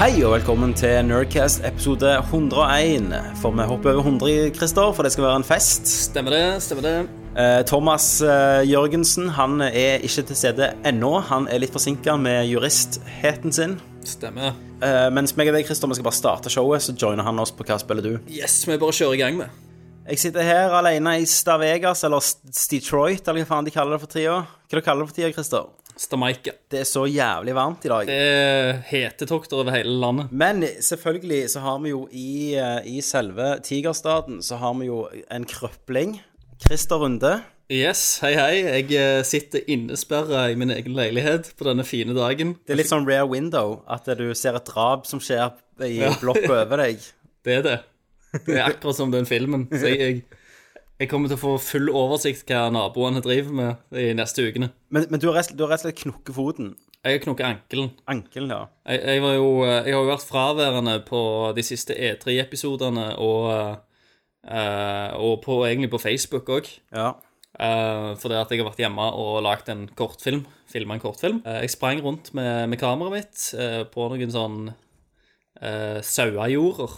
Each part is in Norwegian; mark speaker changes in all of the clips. Speaker 1: Hei og velkommen til Nerdcast episode 101. For vi hopper over 100, Christer, for det skal være en fest.
Speaker 2: Stemmer det, stemmer det.
Speaker 1: Eh, Thomas eh, Jørgensen han er ikke til stede ennå. Han er litt forsinka med juristheten sin.
Speaker 2: Stemmer.
Speaker 1: Eh, mens meg og deg, Christer, vi skal bare starte showet, så joiner han oss på Hva spiller du?
Speaker 2: Yes, vi bare kjører i gang med.
Speaker 1: Jeg sitter her alene i Stavegas, eller St- Detroit, eller hva faen de kaller det for tida. Hva du kaller det for tida, Christer?
Speaker 2: Stamaika.
Speaker 1: Det er så jævlig varmt i dag.
Speaker 2: Det er hetetokter over hele landet.
Speaker 1: Men selvfølgelig så har vi jo i, eh, i selve Tigerstaden så har vi jo en krøpling. Christer Runde.
Speaker 2: Yes, hei hei. Jeg eh, sitter innesperra i min egen leilighet på denne fine dagen.
Speaker 1: Det er litt sånn rare window, at du ser et drap som skjer i blokka over deg.
Speaker 2: Det er det. Det er akkurat som den filmen. Så jeg, jeg, jeg kommer til å få full oversikt hva naboene driver med de neste ukene.
Speaker 1: Men, men du har rett du har rett og slett knukket foten.
Speaker 2: Jeg knokket ankelen.
Speaker 1: Ankelen, ja.
Speaker 2: Jeg, jeg, var jo, eh, jeg har jo vært fraværende på de siste E3-episodene og, eh, og på, egentlig på Facebook òg.
Speaker 1: ja.
Speaker 2: Eh, fordi at jeg har vært hjemme og lagd en kortfilm. Filma en kortfilm. Eh, jeg sprang rundt med, med kameraet mitt eh, på noen sånn uh, sauejorder.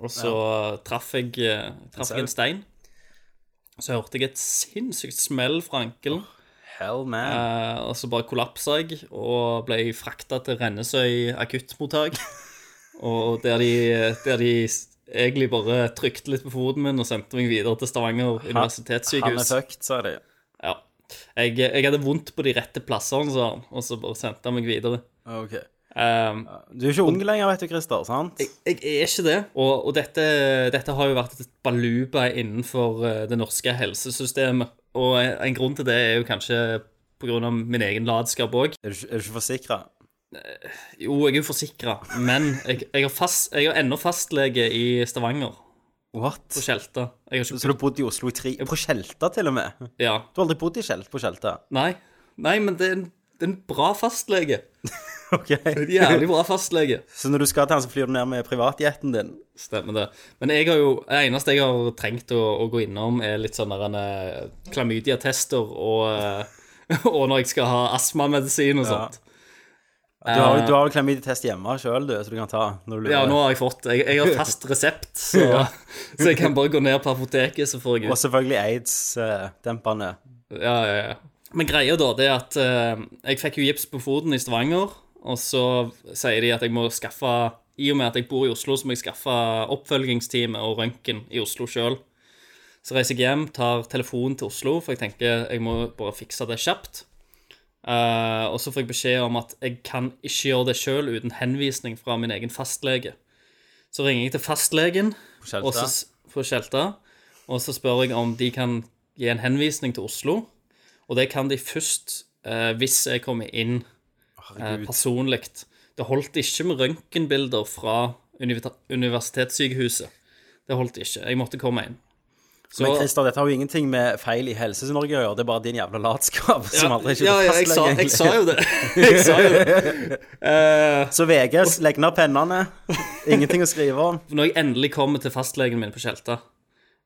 Speaker 2: Og så eh, traff jeg, eh, traff jeg en stein. Så hørte jeg et sinnssykt smell fra ankelen.
Speaker 1: Hell man.
Speaker 2: eh, og så bare kollapsa jeg og ble frakta til Rennesøy akuttmottak. og der de, der de egentlig bare trykte litt på foten min og sendte meg videre til Stavanger
Speaker 1: Han er
Speaker 2: universitetssykehus.
Speaker 1: fucked, sa de.
Speaker 2: Ja. Jeg, jeg hadde vondt på de rette plassene, sa han, og så bare sendte han meg videre.
Speaker 1: Ok.
Speaker 2: Ehm,
Speaker 1: Du er ikke ung lenger, vet du, Christer. sant?
Speaker 2: jeg er ikke det. Og, og dette, dette har jo vært et baluba innenfor eh, det norske helsesystemet. Og en, en grunn til det er jo kanskje pga. min egen latskap òg.
Speaker 1: Er du, ikke- er du ikke forsikra?
Speaker 2: Jo, jeg er jo forsikra, men jeg, jeg, har fast, jeg har ennå fastlege i Stavanger,
Speaker 1: What?
Speaker 2: på Tjelta. Jeg har
Speaker 1: Så
Speaker 2: ikke
Speaker 1: du har bodd i Oslo i tre På Tjelta, til og med?
Speaker 2: Ja.
Speaker 1: Du har aldri bodd i Tjelt på Tjelta?
Speaker 2: Nei. Nei, men det er en, det er en bra fastlege.
Speaker 1: Ok.
Speaker 2: En jævlig bra fastlege.
Speaker 1: Så når du skal til han, så flyr du ned med privatjeten din?
Speaker 2: Stemmer det. Men jeg har jo, det eneste jeg har trengt å, å gå innom, er litt sånn der en, eh, klamydia-tester og, eh, og når jeg skal ha astmamedisin og sånt.
Speaker 1: Du har du har vel klamydia-test hjemme sjøl, du, så du kan ta når du lurer.
Speaker 2: Eh. Ja, nå har jeg fått Jeg, jeg har fast resept, så, så jeg kan bare gå ned på apoteket, så får jeg
Speaker 1: Og
Speaker 2: ut.
Speaker 1: selvfølgelig eh, aids-dempende.
Speaker 2: Ja, ja, ja. Men greia da, det er at eh, jeg fikk jo gips på foten i Stavanger, og så sier de at jeg må skaffe I og med at jeg bor i Oslo, så må jeg skaffe oppfølgingsteamet og røntgen i Oslo sjøl. Så reiser jeg hjem, tar telefonen til Oslo, for jeg tenker jeg må bare fikse det kjapt. Eh, og så får jeg beskjed om at jeg kan ikke gjøre det sjøl uten henvisning fra min egen fastlege. Så ringer jeg til fastlegen
Speaker 1: Skjelta.
Speaker 2: og så, s- på Skjelta, og så spør jeg om de kan gi en henvisning til Oslo. Og det kan de først eh, hvis jeg kommer inn eh, personlig. Det holdt ikke med røntgenbilder fra univita- universitetssykehuset. Det holdt ikke. Jeg måtte komme inn. Så,
Speaker 1: Men Christer, dette har jo ingenting med feil i Helse-Norge å gjøre, det er bare din jævla latskap som aldri ikke
Speaker 2: ja, ja, jeg sa, jeg sa jo det. jeg sa jo det. Eh,
Speaker 1: Så VGs, legg ned pennene. Ingenting å skrive om.
Speaker 2: når jeg endelig kommer til fastlegen min på Tjelta,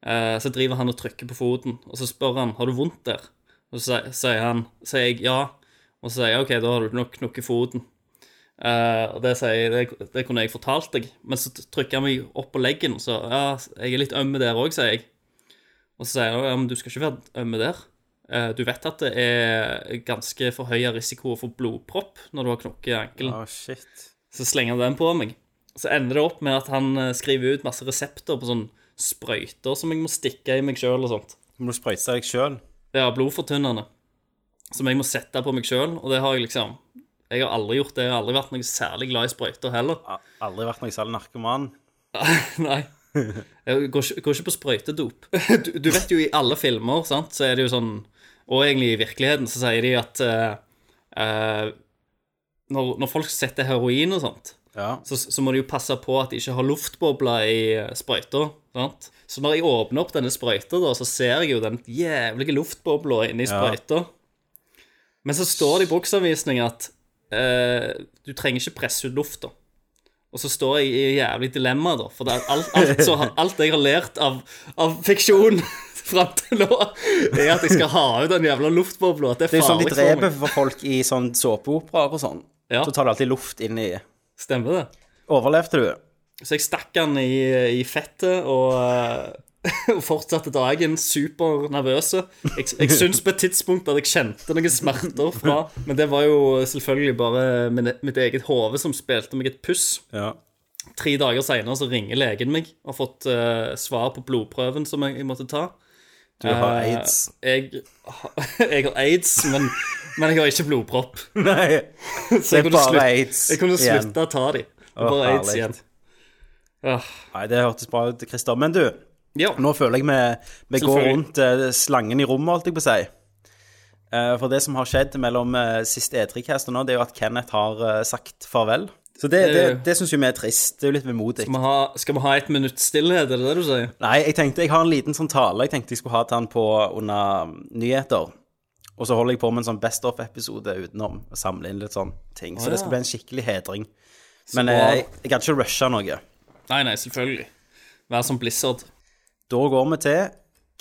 Speaker 2: eh, så driver han og trykker på foten, og så spør han har du vondt der. Og så sier- sier han sier jeg ja, og så sier jeg ok, da har du nok knukket foten. Eh, og det, sier jeg, det, det kunne jeg fortalt deg, men så trykker han meg opp på leggen, og så ja, jeg er litt ømme der òg, sier jeg. Og så sier han ja, men du skal ikke være ømme der. Eh, du vet at det er ganske forhøya risiko for blodpropp når du har knukket ankelen.
Speaker 1: Å, shit.
Speaker 2: Så slenger han den på meg. Så ender det opp med at han eh, skriver ut masse resepter på sånn sprøyter som jeg må stikke i meg sjøl og sånt.
Speaker 1: Du må sprøyte deg sjøl.
Speaker 2: Ja, blodfortynnende. Som jeg må sette på meg sjøl, og det har jeg liksom Jeg har aldri gjort det. Jeg har aldri vært noe særlig glad i sprøyter heller.
Speaker 1: Aldri vært noen særlig narkoman.
Speaker 2: Nei. Jeg går ikke, går ikke på sprøytedop. Du, du vet jo i alle filmer, sant, så er det jo sånn Og egentlig i virkeligheten så sier de at eh, eh, når, når folk setter heroin og sånt,
Speaker 1: Ja.
Speaker 2: så, så må du jo passe på at de ikke har luftbobler i eh, sprøyta. Sant? Så når jeg åpner opp denne sprøyta, da, så ser jeg jo den jævlige luftbobla inni sprøyta. Men så står det i bruksanvisning at eh, du trenger ikke presse ut lufta. Og så står jeg i et jævlig dilemma, da. For det er alt, alt, så, alt jeg har lært av, av fiksjon fram til nå, er at jeg skal ha ut den jævla luftbobla. At det er
Speaker 1: Det er jo sånn de
Speaker 2: farlig for
Speaker 1: dreper
Speaker 2: meg.
Speaker 1: for folk i sånn såpeoperaer og sånn.
Speaker 2: Ja.
Speaker 1: Så tar de alltid luft inn i
Speaker 2: Stemmer det?
Speaker 1: Overlevde du?
Speaker 2: Så jeg stakk han i, i fettet og, eh, og fortsatte dagen supernervøse. Jeg, jeg syns på et tidspunkt at jeg kjente noen smerter fra, men det var jo selvfølgelig bare min, mitt eget hode som spilte meg et puss.
Speaker 1: Ja.
Speaker 2: Tre dager seinere så ringer legen meg og har fått eh, svar på blodprøven som jeg, jeg måtte ta.
Speaker 1: Du har
Speaker 2: Eh,
Speaker 1: aids.
Speaker 2: Jeg, jeg har aids, men, men jeg har ikke blodpropp.
Speaker 1: Nei.
Speaker 2: Så jeg
Speaker 1: Det er
Speaker 2: kunne,
Speaker 1: bare
Speaker 2: slutt,
Speaker 1: aids
Speaker 2: jeg kunne
Speaker 1: igjen.
Speaker 2: slutte å ta de. Det
Speaker 1: Å,
Speaker 2: er bare aids
Speaker 1: herlig.
Speaker 2: igjen. Ja.
Speaker 1: Nei, det hørtes bra ut, Christer. Men du,
Speaker 2: ja.
Speaker 1: nå føler jeg vi, vi går
Speaker 2: Selvfølgelig.
Speaker 1: rundt eh, slangen i rommet, holdt jeg på å si. Eh, for det som har skjedd mellom eh, siste E3-cast og nå, det er jo at Kenneth har eh, sagt farvel. Så det, det,
Speaker 2: Det-
Speaker 1: det syns jo vi er trist. Det er jo litt vemodig.
Speaker 2: Skal vi ha, skal vi ha et minutts stillhet, er det det du sier?
Speaker 1: Nei, jeg tenkte, jeg har en liten sånn tale jeg tenkte jeg skulle ha til han på under mm, nyheter. Og så holder jeg på med en sånn Best of-episode utenom. Og samle inn litt sånn ting. Så
Speaker 2: Å,
Speaker 1: det
Speaker 2: ja.
Speaker 1: skal bli en skikkelig hedring. Men
Speaker 2: bra.
Speaker 1: eh, jeg, jeg kan ikke rushe noe.
Speaker 2: Nei, nei, selvfølgelig. Vær som Blizzard.
Speaker 1: Da går vi til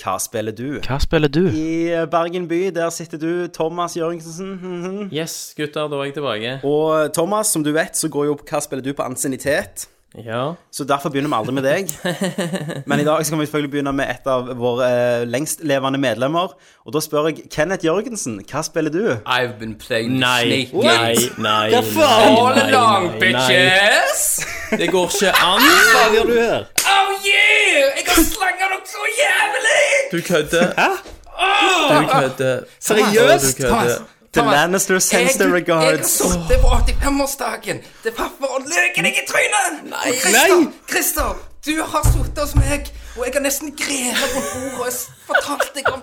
Speaker 1: Hva spiller du?
Speaker 3: Hva spiller du?
Speaker 1: I eh, Bergen by, der sitter du, Thomas Jørgensen. Mhm.
Speaker 4: Yes, gutter, da er jeg tilbake.
Speaker 1: Og Thomas, som du vet, så går jo Hva spiller du på ansiennitet.
Speaker 4: Ja.
Speaker 1: Så derfor begynner vi aldri med deg. Men i dag skal vi selvfølgelig begynne med et av våre eh, lengstlevende medlemmer. Og da spør jeg Kenneth Jørgensen, hva spiller du?
Speaker 5: I've been playing
Speaker 4: Nei,
Speaker 5: Snake
Speaker 4: nei,
Speaker 5: Games
Speaker 4: nei,
Speaker 2: Hva faen?
Speaker 4: nei,
Speaker 5: all
Speaker 4: nei,
Speaker 5: along,
Speaker 4: nei, nei.
Speaker 5: bitches!
Speaker 4: Det går ikke an.
Speaker 2: Hva gjør du her?
Speaker 5: Oh yeah! Jeg har slanga dere så jævlig!
Speaker 4: Du kødder. Hæ? Du kødder.
Speaker 2: Seriøst?
Speaker 4: Du kødder.
Speaker 1: The Lannister sends the
Speaker 5: Jeg, jeg har
Speaker 1: regards.
Speaker 5: sittet på 85-årsdagen til pappa og løken jeg i trynet! Nei! Christer,
Speaker 2: Nei!
Speaker 5: Christer, du har sittet hos meg, og jeg har nesten grenet på bordet og s- fortalt deg om,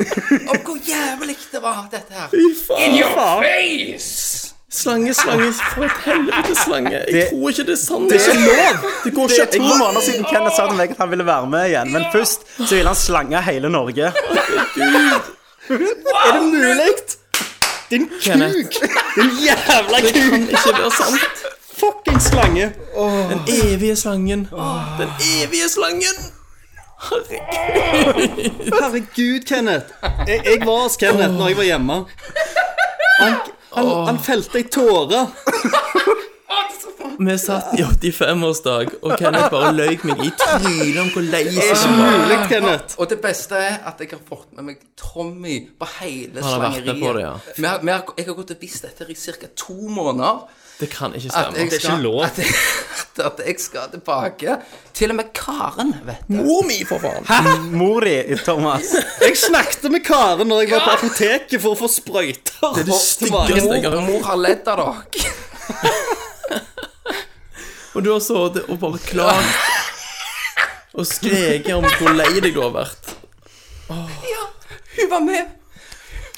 Speaker 5: om hvor jævlig det var, dette her. In your face!
Speaker 4: Slange, slange, for et helvete slange. Jeg
Speaker 1: Det-
Speaker 4: tror ikke det er sant. Det er ikke lov. Det går
Speaker 1: Det
Speaker 4: ikke
Speaker 1: er to
Speaker 4: an.
Speaker 1: måneder siden Kenneth sa til meg at han ville være med igjen, men først så ville han slange hele Norge.
Speaker 2: Er det mulig? Din kuk! Din jævla
Speaker 4: Det
Speaker 2: kuk!
Speaker 4: kan ikke være sant.
Speaker 2: Fucking slange!
Speaker 4: Den evige slangen. Den evige slangen.
Speaker 2: Herregud, Kenneth. Jeg, jeg var hos Kenneth når jeg var hjemme. Han, han, han felte ei tåre.
Speaker 4: Vi satt i 85-årsdag, og Kenneth bare løy meg i trynet om hvor lei
Speaker 2: Det er
Speaker 4: seg
Speaker 2: ikke mulig, Kenneth.
Speaker 5: Og det beste er at jeg har fått med meg Tommy på hele
Speaker 4: Han har vært med
Speaker 5: slangeriet.
Speaker 4: på det, ja.
Speaker 5: Vi har- vi har, jeg har gått og visst dette her i ca. to måneder.
Speaker 4: Det kan ikke
Speaker 5: At
Speaker 4: stemme.
Speaker 5: jeg
Speaker 2: er ikke lov.
Speaker 5: At jeg, at jeg skal tilbake. Til og med Karen vet det.
Speaker 4: Mor mi, for faen.
Speaker 1: Mor di, Thomas.
Speaker 2: Jeg snakket med Karen når jeg var på apoteket for å få sprøyter.
Speaker 4: Det er det
Speaker 2: opp til magen.
Speaker 4: styggeste jeg har
Speaker 5: Mor, mor har ledd av dere.
Speaker 4: Og du har sittet og bare klaget og skreket om hvor lei deg du har vært.
Speaker 5: Ja, hun var med.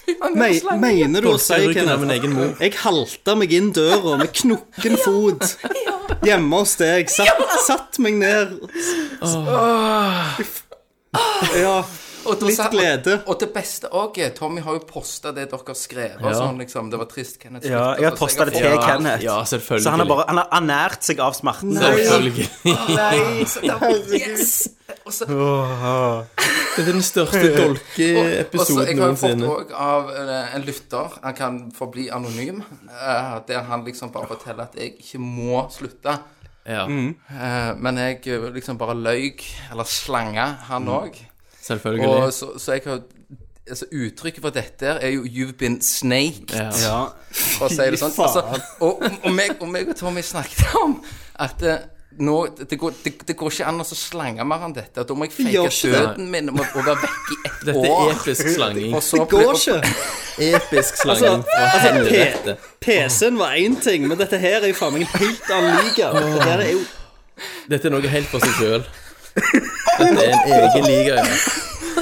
Speaker 5: Hun var med
Speaker 2: Me-
Speaker 5: på slangen.
Speaker 2: Mener du å si,
Speaker 4: Dolker ryggen av min
Speaker 2: Kenneth?
Speaker 4: egen mor.
Speaker 2: Jeg halta meg inn døra med knokken fot. Hjemme hos deg. Satt, satt meg ned. Ja.
Speaker 5: Og da
Speaker 2: Litt
Speaker 5: sa-
Speaker 2: glede.
Speaker 5: Og, og det beste òg er Tommy har jo posta det dere skrev. og
Speaker 4: Ja.
Speaker 5: Sånn, liksom, det var trist, Kenneth.
Speaker 1: Ja, jeg har
Speaker 5: Så
Speaker 1: posta det til
Speaker 5: fått-
Speaker 1: Kenneth.
Speaker 4: Ja, selvfølgelig.
Speaker 1: Så han har bare han har ernært seg av smerten.
Speaker 4: Selvfølgelig.
Speaker 5: Nei, så da, yes. Og så
Speaker 4: Det er den største
Speaker 5: Også,
Speaker 4: dolkeepisoden
Speaker 5: jeg har jo fått
Speaker 4: noensinne.
Speaker 5: òg av eh, en lytter Han kan forbli anonym. eh, der han liksom bare forteller at jeg ikke må slutte.
Speaker 4: Ja,
Speaker 5: eh, men jeg eh, liksom bare løy, eller slanga, han òg. Og
Speaker 4: selvfølgelig.
Speaker 5: så, så jeg har Altså, uttrykket for dette her er jo 'you've been snaked',
Speaker 4: Ja.
Speaker 1: Ja.
Speaker 5: for å si det sånn.
Speaker 2: Fy faen.
Speaker 5: Altså, og, og, meg, og meg og Tommy snakket om at eh, nå, det, går, det, det går ikke an å så slange mer enn dette. Da må jeg
Speaker 2: gjør
Speaker 5: fake
Speaker 2: ikke det.
Speaker 5: døden min og, og være vekk i ett
Speaker 4: Dette
Speaker 5: år.
Speaker 4: er episk slanging.
Speaker 5: Og så
Speaker 2: Det
Speaker 5: blir-
Speaker 2: går ikke.
Speaker 4: Episk slanging.
Speaker 2: Altså,
Speaker 4: Fra
Speaker 2: altså
Speaker 4: helvete.
Speaker 2: P- PC-en var én ting, men dette her er jo faen meg en helt annen liga. Det der er jo
Speaker 4: Dette er noe helt for seg sjøl. Dette er en egen liga. Ja.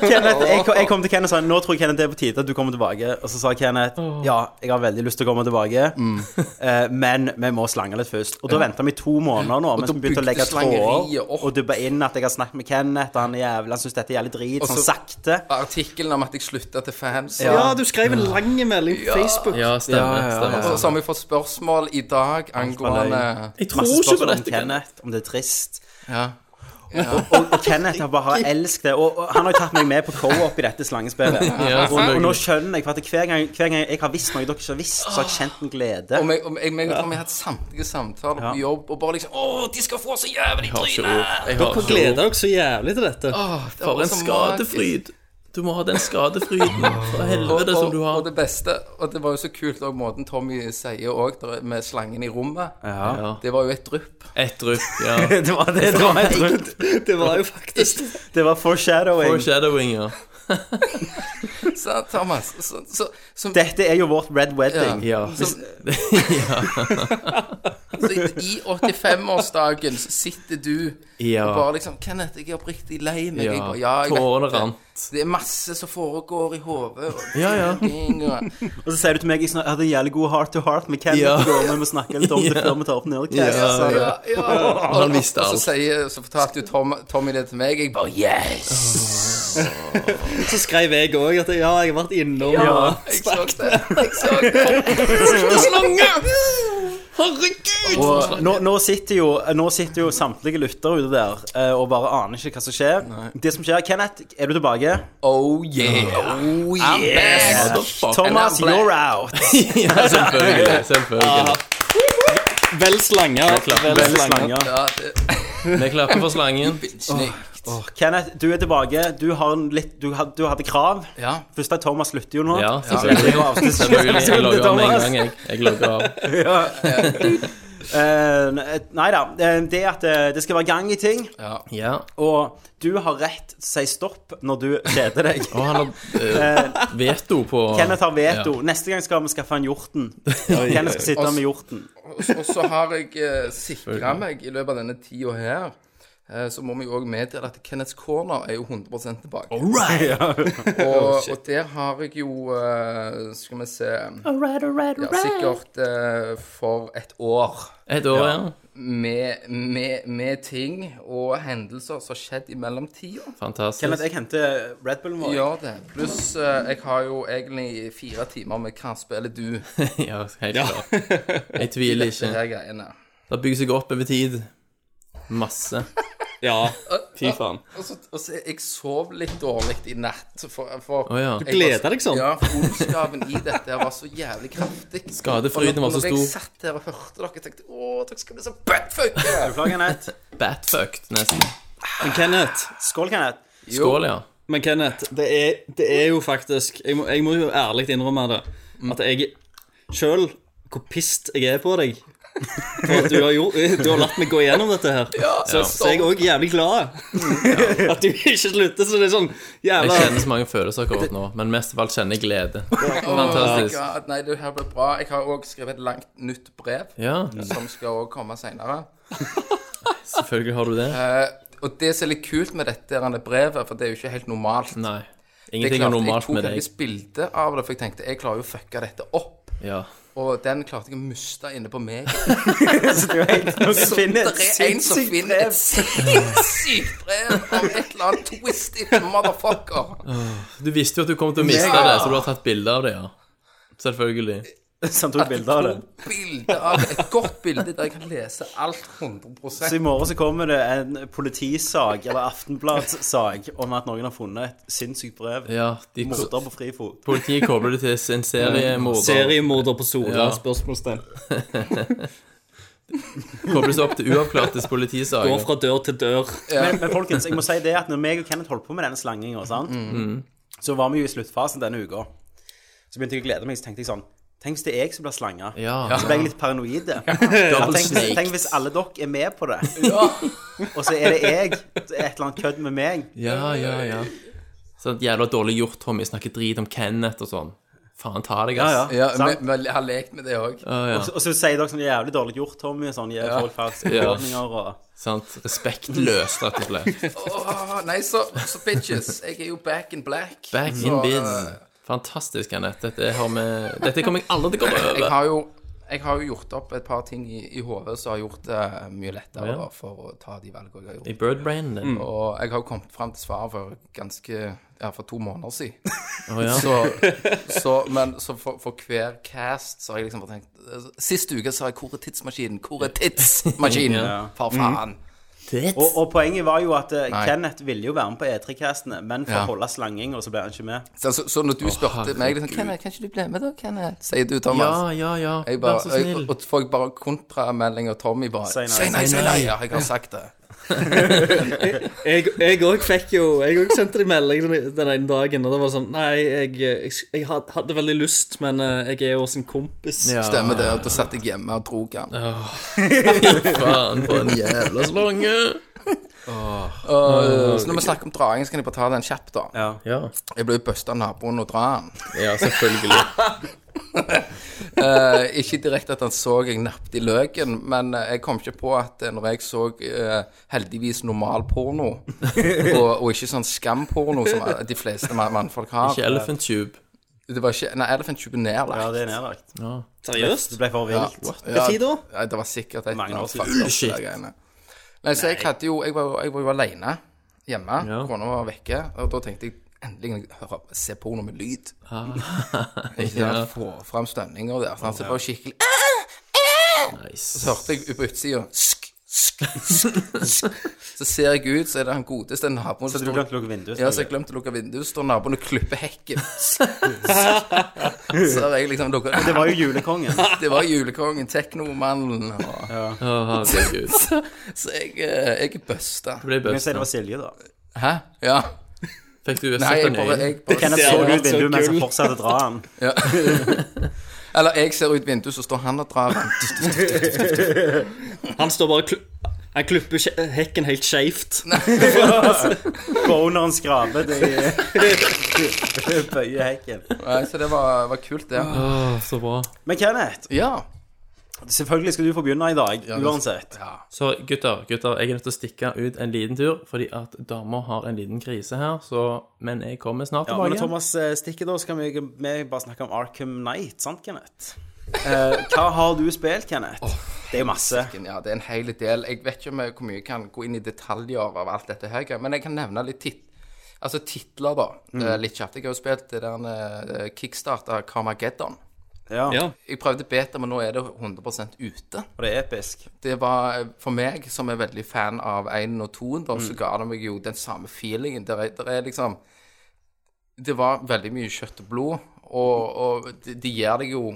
Speaker 1: Kenneth, jeg, kom- jeg kom til Kenneth og sa Nå tror jeg Kenneth det er på tide at du kommer tilbake. Og så sa Kenneth ja, jeg har veldig lyst til å komme tilbake,
Speaker 5: Mm.
Speaker 1: eh, men vi må slange litt først. Og da venta vi to måneder nå mens
Speaker 5: da
Speaker 1: vi begynte å
Speaker 5: bygde
Speaker 1: legge tråder
Speaker 5: slangeriet opp.
Speaker 1: og dubbe inn at jeg har snakket med Kenneth, og han er jævlig, han syns dette er jævlig drit, sånn
Speaker 5: så-
Speaker 1: sakte.
Speaker 5: artikkelen om at jeg slutta til fans.
Speaker 2: Ja, du skrev en lang melding på Facebook.
Speaker 4: Ja,
Speaker 1: Ja,
Speaker 4: stemmer.
Speaker 1: ja, ja.
Speaker 4: stemmer.
Speaker 5: Og så har vi fått spørsmål i dag
Speaker 1: var
Speaker 5: angående
Speaker 4: Jeg tror
Speaker 1: Masse
Speaker 4: ikke på
Speaker 1: spørsmål om
Speaker 4: dette. Kenneth.
Speaker 1: Kenneth, om det er trist.
Speaker 5: ja.
Speaker 1: Og, og, og Kenneth har bare elsket det. Og, og han har jo tatt meg med på co-op i dette slangespillet.
Speaker 6: Ja,
Speaker 1: og, og nå
Speaker 6: selvfølgelig.
Speaker 1: skjønner jeg for at hver gang, hver gang jeg har visst noe dere ikke har visst, så har jeg kjent en glede.
Speaker 5: Og meg og meg- meg og Tommy har hatt samtlige samtaler på jobb, og bare liksom Å, de skal få så jævlig
Speaker 6: Altså, Jeg har ikke
Speaker 5: tryne!
Speaker 6: ord. Jeg
Speaker 2: Dere
Speaker 6: har ikke
Speaker 2: gleder
Speaker 6: ord.
Speaker 2: dere så jævlig til dette.
Speaker 6: For en skadefryd. Du må ha den skadefryden fra helvete som
Speaker 5: Og
Speaker 6: du har.
Speaker 5: det beste, og det var jo så kult òg, måten Tommy sier òg med slangen i rommet.
Speaker 6: Ja.
Speaker 5: Det var jo et drypp.
Speaker 6: Ett drypp, ja.
Speaker 1: Det var, det, det var, jeg trodde.
Speaker 2: Det var jo faktisk
Speaker 1: Det var foreshadowing.
Speaker 6: Foreshadowing, ja.
Speaker 5: Så, Thomas, så, så, som,
Speaker 1: Dette er jo vårt red wedding.
Speaker 5: Ja.
Speaker 6: Hvis,
Speaker 5: så i 85-årsdagen så sitter du
Speaker 6: ja.
Speaker 5: og bare liksom 'Kenneth, jeg er oppriktig lei meg.' Jeg
Speaker 6: ja.
Speaker 5: bare, ja, jeg vet
Speaker 6: Tårene
Speaker 5: det.
Speaker 6: rant.
Speaker 5: Det er masse som foregår i hodet. og
Speaker 6: Ja, ja.
Speaker 5: ting og-
Speaker 1: Og så sier du til meg jeg snak- jeg hadde en jævlig god heart to heart med Kenneth.
Speaker 6: Ja.
Speaker 1: og Vi må snakke litt om det
Speaker 6: Ja.
Speaker 1: før vi tar opp Nerdcast. altså.
Speaker 6: Ja,
Speaker 5: Ja, ja. Og,
Speaker 6: Han visste
Speaker 5: og så,
Speaker 6: alt.
Speaker 5: sier, så fortalte jo Tom, Tommy det til meg. Jeg bare 'Yes!'
Speaker 2: Så skrev jeg òg at ja, jeg har vært innom og
Speaker 5: Jeg så det. Jeg så det. Slange! Herregud!
Speaker 1: Og nå, nå, sitter jo, nå sitter jo samtlige lyttere ute der eh, og bare aner ikke hva som skjer. Det som skjer, Kenneth, er du tilbake?
Speaker 5: Oh yeah. Oh yeah.
Speaker 6: Motherfucker.
Speaker 1: Thomas,
Speaker 5: And I'm
Speaker 1: you're out.
Speaker 6: Ja, selvfølgelig. Selvfølgelig.
Speaker 2: Vel slanger.
Speaker 6: klart.
Speaker 2: Vel
Speaker 6: Vel
Speaker 2: slanger.
Speaker 5: Ja, det,
Speaker 6: Vi klapper for slangen.
Speaker 5: bitchnik.
Speaker 1: Kenneth, du er tilbake. Du, har en litt, du, had- du hadde krav.
Speaker 5: ja.
Speaker 1: Først er Thomas slutter jo nå.
Speaker 6: Ja,
Speaker 1: Så det er jo avsnitt.
Speaker 6: Selvfølgelig. Jeg logger av med en gang, jeg. Jeg logger av.
Speaker 1: Eh, Nei da. eh, Det er at eh, det skal være gang i ting.
Speaker 5: ja.
Speaker 6: Ja.
Speaker 1: Og du har rett til å si stopp når du kjeder deg.
Speaker 6: Og han har eh, veto på
Speaker 1: Kenneth har veto. Neste gang skal vi skaffe en hjorten. Kenneth skal sitte med hjorten.
Speaker 5: Og, og så har jeg eh, sikra meg i løpet av denne tida her. eh, Så må vi jo òg meddele at Kenneths corner er jo 100 tilbake. og, og der har jeg jo eh, Skal vi se ja, Sikkert eh, for et år
Speaker 6: Et år, ja.
Speaker 5: med, med, med ting og hendelser som har skjedd i mellomtida.
Speaker 1: Kenneth,
Speaker 6: Fantastisk.
Speaker 1: jeg henter Red Bullen vår.
Speaker 5: Gjør det. Pluss eh, jeg har jo egentlig fire timer med Hva spiller du?
Speaker 6: Ja, helt klart. Jeg tviler
Speaker 5: Dette
Speaker 6: ikke.
Speaker 5: her greiene.
Speaker 6: Det bygger seg opp over tid. Masse.
Speaker 2: Ja, fy faen.
Speaker 5: Og så, og så jeg sov litt dårlig i natt. For, for
Speaker 6: Å ja.
Speaker 5: jeg var-
Speaker 2: Gleder deg
Speaker 6: liksom?
Speaker 2: sånn.
Speaker 5: Ja, for ondskapen i dette her var så jævlig kraftig.
Speaker 6: Skadefryden var så
Speaker 5: Når jeg
Speaker 6: stor.
Speaker 5: satt her og hørte dere, tenkte jeg å, dere skal bli så buttfucke!
Speaker 1: Beklager, Kenneth.
Speaker 6: Batfucked, nesten.
Speaker 2: Men Kenneth,
Speaker 1: Skål, Kenneth.
Speaker 6: Skål, ja.
Speaker 2: men Kenneth det, er, det er jo faktisk Jeg må, jeg må jo ærlig innrømme det. At jeg sjøl Hvor pissed jeg er på deg. For at du har, gjort, du har latt meg gå gjennom dette her. så, så jeg er òg jævlig glad at du ikke slutter. Så det er sånn
Speaker 6: Jeg
Speaker 2: jævla
Speaker 6: kjenner så mange følelser akkurat nå, men mest av alt kjenner jeg glede. Fantastisk.
Speaker 5: Ja, nei, det her ble bra. Jeg har òg skrevet et langt, nytt brev,
Speaker 6: Ja,
Speaker 5: som skal også komme seinere.
Speaker 6: selvfølgelig har du det.
Speaker 5: Og det som er litt kult med dette her brevet, for det er jo ikke helt normalt
Speaker 6: Nei.
Speaker 5: Det er
Speaker 6: Ingenting er
Speaker 5: klart, Jeg
Speaker 6: normalt
Speaker 5: tok
Speaker 6: med deg.
Speaker 5: faktisk bilde av det, for jeg tenkte jeg klarer jo å fucke dette opp.
Speaker 6: Ja.
Speaker 5: Og den klarte jeg å miste inne på meg.
Speaker 1: Så det er jo helt noe som finner
Speaker 5: Det er en som finner et sinnssykt brev av et eller annet twisted motherfucker.
Speaker 6: Du visste jo at du kom til å miste det, så du har tatt bilde av det, ja. Selvfølgelig.
Speaker 1: som tok bilde av det.
Speaker 5: Bilde av Et godt bilde der jeg kan lese alt 100
Speaker 1: Så i morgen så kommer det en politisag, eller Aftenbladsag, om at noen har funnet et sinnssykt brev.
Speaker 6: Ja, de,
Speaker 1: Morder på frifot.
Speaker 6: politiet kobler det til en seriemorder.
Speaker 2: seriemorder på Sola?
Speaker 6: Ja.
Speaker 2: Spørsmålstegn.
Speaker 6: Kobles opp til uavklartes
Speaker 2: Går
Speaker 6: politisaker.
Speaker 2: fra dør til dør.
Speaker 1: Men, men folkens, jeg må si det at når meg og Kenneth holdt på med denne slanginga, sant, så var vi jo i sluttfasen denne uka. Så begynte jeg å glede meg, så tenkte jeg sånn Tenk hvis det er jeg som blir slanga?
Speaker 6: Ja.
Speaker 1: Så ble jeg litt paranoid.
Speaker 6: Double
Speaker 1: Tenk, hvis-
Speaker 6: snake.
Speaker 1: tenk hvis alle dere er med på det, og så er det jeg, så er det et eller annet kødd med meg.
Speaker 6: Ja, ja, ja. Sånn jævla dårlig gjort, Tommy. Snakker drit om Kenneth og sånn. Faen ta deg, ass.
Speaker 1: Ja,
Speaker 5: Ja,
Speaker 1: Sant?
Speaker 5: vi, vi har lekt med det òg.
Speaker 6: Ja, ja.
Speaker 1: Og så- Og så sier dere sånn jævlig dårlig gjort, Tommy, og sånn gir folk falske
Speaker 6: Ja.
Speaker 1: forordninger og
Speaker 6: Sant. Sånn, Respektløst, rett og slett.
Speaker 5: Åh, Nei, så, så bitches. Jeg er jo back in black.
Speaker 6: Back in
Speaker 5: Så,
Speaker 6: biz.
Speaker 5: eh,
Speaker 6: Fantastisk, Kenneth. Dette, har vi- Dette kommer jeg aldri til å komme
Speaker 5: Jeg
Speaker 6: over.
Speaker 5: har jo jeg har jo gjort opp et par ting i, i hodet som har gjort det mye lettere
Speaker 6: Ja.
Speaker 5: for å ta de valgene jeg har gjort.
Speaker 6: I birdbrainen din. Å
Speaker 5: Og jeg har jo kommet frem til svar for ganske Ja, for to måneder siden.
Speaker 6: ja.
Speaker 5: Så, så, men så for, for hver cast så har jeg liksom
Speaker 4: Mm.
Speaker 5: bare tenkt Sist uke sa jeg 'Hvor er tidsmaskinen?' Hvor er tidsmaskinen? For faen.
Speaker 1: Og, og poenget var jo at eh,
Speaker 5: Nei.
Speaker 1: Kenneth ville jo være med på E3-castene, men for å
Speaker 5: Ja.
Speaker 1: holde slanginga, så ble han ikke med.
Speaker 5: Så, så, så når du spurte meg liksom, Kenneth, kan ikke du bli med da, Kenneth? Sier du, Thomas.
Speaker 4: Ja, ja, ja.
Speaker 5: jeg
Speaker 4: Vær
Speaker 5: bare,
Speaker 4: så
Speaker 5: jeg,
Speaker 4: snill.
Speaker 5: og folk bare kontramelding, og Tommy bare
Speaker 1: Si nei.
Speaker 5: Si nei, si nei! Ja, jeg har sagt det.
Speaker 2: Jeg òg fikk jo Jeg òg sendte de melding den- den ene dagen, og det var sånn Nei, jeg, jeg, jeg had- hadde veldig lyst, men eh, jeg er jo også en kompis.
Speaker 4: Ja.
Speaker 5: Stemmer det. Og da satt jeg hjemme og dro han.
Speaker 4: Faen, for en jævla slange.
Speaker 5: Og, Så når vi snakker om draing, så kan jeg bare ta den kjapt, da.
Speaker 1: Ja.
Speaker 4: Ja,
Speaker 5: Jeg ble jo busta av naboen og dra han.
Speaker 4: ja selvfølgelig.
Speaker 5: Eh, ikke direkte at han så jeg nappet i løken, men eh, jeg kom ikke på at eh, når jeg så eh, heldigvis normal porno, og, og ikke sånn skamporno som eh, de fleste ma- mannfolk har
Speaker 4: Ikke Elephant Tube.
Speaker 5: Det var ikke Nei, Elephant Tube er nedlagt.
Speaker 1: ja, det er nedlagt. Det
Speaker 2: Seriøst?
Speaker 1: ble for vilt.
Speaker 5: Ja,
Speaker 2: tid da?
Speaker 5: ja, det var sikkert et
Speaker 1: Mange år siden.
Speaker 4: Shit.
Speaker 5: greiene. Nei, så jeg hadde jo Jeg var, jo- jeg var jo alene hjemme.
Speaker 4: Ja.
Speaker 5: Kona var vekke. Og da tenkte jeg endelig kan jeg høre, se porno med lyd.
Speaker 1: Ah.
Speaker 5: Ikke
Speaker 4: Ja.
Speaker 5: sant? Få fram stønninger der. sant? Så det var skikkelig
Speaker 4: Nice.
Speaker 5: Så hørte jeg ut på utsida sk, sk, sk, sk. Så ser jeg ut, så er det han godeste naboen som
Speaker 1: Så du
Speaker 5: står
Speaker 1: glemte å lukke vinduet?
Speaker 5: ja, så jeg glemte å lukke vinduet, så står naboen og klipper hekken. Så har jeg liksom lukket
Speaker 1: Det var jo julekongen.
Speaker 5: Det var julekongen, teknomannen og
Speaker 4: Å, herregud.
Speaker 5: Så jeg, eh, jeg er busta.
Speaker 4: Det ble
Speaker 1: Vi sier
Speaker 4: bøst.
Speaker 1: det var Silje, da.
Speaker 5: Hæ? Ja.
Speaker 4: Fikk du
Speaker 5: Nei,
Speaker 4: sett
Speaker 5: jeg
Speaker 4: den
Speaker 5: bare,
Speaker 4: øyen?
Speaker 5: jeg bare
Speaker 1: Kenneth
Speaker 2: Det
Speaker 1: så
Speaker 2: hadde
Speaker 1: ut
Speaker 2: vært så
Speaker 1: vinduet mens han
Speaker 2: gull.
Speaker 1: fortsatte å dra han.
Speaker 5: ja. Eller jeg ser ut vinduet, så står han og drar den.
Speaker 2: Han står bare og kl- Han klipper skje- hekken helt skeivt.
Speaker 1: Boneren skrapet i bøyehekken.
Speaker 5: Nei, Så det var, var kult, det.
Speaker 4: Å, så bra.
Speaker 1: Men Kenneth,
Speaker 5: Ja.
Speaker 1: selvfølgelig skal du få begynne i dag, uansett.
Speaker 4: Så gutter, gutter, jeg er nødt til å stikke ut en liten tur, fordi at damer har en liten krise her, så Men jeg kommer snart
Speaker 1: Ja, men når
Speaker 4: tilbake.
Speaker 1: Thomas eh, stikker, da, så kan vi, vi bare snakke om Arkham Knight, sant, Kenneth? Eh, hva har du spilt, Kenneth? det er jo masse.
Speaker 5: ja, det er en hel del. Jeg vet ikke om jeg, hvor mye jeg kan gå inn i detaljer av alt dette her, men jeg kan nevne litt tit altså titler, da. Eh, Litt kjapt. Jeg har jo spilt det der eh, kickstarter Carmageddon.
Speaker 1: Ja,
Speaker 2: Ja.
Speaker 5: Jeg prøvde beta, men nå er det 100 ute.
Speaker 1: Og det er episk.
Speaker 5: det var eh, for meg, som er veldig fan av 1 og 2, da,
Speaker 1: Mm.
Speaker 5: så ga det meg jo den samme feelingen. Der, er- der er liksom Det var veldig mye kjøtt og blod, og, og de, de gir deg jo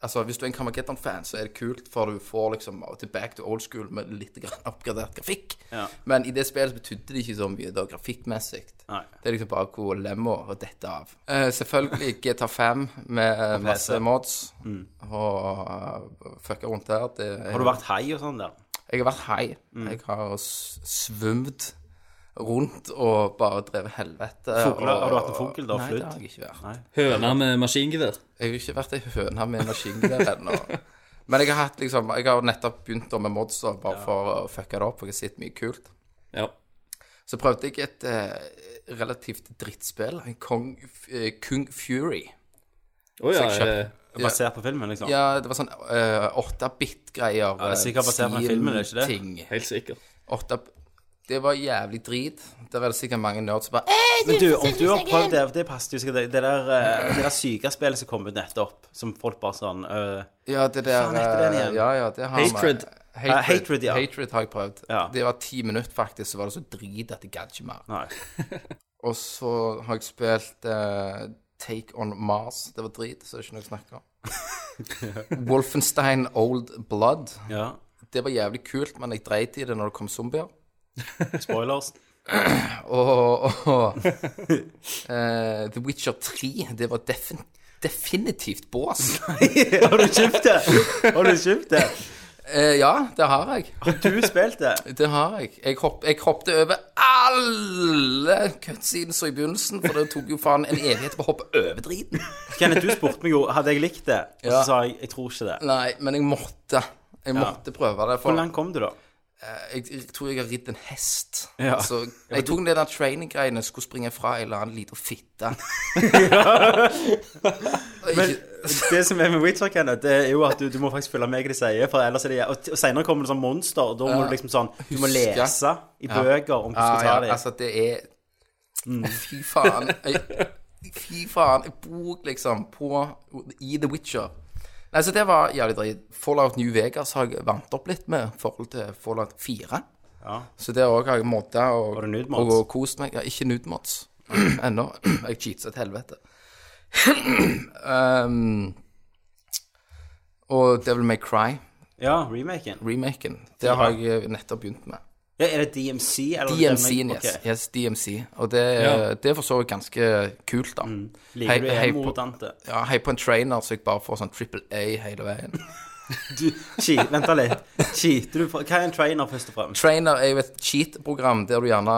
Speaker 5: Altså, Hvis du er en Kamageddon-fan, så er det kult, for du får liksom tilbake til old school med litt grann oppgradert grafikk.
Speaker 1: Ja.
Speaker 5: Men i det spillet betydde det ikke så mye da, grafikkmessig.
Speaker 1: Nei.
Speaker 5: Det er liksom bare hvor lemma og dette av. Eh, selvfølgelig GTA5 med eh, masse mods og uh, fucka rundt der. Det,
Speaker 1: Mm. Har du vært hei og sånn der?
Speaker 5: jeg har vært hei.
Speaker 1: Mm.
Speaker 5: Jeg har s- svømt rundt og bare drevet helvete.
Speaker 1: Fugler-
Speaker 5: og-
Speaker 1: har du vært en fugl da,
Speaker 5: Nei,
Speaker 1: flydd?
Speaker 5: det har jeg ikke vært.
Speaker 2: Høna med maskingevær.
Speaker 5: Jeg har ikke vært ei høne med maskingevær ennå. Men jeg har, hatt, liksom, jeg har nettopp begynt da med modser bare for å fucke det opp, for jeg har sett mye kult.
Speaker 2: Ja.
Speaker 5: Så prøvde jeg et eh, relativt drittspill, en Kong, eh, Kung Fury.
Speaker 2: Å ja.
Speaker 5: Så jeg kjøpt-
Speaker 2: eh,
Speaker 1: Basert på filmen, liksom?
Speaker 5: Ja, det var sånn eh, 8-bit-greier.
Speaker 1: det er sikkert basert på den filmen, er det ikke det?
Speaker 5: Steam-ting.
Speaker 2: Helt sikker.
Speaker 5: 8 Det var jævlig drit. Der er det sikkert mange nerds som bare
Speaker 1: Men du, om du har prøvd det, det passer jo sikkert Det det der, eh, det der syke spillet som kom ut nettopp, som folk bare sånn eh,
Speaker 5: Ja, det der
Speaker 1: Faen, heter den igjen?
Speaker 5: eh, Ja, ja, det har
Speaker 2: Hatred.
Speaker 5: Vi. Hatred.
Speaker 1: Eh, Hatred, ja.
Speaker 5: Hatred har jeg prøvd.
Speaker 1: Ja.
Speaker 5: Det var ti minutter, faktisk, så var det så drit at jeg gadd ikke mer.
Speaker 1: Nei.
Speaker 5: Og så har jeg spilt eh, Take On Mars. Det var drit, så det er ikke noe jeg snakker om. Wolfenstein Old Blood.
Speaker 1: Ja.
Speaker 5: Det var jævlig kult, men jeg dreit i det når det kom zombier.
Speaker 1: Spoilers.
Speaker 5: Og, og, og eh, The Witcher 3, det var defin definitivt bås.
Speaker 1: har du kjøpt det? Har du kjøpt det?
Speaker 5: Eh, ja, det har jeg.
Speaker 1: Du spilte det?
Speaker 5: Det har jeg. Jeg, hopp, jeg hoppet over alle cutscenes i begynnelsen, for det tok jo faen en evighet på å hoppe over driten.
Speaker 1: Kenneth, du spurte meg jo hadde jeg likt det, og så
Speaker 5: Ja.
Speaker 1: sa jeg jeg tror ikke det.
Speaker 5: Nei, men jeg måtte. Jeg måtte prøve det.
Speaker 1: Hvor
Speaker 5: For jeg,
Speaker 1: langt kom du, da?
Speaker 5: jeg tror jeg har ridd en hest.
Speaker 1: Ja.
Speaker 5: Så jeg tok den der training-greiene, skulle springe fra en eller annen liten fitte. Og
Speaker 1: Men
Speaker 5: ikke-
Speaker 1: det som er med Witcher, Kenneth, det er jo at du, du må faktisk følge med hva de sier. For ellers er det, og, t- og senere kommer det sånn monster, og da må du liksom sånn Du må
Speaker 5: Huske.
Speaker 1: lese i bøker om hvordan du
Speaker 5: ja,
Speaker 1: skal
Speaker 5: ja,
Speaker 1: ta dem.
Speaker 5: altså det er Fy faen. Jeg, fy faen. Jeg bor liksom på i The Witcher. Nei, så det var jævlig dritt. Fallout New Vegas har jeg varmt opp litt med i forhold til Fallout 4. Så der òg har jeg modda og,
Speaker 1: Var det nude
Speaker 5: og,
Speaker 1: mods?
Speaker 5: kost meg. Ja, ikke nudemods ennå. Jeg cheatsa til helvete. um, og Devil May Cry-remaken.
Speaker 1: Ja, remaken.
Speaker 5: Det har jeg nettopp begynt med.
Speaker 1: Ja, er det DMC? Eller
Speaker 5: DMC-en,
Speaker 1: Ok.
Speaker 5: yes. E yes. DMC. Og det, det er for så vidt ganske kult, da.
Speaker 1: Liker
Speaker 5: Hei-
Speaker 1: du
Speaker 5: hei
Speaker 1: emo,
Speaker 5: på-
Speaker 1: Dante?
Speaker 5: Ja, hei på en trainer, så jeg bare får sånn triple A hele veien.
Speaker 1: Du, chi, vent da litt. Cheater du på Hva er en trainer, først og fremst?
Speaker 5: Trainer er jo et cheat-program der du gjerne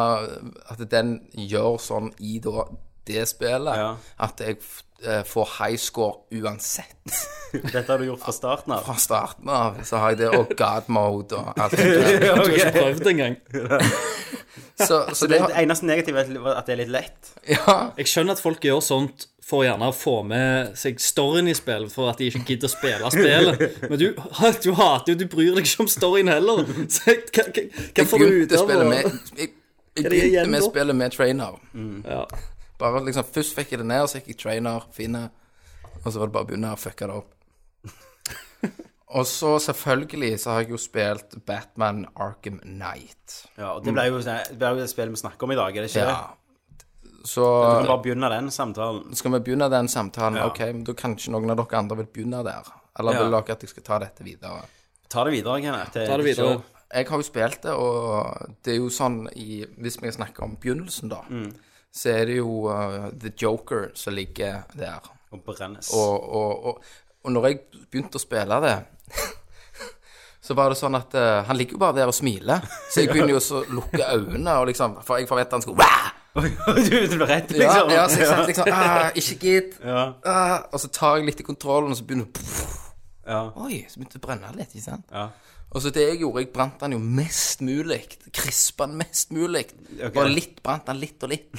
Speaker 5: At den gjør sånn i da det spillet
Speaker 1: Ja.
Speaker 5: at jeg f- eh, får high score uansett.
Speaker 1: Dette har du gjort fra starten av.
Speaker 5: Fra starten av så har jeg det, og god mode og alt sånt.
Speaker 2: Du har ikke prøvd engang.
Speaker 5: Så, så det
Speaker 1: Det eneste negative er at det er litt lett.
Speaker 5: Ja.
Speaker 2: Jeg skjønner at folk gjør sånt for gjerne å få med seg storyen i spillet, for at de ikke gidder å spille spillet. Men du, du hater jo, du bryr deg ikke om storyen heller. Så jeg- hva, hva, hva
Speaker 5: Jeg
Speaker 2: får du ut
Speaker 5: begynte
Speaker 2: av
Speaker 5: spillet
Speaker 2: det?
Speaker 5: med Jeg, jeg
Speaker 2: det igjen
Speaker 5: begynte med
Speaker 2: da?
Speaker 5: spillet med trainer.
Speaker 2: Ja.
Speaker 5: Bare liksom Først fikk jeg det ned, og så gikk jeg trainer, finne, og så var det bare å begynne å fucke det opp. og så, selvfølgelig, så har jeg jo spilt Batman Arkham Knight.
Speaker 1: Ja, og Det ble jo, sånn- det ble jo det spillet vi snakker om i dag, er det ikke?
Speaker 5: Mm. Ja.
Speaker 1: det?
Speaker 5: Så
Speaker 1: Vi kan bare begynne den samtalen.
Speaker 5: skal vi begynne den samtalen.
Speaker 1: Ja.
Speaker 5: Ok, men da kanskje noen av dere andre vil begynne der. Eller
Speaker 1: Ja.
Speaker 5: vil dere at jeg skal ta dette videre?
Speaker 1: Ta det videre, Kenneth.
Speaker 2: Ta det videre.
Speaker 5: Jeg har jo spilt det, og det er jo sånn i, Hvis vi snakker om begynnelsen, da,
Speaker 1: Mm.
Speaker 5: så er det jo uh, The Joker som ligger der.
Speaker 1: Og brennes.
Speaker 5: Og, og, og, og når jeg begynte å spille det så var det sånn at eh, han ligger jo bare der og smiler. Så jeg begynner jo også å lukke øynene, og liksom, for jeg forventer han skulle Wah!
Speaker 1: du, du ble redd,
Speaker 5: Ja,
Speaker 1: liksom?
Speaker 5: ja, så jeg satt liksom ah, Ikke gidd.
Speaker 1: Ja,
Speaker 5: Ah, og så tar jeg litt i kontrollen, og så begynner
Speaker 1: ja,
Speaker 5: Oi, så begynte det å brenne litt, ikke sant?
Speaker 1: ja.
Speaker 5: Og så det jeg gjorde, jeg brant den jo mest mulig. Krispa den mest mulig. Bare litt brant den litt og litt.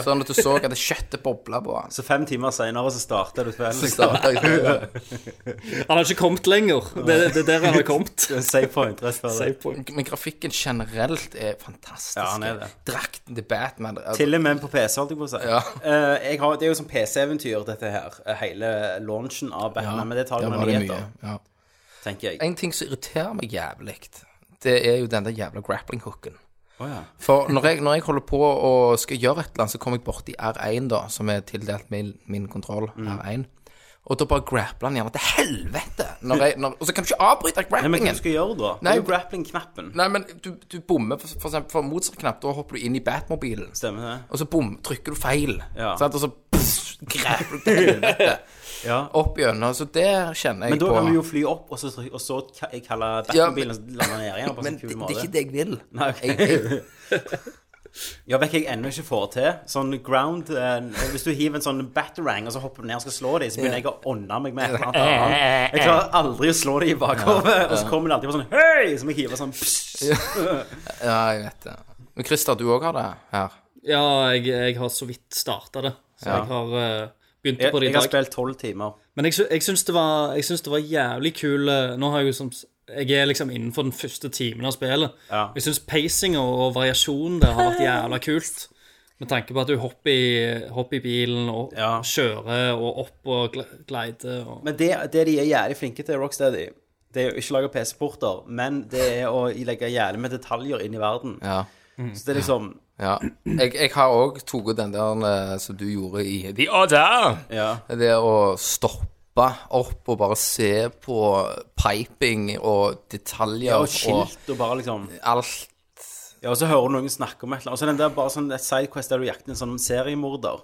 Speaker 5: Sånn at du så at det kjøttet bobla på den.
Speaker 1: Så fem timer seinere så starter du
Speaker 5: Så
Speaker 1: spillet.
Speaker 5: starta jeg spillet.
Speaker 2: Han har ikke kommet lenger. Det det er der han har kommet.
Speaker 1: Det er en Save point, rett før det.
Speaker 2: Save point.
Speaker 5: Men grafikken generelt er fantastisk.
Speaker 1: Ja, han er det.
Speaker 5: Drakten til Batman altså. er-
Speaker 1: Til og med på PC, holdt jeg på å si.
Speaker 5: Ja.
Speaker 1: Eh, jeg har, det er jo sånn PC-eventyr, dette her. eh, Hele launchen av Batman. men det tar
Speaker 5: der
Speaker 1: jo
Speaker 5: var
Speaker 1: noen
Speaker 5: det
Speaker 1: nyheter,
Speaker 5: mye, Ja.
Speaker 1: tenker jeg.
Speaker 5: En ting som irriterer meg jævlig, det er jo den der jævla grappling hooken.
Speaker 1: Å ja.
Speaker 5: For når jeg, når jeg holder på og skal gjøre et eller annet, så kommer jeg borti R1, da, som er tildelt min, min kontroll.
Speaker 1: Mm.
Speaker 5: R1. Og da bare grappler han gjerne til helvete! Når jeg, når, og så kan du ikke avbryte
Speaker 1: Nei, men hva
Speaker 5: grapplingen!
Speaker 1: skal du gjøre da? Det
Speaker 5: Nei,
Speaker 1: er jo grappling-knappen.
Speaker 5: Nei, men du, du bommer, for, for eksempel for motsatt knapp. Da hopper du inn i Batmobilen.
Speaker 1: Stemmer det?
Speaker 5: Og så bom, trykker du feil.
Speaker 1: Ja.
Speaker 5: Sant? Og så pss, grappler du til helvete
Speaker 1: Ja.
Speaker 5: opp gjennom. Så det kjenner jeg
Speaker 1: Men da
Speaker 5: på.
Speaker 1: kan du jo fly opp, og så, og så ka- kalle
Speaker 5: Ja, men-
Speaker 1: Batmobilen og så lande ned igjen. På en
Speaker 5: men
Speaker 1: sånn
Speaker 5: det,
Speaker 1: kul
Speaker 5: det er
Speaker 1: måte.
Speaker 5: ikke det jeg vil.
Speaker 1: Nei, ok.
Speaker 5: Jeg, jeg,
Speaker 1: Ja, vet jeg ennå ikke får til. Sånn ground eh, Hvis du hiver en sånn batterang, og så hopper du ned og skal slå dem, så begynner jeg å ånde meg med et eller annet annet. Jeg klarer aldri å slå dem i bakhodet, og så kommer det alltid på sånn Hei! Som jeg hiver sånn pss.
Speaker 5: ja, jeg vet det. Men Christer, du òg har det her?
Speaker 2: Ja, jeg, jeg har så vidt starta det. Så jeg har eh, begynt
Speaker 1: Jeg,
Speaker 2: på det
Speaker 1: jeg
Speaker 2: i
Speaker 1: har
Speaker 2: dag.
Speaker 1: spilt tolv timer.
Speaker 2: Men jeg, sy- jeg syns det, var- jeg syns det var jævlig kul eh, Nå har jeg jo som s- Jeg er liksom innenfor den første timen av spillet.
Speaker 1: Ja.
Speaker 2: Jeg syns pacinga og, og variasjonen der har vært jævla kult. Med tanke på at du hopper i, hopper i bilen og
Speaker 1: Ja.
Speaker 2: kjører og opp og gl- glider og
Speaker 1: Men det, det de er jævlig flinke til, Rocksteady, det er jo ikke å lage PC-porter, men det er å legge jævlig med detaljer inn i verden.
Speaker 5: Ja.
Speaker 1: Så det er liksom
Speaker 5: Ja. Jeg, jeg har òg tatt den der eh, som du gjorde i The Order.
Speaker 1: Ja.
Speaker 5: Det å stoppe opp og bare se på piping og detaljer
Speaker 1: Og skilt og bare liksom
Speaker 5: og alt.
Speaker 1: Ja, og så hører du noen snakke om et eller annet. Og så den der bare sånn et sidequest der du jakter en sånn seriemorder.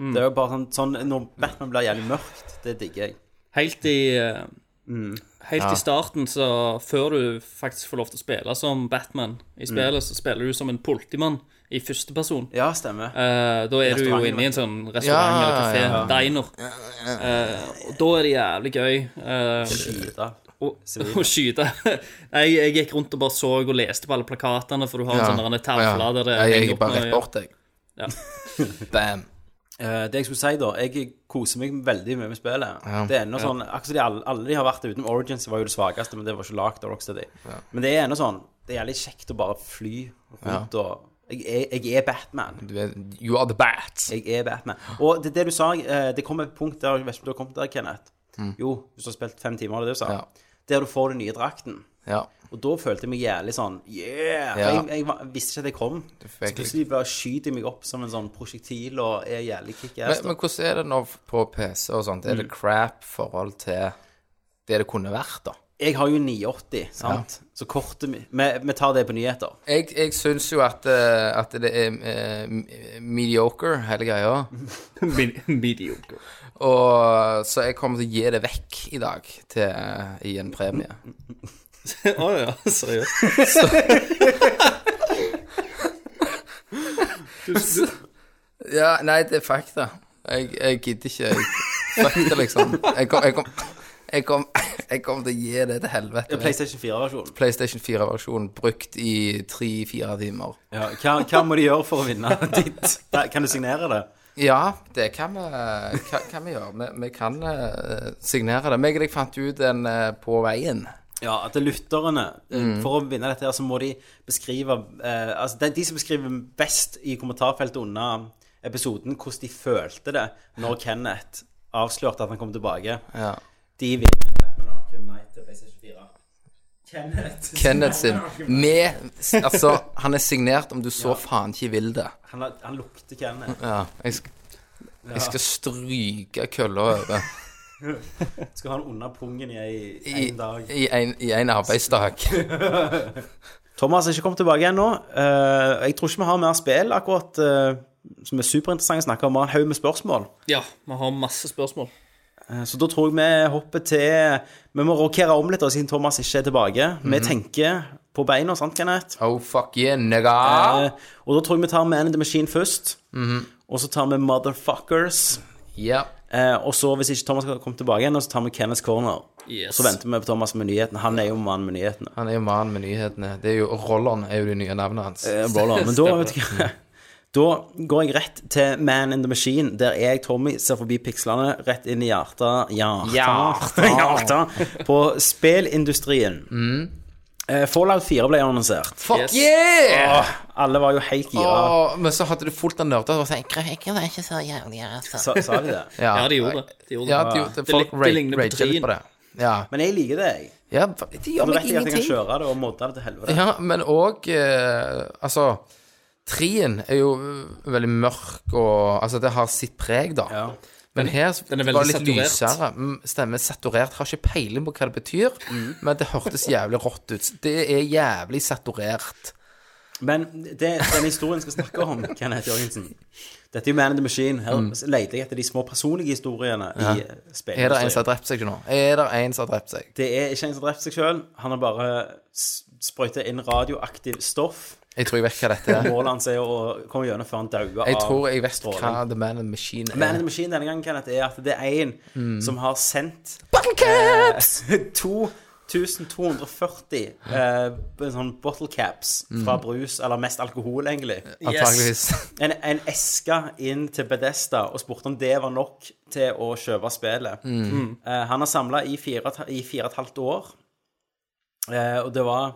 Speaker 1: Det er jo bare sånn, sånn Når Batman blir jævlig mørkt, det digger jeg.
Speaker 2: Helt i eh,
Speaker 1: Mm.
Speaker 2: Helt i starten, så før du faktisk får lov til å spille som Batman i spillet,
Speaker 1: Mm.
Speaker 2: så spiller du som en politimann i første person.
Speaker 1: Ja, stemmer.
Speaker 2: Eh, da er du jo
Speaker 1: Restauranten,
Speaker 2: inne i en sånn restaurant
Speaker 5: Ja,
Speaker 2: eller kafé,
Speaker 5: ja,
Speaker 2: diner. Eh, og da er det jævlig gøy eh,
Speaker 1: Skyte.
Speaker 2: å, å skyte. jeg, jeg gikk rundt og bare så og leste på alle plakatene, for du har en sånn der tavle der det
Speaker 5: Ja, jeg
Speaker 2: henger
Speaker 5: gikk bare rett
Speaker 2: opp
Speaker 5: bort, jeg.
Speaker 2: Ja.
Speaker 5: Bam.
Speaker 1: Eh, det jeg skulle si, da Jeg koser meg veldig mye med spillet. Det er ennå sånn Akkurat som de alle, alle de har vært der utenom Origins, var jo det svakeste, men det var ikke lagd av Rocksteady. Men det er ennå sånn Det er jævlig kjekt å bare fly rundt og jeg er, jeg er Batman.
Speaker 5: Du er, you are the bat.
Speaker 1: Jeg er Batman. Og det, det du sa eh, Det kom et punkt Mm. der Jeg vet ikke om du har kommet der, Kenneth. Jo, hvis du har spilt fem timer, det er det du sa.
Speaker 5: Ja.
Speaker 1: Der du får den nye drakten.
Speaker 5: Ja.
Speaker 1: Og da følte jeg meg jævlig sånn Yeah! For
Speaker 5: Ja.
Speaker 1: Jeg, jeg, var- visste ikke at jeg kom.
Speaker 5: fikk
Speaker 1: Så plutselig bare skyter jeg meg opp som en sånn prosjektil og er jævlig kickass.
Speaker 5: Men, men hvordan er det nå på PC og sånt? Er det crap forhold til det det kunne vært, da?
Speaker 1: Jeg har jo 980, sant? Så kortet mitt vi, vi tar det på nyheter.
Speaker 5: Jeg, jeg syns jo at, eh, at det er eh, mediocre, hele greia.
Speaker 2: Medi- Mediocre.
Speaker 5: Og, så jeg kommer til å gi det vekk i dag til, eh, i en premie.
Speaker 2: Å ja, seriøst.
Speaker 5: Ja, nei, det er fakta. Jeg, jeg gidder ikke. Jeg fakta, liksom. Jeg kom, jeg, kom, jeg, kom, jeg kom til å gi det til helvete.
Speaker 1: PlayStation 4-versjonen.
Speaker 5: PlayStation 4-versjonen brukt i tre-fire timer.
Speaker 1: Ja, hva, hva må de gjøre for å vinne ditt? Nei, Kan du signere det?
Speaker 5: Ja, det kan vi, hva- hva vi gjøre. Vi, vi kan eh, signere det. Meg og deg fant ut en eh, på veien.
Speaker 1: Ja, at det er lytterne eh, For å vinne dette her, så må de beskrive eh, Altså, det er de som beskriver best i kommentarfeltet under episoden hvordan de følte det når Kenneth avslørte at han kom tilbake,
Speaker 5: Ja.
Speaker 1: de vinner Batman Arkham Knight til PlayStation 4. Kenneth.
Speaker 5: Kenneth sin. Med Altså, han er signert om du så faen ikke vil det.
Speaker 1: Han, han lukter Kenneth.
Speaker 5: Ja. Jeg, sk- jeg skal stryke kølla over
Speaker 1: Skal ha han under pungen i ei-
Speaker 5: i,
Speaker 1: en dag.
Speaker 5: i, en, i en arbeidsdag.
Speaker 1: Thomas er ikke kommet tilbake ennå. Eh, jeg tror ikke vi har mer spill akkurat eh, som er superinteressant å snakke om. Vi har en haug med spørsmål.
Speaker 2: Ja, vi har masse spørsmål.
Speaker 1: Eh, så da tror jeg vi hopper til Vi må rokere om litt, da, siden Thomas ikke er tilbake. Vi tenker på beina, sant, Kenneth?
Speaker 5: Oh, fuck yeah, nigga.
Speaker 1: Eh, og da tror jeg vi tar Man in the Machine først. Og så tar vi Motherfuckers.
Speaker 5: Ja.
Speaker 1: Eh, og så, hvis ikke Thomas kommer tilbake igjen, så tar vi Kenneth Corner.
Speaker 2: Yes.
Speaker 1: Så venter vi på Thomas med nyhetene. Han er jo mannen med nyhetene.
Speaker 5: Han er jo mannen med nyhetene. Det er jo, Rolleren er jo det nye navnet hans.
Speaker 1: Eh, Roller. Men da, vet du hva Da går jeg rett til Man in the Machine, der jeg, Tommy, ser forbi pikslene rett inn i hjertet Hjertet, hjertet på spillindustrien.
Speaker 5: Mm.
Speaker 1: Eh, Fallout 4 ble annonsert.
Speaker 5: Fuck
Speaker 2: Yes.
Speaker 5: yeah!
Speaker 1: Åh, alle var jo helt gira.
Speaker 5: Åh, men så hadde du fullt av nerder. og sånn,
Speaker 3: Ikke vær ikke så jævlig, altså.
Speaker 1: Sa, sa de det?
Speaker 5: Ja,
Speaker 2: Ja, de gjorde det. De gjorde
Speaker 5: Ja,
Speaker 2: det.
Speaker 5: de gjorde det.
Speaker 2: Det
Speaker 5: Folk
Speaker 2: li- det
Speaker 5: ra-
Speaker 2: ligner på
Speaker 5: rager litt
Speaker 2: Trien.
Speaker 5: på det. Ja.
Speaker 1: Men jeg liker det, jeg.
Speaker 5: ja, de
Speaker 1: Og
Speaker 5: gjør
Speaker 1: da vet
Speaker 5: meg
Speaker 1: jeg at jeg kan
Speaker 5: ingenting.
Speaker 1: kjøre det og modde det til helvete.
Speaker 5: Ja, men òg eh, Altså, trien er jo eh, veldig mørk og Altså, det har sitt preg, da.
Speaker 1: Ja.
Speaker 5: Men her
Speaker 2: den er veldig
Speaker 5: var det
Speaker 2: saturert.
Speaker 5: litt lysere. Mm, Stemmer. Saturert. Har ikke peiling på hva det betyr,
Speaker 2: Mm.
Speaker 5: men det hørtes jævlig rått ut. Det er jævlig saturert.
Speaker 1: Men det, den historien skal snakke om, Kenneth Jørgensen Dette er jo Man in the Machine. Her leter jeg etter de små personlige historiene i eh, spillindustrien.
Speaker 5: Mm. Er det en som har drept seg til nå? Er det en som har drept seg?
Speaker 1: Det er ikke en som har drept seg sjøl. Han har bare s- sprøytet inn radioaktivt stoff.
Speaker 5: Jeg tror jeg vet hva dette er.
Speaker 1: Målet hans er å komme gjennom før han dauer
Speaker 5: Jeg
Speaker 1: av
Speaker 5: tror jeg vet
Speaker 1: stråling.
Speaker 5: hva The Man and Machine
Speaker 1: Man in
Speaker 5: er.
Speaker 1: the Machine denne gangen Kenneth, er at det er en som har sendt eh,
Speaker 5: Battle Mm. Caps!
Speaker 1: 2240 eh, sånn bottle caps
Speaker 5: Mm.
Speaker 1: fra brus, eller mest alkohol, egentlig.
Speaker 5: Antakeligvis.
Speaker 1: En, en eske inn til Bedesta og spurte om det var nok til å kjøpe spillet.
Speaker 5: Mm.
Speaker 1: Eh, han har samla i, fire ta- i fire og et halvt år, Eh, og det var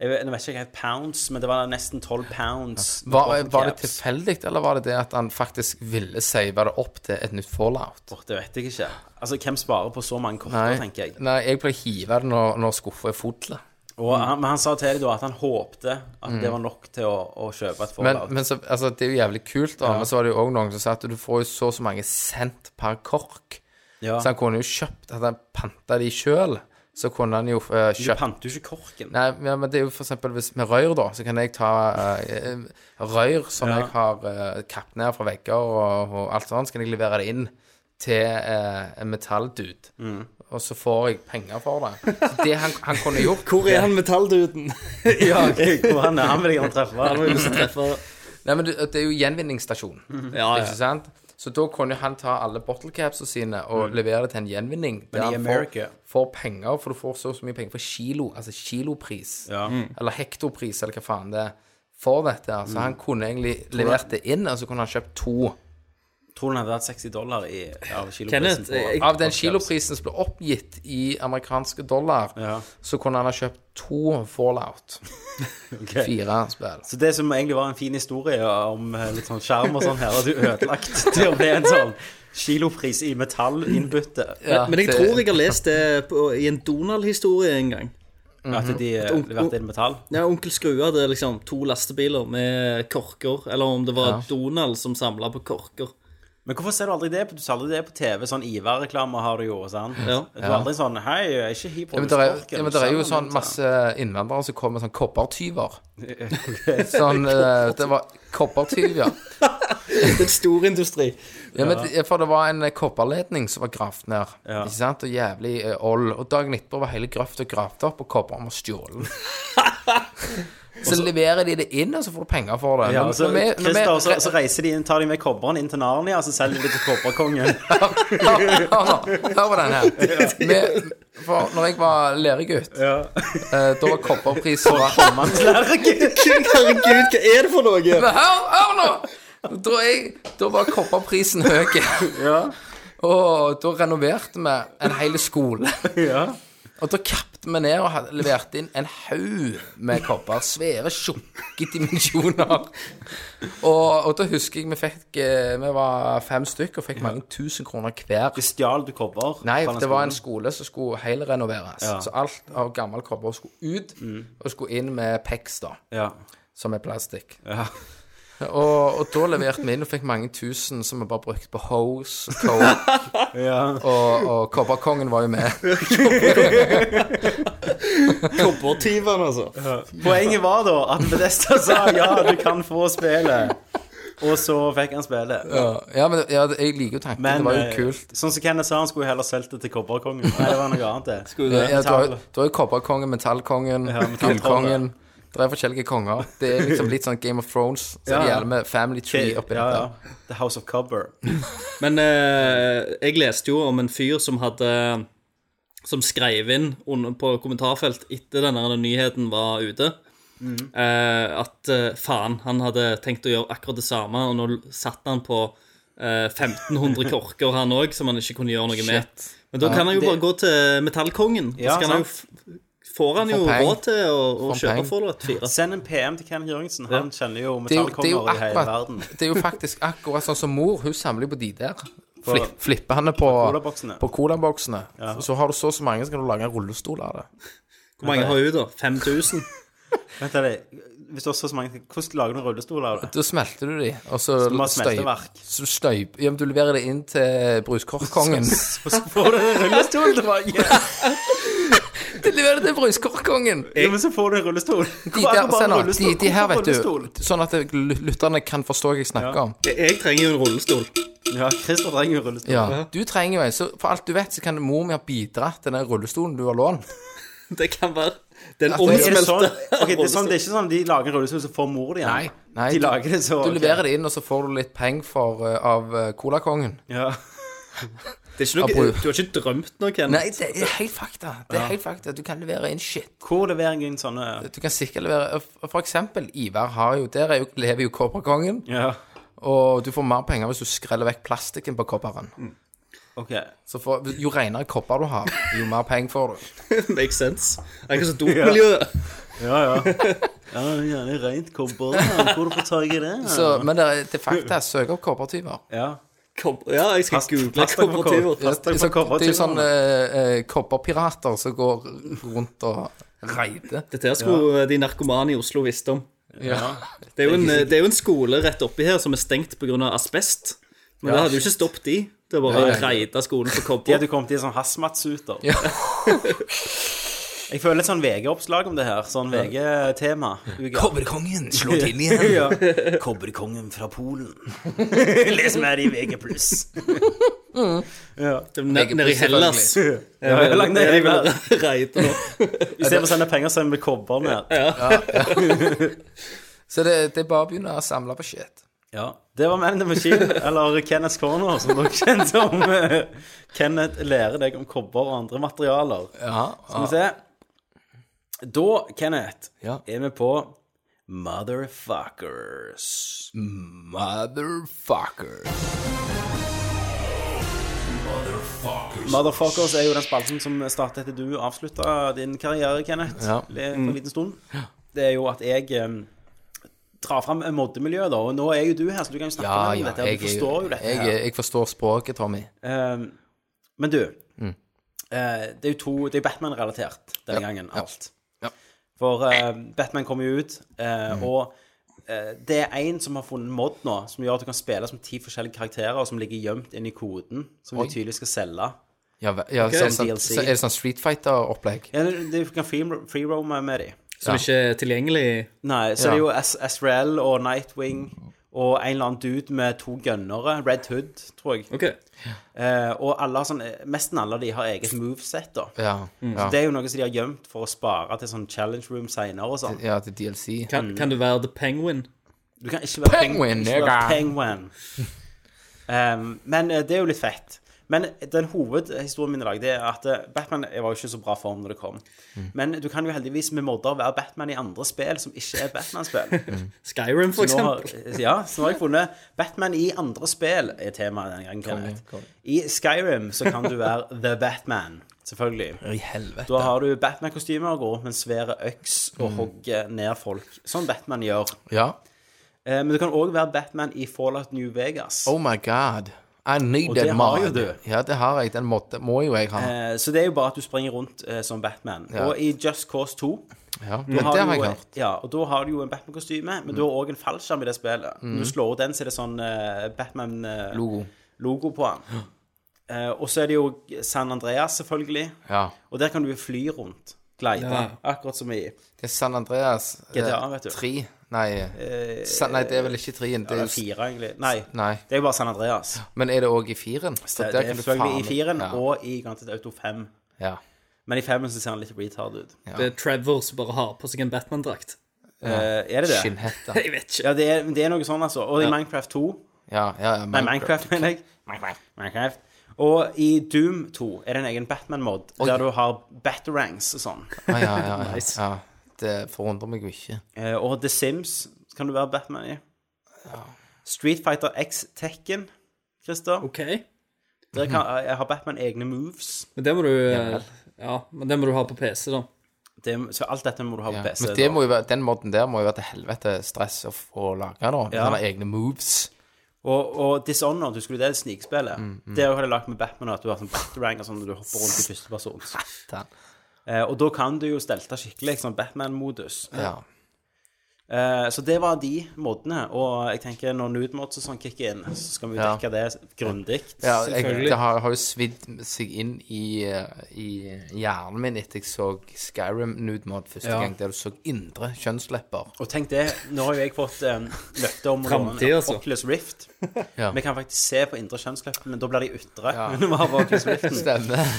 Speaker 1: jeg vet, jeg vet ikke helt pounds, men det var nesten 12 pounds. med
Speaker 5: Var,
Speaker 1: bottle
Speaker 5: var det
Speaker 1: caps.
Speaker 5: tilfeldig, eller var det det at han faktisk ville save det opp til et nytt fallout?
Speaker 1: Åh, Det vet jeg ikke. Altså, Hvem sparer på så mange korter,
Speaker 5: Nei,
Speaker 1: tenker jeg.
Speaker 5: nei jeg pleier å hive det når, når skuffa er full.
Speaker 1: Og
Speaker 5: Mm.
Speaker 1: han, men han sa til dem da at han håpte at det var nok til å, å kjøpe et
Speaker 5: Men,
Speaker 1: Fallout.
Speaker 5: men så, altså, det er jo jævlig kult, da. Men så var det jo òg noen som sa at du får jo så og så mange cent per kork.
Speaker 1: ja.
Speaker 5: Så han kunne jo kjøpt Hadde han panta de sjøl, så kunne han jo eh,
Speaker 1: Du
Speaker 5: kjøpt
Speaker 1: panter jo ikke korken.
Speaker 5: Nei, ja, men det er jo for eksempel hvis med røyr, da, så kan jeg ta eh, eh, røyr som
Speaker 1: Ja.
Speaker 5: jeg har uh, kappet ned fra vegger og, og alt sånt, så kan jeg levere det inn til eh, en metalldude.
Speaker 1: Mm.
Speaker 5: Og så får jeg penger for det. Så det han, han kunne gjort
Speaker 2: Hvor er han metallduden?
Speaker 1: ja, hvor han er, han vil jeg gjerne treffe.
Speaker 2: Han var jo lyst til å treffe
Speaker 5: Nei, men det, det er jo gjenvinningsstasjon,
Speaker 1: Mhm. Ah,
Speaker 2: Ja, ja.
Speaker 5: ikke sant? Så da kunne han ta alle bottle capsene sine og levere det til en gjenvinning.
Speaker 1: Mm. Men i
Speaker 5: han
Speaker 1: America-
Speaker 5: får, får penger, for du får så, og så mye penger for kilo, altså kilopris.
Speaker 1: Ja.
Speaker 5: eller hektopris, eller hva faen det er, for dette. her. Så han kunne egentlig levert det inn, og så kunne han kjøpt to.
Speaker 1: Tror han hadde hatt 60 dollar i, av kiloprisen
Speaker 2: Kenneth,
Speaker 1: på
Speaker 2: jeg-
Speaker 5: eh, Av den kiloprisen som ble oppgitt i amerikanske dollar,
Speaker 1: Ja.
Speaker 5: så kunne han ha kjøpt to Fallout.
Speaker 1: Ok.
Speaker 5: Fire spill.
Speaker 1: Så det som egentlig var en fin historie om eh, litt sånn skjerm og sånn her, hadde jo ødelagt til å bli en sånn kilopris i metallinnbytte.
Speaker 5: Ja,
Speaker 2: Men jeg
Speaker 5: det-
Speaker 2: tror jeg har lest det på, i en Donald-historie en gang.
Speaker 1: At
Speaker 5: Mm-hmm.
Speaker 1: de eh, leverte inn metall.
Speaker 2: Ja, Onkel Skrue hadde liksom to lastebiler med korker, eller om det var Donald som samla på korker.
Speaker 1: Men hvorfor ser du aldri det? på- Du ser aldri det på TV. Sånn Ivar-reklame har du jo. sant?
Speaker 2: Ja.
Speaker 1: Du er aldri sånn Hei, jeg er ikke liksom." hiphop.
Speaker 5: Ja, men det er, ja, men det er jo sånn masse innvandrere som kommer med sånn koppertyver. Sånn, eh, det var koppertyv, ja.
Speaker 2: Det er en stor industri.
Speaker 5: ja men, det- for det var en eh, kopperledning som var gravd ned,
Speaker 1: Ja.
Speaker 5: ikke sant, og jævlig eh, old. Og dagen etterpå var hele grøfta gravd opp, og kopperen var stjålet. Så leverer de det inn, og så får du penger for det.
Speaker 1: Ja,
Speaker 5: Men
Speaker 1: og så,
Speaker 5: når vi- når vi-
Speaker 1: Christer, så, så reiser de inn, tar de med kobberen inn til Narnia, og så selger de til kobberkongen.
Speaker 5: Hør på den her. Vi- for når jeg var læregutt, eh, da var kopperprisen var-
Speaker 2: Herregud, hva er det for noe?
Speaker 5: Men hør, hør nå! Da, jeg, da var kopperprisen høy. Og da renoverte vi en hel skole. Og da kappte vi ned og hadde- leverte inn en haug med kopper. Svære, tjukke dimensjoner. Og, og da husker jeg vi fikk eh, Vi var fem stykker og fikk mange tusen kroner hver.
Speaker 1: De stjal du kobber?
Speaker 5: Nei,
Speaker 1: fra den
Speaker 5: det var en
Speaker 1: skolen.
Speaker 5: skole som skulle helrenoveres.
Speaker 1: Ja. Mm.
Speaker 5: Så alt av gammel kobber skulle ut, og skulle inn med PEX, da
Speaker 1: ja.
Speaker 5: som er plastikk.
Speaker 1: Ja.
Speaker 5: og, og da leverte vi inn og fikk mange tusen som vi bare brukte på hose, coke,
Speaker 1: Ja.
Speaker 5: og, og Kobberkongen var jo med.
Speaker 2: Kobbertyvene, altså.
Speaker 1: Poenget var da at Bedesta sa ja, du kan få spillet. Og så fikk han spillet.
Speaker 5: Ja, ja men ja, jeg liker jo tanken.
Speaker 1: Men
Speaker 5: det var jo
Speaker 1: eh,
Speaker 5: kult.
Speaker 1: sånn som Kenneth sa, han skulle heller solgt det til kobberkongen. Nei, det var noe annet, det.
Speaker 2: Skulle det.
Speaker 5: Ja, du har
Speaker 1: metall.
Speaker 5: jo- du har jo Kobberkongen, Metallkongen,
Speaker 1: Ja, metallkongen.
Speaker 5: Gullkongen. Det er forskjellige konger. Det er liksom litt sånn Game of Thrones. Så
Speaker 1: Ja,
Speaker 5: det
Speaker 1: ja.
Speaker 5: gjelder med Family Tree oppi
Speaker 1: ja,
Speaker 5: dette.
Speaker 1: ja. The House of Cobber.
Speaker 2: Men eh, jeg leste jo om en fyr som hadde Som skrev inn under, på kommentarfelt etter denne her nyheten var ute.
Speaker 1: Mhm.
Speaker 2: eh, at eh, faen, han hadde tenkt å gjøre akkurat det samme, og nå satt han på eh, 1500 korker, han òg, som han ikke kunne gjøre noe med. Men da kan han jo
Speaker 1: det-
Speaker 2: bare gå til Metallkongen.
Speaker 1: Ja,
Speaker 2: så kan han jo, f- får han jo
Speaker 5: peng.
Speaker 2: råd til å, å
Speaker 5: Får
Speaker 2: kjøpe
Speaker 5: peng.
Speaker 2: for det et fire.
Speaker 1: Send en PM til Kenneth Jørgensen. Han kjenner jo
Speaker 5: Det er jo, det, er
Speaker 1: metallkonger
Speaker 5: jo
Speaker 1: Sånn i hele
Speaker 5: akkurat,
Speaker 1: verden.
Speaker 5: det er jo faktisk akkurat sånn som mor. Hun samler jo på de der. Flip, flipper henne på
Speaker 1: colaboksene.
Speaker 5: på colaboksene. Så, så har du så og så mange, så kan du lage en rullestol av det.
Speaker 2: Hvor mange har hun, da? 5000?
Speaker 1: Vent litt. Hvis du har så mange Hvordan lager du en rullestol av det?
Speaker 5: Da smelter du de, og så
Speaker 1: Du må ha
Speaker 5: støy-
Speaker 1: smelteverk.
Speaker 5: Så støyp Ja, men du leverer det inn til bruskorkkongen.
Speaker 1: Og så får du en rullestol tilbake!
Speaker 5: du leverer det til bruskorkkongen!
Speaker 1: Ja, men så får du en rullestol.
Speaker 5: De der, se nå, de, de her, vet
Speaker 1: Rullestol.
Speaker 5: du. Sånn at det- l- lytterne kan forstå hva jeg snakker om.
Speaker 2: Jeg, jeg trenger jo en rullestol.
Speaker 1: Ja, Christer trenger jo rullestol.
Speaker 5: Ja. Du trenger jo en, så for alt du vet, så kan mor mi ha bidratt til den rullestolen du har lånt.
Speaker 2: Det kan være Den
Speaker 5: Altså, er det
Speaker 1: Er det, sånn,
Speaker 2: omsmelte
Speaker 1: Ok, det, er sånn, det er ikke sånn de lager en rullestol, så får mor det igjen?
Speaker 5: Nei,
Speaker 1: de
Speaker 5: du,
Speaker 1: lager det så
Speaker 5: du leverer det inn, og så får du litt penger for, eh, av eh, colakongen.
Speaker 1: Ja.
Speaker 2: Det er ikke noe,
Speaker 5: Apropos-
Speaker 2: du har ikke drømt noe, Ken?
Speaker 5: Nei, det er helt fakta. Det er helt fakta. Du kan levere inn shit.
Speaker 1: Hvor leverer jeg inn sånne
Speaker 5: Du kan sikkert levere eh, For eksempel, Ivar har jo Der er jo, lever jo kobberkongen.
Speaker 1: Ja,
Speaker 5: Og du får mer penger hvis du skreller vekk plastikken på kopperen.
Speaker 1: Mm. OK.
Speaker 5: Så får, jo renere kopper du har, jo mer penger får du.
Speaker 2: Makes sense. Det er ikke så dopmiljøet.
Speaker 1: Ja, ja. Ja, Gjerne rent kobber. da. Hvor du får tak i det?
Speaker 5: Så, men det er til fakta, søk opp koppertyver.
Speaker 1: Ja.
Speaker 2: Kom- Ja, jeg skal
Speaker 1: Pass-
Speaker 2: google
Speaker 1: pass deg for
Speaker 2: kobbertyver.
Speaker 1: Pass deg
Speaker 5: Så,
Speaker 1: for koppertyver,
Speaker 5: det er jo sånne eh, eh, kopperpirater som går rundt og reider.
Speaker 2: Dette her skulle de narkomane i Oslo visst om.
Speaker 5: Ja.
Speaker 2: Det er jo en, det er jo en skole rett oppi her som er stengt pga. asbest. Men det hadde jo ikke stoppet de. Det er bare å reite skolen for
Speaker 1: De
Speaker 2: kobber.
Speaker 1: hadde kommet i sånn hazmat-suiter.
Speaker 5: Ja.
Speaker 1: Jeg føler et sånn VG-oppslag om det her. Sånn VG-tema.
Speaker 5: Kobberkongen slår til igjen.
Speaker 1: Ja. Kobberkongen fra Polen. Les mer i VG+.
Speaker 2: Ned- Nede i Hellas.
Speaker 1: Ja, jeg har lagt ned
Speaker 2: Jeg
Speaker 1: hele
Speaker 2: vil reite nå.
Speaker 1: Istedenfor å sende penger, sender vi kobber ned.
Speaker 5: Så det, det er bare å begynne å samle på shit.
Speaker 1: Ja. Det var Man in the Machine, eller Kenneths Corner, som dere kjente som. eh, Kenneth lærer deg om kobber og andre materialer.
Speaker 5: Ja,
Speaker 1: Skal vi se. Da, Kenneth,
Speaker 5: Ja.
Speaker 1: er vi på Motherfuckers.
Speaker 5: Motherfucker.
Speaker 1: Motherfuckers er jo den spalten som startet etter du avslutta din karriere, Kenneth.
Speaker 5: Ja.
Speaker 1: Det- For en liten stund. Det er jo at jeg em, drar fram miljøet, da. Og nå er jo du her, så du kan jo snakke
Speaker 5: Ja,
Speaker 1: med meg om
Speaker 5: ja.
Speaker 1: dette. og Du forstår jo dette.
Speaker 5: jeg,
Speaker 1: her.
Speaker 5: jeg, jeg forstår språket, Tommy.
Speaker 1: Em, men du, eh, det er jo to Det er Batman-relatert denne gangen, alt. For eh, Batman kommer jo ut, eh, og eh, det er en som har funnet en mod nå, som gjør at du kan spille som ti forskjellige karakterer, og som ligger gjemt inn i koden, som de tydelig skal selge.
Speaker 5: Ja, ve- ja
Speaker 1: er
Speaker 5: sånn, sånn,
Speaker 1: DLC.
Speaker 5: så er det sånn Street Fighter-opplegg?
Speaker 1: Ja, du, du kan free- freerome med de.
Speaker 2: Som ikke er tilgjengelig.
Speaker 1: Nei, så det er jo S- SRL og Nightwing og en eller annen dude med to gønnere, Red Hood, tror jeg.
Speaker 2: OK.
Speaker 1: Eh, og alle har sånn, nesten alle av de har eget moveset, da.
Speaker 5: Ja. Ja.
Speaker 1: Mm. Det er jo noe som de har gjemt for å spare til sånn challenge room seinere og sånn.
Speaker 5: ja, til DLC.
Speaker 2: Kan, kan du være The Penguin?
Speaker 1: Du kan ikke være peng-
Speaker 5: Penguin,
Speaker 1: ikke være
Speaker 5: nigga.
Speaker 1: penguin. Um, men eh, det er jo litt fett. Men eh, den hovedhistorien min i dag det er at eh, Batman jeg var jo ikke i så bra form når det kom.
Speaker 5: Mm.
Speaker 1: Men du kan jo heldigvis med modder være Batman i andre spill som ikke er Batman-spill.
Speaker 2: Skyrim, for
Speaker 1: Nå
Speaker 2: eksempel.
Speaker 1: har- Ja, så nå har jeg funnet Batman i andre spill er temaet den gangen. Kenneth. I Skyrim så kan du være The Batman, selvfølgelig.
Speaker 5: I helvete.
Speaker 1: Da har du Batman-kostymer og går rundt med en svær øks
Speaker 5: Mm.
Speaker 1: og hogger ned folk. Sånn Batman gjør.
Speaker 5: Ja.
Speaker 1: Eh, men du kan òg være Batman i Fallout New Vegas.
Speaker 5: Oh my god. I need
Speaker 1: Og
Speaker 5: that
Speaker 1: det har
Speaker 5: mod.
Speaker 1: jo du.
Speaker 5: Ja, det har jeg. Den måtte, må jo jeg ha.
Speaker 1: Eh, så det er jo bare at du springer rundt eh, som Batman.
Speaker 5: Ja.
Speaker 1: Og i Just Cause 2
Speaker 5: Ja,
Speaker 1: da
Speaker 5: det
Speaker 1: har
Speaker 5: har
Speaker 1: du
Speaker 5: jeg
Speaker 1: jo,
Speaker 5: hørt.
Speaker 1: ja, og da har du jo en Batman-kostyme, men du har òg en fallskjerm i det spillet.
Speaker 5: Mm.
Speaker 1: Når du slår ut den, så er det sånn Batman-logo
Speaker 5: Logo.
Speaker 1: på den. Eh, og så er det jo San Andreas, selvfølgelig.
Speaker 5: Ja.
Speaker 1: Og der kan du jo fly rundt. Glide.
Speaker 2: Ja.
Speaker 1: Akkurat som i
Speaker 5: Det er San Andreas
Speaker 1: GTA,
Speaker 5: eh,
Speaker 1: vet du. Eh,
Speaker 5: 3. Nei. Sa, nei, det er vel ikke 3-en. Det
Speaker 1: Eller
Speaker 5: er jo
Speaker 1: fire, egentlig. Nei,
Speaker 5: Nei.
Speaker 1: det er jo bare San Andreas.
Speaker 5: Men er det òg i 4-en?
Speaker 1: Det, det er selvfølgelig i firen og i Grand Theft Auto 5.
Speaker 5: ja.
Speaker 1: Men i 5 så ser han litt retard ut.
Speaker 2: Det er Trevor som bare har på seg en Batman-drakt.
Speaker 1: Eh, er det det?
Speaker 5: Skinnhette.
Speaker 2: Jeg vet ikke.
Speaker 1: Ja, det er, det er noe sånn, altså. Og i Minecraft 2
Speaker 5: Ja, ja, ja.
Speaker 1: Nei, Minecraft, mener jeg. Minecraft. Og i Doom 2 er det en egen Batman-mod der du har batterangs og sånn.
Speaker 5: Ja, Ah, ja, ja, ja, ja. Det forundrer meg jo ikke.
Speaker 1: Eh, og The Sims kan du være Batman i. Street Fighter X Tekken, Christer.
Speaker 2: OK.
Speaker 1: Der kan, jeg har Batman egne moves.
Speaker 2: Men det må du eh, Ja, men det må du ha på PC, da.
Speaker 1: Det, så alt dette må du ha på
Speaker 5: Ja.
Speaker 1: PC.
Speaker 5: Men det
Speaker 1: da.
Speaker 5: må jo være, den måten der må jo være til helvete stress å, f- å lage, da.
Speaker 1: Ja.
Speaker 5: Han har egne moves.
Speaker 1: Og, og Dishonored, husker du det snikspillet?
Speaker 5: Mm,
Speaker 1: Det har jeg lagt med Batman, at du har sånn batterang og sånn, og du hopper rundt i første person.
Speaker 5: Den.
Speaker 1: Eh, og da kan du jo stelte skikkelig, sånn Batman-modus.
Speaker 5: Ja.
Speaker 1: Eh, så det var de måtene, og jeg tenker når nudemods og sånn kicker inn, så skal vi jo
Speaker 5: Ja.
Speaker 1: dekke det grundig.
Speaker 5: ja jeg,
Speaker 2: Selvfølgelig.
Speaker 5: det har, har jo svidd seg inn i, eh, i hjernen min etter jeg så Skyrim Nudemod første gang, der du så indre kjønnslepper.
Speaker 1: Og tenk det, nå har jo jeg fått eh, løfte om å låne en
Speaker 2: Fremtid, altså.
Speaker 1: Oculus Rift.
Speaker 5: Ja.
Speaker 1: Vi kan faktisk se på indre kjønnslepp, men da blir de ytre. Men vi har bare Oculus Riften.
Speaker 5: Stemmer.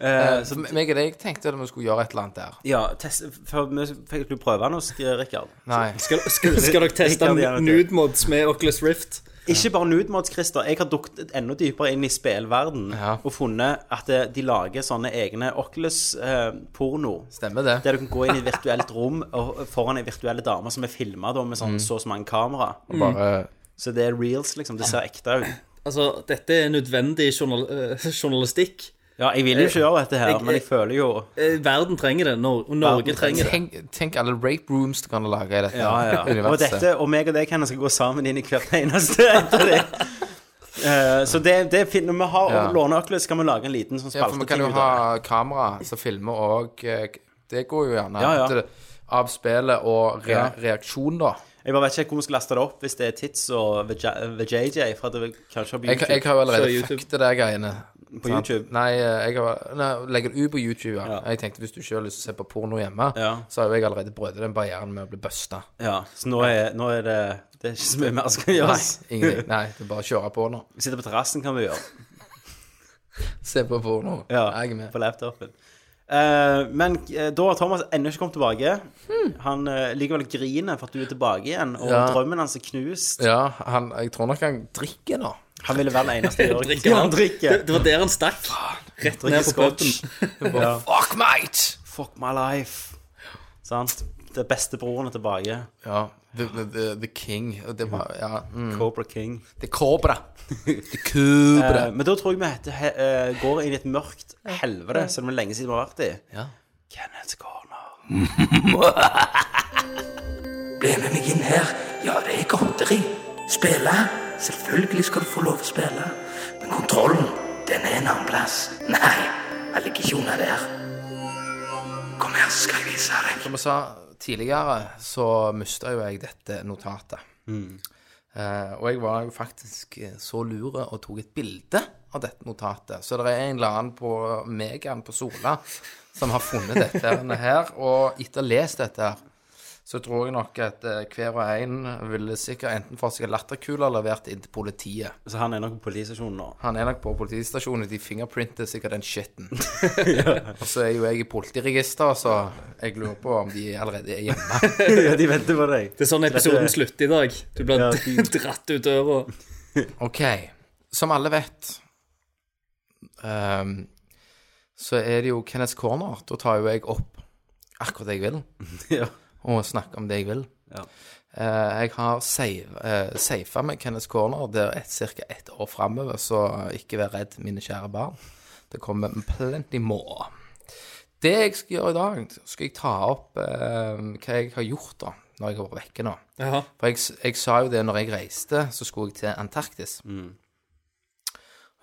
Speaker 1: Eh,
Speaker 5: Så meg og deg tenkte at vi skulle gjøre et eller annet der.
Speaker 1: ja, test, for vi fikk du prøve den hos eh, Rikard.
Speaker 5: Nei.
Speaker 2: Skal, skal, skal dere
Speaker 1: Jeg kan
Speaker 2: teste
Speaker 1: gjerne det.
Speaker 2: nudemods med Oculus Rift?
Speaker 1: Ikke bare nudemods, Christer. Jeg har dukket enda dypere inn i spillverden
Speaker 5: Ja.
Speaker 1: og funnet at eh, de lager sånne egne Oculus-porno.
Speaker 5: Stemmer det.
Speaker 1: der du kan gå inn i et virtuelt rom og foran ei virtuelle dame som er filma med
Speaker 5: Mm.
Speaker 1: sånn, så og så mange kamera.
Speaker 5: Bare
Speaker 1: Så det er reels, liksom. Det ser ekte ut.
Speaker 2: Altså, dette er nødvendig journal, eh, journalistikk.
Speaker 1: Ja, jeg
Speaker 5: Eh,
Speaker 1: vil jo ikke gjøre dette her,
Speaker 2: jeg-
Speaker 1: men jeg føler jo
Speaker 2: Eh, Verden trenger det, Nor og Norge
Speaker 1: Verden
Speaker 2: trenger det.
Speaker 5: tenk, tenk alle rape rooms du kan lage i dette
Speaker 1: Ja, ja. Og
Speaker 5: universet.
Speaker 1: dette, og meg og deg kan skal gå sammen inn i hvert eneste etter det. Eh, så det, det er fint. Når vi har
Speaker 5: Ja.
Speaker 1: låneøkler, så kan vi lage en liten sånn
Speaker 5: Ja, for vi kan
Speaker 1: spalteting
Speaker 5: jo
Speaker 1: ut av det.
Speaker 5: ha kamera som filmer og eh, Det går jo gjerne
Speaker 1: Ja, ja.
Speaker 5: til- av spillet og re reaksjon, da.
Speaker 1: Jeg bare vet ikke hvor vi skal laste det opp hvis det er Tits og VJ- VJJ fra det vi kanskje har på
Speaker 5: Jeg,
Speaker 1: YouTube.
Speaker 5: jeg har jo
Speaker 2: Så
Speaker 5: allerede
Speaker 2: YouTube.
Speaker 5: fucket det der greiene.
Speaker 1: På
Speaker 5: sant?
Speaker 1: YouTube?
Speaker 5: Nei, eh, jeg har, nei, legger det ut på YouTube.
Speaker 1: Ja.
Speaker 5: Ja. Jeg tenkte hvis du ikke har lyst til å se på porno hjemme,
Speaker 1: Ja.
Speaker 5: så har jo jeg allerede brødet den barrieren med å bli busta.
Speaker 1: Ja, så nå er, nå er det Det er ikke så mye mer som kan
Speaker 5: Nei,
Speaker 1: gjøres.
Speaker 5: ingenting. Nei, det er bare å kjøre på nå.
Speaker 1: Vi sitter på terrassen, kan vi gjøre.
Speaker 5: Se på porno. Jeg er med.
Speaker 1: på laptopen. Eh, men eh, da har Thomas ennå ikke kommet tilbake. Han eh, likevel griner for at du er tilbake igjen, og
Speaker 5: Ja.
Speaker 1: drømmen hans er knust.
Speaker 5: Ja, han, jeg tror nok han drikker nå.
Speaker 1: Han ville være den eneste i Jørgen.
Speaker 2: Drikker
Speaker 1: Ja,
Speaker 2: han?
Speaker 1: han drikker.
Speaker 2: Det, det var der han stakk. Rett ned på puben.
Speaker 5: Fuck, mate!
Speaker 1: Fuck my life. Sant? Det bestebroren er tilbake.
Speaker 5: Ja, The, the, the, the King. Og det var Ja. Mm.
Speaker 1: Cobra King.
Speaker 5: Det er kobra. Det er kubra.
Speaker 1: Eh, men da tror jeg vi heter, he, eh, går inn i et mørkt helvete, som det er lenge siden vi har vært i.
Speaker 5: Ja.
Speaker 1: Kenneth Corner.
Speaker 7: Bli med meg inn her. Ja, det er godteri. Spille? Selvfølgelig skal du få lov å spille. Men kontrollen, den er en annen plass. Nei, jeg ligger ikke unna der. Kom her. skal jeg vise deg.
Speaker 5: Som jeg sa tidligere, så mista jo jeg dette notatet. Eh, og jeg var jo faktisk eh, så lur og tok et bilde av dette notatet. Så det er en eller annen på Megan på Sola som har funnet dette her. Og etter å ha lest dette her, så tror jeg nok at eh, hver og en ville sikkert enten fått seg en latterkule levert inn til politiet.
Speaker 1: Så han er nok på politistasjonen nå.
Speaker 5: Han er nok på politistasjonen, de fingerprinter sikkert den shitten. Og så er jo jeg i politiregisteret, så jeg lurer på om de allerede er hjemme.
Speaker 1: ja, de venter på deg.
Speaker 2: Det er sånn episoden slutter i dag. Du blir dratt ut døra.
Speaker 5: Ok, som alle vet, ehm, så er det jo Kenneth Corner. Da tar jo jeg opp akkurat det jeg vil,
Speaker 1: ja.
Speaker 5: og snakker om det jeg vil.
Speaker 1: Ja.
Speaker 5: Eh, jeg har save- eh, safa med Kenneth Corner der et, ca. ett år framover, så ikke vær redd, mine kjære barn. Det kommer plenty more. Det jeg skal gjøre i dag, skal jeg ta opp eh, hva jeg har gjort da, når jeg har vært vekke nå.
Speaker 2: Jaha.
Speaker 5: For jeg, s- jeg sa jo det når jeg reiste, så skulle jeg til Antarktis.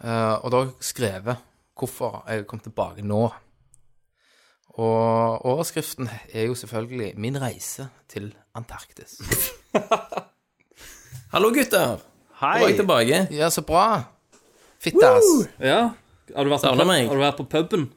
Speaker 5: Eh, og da har jeg skrevet hvorfor jeg kom tilbake nå. Og overskriften er jo selvfølgelig 'Min reise til Antarktis'.
Speaker 6: Hallo, gutter! Da var jeg
Speaker 1: Hei!
Speaker 6: tilbake.
Speaker 5: Ja, så bra! Fittas!
Speaker 2: Ja. Har du vært på,
Speaker 6: Savner
Speaker 2: pub-
Speaker 6: meg.
Speaker 2: har du vært på puben?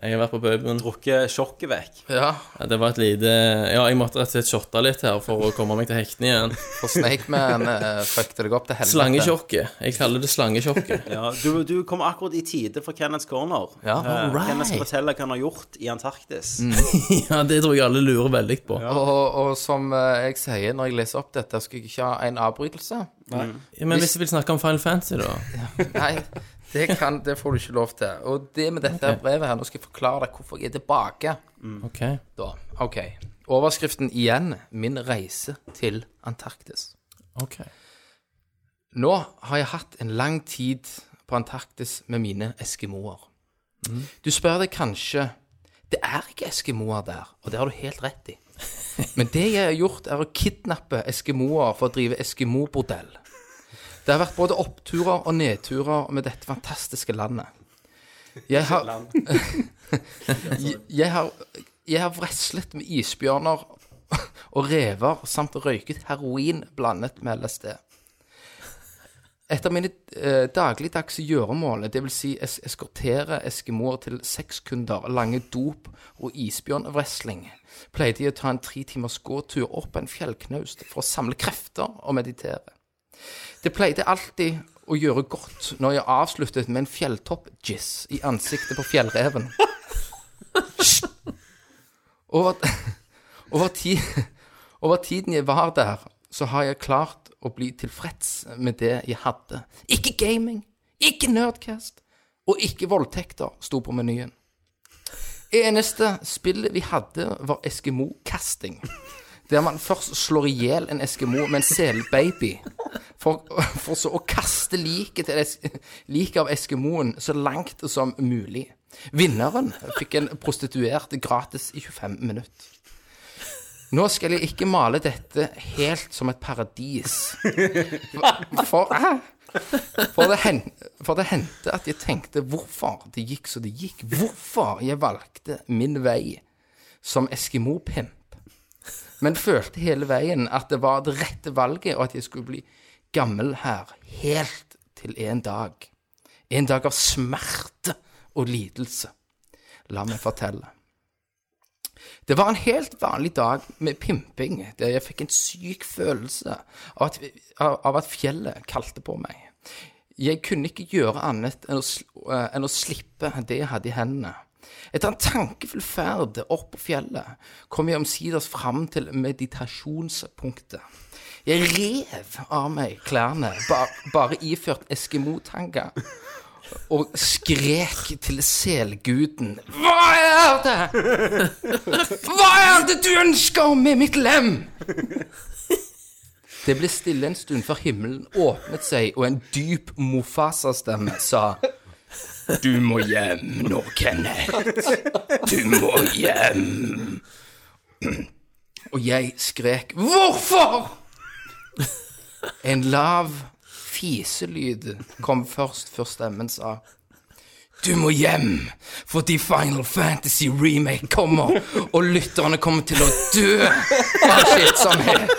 Speaker 6: Jeg har vært på puben.
Speaker 1: Drukket sjokket vekk.
Speaker 5: Ja,
Speaker 6: Ja, det var et lite Ja, jeg måtte rett og slett shotte litt her for å komme meg til hektene igjen.
Speaker 5: for Snakeman uh, fucket deg opp til helvete.
Speaker 6: Slangesjokket. Jeg kaller det slangesjokket.
Speaker 1: Ja, du, du kom akkurat i tide for Kenneths corner.
Speaker 5: Ja, Mm.
Speaker 1: Eh,
Speaker 5: alright.
Speaker 1: Kenneth skal fortelle hva han har gjort i Antarktis.
Speaker 6: Ja, det tror jeg alle lurer veldig på.
Speaker 5: Og, og som eh, jeg sier når jeg leser opp dette, skal jeg ikke ha en avbrytelse.
Speaker 6: Ja, Men hvis vi vil snakke om Final Fantasy, da?
Speaker 5: Nei, det, kan, det får du ikke lov til. Og det med dette brevet her, nå skal jeg forklare deg hvorfor jeg er tilbake.
Speaker 6: OK.
Speaker 5: Da, ok. Overskriften igjen, min reise til Antarktis.
Speaker 6: ok
Speaker 5: Nå har jeg hatt en lang tid på Antarktis med mine eskimoer. Du spør deg kanskje, det er ikke eskimoer der, og det har du helt rett i. Men det jeg har gjort er å kidnappe eskimoer for å drive eskimobordell. Det har vært både oppturer og nedturer med dette fantastiske landet. Jeg har, jeg har, jeg har vreslet med isbjørner og rever samt røyket heroin blandet med LSD. Et av mine eh, dagligdagse gjøremål, dvs. Si es eskortere eskimoer til sexkunder, lange dop og isbjørnwrestling, pleide jeg å ta en tre timers gåtur opp en fjellknaust for å samle krefter og meditere. Det pleide alltid å gjøre godt når jeg avsluttet med en fjelltopp-jizz i ansiktet på fjellreven. Over, over, tid, over tiden jeg var der, så har jeg klart å bli tilfreds med det jeg hadde. Ikke gaming, ikke Nerdcast, og ikke voldtekter sto på menyen. Eneste spillet vi hadde, var Eskimo-kasting. Der man først slår i hjel en Eskimo med en selbaby, for, for så å kaste liket til es- liket av Eskimoen så langt som mulig. Vinneren fikk en prostituert gratis i 25 minutter. Nå skal jeg ikke male dette helt som et paradis. For, for, for, det, hen, for det hendte at jeg tenkte hvorfor det gikk så det gikk. Hvorfor jeg valgte min vei som Eskimo-pimp. Men følte hele veien at det var det rette valget, og at jeg skulle bli gammel her. Helt til en dag. En dag av smerte og lidelse. La meg fortelle. Det var en helt vanlig dag med pimping, der jeg fikk en syk følelse av at, av at fjellet kalte på meg. Jeg kunne ikke gjøre annet enn å, sl- eh, enn å slippe det jeg hadde i hendene. Etter en tankefull ferd opp på fjellet kom jeg omsider fram til meditasjonspunktet. Jeg rev av meg klærne, bare, bare iført Eskimo-tanga, og skrek til selguden Hva er det?! Hva er det du ønsker med mitt lem? Det ble stille en stund før himmelen åpnet seg, og en dyp Mofasa-stemme sa Du må hjem nå, Kenneth. Du må hjem. Og jeg skrek Hvorfor? En lav fiselyd kom først før stemmen sa Du må hjem, fordi Final Fantasy Remake kommer, og lytterne kommer til å dø av skittsomhet.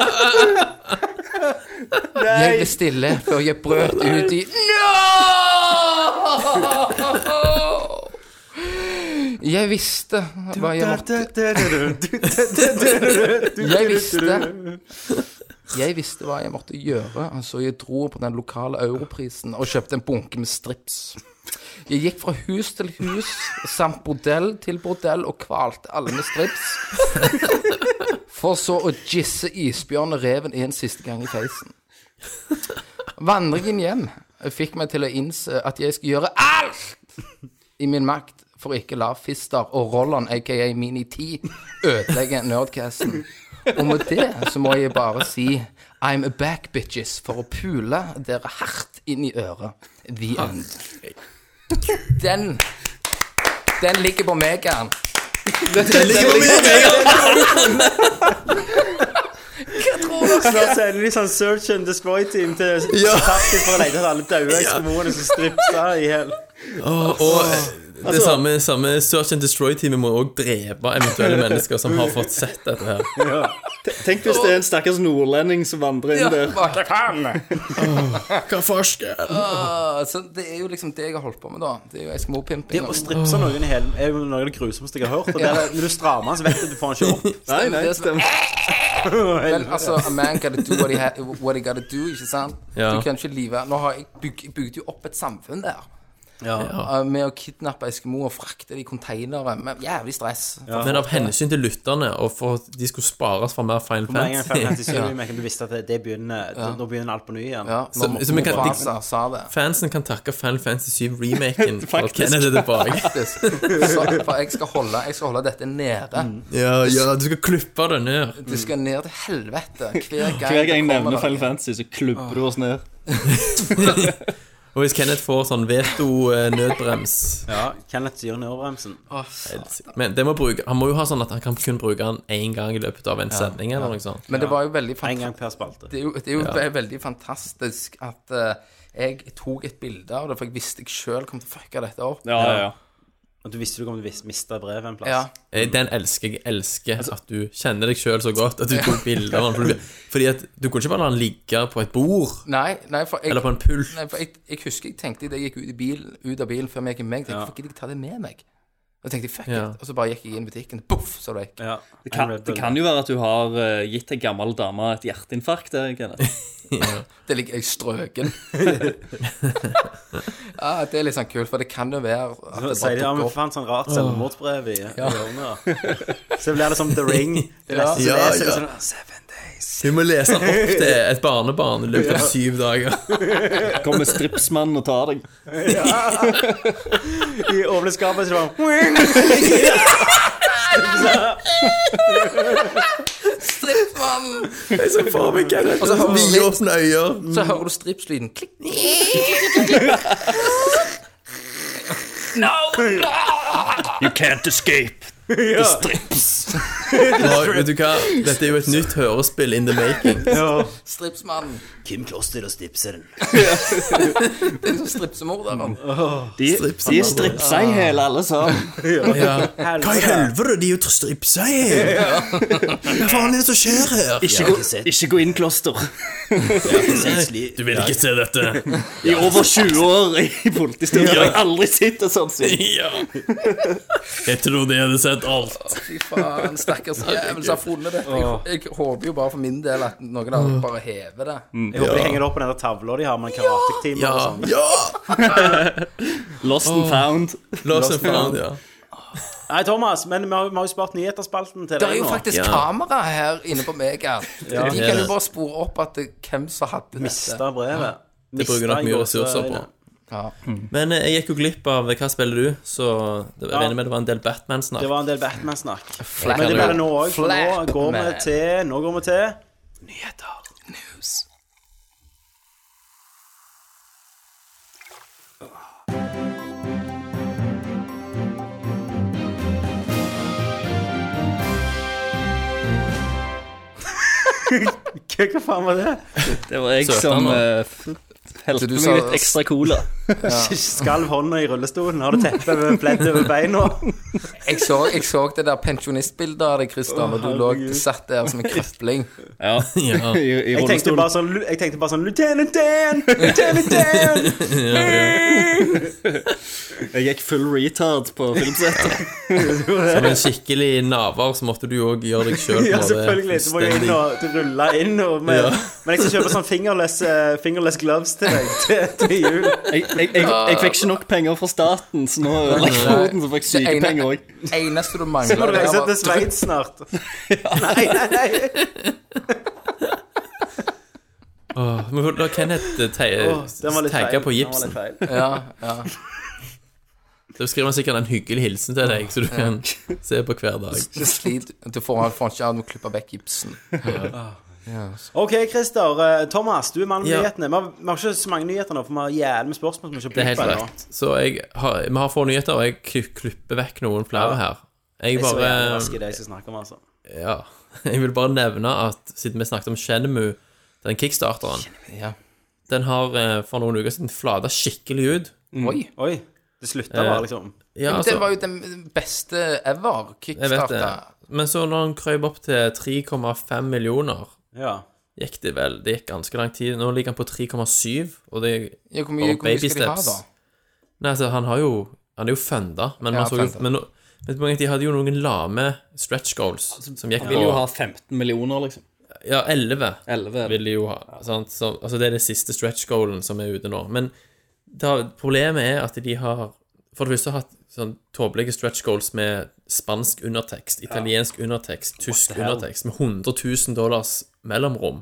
Speaker 5: Jeg ble stille før jeg brøt ut i No! Jeg visste hva jeg måtte Jeg visste Jeg visste hva jeg måtte gjøre. Altså, jeg dro på den lokale europrisen og kjøpte en bunke med strips. Jeg gikk fra hus til hus, samt bordell til bordell, og kvalte alle med strips. For så å gisse isbjørn og reven en siste gang i feisen. Vandringen hjem fikk meg til å innse at jeg skal gjøre alt i min makt for å ikke la Fister og Rolland, aka Mini 10, ødelegge Nerdcasten. Og med det så må jeg bare si I'm a back bitches for å pule dere hardt inn i øret. The end. Den Den ligger på megaen.
Speaker 1: Da sender de sånn search and destroy team til
Speaker 6: Ja.
Speaker 1: Tapti for å lete etter alle døde eksponene som stripser i hel.
Speaker 6: Og, og det samme, samme Search and Destroy-teamet må òg drepe eventuelle mennesker som har fått sett dette her.
Speaker 2: Tenk hvis det er en stakkars nordlending som vandrer inn der.
Speaker 6: Hva forskjell?
Speaker 5: Ah, så det er jo liksom det jeg har holdt på med, da. Det er jo
Speaker 1: Det
Speaker 5: Eskimo-pimping.
Speaker 1: å stripse noen i hælen er jo noe av det grusomste jeg har hørt. Og det er, når du strammer den, så vet du at du får den ikke opp.
Speaker 2: Nei, nei,
Speaker 5: det
Speaker 2: stemmer.
Speaker 5: Men altså, a man gotta do what he, ha, what he gotta do, ikke sant?
Speaker 6: Ja.
Speaker 5: Du kan ikke live Nå har jeg byg, bygd jo opp et samfunn der. Ah, Med å kidnappe Eskimo og frakte de i containere med jævlig stress.
Speaker 6: Men av hensyn til lytterne, og for at de skulle spares fra mer Final
Speaker 1: Med en gang Final
Speaker 6: Fantasy
Speaker 1: Fantasy VII, men du visste at det, det begynner, nå begynner alt på ny igjen.
Speaker 5: Ja,
Speaker 6: Så-
Speaker 5: når
Speaker 6: så vi kan-
Speaker 5: Mufasa sa det.
Speaker 6: Fansen kan takke Final Fantasy 7-remaken for at Kenneth er tilbake.
Speaker 5: faktisk. Så, for jeg skal, holde, jeg skal holde dette nede.
Speaker 2: Mm.
Speaker 6: Ja, ja, du skal klippe det ned.
Speaker 5: Det skal ned til helvete hver gang.
Speaker 2: Hver gang jeg
Speaker 5: det
Speaker 2: nevner
Speaker 5: kommer
Speaker 2: Final
Speaker 5: noe.
Speaker 2: Fantasy, så klubber du oss ned.
Speaker 6: Og hvis Kenneth får sånn veto-nødbrems
Speaker 1: Ja, Kenneth gjør nødbremsen.
Speaker 6: Men det må bruke, han må jo ha sånn at han kan kun bruke den én gang i løpet av en sending eller noe sånt.
Speaker 5: Men det var jo veldig
Speaker 1: En gang
Speaker 5: fantastisk.
Speaker 1: per spalte.
Speaker 5: Det er jo, det er jo ve- veldig fantastisk at eh, jeg tok et bilde av det, for jeg visste jeg sjøl kom til å fucke dette opp.
Speaker 2: Ja, ja, ja.
Speaker 1: Og du visste du kom til å vis- miste brevet en plass.
Speaker 5: Ja.
Speaker 6: Eh, Den elsker jeg. elsker at du kjenner deg sjøl så godt at du tok bilder av den. for du- Fordi at du kunne ikke bare la den ligge på et bord
Speaker 5: Nei, nei, for jeg
Speaker 6: eller på en pult.
Speaker 5: Nei, for jeg, jeg husker jeg tenkte idet jeg gikk ut, i bilen, ut av bilen før vi gikk i meg, tenkte, hvorfor gidder jeg ta det med meg? Og tenkte jeg, fuck
Speaker 6: Ja.
Speaker 5: it. Og så bare gikk jeg inn i butikken, poff, så var det vekk.
Speaker 1: Ja.
Speaker 2: Det kan, det kan jo være at du har eh, gitt ei gammel dame et hjerteinfarkt. der, Kenneth.
Speaker 5: Det ligger jeg strøken. ja, det er litt sånn kult, for det kan jo være at det
Speaker 1: Sier de,
Speaker 5: bare
Speaker 1: ja, men
Speaker 5: dukker opp.
Speaker 1: faen, sånn rart selvmordsbrev i i hjørnet. da. Så blir det som The Ring. Det
Speaker 5: Ja.
Speaker 1: neste du
Speaker 6: Ja,
Speaker 1: leser,
Speaker 6: ja.
Speaker 1: er sånn Seven days.
Speaker 6: Du må lese den opp til et barnebarn i løpet av syv dager.
Speaker 2: Kommer stripsmannen og tar deg.
Speaker 1: I overlevelsesskapet så var det
Speaker 5: Strippmann!
Speaker 6: Jeg så for meg Kenneth
Speaker 5: så har
Speaker 6: med
Speaker 5: vi-
Speaker 6: vidåpne øyne.
Speaker 5: Så hører du stripslyden. Klikk.
Speaker 2: You can't escape.
Speaker 1: ja.
Speaker 6: Nå, Vet du hva, dette er jo et nytt hørespill in the making.
Speaker 1: Ja.
Speaker 5: Stripsmannen.
Speaker 1: Kim Kloster og Stipseren.
Speaker 5: Det er sånn stripsemorderen.
Speaker 2: De, de er stripsa i hæl, alle sammen.
Speaker 6: Ja. Hva i
Speaker 1: Helvete.
Speaker 6: helvete, de er jo stripsa her! Hva faen er det som skjer her?
Speaker 2: Ikke, gå- ikke gå inn kloster.
Speaker 6: Du vil ikke se dette.
Speaker 2: I over 20 år i politistudien har jeg aldri sett et sånt syn.
Speaker 6: Ja. Jeg trodde jeg hadde sett alt.
Speaker 5: Fy faen, stakkars jævel som har funnet det. Jeg, jeg håper jo bare for min del at noen av
Speaker 1: Mm.
Speaker 5: dere bare hever det.
Speaker 1: Jeg håper de henger det opp på den der tavla de har med en karatekteam.
Speaker 6: Ja.
Speaker 1: og sånn.
Speaker 6: ja.
Speaker 2: Lost and found.
Speaker 6: Lost and found, ja.
Speaker 1: Nei, Thomas, men vi har, vi har jo spart nyhetsspalten til
Speaker 5: Det er
Speaker 1: deg
Speaker 5: jo
Speaker 1: nå.
Speaker 5: faktisk
Speaker 6: Ja.
Speaker 5: kamera her inne på meg her. De
Speaker 6: det er
Speaker 5: kan jo
Speaker 6: det.
Speaker 5: bare spore opp at det, hvem som hadde dette.
Speaker 1: Mista brevet.
Speaker 6: Det bruker nok mye ressurser på.
Speaker 5: Ja.
Speaker 1: Mm.
Speaker 6: Men eh, jeg gikk jo glipp av hva spiller du, så det, jeg regner med det var en del Batman-snakk.
Speaker 1: Det var en del Batman-snakk.
Speaker 5: Flap.
Speaker 1: Men det blir det nå òg, for nå
Speaker 5: Flap,
Speaker 1: går vi
Speaker 5: man.
Speaker 1: til Nå går vi til Nyheter. News. Hva faen var det?
Speaker 2: Det var jeg
Speaker 6: Søta
Speaker 2: som
Speaker 6: nå.
Speaker 2: eh, Helte
Speaker 8: Så du
Speaker 2: meg
Speaker 8: sa-
Speaker 2: litt ekstra cola.
Speaker 1: Skalv hånda i rullestolen, har du teppe over pledd over beina?
Speaker 8: Jeg så, jeg så det der pensjonistbildet av deg, Christian, og du lå satt der som en krøpling.
Speaker 2: Ja,
Speaker 6: Ja.
Speaker 2: i, i
Speaker 1: Jeg tenkte
Speaker 2: rullestolen.
Speaker 1: bare sånn, jeg tenkte bare sånn Lieutenant Dan! Lieutenant Dan!
Speaker 2: Jeg gikk full retard på filmsettet.
Speaker 6: Som en skikkelig naver, så måtte du jo òg gjøre deg sjøl
Speaker 1: Ja, selvfølgelig. Du må jo inn og rulle inn. Og med,
Speaker 6: Ja.
Speaker 1: Men jeg skal kjøpe sånn fingerless, eh, fingerless gloves til deg til, til jul.
Speaker 2: Jeg, jeg, jeg, jeg fikk ikke nok penger fra staten, så nå ødela jeg foten, så fikk jeg
Speaker 8: Det ene-
Speaker 2: sykepenger òg.
Speaker 8: Eneste du
Speaker 1: Så må
Speaker 8: mangler
Speaker 1: du
Speaker 8: der,
Speaker 1: reise
Speaker 8: var
Speaker 1: til Sveits snart. Nei, nei, nei.
Speaker 6: Men la Kenneth eh, te-
Speaker 1: Åh, den var litt feil.
Speaker 6: tagge
Speaker 1: Den var
Speaker 6: på
Speaker 1: litt
Speaker 6: gipsen.
Speaker 1: feil.
Speaker 8: ja, ja.
Speaker 6: Da skriver han sikkert en hyggelig hilsen til deg, så du kan se på hver dag.
Speaker 8: Du sliter. Du får, får ikke av å klippe vekk gipsen.
Speaker 1: OK, Christer. eh, Thomas, du er mannen med
Speaker 6: Ja.
Speaker 1: nyhetene. Vi har, vi har ikke så mange nyheter nå, for vi har jævlig med spørsmål som vi ikke
Speaker 6: Det er
Speaker 1: har
Speaker 6: helt
Speaker 1: brukt på ennå.
Speaker 6: korrekt. Så jeg har, vi har få nyheter, og jeg kli- klipper vekk noen flere her. Jeg
Speaker 1: Jeg er så
Speaker 6: bare eh,
Speaker 1: jævlig rask i det jeg skal snakke om, altså.
Speaker 6: Ja. Jeg vil bare nevne at siden vi snakket om Shenmue, den kickstarteren,
Speaker 8: Ja.
Speaker 6: den har eh, for noen uker siden flata skikkelig ut.
Speaker 1: Mm.
Speaker 8: Oi.
Speaker 1: Oi. Det slutta
Speaker 6: Eh,
Speaker 1: bare, liksom.
Speaker 6: Ja,
Speaker 8: det var jo den beste ever,
Speaker 6: Altså- jeg vet det.
Speaker 8: kickstarter.
Speaker 6: Men så når han krøp opp til 3,5 millioner,
Speaker 1: Ja.
Speaker 6: gikk det vel Det gikk ganske lang tid. Nå ligger han på 3,7, og det
Speaker 8: Ja, hvor mye,
Speaker 6: Og
Speaker 8: hvor mye skal de ha,
Speaker 6: baby steps.
Speaker 8: da?
Speaker 6: Nei, altså, han har jo Han er jo funda, men
Speaker 8: Ja,
Speaker 6: man så jo
Speaker 8: funda.
Speaker 6: Men nå- vet du, de hadde jo noen lame stretch goals som gikk
Speaker 2: Jeg
Speaker 6: på
Speaker 2: vil Altså, jo ha 15 millioner, liksom.
Speaker 6: Ja, 11
Speaker 2: 11.
Speaker 6: vil de jo ha. Sant? Så, altså, det er den siste stretch goalen som er ute nå. Men det, har- problemet er at de har For det første hatt sånn tåpelige stretch goals med spansk undertekst, italiensk undertekst, tysk undertekst, med 100 000 dollars mellomrom.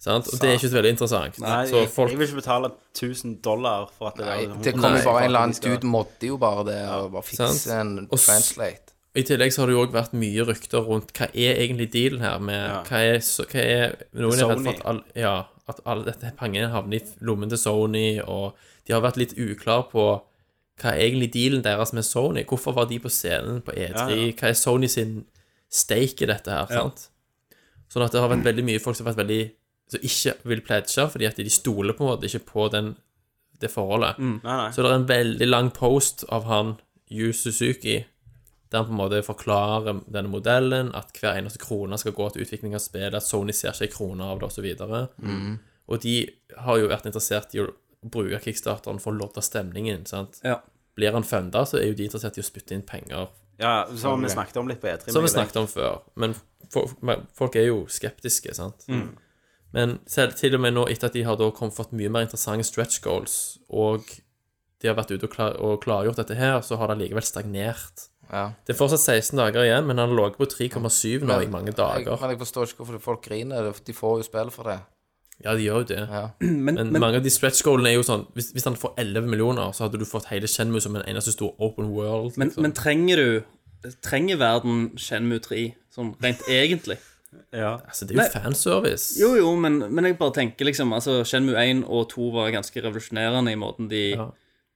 Speaker 6: Sant? Og det er ikke så veldig interessant.
Speaker 1: Nei,
Speaker 6: så
Speaker 1: jeg,
Speaker 6: folk
Speaker 1: jeg vil ikke betale 1000 dollar for at det
Speaker 8: Nei,
Speaker 1: der
Speaker 8: det kom jo
Speaker 1: Nei,
Speaker 8: bare en
Speaker 1: for
Speaker 8: eller
Speaker 1: at
Speaker 8: annen
Speaker 1: de skal-
Speaker 8: dude modde jo bare det, og bare fikse
Speaker 6: sant?
Speaker 8: en
Speaker 6: Og s-
Speaker 8: translate.
Speaker 6: I tillegg så har det jo òg vært mye rykter rundt hva er egentlig dealen her med hva, er, så, hva er Noen er redd for at, all, ja, at alle dette pengene havner i lommen til Sony, og de har vært litt uklar på hva er egentlig dealen deres med Sony. Hvorfor var de på scenen på E3? Hva er Sony sin stake i dette her? sant? Sånn at det har vært veldig mye folk som har vært veldig som ikke vil pledge, fordi at de stoler på en måte ikke på den, det forholdet.
Speaker 1: Mm, Nei, nei.
Speaker 6: Så det er en veldig lang post av han Yu Suzuki, der han på en måte forklarer denne modellen, at hver eneste krone skal gå til utvikling av spillet, at Sony ser ikke en krone av det, osv. videre Og de har jo vært interessert i å bruke kickstarteren for å lodde stemningen. sant?
Speaker 2: Ja.
Speaker 6: Blir han funda, så er jo de interessert i å spytte inn penger,
Speaker 1: Ja, som vi snakket om litt på E3.
Speaker 6: som vi
Speaker 1: nylig.
Speaker 6: snakket om før. Men fo- men folk er jo skeptiske, sant.
Speaker 8: Mm.
Speaker 6: Men selv til og med nå, etter at de har da kommet fått mye mer interessante stretch goals, og de har vært ute og, klar, og klargjort dette her, så har det likevel stagnert.
Speaker 8: Ja.
Speaker 6: Det er fortsatt 16 dager igjen, men han lå på 3,7 nå i mange
Speaker 8: Jeg,
Speaker 6: dager.
Speaker 8: men jeg forstår ikke hvorfor folk griner. De får jo spill for det.
Speaker 6: Ja, de gjør jo det.
Speaker 8: Ja.
Speaker 6: Men, mange av de stretch goalene er jo sånn Hvis, hvis han får 11 millioner, så hadde du fått hele Shenmue som en eneste stor open world. liksom.
Speaker 2: Men, men trenger du Trenger verden Shenmue 3, sånn rent egentlig?
Speaker 1: Ja.
Speaker 6: altså, det er jo
Speaker 2: Nei.
Speaker 6: fanservice.
Speaker 2: Jo, jo, men, men jeg bare tenker liksom altså, Shenmue 1 og 2 var ganske revolusjonerende i måten de
Speaker 6: Ja.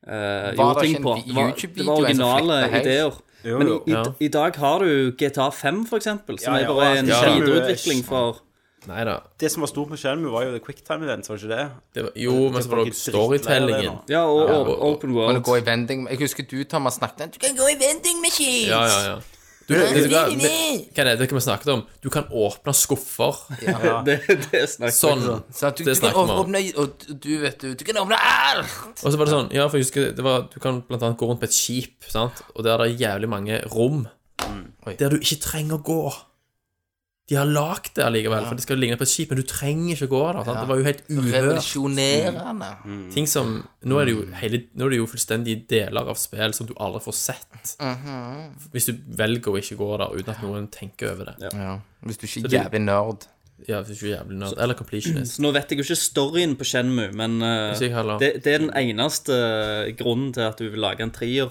Speaker 2: eh,
Speaker 8: Var
Speaker 2: gjorde
Speaker 8: det
Speaker 2: ting
Speaker 8: ikke en
Speaker 2: på. Det var, det var
Speaker 8: YouTube-video en som
Speaker 2: originale
Speaker 8: flyttet helt?
Speaker 2: ideer.
Speaker 1: Jo,
Speaker 2: Men i,
Speaker 1: jo.
Speaker 2: i,
Speaker 6: Ja.
Speaker 2: i dag har du GTA 5, for eksempel, som
Speaker 1: Ja, ja,
Speaker 2: er bare
Speaker 1: og
Speaker 2: en
Speaker 1: Shenmue-
Speaker 2: videreutvikling for
Speaker 6: Nei da.
Speaker 1: Det som var stort med Shenmue, var jo det quicktime event, var ikke det?
Speaker 6: Det var, jo, men så var det
Speaker 1: folk
Speaker 6: jo
Speaker 1: er dritlei av det
Speaker 6: storytellingen.
Speaker 1: nå.
Speaker 2: Ja, og, og,
Speaker 6: og-
Speaker 2: Open World.
Speaker 8: Men å gå i vending Jeg husker du, Thomas, snakket om-
Speaker 3: Du kan gå i vending machines!
Speaker 6: Ja, ja, ja. Du, det, det, det, hva er det, det kan vi snakket om? Du kan åpne skuffer.
Speaker 2: Det, det snakker
Speaker 6: Sånn.
Speaker 8: sa at du,
Speaker 6: Det
Speaker 8: du kan
Speaker 6: snakker vi om.
Speaker 8: åpne Og du vet du, du kan åpne alt!
Speaker 6: Og så var det sånn, ja, for jeg husker det var, Du kan blant annet gå rundt på et skip, sant? og der er det jævlig mange rom
Speaker 8: Oi.
Speaker 6: der du ikke trenger å gå. De har lagd det allikevel, for det skal ligne på et skip, men du trenger ikke å gå der. Sant? Det var jo helt uhørt.
Speaker 8: Revolusjonerende.
Speaker 1: Mm.
Speaker 6: Ting som, nå, er det jo hele, nå er det jo fullstendig deler av spill som du aldri får sett. Hvis du velger å ikke gå der uten at noen tenker over det. Ja,
Speaker 8: Ja. Hvis du ikke er
Speaker 6: det-
Speaker 8: jævlig nerd.
Speaker 6: hvis du er jævlig nerd. Eller completionist.
Speaker 2: Så nå vet jeg jo ikke storyen på Shenmue, men eh,
Speaker 6: Ikke jeg heller.
Speaker 2: det, det er den eneste eh, grunnen til at du vil lage en trier.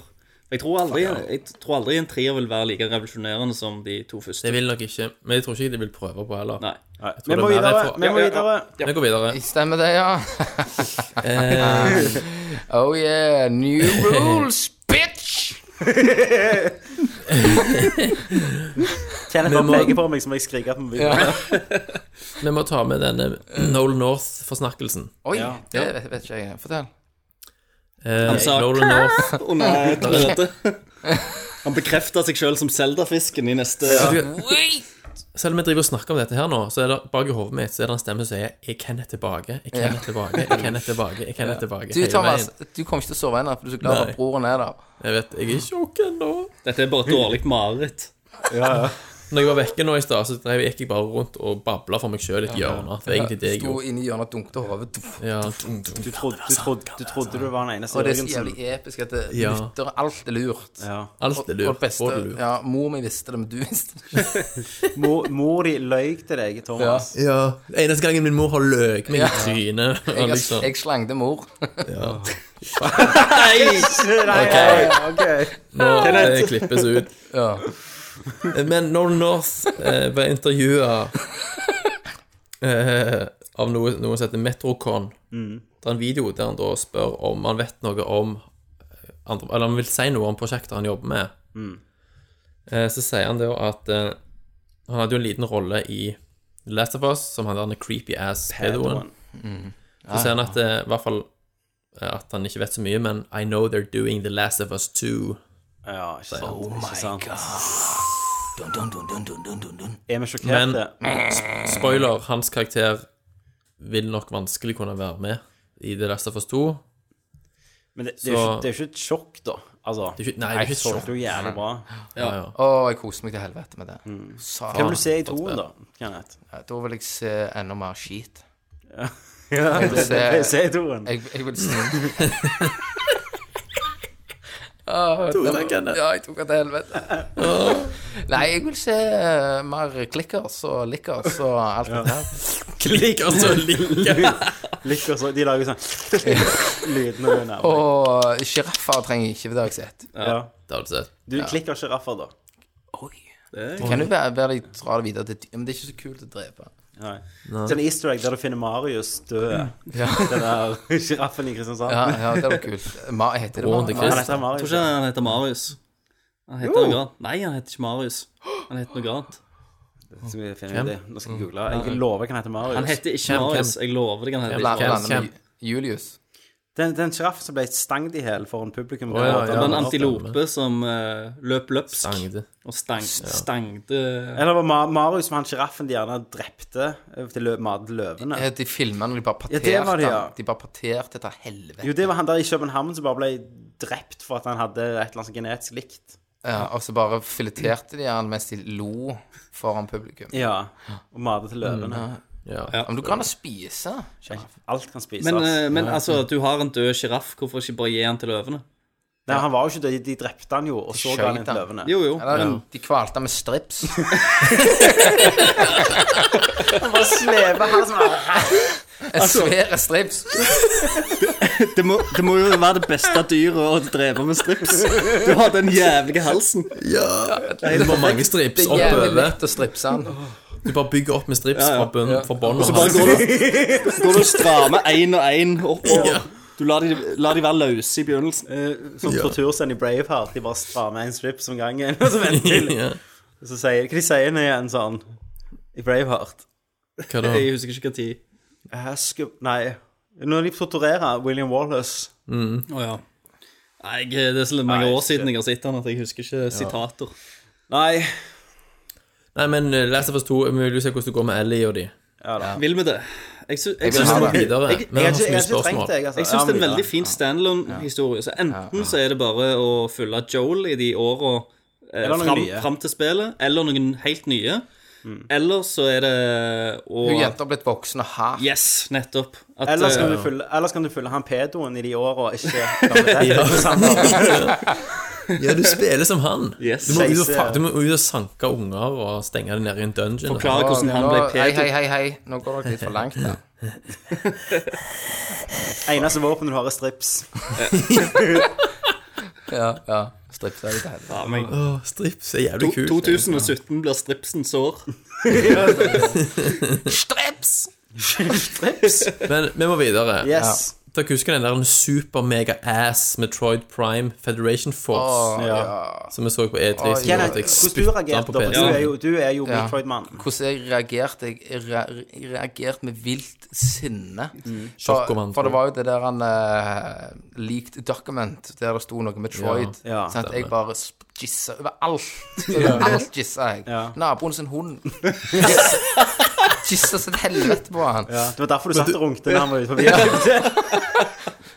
Speaker 2: For Jeg tror aldri, jeg tror aldri en trier vil være like revolusjonerende som de to første.
Speaker 6: Det vil nok ikke, men jeg tror ikke de vil prøve på heller.
Speaker 2: Nei.
Speaker 1: Nei.
Speaker 6: tror
Speaker 1: Vi
Speaker 6: det
Speaker 1: må
Speaker 6: er mer
Speaker 1: videre.
Speaker 6: for-
Speaker 1: Vi må videre.
Speaker 6: Vi går videre.
Speaker 8: Stemmer det, ja?
Speaker 6: Eh,
Speaker 8: Oh yeah. New rules, bitch!
Speaker 1: Kenneth
Speaker 6: Vi
Speaker 1: bare
Speaker 6: må-
Speaker 1: peker på meg som jeg skriker på mobilen.
Speaker 6: Vi må ta med denne Noel North-forsnakkelsen.
Speaker 5: Oi,
Speaker 1: Ja.
Speaker 5: det vet, vet ikke jeg. Fortell.
Speaker 6: Eh,
Speaker 2: sa-
Speaker 6: Noel North
Speaker 2: Under toalettet. Han bekrefter seg sjøl som Zelda-fisken i neste
Speaker 6: Selv om jeg driver og snakker om dette her nå, så er det bak i hodet mitt så er det en stemme som sier 'Jeg kan det tilbake, jeg kan det tilbake, jeg kan det tilbake'. jeg kan det tilbake
Speaker 5: Du,
Speaker 6: hele
Speaker 5: Thomas,
Speaker 6: veien.
Speaker 5: du kommer ikke til å sove ennå, for du er så glad for
Speaker 6: Nei.
Speaker 5: at broren er der.
Speaker 6: Jeg vet, jeg er tjukk ennå.
Speaker 2: Dette er bare et dårlig mareritt.
Speaker 6: Når jeg var vekke nå i stad, så drev, gikk jeg bare rundt og babla for meg sjøl i et hjørne. Det er egentlig det jeg
Speaker 5: Sto
Speaker 6: gjorde.
Speaker 5: inne i hjørnet og dunket hodet.
Speaker 6: Ja,
Speaker 1: Du trodde du, trodde,
Speaker 6: altså.
Speaker 1: du trodde du var den eneste
Speaker 5: Og det er så
Speaker 1: Jørgensen.
Speaker 5: jævlig episk at det
Speaker 6: Ja.
Speaker 5: lytter alt er lurt.
Speaker 1: Ja.
Speaker 6: alt er
Speaker 5: Og det
Speaker 6: lurt.
Speaker 5: beste
Speaker 6: Får du lurt.
Speaker 5: Ja, mor mi visste det, men du visste det. ikke.
Speaker 1: Mor, mor di løy til deg, Thomas.
Speaker 6: Ja. Eneste gangen min mor har løket meg i trynet.
Speaker 5: Jeg,
Speaker 6: og liksom.
Speaker 5: jeg slengte mor.
Speaker 1: Nei, ok.
Speaker 6: Nå eh, klippes ut.
Speaker 5: Ja.
Speaker 6: Men Nolan North eh, ble intervjua eh, av noe, noe som heter Metrocon. Det er en video der han da spør om han vet noe om eh, andre, Eller han vil si noe om prosjekter han jobber med. Eh, så sier han da at eh, han hadde jo en liten rolle i The Last of Us, som han der den creepy ass pedoen. Så sier han at eh, i hvert fall eh, at han ikke vet så mye, men I know they're doing The Last of Us 2.
Speaker 1: Ja, ikke sant. ikke sant.
Speaker 9: oh Dun, dun, dun, dun, dun, dun, dun, dun.
Speaker 1: Er vi sjokkerte?
Speaker 6: Spoiler, hans karakter vil nok vanskelig kunne være med i The Last of Us 2.
Speaker 1: Men det, det, er jo
Speaker 6: så-
Speaker 1: ikke, det er jo ikke et sjokk, da. Altså,
Speaker 6: Det er ikke, nei, det er ikke
Speaker 1: så
Speaker 6: så
Speaker 1: det jo jævlig bra.
Speaker 5: Å, jeg koste meg til helvete med det. Sa-
Speaker 1: Hva vil du se i toen, da, Kenneth?
Speaker 5: Da vil jeg se enda mer skit.
Speaker 1: Ja,
Speaker 5: Jeg vil
Speaker 1: det, det,
Speaker 5: se
Speaker 1: se i toen.
Speaker 5: Jeg, jeg vil se Ah, det- Ja, jeg tok den til helvete. Nei, jeg vil se eh, mer klikkers og likkers og alt det der.
Speaker 6: klikk, altså.
Speaker 1: Lykke og så. De lager sånn lydene under.
Speaker 5: Og sjiraffer trenger jeg ikke, for det har jeg sett.
Speaker 1: Ja.
Speaker 6: Det altså har du sett.
Speaker 1: Du klikker sjiraffer, da.
Speaker 5: Det kan jo være bedre jeg drar det videre til dyr, men det er ikke så kult å drepe.
Speaker 1: Nei. Sånn easter egg der du finner Marius død.
Speaker 5: Ja,
Speaker 1: Den der sjiraffen i Kristiansand.
Speaker 5: ja, ja det var kult. Ma, heter det
Speaker 6: Warren the
Speaker 5: Ma-
Speaker 1: Han
Speaker 6: Christ.
Speaker 5: Ma-
Speaker 1: heter
Speaker 2: Jeg
Speaker 1: Marius.
Speaker 2: tror ikke han heter Marius. Han heter noe annet. Nei, han heter ikke Marius. Han heter noe annet.
Speaker 1: Så vi finner ut det. Nå skal jeg google. Jeg lover jeg kan hete Marius.
Speaker 2: Han heter ikke
Speaker 6: Hvem,
Speaker 2: Marius. Jeg lover deg han heter
Speaker 5: La-
Speaker 2: ikke Marius.
Speaker 5: Lande med
Speaker 6: Hvem?
Speaker 5: Julius.
Speaker 1: Den, den sjiraffen som ble stangt i hjel foran publikum.
Speaker 6: Å, ja,
Speaker 2: Det var en
Speaker 6: ja.
Speaker 2: antilope som eh, løp løpsk
Speaker 6: Stangde.
Speaker 2: og stang, stangte
Speaker 1: Eller var Ma- Marius som han sjiraffen de gjerne drepte eh, til lø mat løvene?
Speaker 5: Eh, De filmene de bare
Speaker 1: Ja,
Speaker 5: parterte
Speaker 1: det var det, ja.
Speaker 5: han. De bare parterte til helvete.
Speaker 1: Jo, det var han der i København som bare ble drept for at han hadde et eller annet som genetisk likt.
Speaker 5: Ja, og så bare fileterte de han mens de lo foran publikum.
Speaker 1: Ja. Og matet til løvene.
Speaker 6: Ja.
Speaker 2: Ja.
Speaker 5: Men du kan da spise.
Speaker 1: Alt kan spises.
Speaker 2: Men, eh, men altså, du har en død sjiraff. Hvorfor ikke bare gi han til løvene?
Speaker 1: Nei, han var jo ikke død. De drepte han jo, og så ga
Speaker 5: Skjøt
Speaker 1: han inn til
Speaker 5: han.
Speaker 1: løvene.
Speaker 2: Jo, jo.
Speaker 5: Eller de kvalte med strips.
Speaker 1: Bare sleve sånn han som
Speaker 5: En
Speaker 2: Altså,
Speaker 5: svære strips.
Speaker 2: Det må, det må jo være det beste dyret å drepe med strips. Du har den jævlige halsen.
Speaker 6: Det var mange strips
Speaker 5: Det er jævlig
Speaker 6: oppover.
Speaker 5: lett å stripse han.
Speaker 6: Du bare bygger opp med strips
Speaker 2: Ja, ja.
Speaker 6: fra bunnen, fra bånn og
Speaker 2: Bare
Speaker 6: hans.
Speaker 2: går du, går du og strammer én og én oppover. Du lar de, lar de være løse i begynnelsen.
Speaker 1: eh, Som torturscenen i Braveheart. De bare strammer en strips om gangen, og så venter de.
Speaker 6: Ja.
Speaker 1: Og Så sier, hva de sier nå igjen sånn i Braveheart?
Speaker 6: Hva da?
Speaker 2: Jeg husker ikke hva tid.
Speaker 1: Ask, nei, når de torturerer William Wallace
Speaker 2: Å ja. Nei, jeg- det er så mange
Speaker 1: Nei,
Speaker 2: år siden jeg har sett den at jeg husker ikke sitater.
Speaker 1: Nei.
Speaker 6: Nei, men eh, Last of Us 2, vi vil jo se hvordan det går med Ellie og de.
Speaker 2: Vil vi det? Jeg, sy jeg,
Speaker 6: Så
Speaker 2: syns,
Speaker 6: skal vi
Speaker 2: jeg,
Speaker 6: videre.
Speaker 2: jeg-
Speaker 6: Men jeg
Speaker 1: Jeg
Speaker 6: har så
Speaker 1: har
Speaker 6: mye
Speaker 1: ikke trengt
Speaker 6: spørsmål.
Speaker 1: det, jeg, altså.
Speaker 2: jeg syns
Speaker 1: Ja,
Speaker 2: det er en
Speaker 1: men
Speaker 2: veldig fin standalone-historie. Så enten så er det bare å følge Joel i de åra eh,
Speaker 1: Eller noen
Speaker 2: fram,
Speaker 1: nye.
Speaker 2: fram til spillet, eller noen helt nye. Eller så er det å
Speaker 5: Hun jenta har blitt voksen og hard.
Speaker 2: Yes, nettopp. At,
Speaker 1: Eller så
Speaker 2: eh,
Speaker 1: kan du følge, ellers kan du følge han pedoen i de åra og ikke gamle Ted.
Speaker 6: Ja, du spiller som han.
Speaker 2: Yes.
Speaker 6: Du må ut og,
Speaker 1: Seise.
Speaker 6: fa- du må ut og sanke unger og stenge dem ned i en dungeon.
Speaker 2: forklare hvordan han ble
Speaker 5: Nå- Hei, hei,
Speaker 2: pedo.
Speaker 5: hei, hei. Nå går dere litt for langt. Da.
Speaker 1: Eneste våpenet du har, er strips.
Speaker 5: Ja, ja. Stripse er litt helvete.
Speaker 2: Ja, men,
Speaker 6: Åh, strips er jævlig
Speaker 2: to,
Speaker 6: kult.
Speaker 2: 2017 blir stripsen sår.
Speaker 5: Strips!
Speaker 1: Strips?
Speaker 6: Men vi må videre.
Speaker 1: Yes.
Speaker 6: Dere husker den der super-mega-ass Metroid Prime Federation Force?
Speaker 1: Ja.
Speaker 6: Som vi så på E3. som gjorde
Speaker 1: Kenneth,
Speaker 6: at jeg
Speaker 1: hvordan du
Speaker 6: spyttet
Speaker 1: reagerte
Speaker 6: på
Speaker 1: da? For
Speaker 6: PC.
Speaker 1: Du er jo, du er jo
Speaker 5: Ja.
Speaker 1: Metroid-mann.
Speaker 5: Hvordan jeg reagerte Jeg re- reagerte med vilt sinne. For,
Speaker 1: Mm.
Speaker 6: Sjokkomann.
Speaker 5: for det var jo det der han eh, leaked document, der det sto noe Metroid.
Speaker 1: Ja, ja,
Speaker 5: sånn at jeg bare sp- jissa overalt. Overalt jissa jeg. Naboen sin hund. Jissa- Jissa sitt helvete på han.
Speaker 1: Ja, det var derfor du satt og runkte når han var ute på bilen.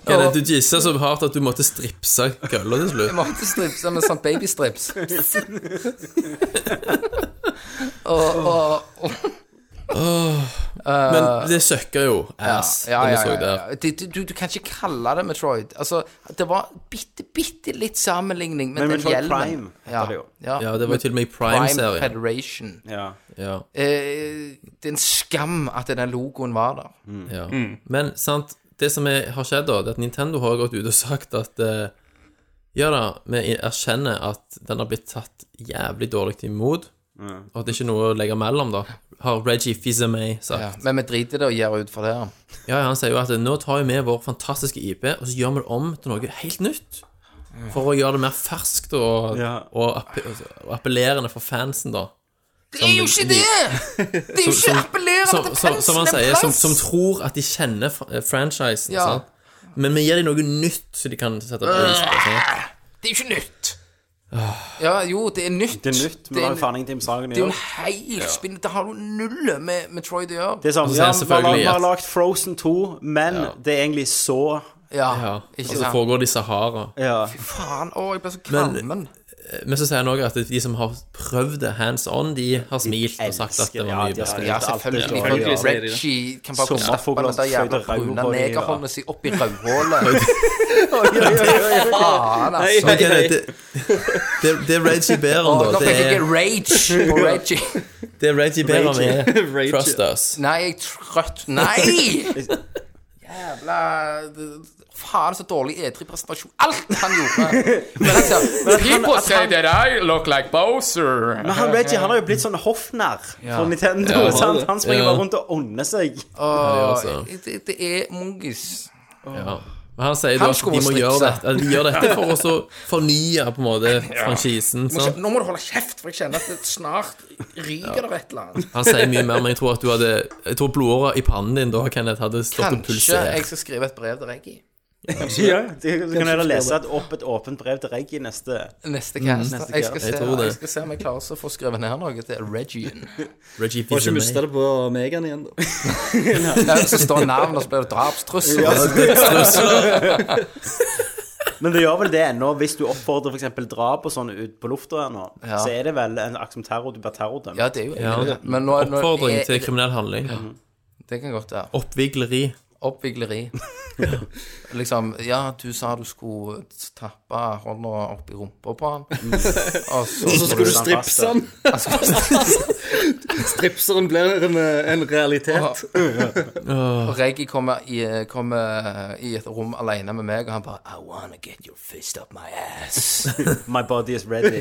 Speaker 6: Kenneth, du jissa så hardt at du måtte stripse kølla til
Speaker 5: Jeg
Speaker 6: slutt.
Speaker 5: måtte stripse med sånn babystrips. og, og,
Speaker 6: Men det søkka jo ass,
Speaker 5: ja, ja,
Speaker 6: det vi så
Speaker 5: ja,
Speaker 6: der.
Speaker 5: ja. Det- Du, du, du kan ikke kalle det Metroid. Altså, det var bitte, bitte litt sammenligning med
Speaker 1: Men
Speaker 5: den
Speaker 1: Metroid
Speaker 5: hjelmen.
Speaker 1: Prime
Speaker 5: ja,
Speaker 1: heter det jo.
Speaker 5: ja.
Speaker 6: Ja, det var jo til og med i
Speaker 5: Prime
Speaker 6: Prime-serien.
Speaker 5: Federation.
Speaker 1: Ja.
Speaker 6: Ja,
Speaker 5: Eh, det er en skam at den logoen var der.
Speaker 6: ja. Men sant, det som er, har skjedd, da, det er at Nintendo har gått ut og sagt at eh, Ja da, vi erkjenner at den har blitt tatt jævlig dårlig imot, og at det ikke er noe å legge mellom, da, har Reggie Fizamay
Speaker 5: Ja.
Speaker 6: sagt.
Speaker 5: Men vi driter i det og gir ut for det. her.
Speaker 6: Ja, ja, han sier jo at eh, nå tar vi vår fantastiske IP, og så gjør vi det om til noe helt nytt. For å gjøre det mer ferskt og,
Speaker 1: Ja.
Speaker 6: og, app og appellerende for fansen, da.
Speaker 5: Det er jo ikke det! Det er jo ikke appellerende
Speaker 6: Som,
Speaker 5: til
Speaker 6: som, som han
Speaker 5: pensel
Speaker 6: sier,
Speaker 5: en
Speaker 6: som,
Speaker 5: plass.
Speaker 6: som tror at de kjenner fr- eh, franchisen.
Speaker 5: Ja. Øh,
Speaker 6: Sant? Men vi gir dem noe nytt, så de kan sette pris på. Sant?
Speaker 5: Det er jo ikke nytt.
Speaker 6: Ah.
Speaker 5: Ja, jo, det er nytt.
Speaker 1: Det er nytt, men
Speaker 5: Det
Speaker 1: det
Speaker 5: er,
Speaker 1: var jo faen ingenting med saken å
Speaker 5: det er jo
Speaker 1: gjøre.
Speaker 5: en heil spinn. Det har jo null med Metroid å gjøre.
Speaker 1: Det er sånn,
Speaker 6: Og så
Speaker 1: ja, vi
Speaker 6: er det
Speaker 1: har,
Speaker 6: selvfølgelig
Speaker 1: vi har
Speaker 6: at-
Speaker 1: lagd Frozen 2, men det er egentlig så
Speaker 5: Ja,
Speaker 6: Ja. Og
Speaker 5: ikke
Speaker 6: så
Speaker 5: sant?
Speaker 6: foregår det i Sahara.
Speaker 1: Ja.
Speaker 5: Faen, å, jeg ble så kvalmen.
Speaker 6: Men så sier han òg at de som har prøvd det hands on, de har smilt og sagt at det var
Speaker 1: ja,
Speaker 6: mye
Speaker 1: de har
Speaker 6: bedre.
Speaker 1: skrevet
Speaker 5: Ja,
Speaker 1: alt det der.
Speaker 5: selvfølgelig. for
Speaker 2: selvfølgelig sier de det.
Speaker 5: Reggie kan bare stappe
Speaker 1: Sommerfugler
Speaker 5: den der jævla
Speaker 1: fløyter rødhåret i
Speaker 5: brune
Speaker 1: øret.
Speaker 5: negerhånda si opp i rødhålet.
Speaker 2: Hei,
Speaker 5: Faen, altså.
Speaker 6: Men
Speaker 2: hei, hei.
Speaker 6: Kenneth, det, det, det Reggie ber
Speaker 5: Å,
Speaker 6: om, Sånn da,
Speaker 5: nå
Speaker 6: det
Speaker 5: fikk jeg
Speaker 6: er,
Speaker 5: rage på Reggie.
Speaker 6: det Reggie ber om, er
Speaker 2: Reggie.
Speaker 6: Trust us.
Speaker 5: Nei, jeg er trøtt. Nei! Jævla Faen, så dårlig E3-presentasjon. Alt han gjorde. Men altså, people say that I look like Boser.
Speaker 1: Men han Reggie han har jo blitt sånn hoffnarr for Nintendo.
Speaker 6: Ja.
Speaker 1: sant? Han springer
Speaker 6: Ja.
Speaker 1: bare rundt og ånder seg.
Speaker 6: altså.
Speaker 5: det, det er mongis.
Speaker 6: Ja. Men han sier da
Speaker 5: Han
Speaker 6: at
Speaker 5: skulle
Speaker 6: de må
Speaker 5: stripse.
Speaker 6: gjøre dette, at de gjør dette for å så fornye på en måte franchisen.
Speaker 5: Må ikke-
Speaker 6: Sant?
Speaker 5: Nå må du holde kjeft, for jeg kjenner at det snart ryker det et eller annet.
Speaker 6: Han sier mye mer, men jeg tror at du hadde Jeg tror blodåra i pannen din da, Kenneth, hadde stått og
Speaker 5: Kanskje jeg
Speaker 6: pulsert.
Speaker 5: skal skrive et brev til Reggie
Speaker 1: Ja, Du du kan heller lese et, opp, et åpent brev til Reggie neste
Speaker 5: neste cast. jeg, skal
Speaker 6: cast. Mm. Jeg
Speaker 5: se,
Speaker 6: tror det.
Speaker 5: jeg skal se om jeg klarer å få skrevet ned noe til Reggie.
Speaker 6: Reggie
Speaker 2: Får ikke miste
Speaker 6: Fizemay.
Speaker 2: det på Megan igjen, da.
Speaker 5: Ja, Så står navnet, og så blir det drapstrussel.
Speaker 1: Men det gjør vel det ennå, hvis du oppfordrer f.eks. drap og sånn ut på lufta ennå,
Speaker 5: Ja.
Speaker 1: så er det vel en akt som terror, du blir terrordømt.
Speaker 5: Ja, det er jo
Speaker 6: Ja.
Speaker 5: egentlig det. Men nå, nå,
Speaker 6: Oppfordring
Speaker 5: jeg-
Speaker 6: til kriminell handling.
Speaker 5: Det kan godt være.
Speaker 6: Oppvigleri.
Speaker 5: Oppvigleri. liksom Ja, du sa du skulle tappe hånda opp i rumpa på han.
Speaker 6: Mm.
Speaker 5: Og så
Speaker 2: Og så skulle du stripse han. Stripseren blir en, en realitet.
Speaker 5: Og Reggie kommer i, kommer i et rom alene med meg, og han bare I wanna get your fist up my ass.
Speaker 1: My body is ready.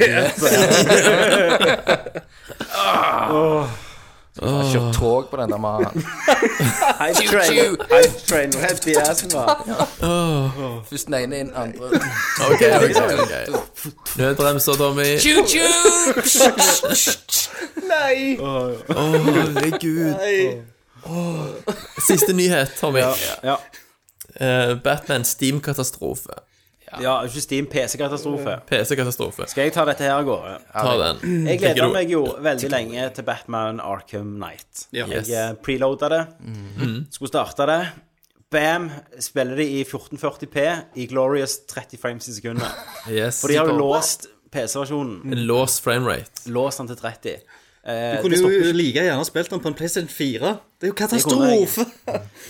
Speaker 5: Han kjørt tog på den der mannen.
Speaker 1: Hype train.
Speaker 5: Tju-tju.
Speaker 1: Hype train rett i assen, hva?
Speaker 5: Først den ene inn, andre
Speaker 6: Ok, ok, ok. Nødbremser, Tommy. Å, herregud. Siste nyhet, Tommy.
Speaker 1: Ja.
Speaker 6: Eh, Batman Steam-katastrofe.
Speaker 1: ja, ikke Steam PC-katastrofe.
Speaker 6: PC-katastrofe.
Speaker 1: Skal jeg ta dette her av gårde?
Speaker 6: Ta den.
Speaker 1: Jeg
Speaker 6: Tenker
Speaker 1: gleda
Speaker 6: du-
Speaker 1: meg jo veldig lenge til Batman Arkham Knight.
Speaker 2: Ja.
Speaker 1: Jeg eh, preloada det. Skulle starte det. Bam! Spiller de i 1440P i glorious 30 frames i sekundet.
Speaker 6: Yes.
Speaker 1: For de har jo låst PC-versjonen.
Speaker 6: Låst framerate.
Speaker 1: Låst den til Eh,
Speaker 2: Du
Speaker 1: 30.
Speaker 2: kunne jo like gjerne spilt den på en PlayStation 4. Det er jo katastrofe!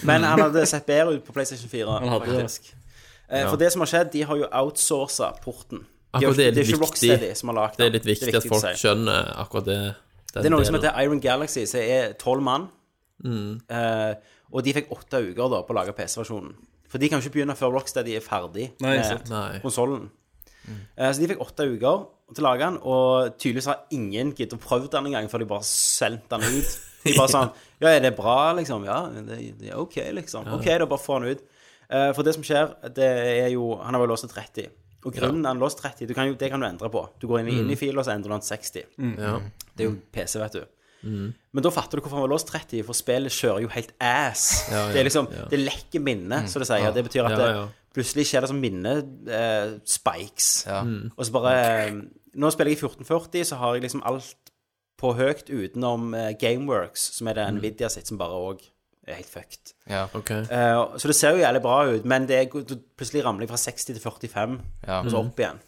Speaker 1: Men han hadde sett bedre ut på PlayStation 4.
Speaker 2: hadde det.
Speaker 1: faktisk. Eh, For det som har skjedd, de har jo outsourca porten. De har
Speaker 6: Akkurat det
Speaker 1: ikke- det er
Speaker 6: er litt
Speaker 1: ikke
Speaker 6: viktig.
Speaker 1: Rocksteady som har lagd
Speaker 6: Det er litt viktig at folk skjønner akkurat det.
Speaker 1: Det er noe som heter Iron Galaxy, som er tolv mann. Eh, og de fikk åtte uker da på å lage PC-versjonen. For de kan jo ikke begynne før Rocksteady er ferdig
Speaker 2: Nei, sant.
Speaker 1: med
Speaker 6: Nei.
Speaker 1: konsollen. Eh, så de fikk åtte uker til å lage den, og tydeligvis har ingen giddet å prøve den engang før de bare sendte den ut. De bare sånn Ja, er det bra, liksom? Ja, det, det er OK, liksom. OK, da bare få den ut. Eh, for det som skjer, det er jo Han har jo låst til 30. Og grunnen han har låst 30, du kan jo, det kan du endre på. Du går inn, i- inn i filen, og så endrer du den til 60. Det er
Speaker 8: Mm.
Speaker 1: jo PC, vet du. Men da fatter du hvorfor han var låst 30, for spillet kjører jo helt ass. Det er liksom, det lekker
Speaker 8: Mm.
Speaker 1: minnet, så det sier. Det betyr at
Speaker 6: Ja, ja.
Speaker 1: Det, plutselig skjer det som minnespikes.
Speaker 6: Mm.
Speaker 1: Og så bare eh, Nå spiller jeg i 1440, så har jeg liksom alt på høyt utenom eh, Gameworks, som er det
Speaker 8: Mm.
Speaker 1: Nvidia sitt, som bare òg er helt fucked.
Speaker 6: OK.
Speaker 1: Eh, så det ser jo jævlig bra ut, men det er, du plutselig ramler jeg fra 60 til 45,
Speaker 8: Ja.
Speaker 6: Mm.
Speaker 1: og så opp igjen.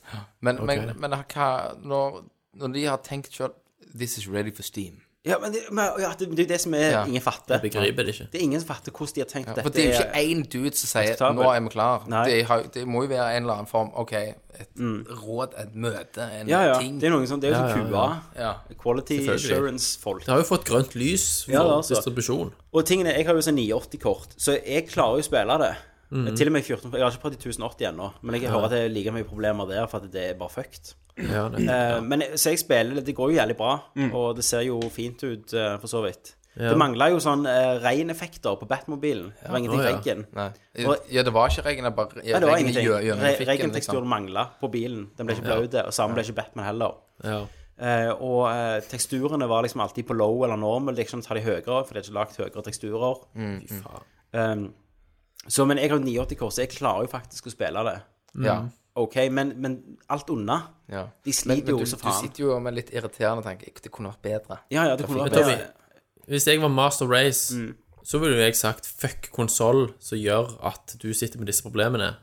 Speaker 8: Men, men, men hva, når, når de har tenkt sjøl This is ready for steam.
Speaker 1: Ja, men det, men, ja, det, det er jo det som er
Speaker 8: Ja.
Speaker 1: ingen fatter.
Speaker 6: Begriper det ikke.
Speaker 1: Det er ingen som fatter hvordan de har tenkt
Speaker 8: For
Speaker 1: dette.
Speaker 8: det er jo ikke én dude som sier
Speaker 1: akseptabelt.
Speaker 8: 'nå er vi klar'.
Speaker 1: Nei. Mm.
Speaker 8: Det, har, det må jo være en eller annen form OK, et råd, et møte, en
Speaker 1: Ja, ja.
Speaker 8: ting.
Speaker 1: Det er noen sånn, det er jo sånn QA.
Speaker 8: Ja.
Speaker 1: Quality Assurance-folk.
Speaker 6: Det har jo fått grønt lys for
Speaker 1: Ja, det altså- har så.
Speaker 6: distribusjon.
Speaker 1: Og tingene, jeg har jo sånn 980-kort, så jeg klarer jo å spille det.
Speaker 6: Mm.
Speaker 1: Til og med 14, Jeg har ikke prøvd i 1080 ennå, men jeg hører at det er like mye problemer der, for at det er bare fucked.
Speaker 6: Ja, det.
Speaker 1: Eh, men så jeg spiller, det går jo jævlig bra, og det ser jo fint ut eh, for så vidt. Det mangla jo sånn uh, regneffekter på Batmobilen. Det var ingenting
Speaker 6: Å,
Speaker 1: i
Speaker 6: ja.
Speaker 1: regn.
Speaker 8: Nei.
Speaker 1: Og-
Speaker 8: Ja, det var ikke regn, det bare
Speaker 1: Nei, det var
Speaker 8: regn i
Speaker 1: ingenting.
Speaker 8: gjø- gjø- liksom.
Speaker 1: Re-
Speaker 8: fikken,
Speaker 6: liksom.
Speaker 1: Regenteksturen mangla på bilen. Den ble ikke blaut, og samme ble ikke Batman heller.
Speaker 6: Ja.
Speaker 1: Eh, og eh, teksturene var liksom alltid på low eller normal. Det er ikke sånn å ta de høyere, for det er ikke lagt høyere teksturer.
Speaker 6: Fy faen.
Speaker 1: Um, så, men jeg har jo 980-kort, så jeg klarer jo faktisk å spille det.
Speaker 8: Liksom. Ja.
Speaker 1: OK, men, men alt unna
Speaker 8: Ja.
Speaker 1: Mm. De
Speaker 8: Men, men
Speaker 1: sliter
Speaker 8: du,
Speaker 1: jo
Speaker 8: du
Speaker 1: så faen.
Speaker 8: sitter jo med litt irriterende tanke. Det kunne vært bedre.
Speaker 1: Ja, ja, det kunne vært
Speaker 6: Men
Speaker 1: bedre.
Speaker 6: Tommy, Hvis jeg var Master Race,
Speaker 1: Mm.
Speaker 6: så ville jo jeg sagt fuck konsoll som gjør at du sitter med disse problemene.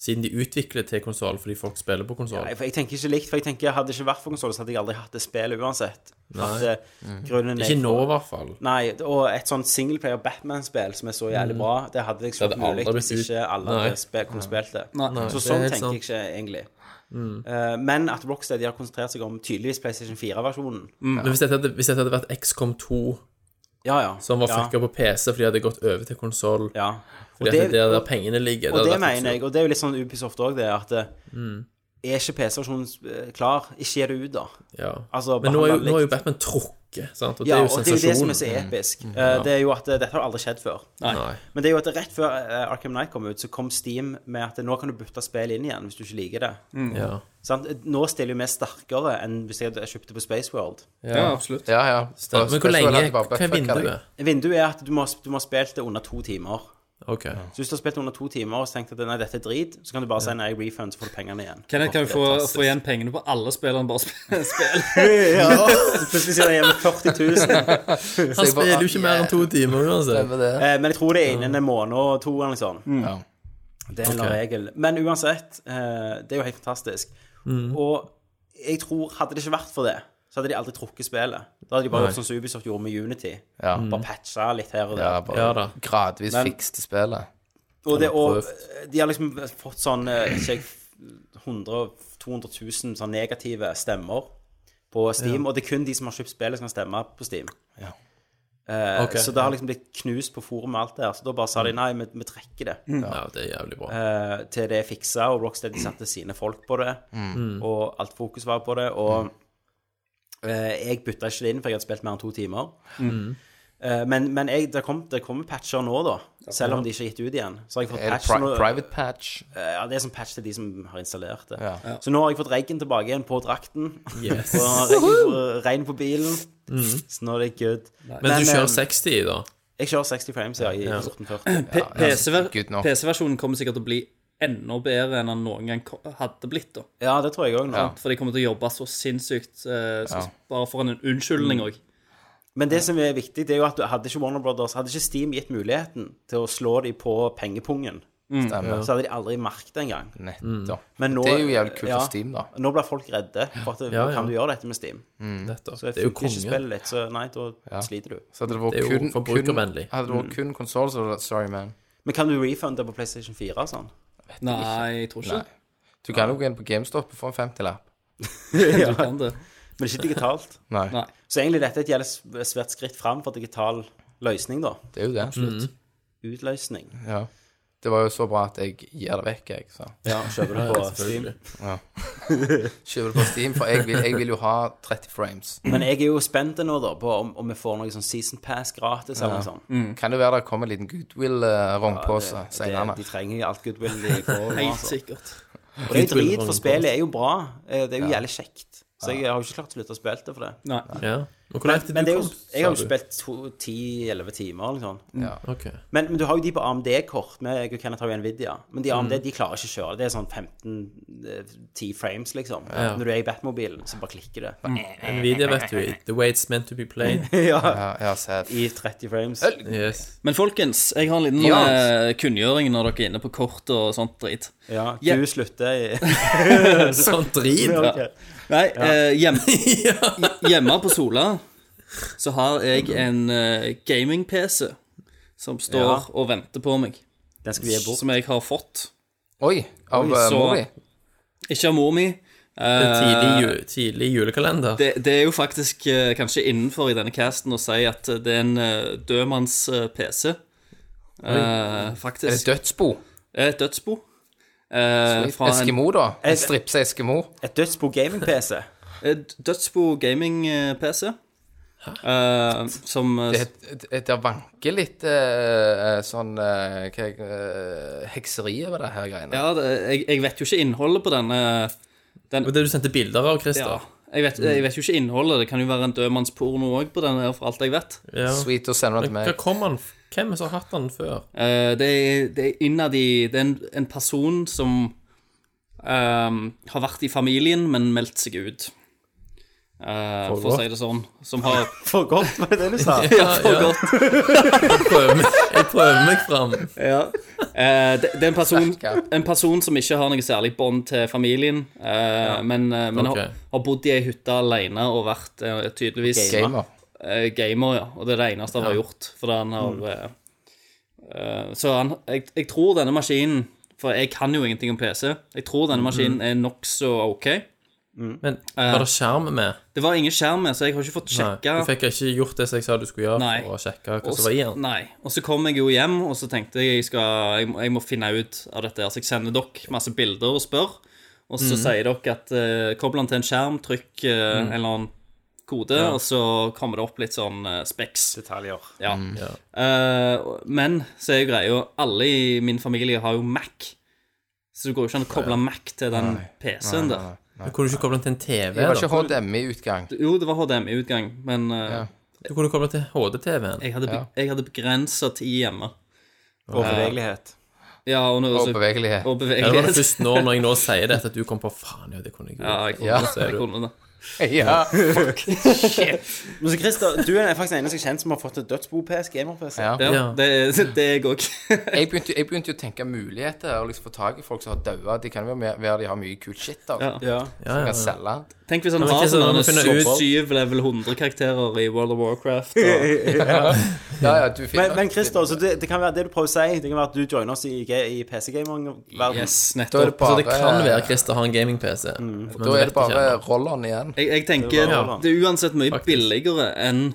Speaker 6: Siden de utvikler til konsoll fordi folk spiller på konsoll.
Speaker 1: Nei, for jeg tenker ikke likt, for jeg tenker hadde det ikke vært for konsoll, så hadde jeg aldri hatt det spillet uansett. At, eh, grunnen er-
Speaker 6: Ikke nå, i hvert fall.
Speaker 1: Nei, og et sånn singleplayer Batman-spill som er så jævlig bra, det hadde jeg
Speaker 6: Mm. Det
Speaker 1: slått
Speaker 6: hadde aldri
Speaker 1: mulig hvis
Speaker 6: blitt ut.
Speaker 1: ikke alle
Speaker 6: Nei.
Speaker 1: hadde spil, kunne spilt det. så
Speaker 6: det er
Speaker 1: sånn
Speaker 6: helt Mm.
Speaker 1: tenker jeg ikke egentlig. Eh, men at Rocksteady har konsentrert seg om tydeligvis PlayStation 4-versjonen.
Speaker 6: Men hvis dette, hadde, hvis dette hadde vært XCOM 2
Speaker 1: Ja, ja.
Speaker 6: som var
Speaker 1: ja.
Speaker 6: fucka på PC fordi de hadde gått over til konsoll
Speaker 1: Ja. Og
Speaker 6: Fordi
Speaker 1: det,
Speaker 6: at det er Mm. der pengene ligger.
Speaker 1: og
Speaker 6: hadde
Speaker 1: det
Speaker 6: vært
Speaker 1: mener jeg,
Speaker 6: absurd.
Speaker 1: og det er jo litt sånn Ubisoft òg, det at eh, Er ikke PC-versjonen eh, klar? Ikke gi det ut, da.
Speaker 6: Ja.
Speaker 1: altså,
Speaker 6: Men nå er, jo,
Speaker 1: behandlet
Speaker 6: nå er jo
Speaker 1: likt.
Speaker 6: Batman trukket, sant? og det
Speaker 1: Ja,
Speaker 6: er jo
Speaker 1: og det er jo det som
Speaker 6: sensasjonen. Mm.
Speaker 1: er så episk. Eh, Det er jo at eh, dette har aldri skjedd før.
Speaker 6: Nei.
Speaker 1: Men det er jo at rett før eh, Arkham Knight kom ut, så kom Steam med at nå kan du bytte spill inn igjen hvis du ikke liker det.
Speaker 6: Ja.
Speaker 1: Sant? Nå stiller jo vi sterkere enn hvis jeg hadde kjøpt det på Space World.
Speaker 6: Ja.
Speaker 2: absolutt.
Speaker 8: Ja, ja.
Speaker 6: Stemmer. Men hvor lenge
Speaker 8: Bare
Speaker 6: Hva
Speaker 8: fucka
Speaker 6: er
Speaker 8: deg.
Speaker 6: vinduet?
Speaker 1: Vinduet er at du må, du må ha spilt det under to timer.
Speaker 6: Ok.
Speaker 1: Så hvis du har spilt det under to timer og så tenkt at nei, dette er drit, så kan du bare si nei, refund, så får du pengene igjen.
Speaker 2: Kenneth kan jo få, få igjen pengene på alle spillene, bare sp- spill.
Speaker 1: Ja, så plutselig sier de hjemme 40 000.
Speaker 6: Han spiller jo ikke mer enn to timer uansett.
Speaker 8: Stemmer det.
Speaker 1: Eh, Men jeg tror det er innen en måned og to eller noe sånt.
Speaker 8: Ja.
Speaker 1: Det er en
Speaker 6: Mm. Ok.
Speaker 1: regel. Men uansett, eh, det er jo helt fantastisk.
Speaker 6: Mm.
Speaker 1: Og jeg tror, hadde det ikke vært for det, så hadde de aldri trukket spillet. Da hadde de bare gjort sånn som Ubisoft gjorde med Unity.
Speaker 8: Ja.
Speaker 1: Bare patcha litt her og
Speaker 8: Ja,
Speaker 1: der.
Speaker 8: bare
Speaker 6: Mm. Ja da.
Speaker 8: gradvis
Speaker 1: Men-
Speaker 8: fikste spillet.
Speaker 1: og, det, og eh, de har liksom fått sånn eh, ikke jeg, 100 200 000 sånn negative stemmer på Steam. Og det er kun de som har kjøpt spillet, som kan stemme på Steam. Eh,
Speaker 6: Ok. Mm.
Speaker 1: Så det har liksom blitt knust på forum og alt det her. Så da bare sa de nei, vi, vi trekker det.
Speaker 6: Ja, det er jævlig bra.
Speaker 1: eh, til det er fiksa, og Rocksteady satte sine folk på det, og alt fokus var på det, og eh, jeg bytta ikke det inn, for jeg hadde spilt mer enn to timer. Eh, men men jeg, det kommer det kommer patcher nå, da, selv om de ikke er gitt ut igjen. Så har jeg fått
Speaker 8: Er det
Speaker 1: patch
Speaker 8: pri
Speaker 1: nå,
Speaker 8: private patch?
Speaker 1: eh, ja, det er som patch til de som har installert det.
Speaker 8: Ja.
Speaker 1: Så nå har jeg fått reggen tilbake igjen på drakten,
Speaker 6: Yes.
Speaker 1: og regn på, regn på bilen, så nå er det good.
Speaker 6: Men du
Speaker 1: eh,
Speaker 6: kjører 60 i, da?
Speaker 1: jeg kjører 60 frames, ja, i 1440.
Speaker 2: P- PC-ver-
Speaker 8: Good nok.
Speaker 2: PC-versjonen kommer sikkert til å bli enda bedre enn den noen gang ko- hadde blitt. da
Speaker 1: Ja, det tror jeg òg nå.
Speaker 2: For de kommer til å jobbe så sinnssykt, eh, så bare for en unnskyldning òg.
Speaker 1: Men det som er viktig, det er jo at du- hadde ikke Warner Brothers, hadde ikke Steam gitt muligheten til å slå dem på pengepungen,
Speaker 8: Stemmer.
Speaker 1: så hadde de aldri merket det engang.
Speaker 8: Mm. Nettopp.
Speaker 5: Mm.
Speaker 1: Men nå,
Speaker 8: Det er jo jævlig kult for Steam, da.
Speaker 1: Nå blir folk redde for at
Speaker 6: Ja, ja.
Speaker 1: kan du gjøre dette med Steam.
Speaker 6: Nettopp.
Speaker 1: Mm. Så jeg
Speaker 6: Det er jo
Speaker 1: funker ikke
Speaker 6: konge.
Speaker 1: spillet litt, så nei, da sliter du.
Speaker 8: Så hadde det
Speaker 6: Det
Speaker 8: vært
Speaker 6: er jo
Speaker 8: kun, kun,
Speaker 6: forbrukervennlig.
Speaker 8: hadde det
Speaker 5: Mm.
Speaker 8: vært kun konsoll, så hadde det vært Sorry, man.
Speaker 1: Men kan du refunde på PlayStation 4 og sånn?
Speaker 2: Nei, jeg tror ikke
Speaker 8: Du kan jo gå inn på GameStop og få en 50-lapp.
Speaker 2: du kan det.
Speaker 1: Men ikke digitalt.
Speaker 8: Nei.
Speaker 2: Nei.
Speaker 1: Så egentlig dette er et jævlig s-
Speaker 5: Mm.
Speaker 1: svært skritt fram for digital løsning, da.
Speaker 8: Det er jo det.
Speaker 1: Utløsning.
Speaker 8: Ja.
Speaker 5: Det var jo så bra at jeg gir det vekk, jeg. Så.
Speaker 1: Ja, kjøper det på Steam.
Speaker 5: Kjøper det på Steam, for jeg vil, jeg vil jo ha 30 frames.
Speaker 8: Mm.
Speaker 1: Men jeg er jo spent nå da på om, om vi får noe sånn Season Pass gratis eller noe sånt.
Speaker 5: Mm. Kan det være det kommer en liten goodwill-rognpose
Speaker 1: Det-
Speaker 5: senere?
Speaker 1: De trenger jo alt goodwill de får. nå,
Speaker 2: Helt
Speaker 1: altså.
Speaker 2: sikkert.
Speaker 1: Og det er jo drit, for spillet er jo bra. Eh, Det er jo jævlig kjekt. Så jeg har jo ikke klart å slutte å spille det for det.
Speaker 2: Nei.
Speaker 6: Ja. Men hvor langt er
Speaker 1: Men det er
Speaker 6: du
Speaker 1: jo,
Speaker 6: kommet?
Speaker 1: jeg har jo
Speaker 6: sa du?
Speaker 1: spilt to- 10-11 timer, liksom.
Speaker 6: Ok.
Speaker 1: Men, men du har jo de på AMD-kort. Jeg og Kenneth har jo Nvidia. Men de AMD de klarer ikke å kjøre. Det er sånn 15-10 frames, liksom.
Speaker 6: Ja.
Speaker 1: Når du er i Batmobilen, så bare klikker det.
Speaker 6: Nvidia, vet du. The way it's meant to be played.
Speaker 1: ja.
Speaker 5: Ja, ja, se.
Speaker 1: I 30 frames.
Speaker 6: Yes.
Speaker 2: Men folkens, jeg har en liten
Speaker 5: Ja.
Speaker 2: eh, kunngjøring når dere er inne på kort og sånt drit.
Speaker 1: Ja,
Speaker 2: Ja.
Speaker 1: du slutter i
Speaker 6: Sånn drit.
Speaker 1: Ja,
Speaker 6: Ja.
Speaker 1: ok.
Speaker 2: Nei, eh, hjem, hjemme på Sola så har jeg en eh, gaming-PC som står
Speaker 1: Ja.
Speaker 2: og venter på meg.
Speaker 1: Den skal vi gi bort.
Speaker 2: Som jeg har fått.
Speaker 5: Oi, av uh,
Speaker 2: så-
Speaker 5: Mori.
Speaker 2: Ikke av mor mi.
Speaker 6: Det
Speaker 2: eh,
Speaker 6: er Tidlig, ju- tidlig julekalender.
Speaker 2: det, det er jo faktisk eh, kanskje innenfor i denne casten å si at det er en eh, dødmanns eh, PC. Eh,
Speaker 5: Er det
Speaker 2: faktisk.
Speaker 5: dødsbo?
Speaker 2: Et dødsbo. Eh, fra en
Speaker 5: Eskimo, da? En stripse Eskimo?
Speaker 1: Et dødsbo gaming-PC.
Speaker 2: et Eh, dødsbo gaming-PC. som eh,
Speaker 5: Det, det, det vanker litt eh, sånn eh, hva, eh, hekseri over det her greiene.
Speaker 2: Ja, det, jeg, jeg vet jo ikke innholdet på denne eh,
Speaker 6: Og det du sendte bilder av,
Speaker 2: ja. Mm.
Speaker 6: Christer.
Speaker 2: jeg, vet, jeg vet jo ikke innholdet. Det kan jo være en dødmannsporno òg på denne, her, for alt jeg vet.
Speaker 6: Ja.
Speaker 5: Sweet å sende det til
Speaker 6: Hva
Speaker 5: meg.
Speaker 6: kom han f- Hvem som har hatt han før?
Speaker 2: Eh, det, er, det er innad i Det er en, en person som ehm, har vært i familien, men meldt seg ut. Eh, for å si det sånn. Som har
Speaker 1: For godt, var det det du sa?
Speaker 2: Ja, for godt.
Speaker 6: Prøver meg- Jeg prøver meg fram.
Speaker 2: Eh, det, det er en person,
Speaker 5: Stakkar.
Speaker 2: en person som ikke har noe særlig bånd til familien, eh, men, eh, men
Speaker 6: ok.
Speaker 2: har, har bodd i ei hytte alene og vært eh, tydeligvis
Speaker 5: Gamer.
Speaker 2: Eh, gamer, ja. Og det er det eneste han har gjort. Fordi han har eh, eh, Så han jeg, jeg tror denne maskinen For jeg kan jo ingenting om PC. Jeg tror denne maskinen er nokså OK.
Speaker 6: Men var det skjerm med?
Speaker 2: Det var ingen skjerm, så jeg har ikke fått Eh,
Speaker 6: Nei.
Speaker 2: sjekka.
Speaker 6: Du fikk ikke gjort det som jeg sa du skulle gjøre,
Speaker 2: Nei.
Speaker 6: for å sjekke Altså, hva
Speaker 2: Og
Speaker 6: som var i
Speaker 2: så-
Speaker 6: den?
Speaker 2: Nei. Og så kom jeg jo hjem, og så tenkte jeg jeg, skal, jeg, må- jeg må finne ut av dette. her. Så jeg sender dere masse bilder og spør, og så
Speaker 6: Mhm.
Speaker 2: sier dere at uh, kobl den til en skjerm, trykk eh, en eller annen kode, og så kommer det opp litt sånn uh, speks.
Speaker 1: Detaljer.
Speaker 2: Ja.
Speaker 6: Mhm.
Speaker 2: Eh, men så er jo greia Alle i min familie har jo Mac. Så det går jo ikke an å koble Mac til den PC-en der.
Speaker 6: Du kunne ikke koble den til en TV?
Speaker 5: Det var
Speaker 6: Da.
Speaker 5: ikke HDMI-utgang.
Speaker 2: Jo, det var HDMI-utgang, men eh,
Speaker 6: Du kunne koble den til HD-TV-en.
Speaker 2: jeg hadde, be jeg hadde begrensa tid hjemme.
Speaker 1: Og bevegelighet.
Speaker 2: Ja, og, nå-
Speaker 5: Og
Speaker 2: så-
Speaker 5: bevegelighet.
Speaker 2: og
Speaker 6: Ja, det var
Speaker 2: bevegelighet.
Speaker 6: det først nå, når jeg nå sier dette, at du kom på faen, ja, det kunne jeg
Speaker 2: Ja, jeg
Speaker 6: gjort.
Speaker 2: kunne,
Speaker 5: Ja.
Speaker 2: det, jeg kunne det.
Speaker 5: Ja.
Speaker 1: Men så Christer, du er faktisk den eneste jeg kjenner som har fått et dødsbo-PS, gamer-PC.
Speaker 5: Ja.
Speaker 2: Ja,
Speaker 6: Ja.
Speaker 2: det. Det er jeg òg.
Speaker 5: Jeg, begynte, jeg begynte jo å tenke muligheter og liksom få tak i folk som har daua. De kan jo være- være de har mye kult shit da,
Speaker 2: Ja.
Speaker 1: Ja.
Speaker 6: Ja,
Speaker 5: som
Speaker 6: ja,
Speaker 5: kan selge.
Speaker 2: Tenk hvis han
Speaker 6: men
Speaker 2: har
Speaker 6: Kristian,
Speaker 2: sånn
Speaker 6: nå må vi finne ut-
Speaker 2: syv level 100 karakterer i World of Warcraft. Og,
Speaker 5: Ja, ja, du
Speaker 1: Men,
Speaker 5: finner
Speaker 1: men Christer, så det, det kan være det du prøver å si. Det kan være at du joiner oss i, i PC-gaming-verden.
Speaker 2: yes,
Speaker 5: Da er
Speaker 2: nettopp.
Speaker 5: det
Speaker 6: Så det
Speaker 5: bare,
Speaker 6: kan være Christer har en gaming-PC. men
Speaker 5: da
Speaker 6: vi
Speaker 5: er
Speaker 6: vet
Speaker 5: det bare
Speaker 6: ikke ennå.
Speaker 5: rolleren igjen.
Speaker 2: Jeg, jeg tenker det,
Speaker 1: Det var-
Speaker 2: er uansett mye billigere enn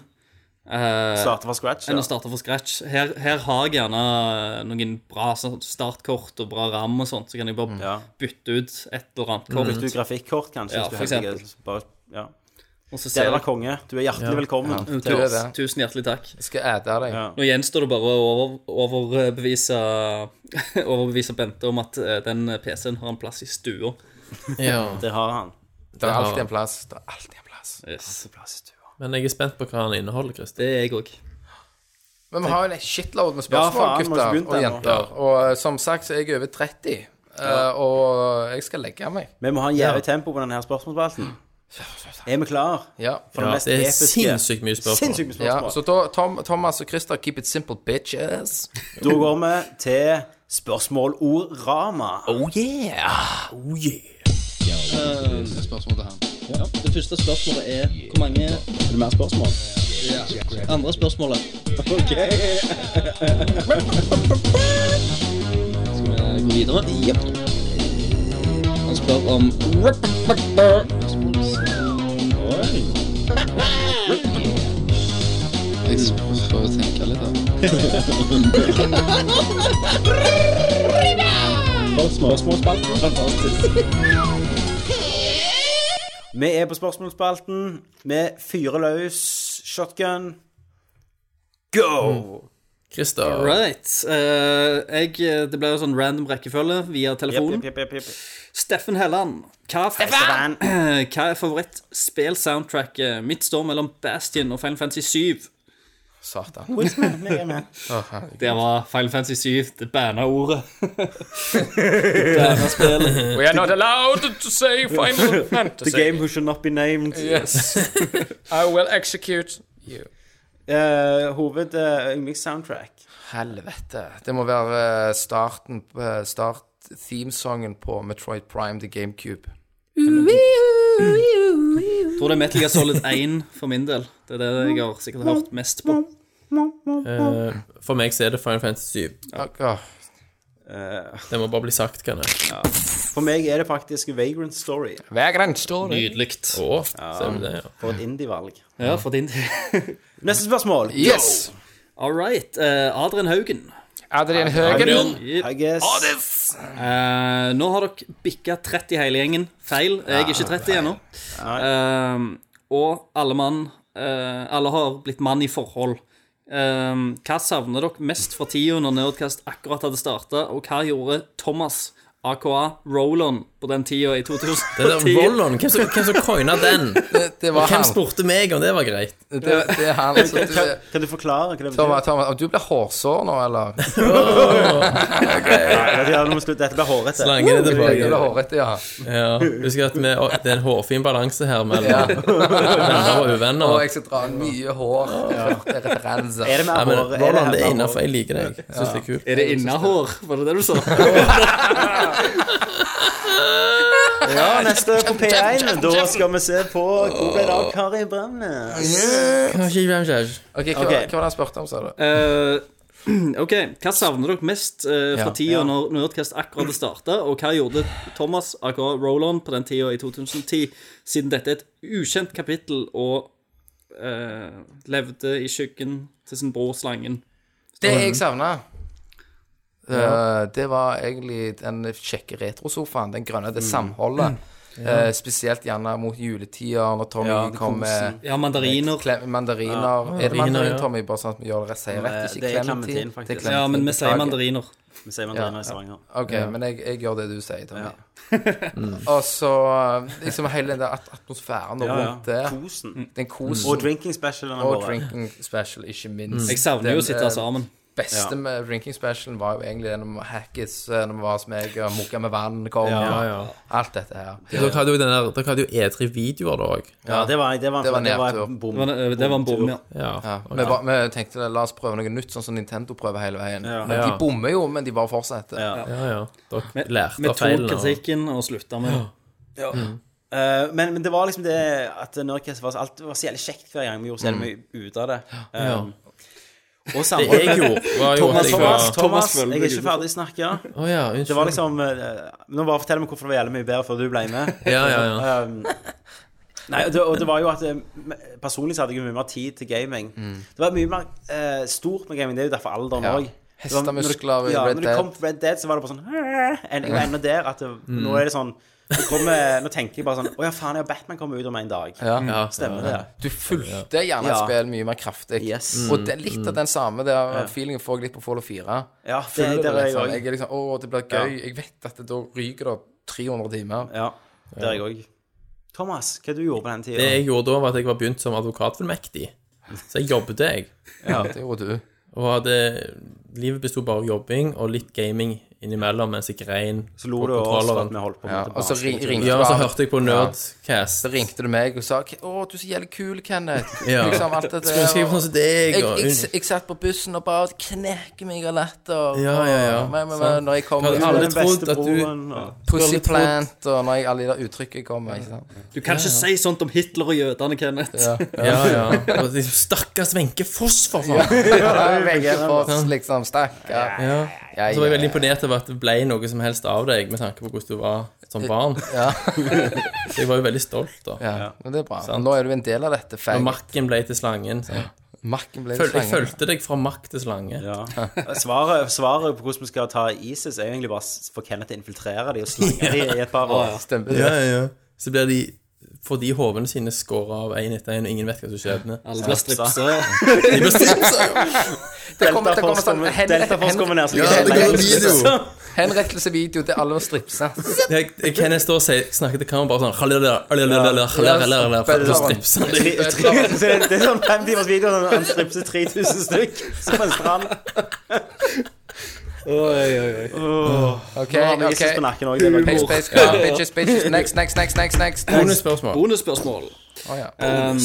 Speaker 2: eh,
Speaker 1: Starte fra scratch.
Speaker 2: enn
Speaker 1: Ja.
Speaker 2: å starte fra scratch. Her, her har jeg gjerne eh, noen bra sånn startkort og bra ram og sånt, så kan jeg bare
Speaker 1: Ja.
Speaker 2: bytte ut et eller annet
Speaker 1: Mm. Hvis
Speaker 2: kort.
Speaker 1: du grafikkort, kanskje.
Speaker 2: Ja,
Speaker 1: hvis du
Speaker 2: for
Speaker 1: er heldig,
Speaker 2: eksempel.
Speaker 1: så Bare, ja.
Speaker 2: Og så
Speaker 1: Det
Speaker 2: ser Mm.
Speaker 1: er konge. Du er hjertelig velkommen.
Speaker 2: jeg
Speaker 5: Du er det.
Speaker 2: Tusen hjertelig takk.
Speaker 5: Jeg skal æte deg.
Speaker 1: Ja.
Speaker 2: Nå gjenstår det bare å over, overbevise, overbevise Bente om at eh, den PC-en har en plass i stua.
Speaker 6: Ja.
Speaker 1: Det har han.
Speaker 5: Det er alltid en plass. Det er alltid en plass.
Speaker 2: Yes.
Speaker 6: Men jeg er spent på hva han inneholder, Christer.
Speaker 2: Det er jeg òg.
Speaker 5: Men vi har jo en shitload med
Speaker 1: Ja, faen,
Speaker 5: spørsmål,
Speaker 1: vi har ikke
Speaker 5: gutter
Speaker 1: begynt
Speaker 5: og
Speaker 1: ennå.
Speaker 5: jenter. Og eh, som sagt så er jeg over 30, eh, og jeg skal legge meg.
Speaker 1: Vi må ha en jævlig tempo på denne her spørsmålsspalten. Er vi klar?
Speaker 5: Ja.
Speaker 1: For
Speaker 6: Ja,
Speaker 1: det mest
Speaker 6: det er
Speaker 1: episke.
Speaker 6: sinnssykt mye spørsmål.
Speaker 1: Sinnssykt mye
Speaker 5: ja
Speaker 1: spørsmål.
Speaker 5: så da, Tom, Thomas og Christer, keep it simple, bitches.
Speaker 1: Da går vi til spørsmålorama.
Speaker 5: Oh yeah!
Speaker 1: Oh
Speaker 2: Det første spørsmålet er hvor mange
Speaker 1: Er det mer spørsmål?
Speaker 2: Andre spørsmålet. Ok. Skal vi gå videre? Jepp. Han spør om
Speaker 10: Jeg
Speaker 1: Vi er på spørsmålsspalten. Vi fyrer løs shotgun. Go!
Speaker 6: Christer.
Speaker 2: Right. Eh, jeg, det ble jo sånn random rekkefølge via telefonen.
Speaker 1: Jepp, jepp, jepp, jepp.
Speaker 2: Steffen Helland, hva,
Speaker 1: Stefan!
Speaker 2: Eh, hva er favorittspill-soundtracket? Mitt står mellom Bastion og Final Fantasy 7.
Speaker 5: Satan.
Speaker 2: Det var Final Fantasy 7, det banna ordet. banna spillet.
Speaker 5: We are not allowed to say final fantasy.
Speaker 1: The game who should not be named.
Speaker 5: Yes. I will execute you.
Speaker 1: Eh, hoved eh, yndlingssoundtrack.
Speaker 5: Helvete. Det må være eh, starten eh, Start themesongen på Metroid Prime The GameCube.
Speaker 2: Jeg tror det er Metal Gear Solid 1 for min del. Det er det jeg har sikkert hørt mest på.
Speaker 6: Eh, for meg så er det Final Fantasy 7.
Speaker 5: Åh,
Speaker 6: Det må bare bli sagt, kan jeg.
Speaker 1: Eh, For meg er det faktisk Vagrant Story.
Speaker 5: Vagrant story.
Speaker 2: Nydelig.
Speaker 6: Å, ser du det, ja.
Speaker 1: For et indie-valg.
Speaker 2: Ja, for din del.
Speaker 1: Neste spørsmål.
Speaker 5: Yes!
Speaker 2: All right. eh, Adrian Haugen.
Speaker 5: Adrian Høgen.
Speaker 1: I guess.
Speaker 2: Eh, nå har dere bikka 30 hele gjengen. Feil. Jeg er ikke 30 ennå. Eh, og alle mann eh, Alle har blitt mann i forhold. Eh, hva savner dere mest fra tida når Nerdcast akkurat hadde starta, og hva gjorde Thomas, aka Roland, på den tida i 2010?
Speaker 6: Det der Vollon, hvem som, hvem som coina den?
Speaker 5: Det, det var
Speaker 6: Hvem
Speaker 5: han.
Speaker 6: spurte meg om det var greit?
Speaker 5: Det, det er han. altså. Så du,
Speaker 1: Kan du forklare hva det betyr?
Speaker 5: Thomas, Thomas, om du blir hårsår nå, eller?
Speaker 1: Nei, det er noe slutt. Dette blir hårete.
Speaker 6: Lange det
Speaker 5: Du blir
Speaker 6: tilbake.
Speaker 5: hårete, ja.
Speaker 6: Ja, husk at vi, å, det er en hårfin balanse her mellom
Speaker 5: Ja.
Speaker 6: venner og
Speaker 5: Å,
Speaker 6: uvenner.
Speaker 5: jeg skal dra mye hår. Det er referanser.
Speaker 1: Er det
Speaker 6: Nei,
Speaker 1: mer
Speaker 6: men
Speaker 1: hår? Er
Speaker 6: Roland, det
Speaker 1: mer
Speaker 6: er
Speaker 1: hår?
Speaker 6: innafor. Jeg liker deg. Jeg syns det er kult.
Speaker 2: Er det innahår? Var det det du sa?
Speaker 1: Ja, neste på P1. Da skal vi se på hvor ble det av Kari Bremnes.
Speaker 5: Ok, hva,
Speaker 1: Ok.
Speaker 5: hva var det han spurte om, sa du?
Speaker 2: Eh, OK, hva savner dere mest eh, fra tida når Nerdcast akkurat starta, og hva gjorde Thomas aka Roland på den tida i 2010, siden dette er et ukjent kapittel og eh, levde i skyggen til sin bror Slangen?
Speaker 5: Det jeg savna, Eh, det var egentlig den kjekke retrosofaen. Den grønne. Det samholdet. Eh, spesielt gjerne mot juletider, når Tommy kom med
Speaker 2: Ja, mandariner.
Speaker 5: klem, mandariner. Er det
Speaker 6: mandariner,
Speaker 5: mandarin,
Speaker 6: ja.
Speaker 5: Tommy? Bare sånn at vi gjør det rett, sier rett,
Speaker 1: det
Speaker 5: ikke
Speaker 1: er
Speaker 5: clementin.
Speaker 1: clementin, faktisk.
Speaker 5: Det er
Speaker 2: Ja, men vi sier
Speaker 5: beklager.
Speaker 2: mandariner.
Speaker 1: Vi sier mandariner i Stavanger.
Speaker 5: Ok, men jeg, jeg gjør det du sier, Tommy. Og så liksom hele den der at- atmosfæren og
Speaker 1: Ja, ja.
Speaker 5: rundt det.
Speaker 1: Kosen.
Speaker 5: Den kosen.
Speaker 1: Og drinking specialen
Speaker 5: og
Speaker 1: vår.
Speaker 5: drinking special, ikke minst.
Speaker 2: Mm. Jeg savner jo å sitte
Speaker 5: eh,
Speaker 2: sammen.
Speaker 5: beste
Speaker 1: Ja.
Speaker 5: med drinking specialen var jo egentlig den om hackis eh, når vi var hos meg og mokka med vann kom,
Speaker 1: Ja,
Speaker 5: og alt dette her.
Speaker 6: Dere hadde jo den der- dere hadde jo edre videoer da òg.
Speaker 1: Ja, det var, det var,
Speaker 5: Det var
Speaker 1: det var
Speaker 5: nedtur.
Speaker 1: en bom.
Speaker 2: Det var, det var en bom, ja.
Speaker 6: Ja.
Speaker 5: Ja. Vi, var- vi tenkte la oss prøve noe nytt, sånn som Nintendo prøver hele veien.
Speaker 1: Ja.
Speaker 5: Men
Speaker 6: Ja.
Speaker 5: de bommer jo, men de bare fortsetter.
Speaker 6: ja, ja. Dere
Speaker 2: Vi
Speaker 6: lærte av
Speaker 2: tok
Speaker 6: feilene. og-
Speaker 2: kritikken og slutta med det. Mm.
Speaker 1: Eh, men, men det var liksom det at Nerdcast var, så- alt var så jævlig kjekt hver gang vi gjorde så jævlig mye ut av det. Um, og
Speaker 6: Det
Speaker 1: samhold.
Speaker 6: jeg gjorde, var jo at
Speaker 1: Thomas,
Speaker 6: jeg var
Speaker 1: Thomas, Thomas, jeg er ikke ferdig snakka.
Speaker 6: Å ja, unnskyld.
Speaker 1: Det var liksom eh, Nå bare fortell meg hvorfor det var jævlig mye bedre før du ble med.
Speaker 6: Ja, ja, ja.
Speaker 1: Um, nei, og det, og det var jo at eh, Personlig så hadde jeg jo mye mer tid til gaming. Det var mye mer eh, stort med gaming. Det er jo derfor alderen
Speaker 5: Mm. Ja.
Speaker 1: òg.
Speaker 5: Hestemuskler i
Speaker 1: ja,
Speaker 5: Red
Speaker 1: når du
Speaker 5: Dead.
Speaker 1: kom på Red Dead, så var det bare sånn «Hæ?» en, Jeg var ennå der at det,
Speaker 6: Mm.
Speaker 1: nå er det sånn det kommer, Nå tenker jeg bare sånn Å ja, faen, ja, Batman kommer ut om en dag.
Speaker 6: ja.
Speaker 1: Stemmer det?
Speaker 5: Du fulgte gjerne et
Speaker 1: Ja.
Speaker 5: spill mye mer kraftig.
Speaker 1: Yes.
Speaker 6: Mm.
Speaker 5: Og det, litt av den samme der feelingen får jeg litt på Follow 4.
Speaker 1: Ja, det-
Speaker 5: Følger
Speaker 1: der er jeg
Speaker 5: liksom.
Speaker 1: også.
Speaker 5: Jeg er liksom, å, det blir gøy. Jeg vet at det, da ryker det 300 timer.
Speaker 1: Ja. Der er jeg òg. Thomas, hva du gjorde på den
Speaker 6: Det
Speaker 1: tida?
Speaker 6: jeg gjorde da, var at jeg var begynt som advokatfullmektig. Så jeg jobbet, jeg.
Speaker 5: Det gjorde du.
Speaker 6: Og hadde, livet bestod bare av jobbing og litt gaming innimellom mens jeg grein
Speaker 1: Så lo du av oss for at vi holdt på med
Speaker 5: Ja. Og så
Speaker 1: tilbake.
Speaker 5: ring, ringte
Speaker 6: Ja, og så
Speaker 5: du-
Speaker 6: hørte jeg på Nerdcast.
Speaker 5: Så ringte du meg og sa Å, du er så jævlig kul, Kenneth.
Speaker 6: Ja.
Speaker 5: Liksom alt det
Speaker 6: Skulle ønske jeg var
Speaker 5: og-
Speaker 6: sånn som deg.
Speaker 5: jeg,
Speaker 6: og-
Speaker 5: jeg, jeg satt på bussen og bare knekke meg av latter.
Speaker 6: Ja, ja, ja.
Speaker 5: og- Men, men,
Speaker 6: Sant.
Speaker 5: men, når jeg kom
Speaker 6: Hadde aldri
Speaker 5: med
Speaker 1: Den
Speaker 6: trodd
Speaker 1: beste
Speaker 6: at du-
Speaker 1: broren, og-
Speaker 5: Pussy plant, og når jeg, alle de der uttrykkene kom med. ikke sant?
Speaker 2: Du kan ikke si sånt om Hitler og jødene, Kenneth.
Speaker 6: Ja, ja. Og de, Stakkars Wenche Foss, for faen!
Speaker 5: Ja, Begge for oss, liksom. Stakkar.
Speaker 6: Ja.
Speaker 5: Ja,
Speaker 6: Så var jeg eh,
Speaker 5: ja.
Speaker 6: veldig imponert over at det ble noe som helst av deg, med tanke på hvordan du var som barn. Så jeg var jo veldig stolt, da.
Speaker 5: Ja, men det er bra.
Speaker 6: Sant.
Speaker 5: Nå er du en del av dette.
Speaker 6: Og
Speaker 5: Fag.
Speaker 6: makken ble til slangen. sant?
Speaker 5: Makken ble
Speaker 6: Føl,
Speaker 5: en
Speaker 6: jeg
Speaker 5: slange.
Speaker 6: fulgte deg fra mark til slange.
Speaker 1: Ja. Svaret, svaret på hvordan vi skal ta ISIS, er jo egentlig bare s- for Kenneth til å infiltrere de og slange de i et par år.
Speaker 5: Stemmer det?
Speaker 6: Ja, ja, ja. Så blir de Får de hovene sine skåret av én etter én, og ingen vet hva som skjedde.
Speaker 2: Alle blir stripsa.
Speaker 6: De blir stripsa!
Speaker 5: Det kommer- det kommer
Speaker 1: Deltaforce
Speaker 5: sånn
Speaker 1: kommer
Speaker 5: hen-
Speaker 1: Deltaforce
Speaker 5: hen-
Speaker 1: kommer ned. så
Speaker 6: Ja,
Speaker 1: vi
Speaker 6: det
Speaker 1: kan-
Speaker 6: går en video.
Speaker 5: Henrettelsevideo til alle å stripse.
Speaker 6: Jeg, jeg, Kenneth står og sier- snakker til kameraet bare sånn «Halalala, halalala, halalala», For å stripse han.
Speaker 1: Tre- tre- så det- Det er sånn fem timers video sånn, han stripser 3000 stykk som en strand.
Speaker 5: Eh, OK,
Speaker 1: Nå har vi
Speaker 5: OK.
Speaker 1: ISIS på nakken òg. Det er
Speaker 5: Hey,
Speaker 1: nok-
Speaker 5: space, car, bitches, bitches, next, next, next, next, next.
Speaker 6: Bonusspørsmål.
Speaker 2: Bonusspørsmål.
Speaker 5: Å, ja.
Speaker 1: Eh,
Speaker 2: Um,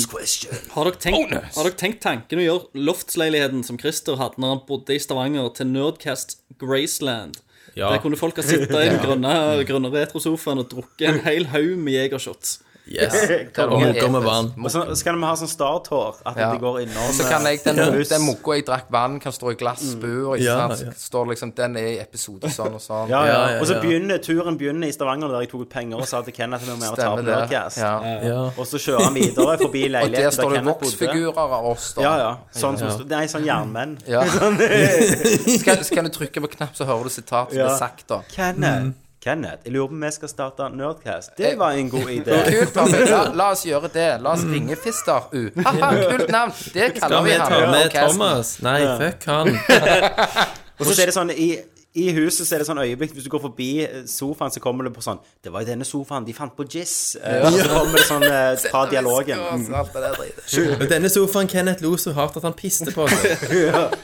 Speaker 2: har, dere tenkt, har dere tenkt tanken å gjøre loftsleiligheten som Christer hadde når han bodde i Stavanger, til Nerdcast Graceland?
Speaker 6: Ja.
Speaker 2: Der kunne folk ha sittet i den grønne, grønne retrosofaen og drukket en hel haug med Jegershots.
Speaker 6: Yes.
Speaker 5: Konge.
Speaker 6: Og mugger med vann.
Speaker 1: Og så skal vi ha sånn startår, at
Speaker 5: Ja.
Speaker 1: de går innom
Speaker 5: Så kan jeg, den,
Speaker 1: eh,
Speaker 5: den mugga jeg drakk vann, kan stå i
Speaker 1: Mm.
Speaker 5: glassbur. Ikke
Speaker 6: Ja,
Speaker 5: sant? Så
Speaker 6: ja.
Speaker 5: Står liksom, Den er i episode sånn og sånn.
Speaker 1: Ja,
Speaker 6: Ja,
Speaker 1: ja.
Speaker 6: ja,
Speaker 1: Og så
Speaker 6: ja.
Speaker 1: begynner turen begynner i Stavanger, der jeg tok ut penger og sa til Kenneth at vi må ta
Speaker 5: Stemmer
Speaker 1: på
Speaker 5: det.
Speaker 1: Nerdcast.
Speaker 5: Ja.
Speaker 6: Ja.
Speaker 1: Og så kjører han videre forbi
Speaker 5: Og der
Speaker 1: leiligheten
Speaker 5: står det
Speaker 1: Kenneth bodde.
Speaker 5: voksfigurer av oss, da.
Speaker 1: Ja, Sånn ja. Sånn som sto- Nei, sånn jernmenn.
Speaker 5: Ja. Så, kan, så kan du trykke på knapp, så hører du sitat som
Speaker 1: Ja.
Speaker 5: er sagt, da.
Speaker 1: Kenneth, Kenneth, jeg lurer på om vi skal starte Nerdcast. Det var en god idé.
Speaker 5: Kult, da. men La, la oss gjøre det. La oss ringe Fister U. Haha, kult navn! Det
Speaker 6: Skal
Speaker 5: kaller
Speaker 6: vi
Speaker 5: vi ham.
Speaker 6: ta med
Speaker 5: Ok,
Speaker 6: Thomas? Nei, fuck han.
Speaker 1: Og så er det sånn i i huset så er det sånn øyeblikk Hvis du går forbi eh, sofaen, så kommer det på sånn 'Det var i denne sofaen de fant på jizz.' Eh, og Så kommer det sånn eh, fra dialogen. Mm.
Speaker 5: så- så alt det der dritet.
Speaker 6: Og Denne sofaen Kenneth lo så hardt at han piste på seg.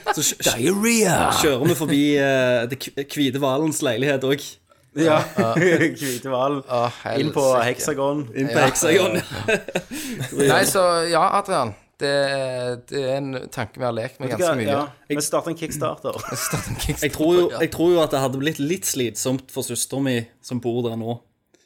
Speaker 2: Så kj- kjører vi forbi eh, det kv- hvite hvalens leilighet òg.
Speaker 1: Ja. Hvite hval.
Speaker 5: Å,
Speaker 1: Inn på
Speaker 5: Ah, helsike.
Speaker 1: heksagon.
Speaker 2: Inn på Heksagon.
Speaker 5: Nei, så ja, Adrian. Det, det er en tanke vi har lekt med ganske mye.
Speaker 1: Ja, vi starter en kickstarter.
Speaker 2: Jeg tror, jo, jeg tror jo at det hadde blitt litt slitsomt for søsteren min som bor der nå.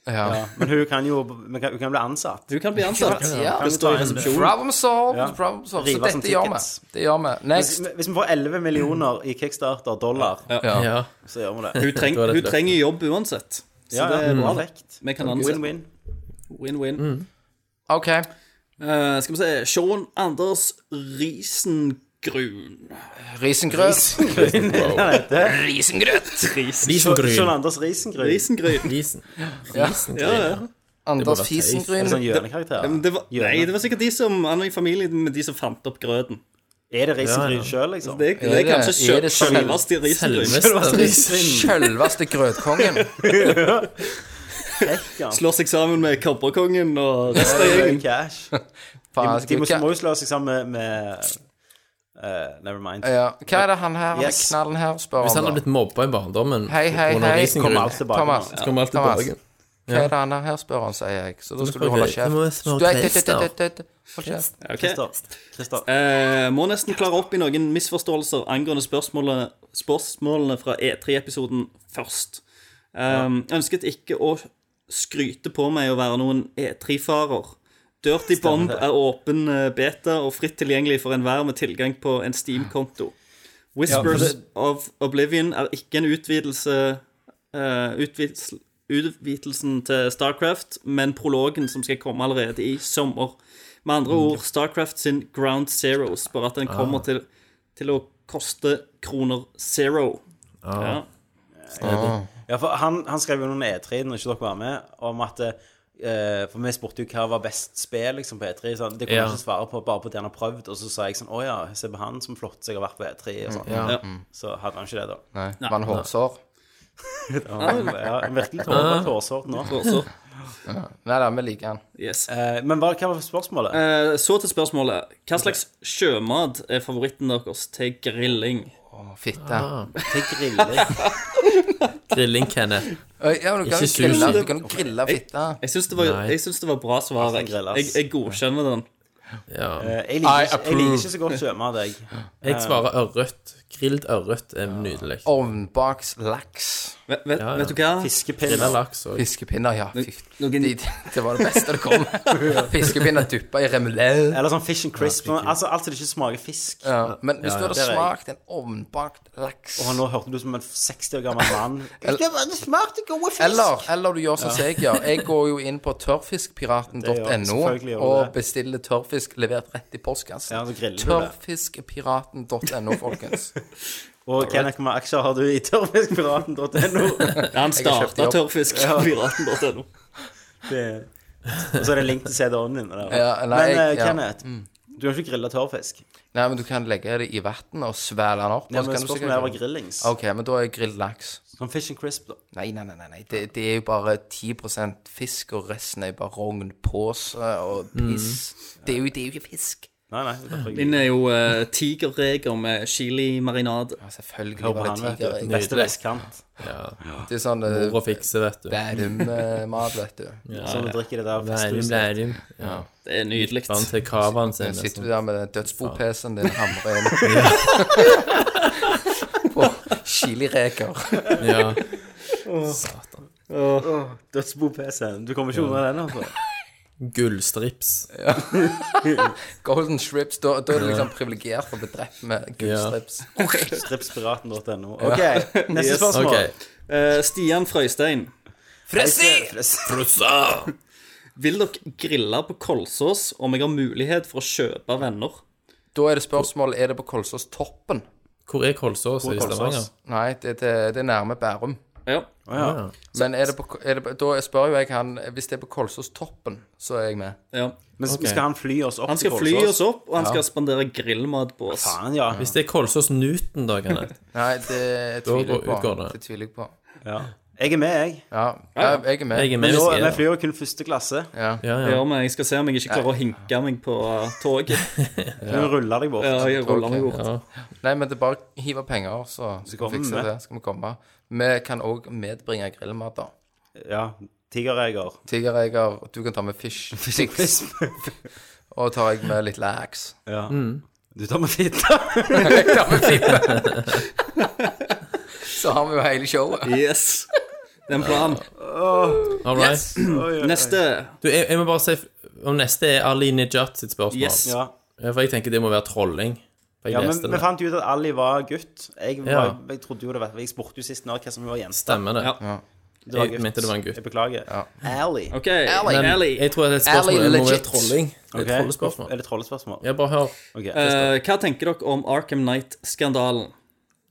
Speaker 5: Ja.
Speaker 1: Men hun kan jo men kan, hun kan bli ansatt.
Speaker 2: Hun kan bli ansatt.
Speaker 5: Ja.
Speaker 2: Hun står i resepsjonen.
Speaker 5: Problem solved,
Speaker 1: Ja.
Speaker 5: problem solved. Så
Speaker 1: Rive som
Speaker 5: dette gjør vi.
Speaker 1: tickets.
Speaker 5: Det gjør vi. Next.
Speaker 1: Hvis, hvis vi får 11 millioner i kickstarter dollar,
Speaker 6: Ja.
Speaker 1: så gjør vi det.
Speaker 2: Hun, treng,
Speaker 6: Da er det
Speaker 2: hun
Speaker 6: et løfte.
Speaker 2: trenger jobb uansett. Så
Speaker 1: Ja, Mm.
Speaker 2: det er bra.
Speaker 1: perfekt.
Speaker 2: Vi kan ansette.
Speaker 1: Win-win.
Speaker 2: Win-win.
Speaker 5: OK.
Speaker 2: Eh, skal vi se Sean Anders Risengrun.
Speaker 5: Risengrøt.
Speaker 1: Sean
Speaker 6: Risengryn.
Speaker 1: Anders Risengryn.
Speaker 2: Risengryn.
Speaker 6: Risen.
Speaker 2: Ja, ja.
Speaker 5: Anders
Speaker 6: være
Speaker 1: Er
Speaker 6: tøys.
Speaker 5: Fisengryn.
Speaker 1: det sånn hjørnekarakter?
Speaker 2: Men det var, nei, det var sikkert de som Han er i familie med de som fant opp grøten.
Speaker 1: Er det Risengryn sjøl, liksom?
Speaker 2: Det, det er
Speaker 5: det-
Speaker 2: kanskje
Speaker 5: er det
Speaker 2: sjø-
Speaker 5: selv-
Speaker 2: selveste Risengryn.
Speaker 6: Selveste Risengryn.
Speaker 5: Sjølveste grøtkongen.
Speaker 2: Slår seg sammen med kobberkongen og resten av
Speaker 1: Det er
Speaker 2: gjengen.
Speaker 1: jo cash.
Speaker 5: Faen,
Speaker 1: De må,
Speaker 5: hva-
Speaker 1: må jo slå seg sammen med, med eh, Never mind.
Speaker 5: ja. Hva er det han her, han
Speaker 1: Yes.
Speaker 5: knallen her, spør
Speaker 6: Hvis han
Speaker 5: om?
Speaker 6: hadde
Speaker 5: da?
Speaker 6: blitt mobba i barndommen
Speaker 5: Hei, hei,
Speaker 6: pga.
Speaker 5: hei.
Speaker 6: Risengryn,
Speaker 1: Kommer alt tilbake.
Speaker 5: Thomas.
Speaker 6: så kommer alt
Speaker 5: Thomas.
Speaker 6: tilbake.
Speaker 5: Hva er det han her spør om, sier jeg. Så da skal du
Speaker 6: prøver
Speaker 5: holde
Speaker 6: jeg.
Speaker 5: kjeft.
Speaker 6: Du må smake
Speaker 5: Du er-
Speaker 6: tester.
Speaker 5: tø- tø- tø- tø- Hold kjeft.
Speaker 2: Ok.
Speaker 1: Christer. Christer.
Speaker 2: Eh, må nesten klare opp i noen misforståelser angående spørsmålene, spørsmålene fra E3-episoden først. Um, Ønsket ikke å skryte på meg å være noen E3-farer. Dirty Bomb er åpen eh, beta og fritt tilgjengelig for enhver med tilgang på en Steam-konto. Whispers of Oblivion er ikke en utvidelse eh, utvids- Utvidelsen til Starcraft, men prologen som skal komme allerede i sommer. Med andre
Speaker 6: Mm.
Speaker 2: ord Starcraft sin Ground Zeros, bare at den
Speaker 6: Ah.
Speaker 2: kommer til, til å koste kroner zero.
Speaker 6: Ah.
Speaker 2: Ja.
Speaker 1: Ja, for han, han skrev jo noen E3 når ikke dere var med, om at eh, For vi spurte jo hva var best spill liksom, på E3. Sånn. Det kunne
Speaker 6: Ja.
Speaker 1: han ikke svare på, bare på det han har prøvd. Og så sa jeg sånn Å ja, se på han som flott seg har vært på E3. Og sånn.
Speaker 5: Ja.
Speaker 1: Så hadde han ikke det, da.
Speaker 5: Nei, var han hårsår?
Speaker 1: Ja, virkelig tårer- tåresårt nå.
Speaker 2: Så,
Speaker 5: Nei da, vi liker han.
Speaker 2: yes.
Speaker 1: Eh, men hva, hva var spørsmålet?
Speaker 2: Eh, så til spørsmålet. Hva slags sjømat er favoritten deres til grilling?
Speaker 5: Å, Fitte.
Speaker 1: Til grilling.
Speaker 6: Grilling, Kenneth.
Speaker 5: Øy, Ja, men du kan jo
Speaker 6: Ikke
Speaker 5: grille,
Speaker 6: sushi.
Speaker 5: du kan jo grille fitte.
Speaker 2: Jeg syns det, var-
Speaker 6: Nei.
Speaker 2: jeg syns det var bra svar. Jeg,
Speaker 1: grilles.
Speaker 2: jeg, jeg godkjenner den.
Speaker 6: Ja.
Speaker 1: Eh, jeg, liker, ikke- jeg liker ikke så godt sjømat, jeg.
Speaker 6: Jeg svarer ørret. Grilled ørret er nydelig.
Speaker 5: Ovnbaks laks.
Speaker 2: Vet, vet,
Speaker 6: Ja, ja.
Speaker 2: vet du hva?
Speaker 6: Grilla
Speaker 1: Fiskepinner.
Speaker 6: laks og
Speaker 5: Fiskepinner, ja. Fy,
Speaker 2: noen-
Speaker 5: de, det var det beste det kom. Fiskepinner duppa i remoulade.
Speaker 1: Eller sånn fish and crisp. Sånn, altså alt som ikke smaker fisk.
Speaker 5: Ja. Men hvis du hadde
Speaker 1: Det er jeg.
Speaker 5: smakt en ovnbakt laks
Speaker 1: Og nå hørte du som en 60 år gammel mann.
Speaker 5: eller, eller du gjør som jeg gjør. Jeg går jo inn på
Speaker 1: Det gjør jeg,
Speaker 5: tørrfiskpiraten.no
Speaker 1: selvfølgelig gjør du
Speaker 5: og
Speaker 1: det.
Speaker 5: bestiller tørrfisk levert rett i postkassen.
Speaker 1: Ja, så griller du det.
Speaker 5: Tørrfiskpiraten.no, folkens.
Speaker 1: Og Kenneth, hvor mange aksjer har du i tørrfiskpiraten.no?
Speaker 2: Han starta tørrfiskpiraten.no.
Speaker 1: Det- Og så er det link til CD-ovnen din. der.
Speaker 5: Ja, nei,
Speaker 1: Men
Speaker 5: jeg-
Speaker 1: eh,
Speaker 5: ja. Mm.
Speaker 1: Kenneth, du har ikke grilla tørrfisk.
Speaker 5: Nei, men du kan legge det i vann og svelge den opp.
Speaker 1: Ja,
Speaker 5: og så
Speaker 1: men
Speaker 5: kan du
Speaker 1: spørsmålet er
Speaker 5: sikkert-
Speaker 1: bare grillings.
Speaker 5: OK, men da er grill laks.
Speaker 1: Sånn fish and crisp, da.
Speaker 5: Nei, nei, nei, nei, nei. Det, det er jo bare 10 fisk, og resten er jo bare rogn, pose og piss. Det, er jo, det er jo ikke fisk.
Speaker 1: Nei, nei. det er derfor jeg-
Speaker 2: Min er jo uh, tigerreker med chilimarinade.
Speaker 5: Ja, selvfølgelig
Speaker 1: Hør på
Speaker 5: var
Speaker 1: han,
Speaker 5: det
Speaker 1: vet du.
Speaker 5: tiger.
Speaker 1: Beste vestkant.
Speaker 5: Det er sånn
Speaker 6: Mor å fikse, vet du.
Speaker 5: Bærum-mat, vet du.
Speaker 1: Sånn du drikker det der
Speaker 6: Lærum,
Speaker 1: festhuset.
Speaker 6: lærum. Ja.
Speaker 2: Det er nydelig.
Speaker 6: Vann til kavaen
Speaker 5: Så
Speaker 6: sin.
Speaker 5: sitter du
Speaker 6: Liksom.
Speaker 5: der med den dødsbo-PC-en din hamrer inn. På chilireker.
Speaker 6: Ja.
Speaker 1: Dødsbo-PC-en. Du kommer ikke unna den, altså.
Speaker 6: Gullstrips.
Speaker 5: Golden strips. Da, da er du liksom privilegert for å bli drept med gullstrips.
Speaker 1: Stripspiraten.no. OK, neste spørsmål.
Speaker 6: OK.
Speaker 2: Eh, Stian Frøystein. Vil dere grille på Kolsås om jeg har mulighet for å kjøpe venner?
Speaker 5: Da er det spørsmål er det på Kolsås-toppen.
Speaker 6: Hvor er Kolsås i Stavanger?
Speaker 5: Nei, det, det, det er nærme Bærum.
Speaker 2: Ja.
Speaker 5: Men er det på, er det, på- da spør jo jeg han Hvis det er på Kolsåstoppen, så er jeg med.
Speaker 2: ja.
Speaker 1: Men skal han fly oss opp
Speaker 2: Han skal
Speaker 1: til
Speaker 2: fly
Speaker 1: Kolsås?
Speaker 2: oss opp, og han skal spandere grillmat på oss.
Speaker 1: Faen, ja.
Speaker 6: Hvis det er Kolsås Newton, da, Kenneth
Speaker 5: Nei, det tviler jeg
Speaker 6: går- utgår
Speaker 5: på.
Speaker 6: det.
Speaker 5: Det tviler jeg på.
Speaker 1: ja. Jeg er med, jeg.
Speaker 5: Ja, jeg, jeg er med.
Speaker 6: Jeg er med
Speaker 1: Men
Speaker 6: hvis
Speaker 1: nå, vi
Speaker 6: jeg er der.
Speaker 1: flyr jo kun første klasse.
Speaker 5: Ja.
Speaker 6: Ja, ja.
Speaker 2: Ja, men jeg skal se om jeg ikke klarer å hinke meg på eh, toget.
Speaker 1: Du ruller deg bort.
Speaker 2: Ja, jeg ruller meg bort.
Speaker 6: Ja.
Speaker 5: Nei, men det er bare å hive penger, så skal
Speaker 1: kommer
Speaker 5: vi fikse
Speaker 1: vi med.
Speaker 5: det. Skal vi komme. Vi kan òg medbringe grillmat, da.
Speaker 1: Ja. Tigerjeger.
Speaker 5: Tigerreker, du kan ta med fish sticks. Og tar jeg med litt laks.
Speaker 1: Ja.
Speaker 2: Mm.
Speaker 1: Du tar med fitte.
Speaker 5: Så har vi jo hele showet.
Speaker 2: Yes. Det er en plan.
Speaker 6: All right.
Speaker 2: Neste.
Speaker 6: Du, jeg, jeg må bare si om neste er Ali Nijat sitt spørsmål.
Speaker 2: Yes.
Speaker 1: Ja.
Speaker 6: Ja, for jeg tenker det må være trolling. For jeg
Speaker 1: Ja, men
Speaker 6: leste
Speaker 1: vi
Speaker 6: det.
Speaker 1: fant jo ut at Ali var gutt. Jeg, var,
Speaker 6: Ja.
Speaker 1: jeg trodde jo det var Jeg spurte jo sist når hva som var jente.
Speaker 6: Stemmer det.
Speaker 2: Ja.
Speaker 1: Det var
Speaker 6: Jeg mente det var en gutt.
Speaker 1: Jeg beklager. Ali.
Speaker 2: OK.
Speaker 6: Men
Speaker 2: Ally.
Speaker 6: jeg tror det er et spørsmål
Speaker 5: Ali
Speaker 6: det må være
Speaker 5: legit.
Speaker 6: trolling. Det er
Speaker 1: Ok.
Speaker 6: et trollespørsmål.
Speaker 1: Er det trollespørsmål?
Speaker 6: Ja, bare hør.
Speaker 1: Ok,
Speaker 2: Eh, hva tenker dere om Arkham Knight-skandalen?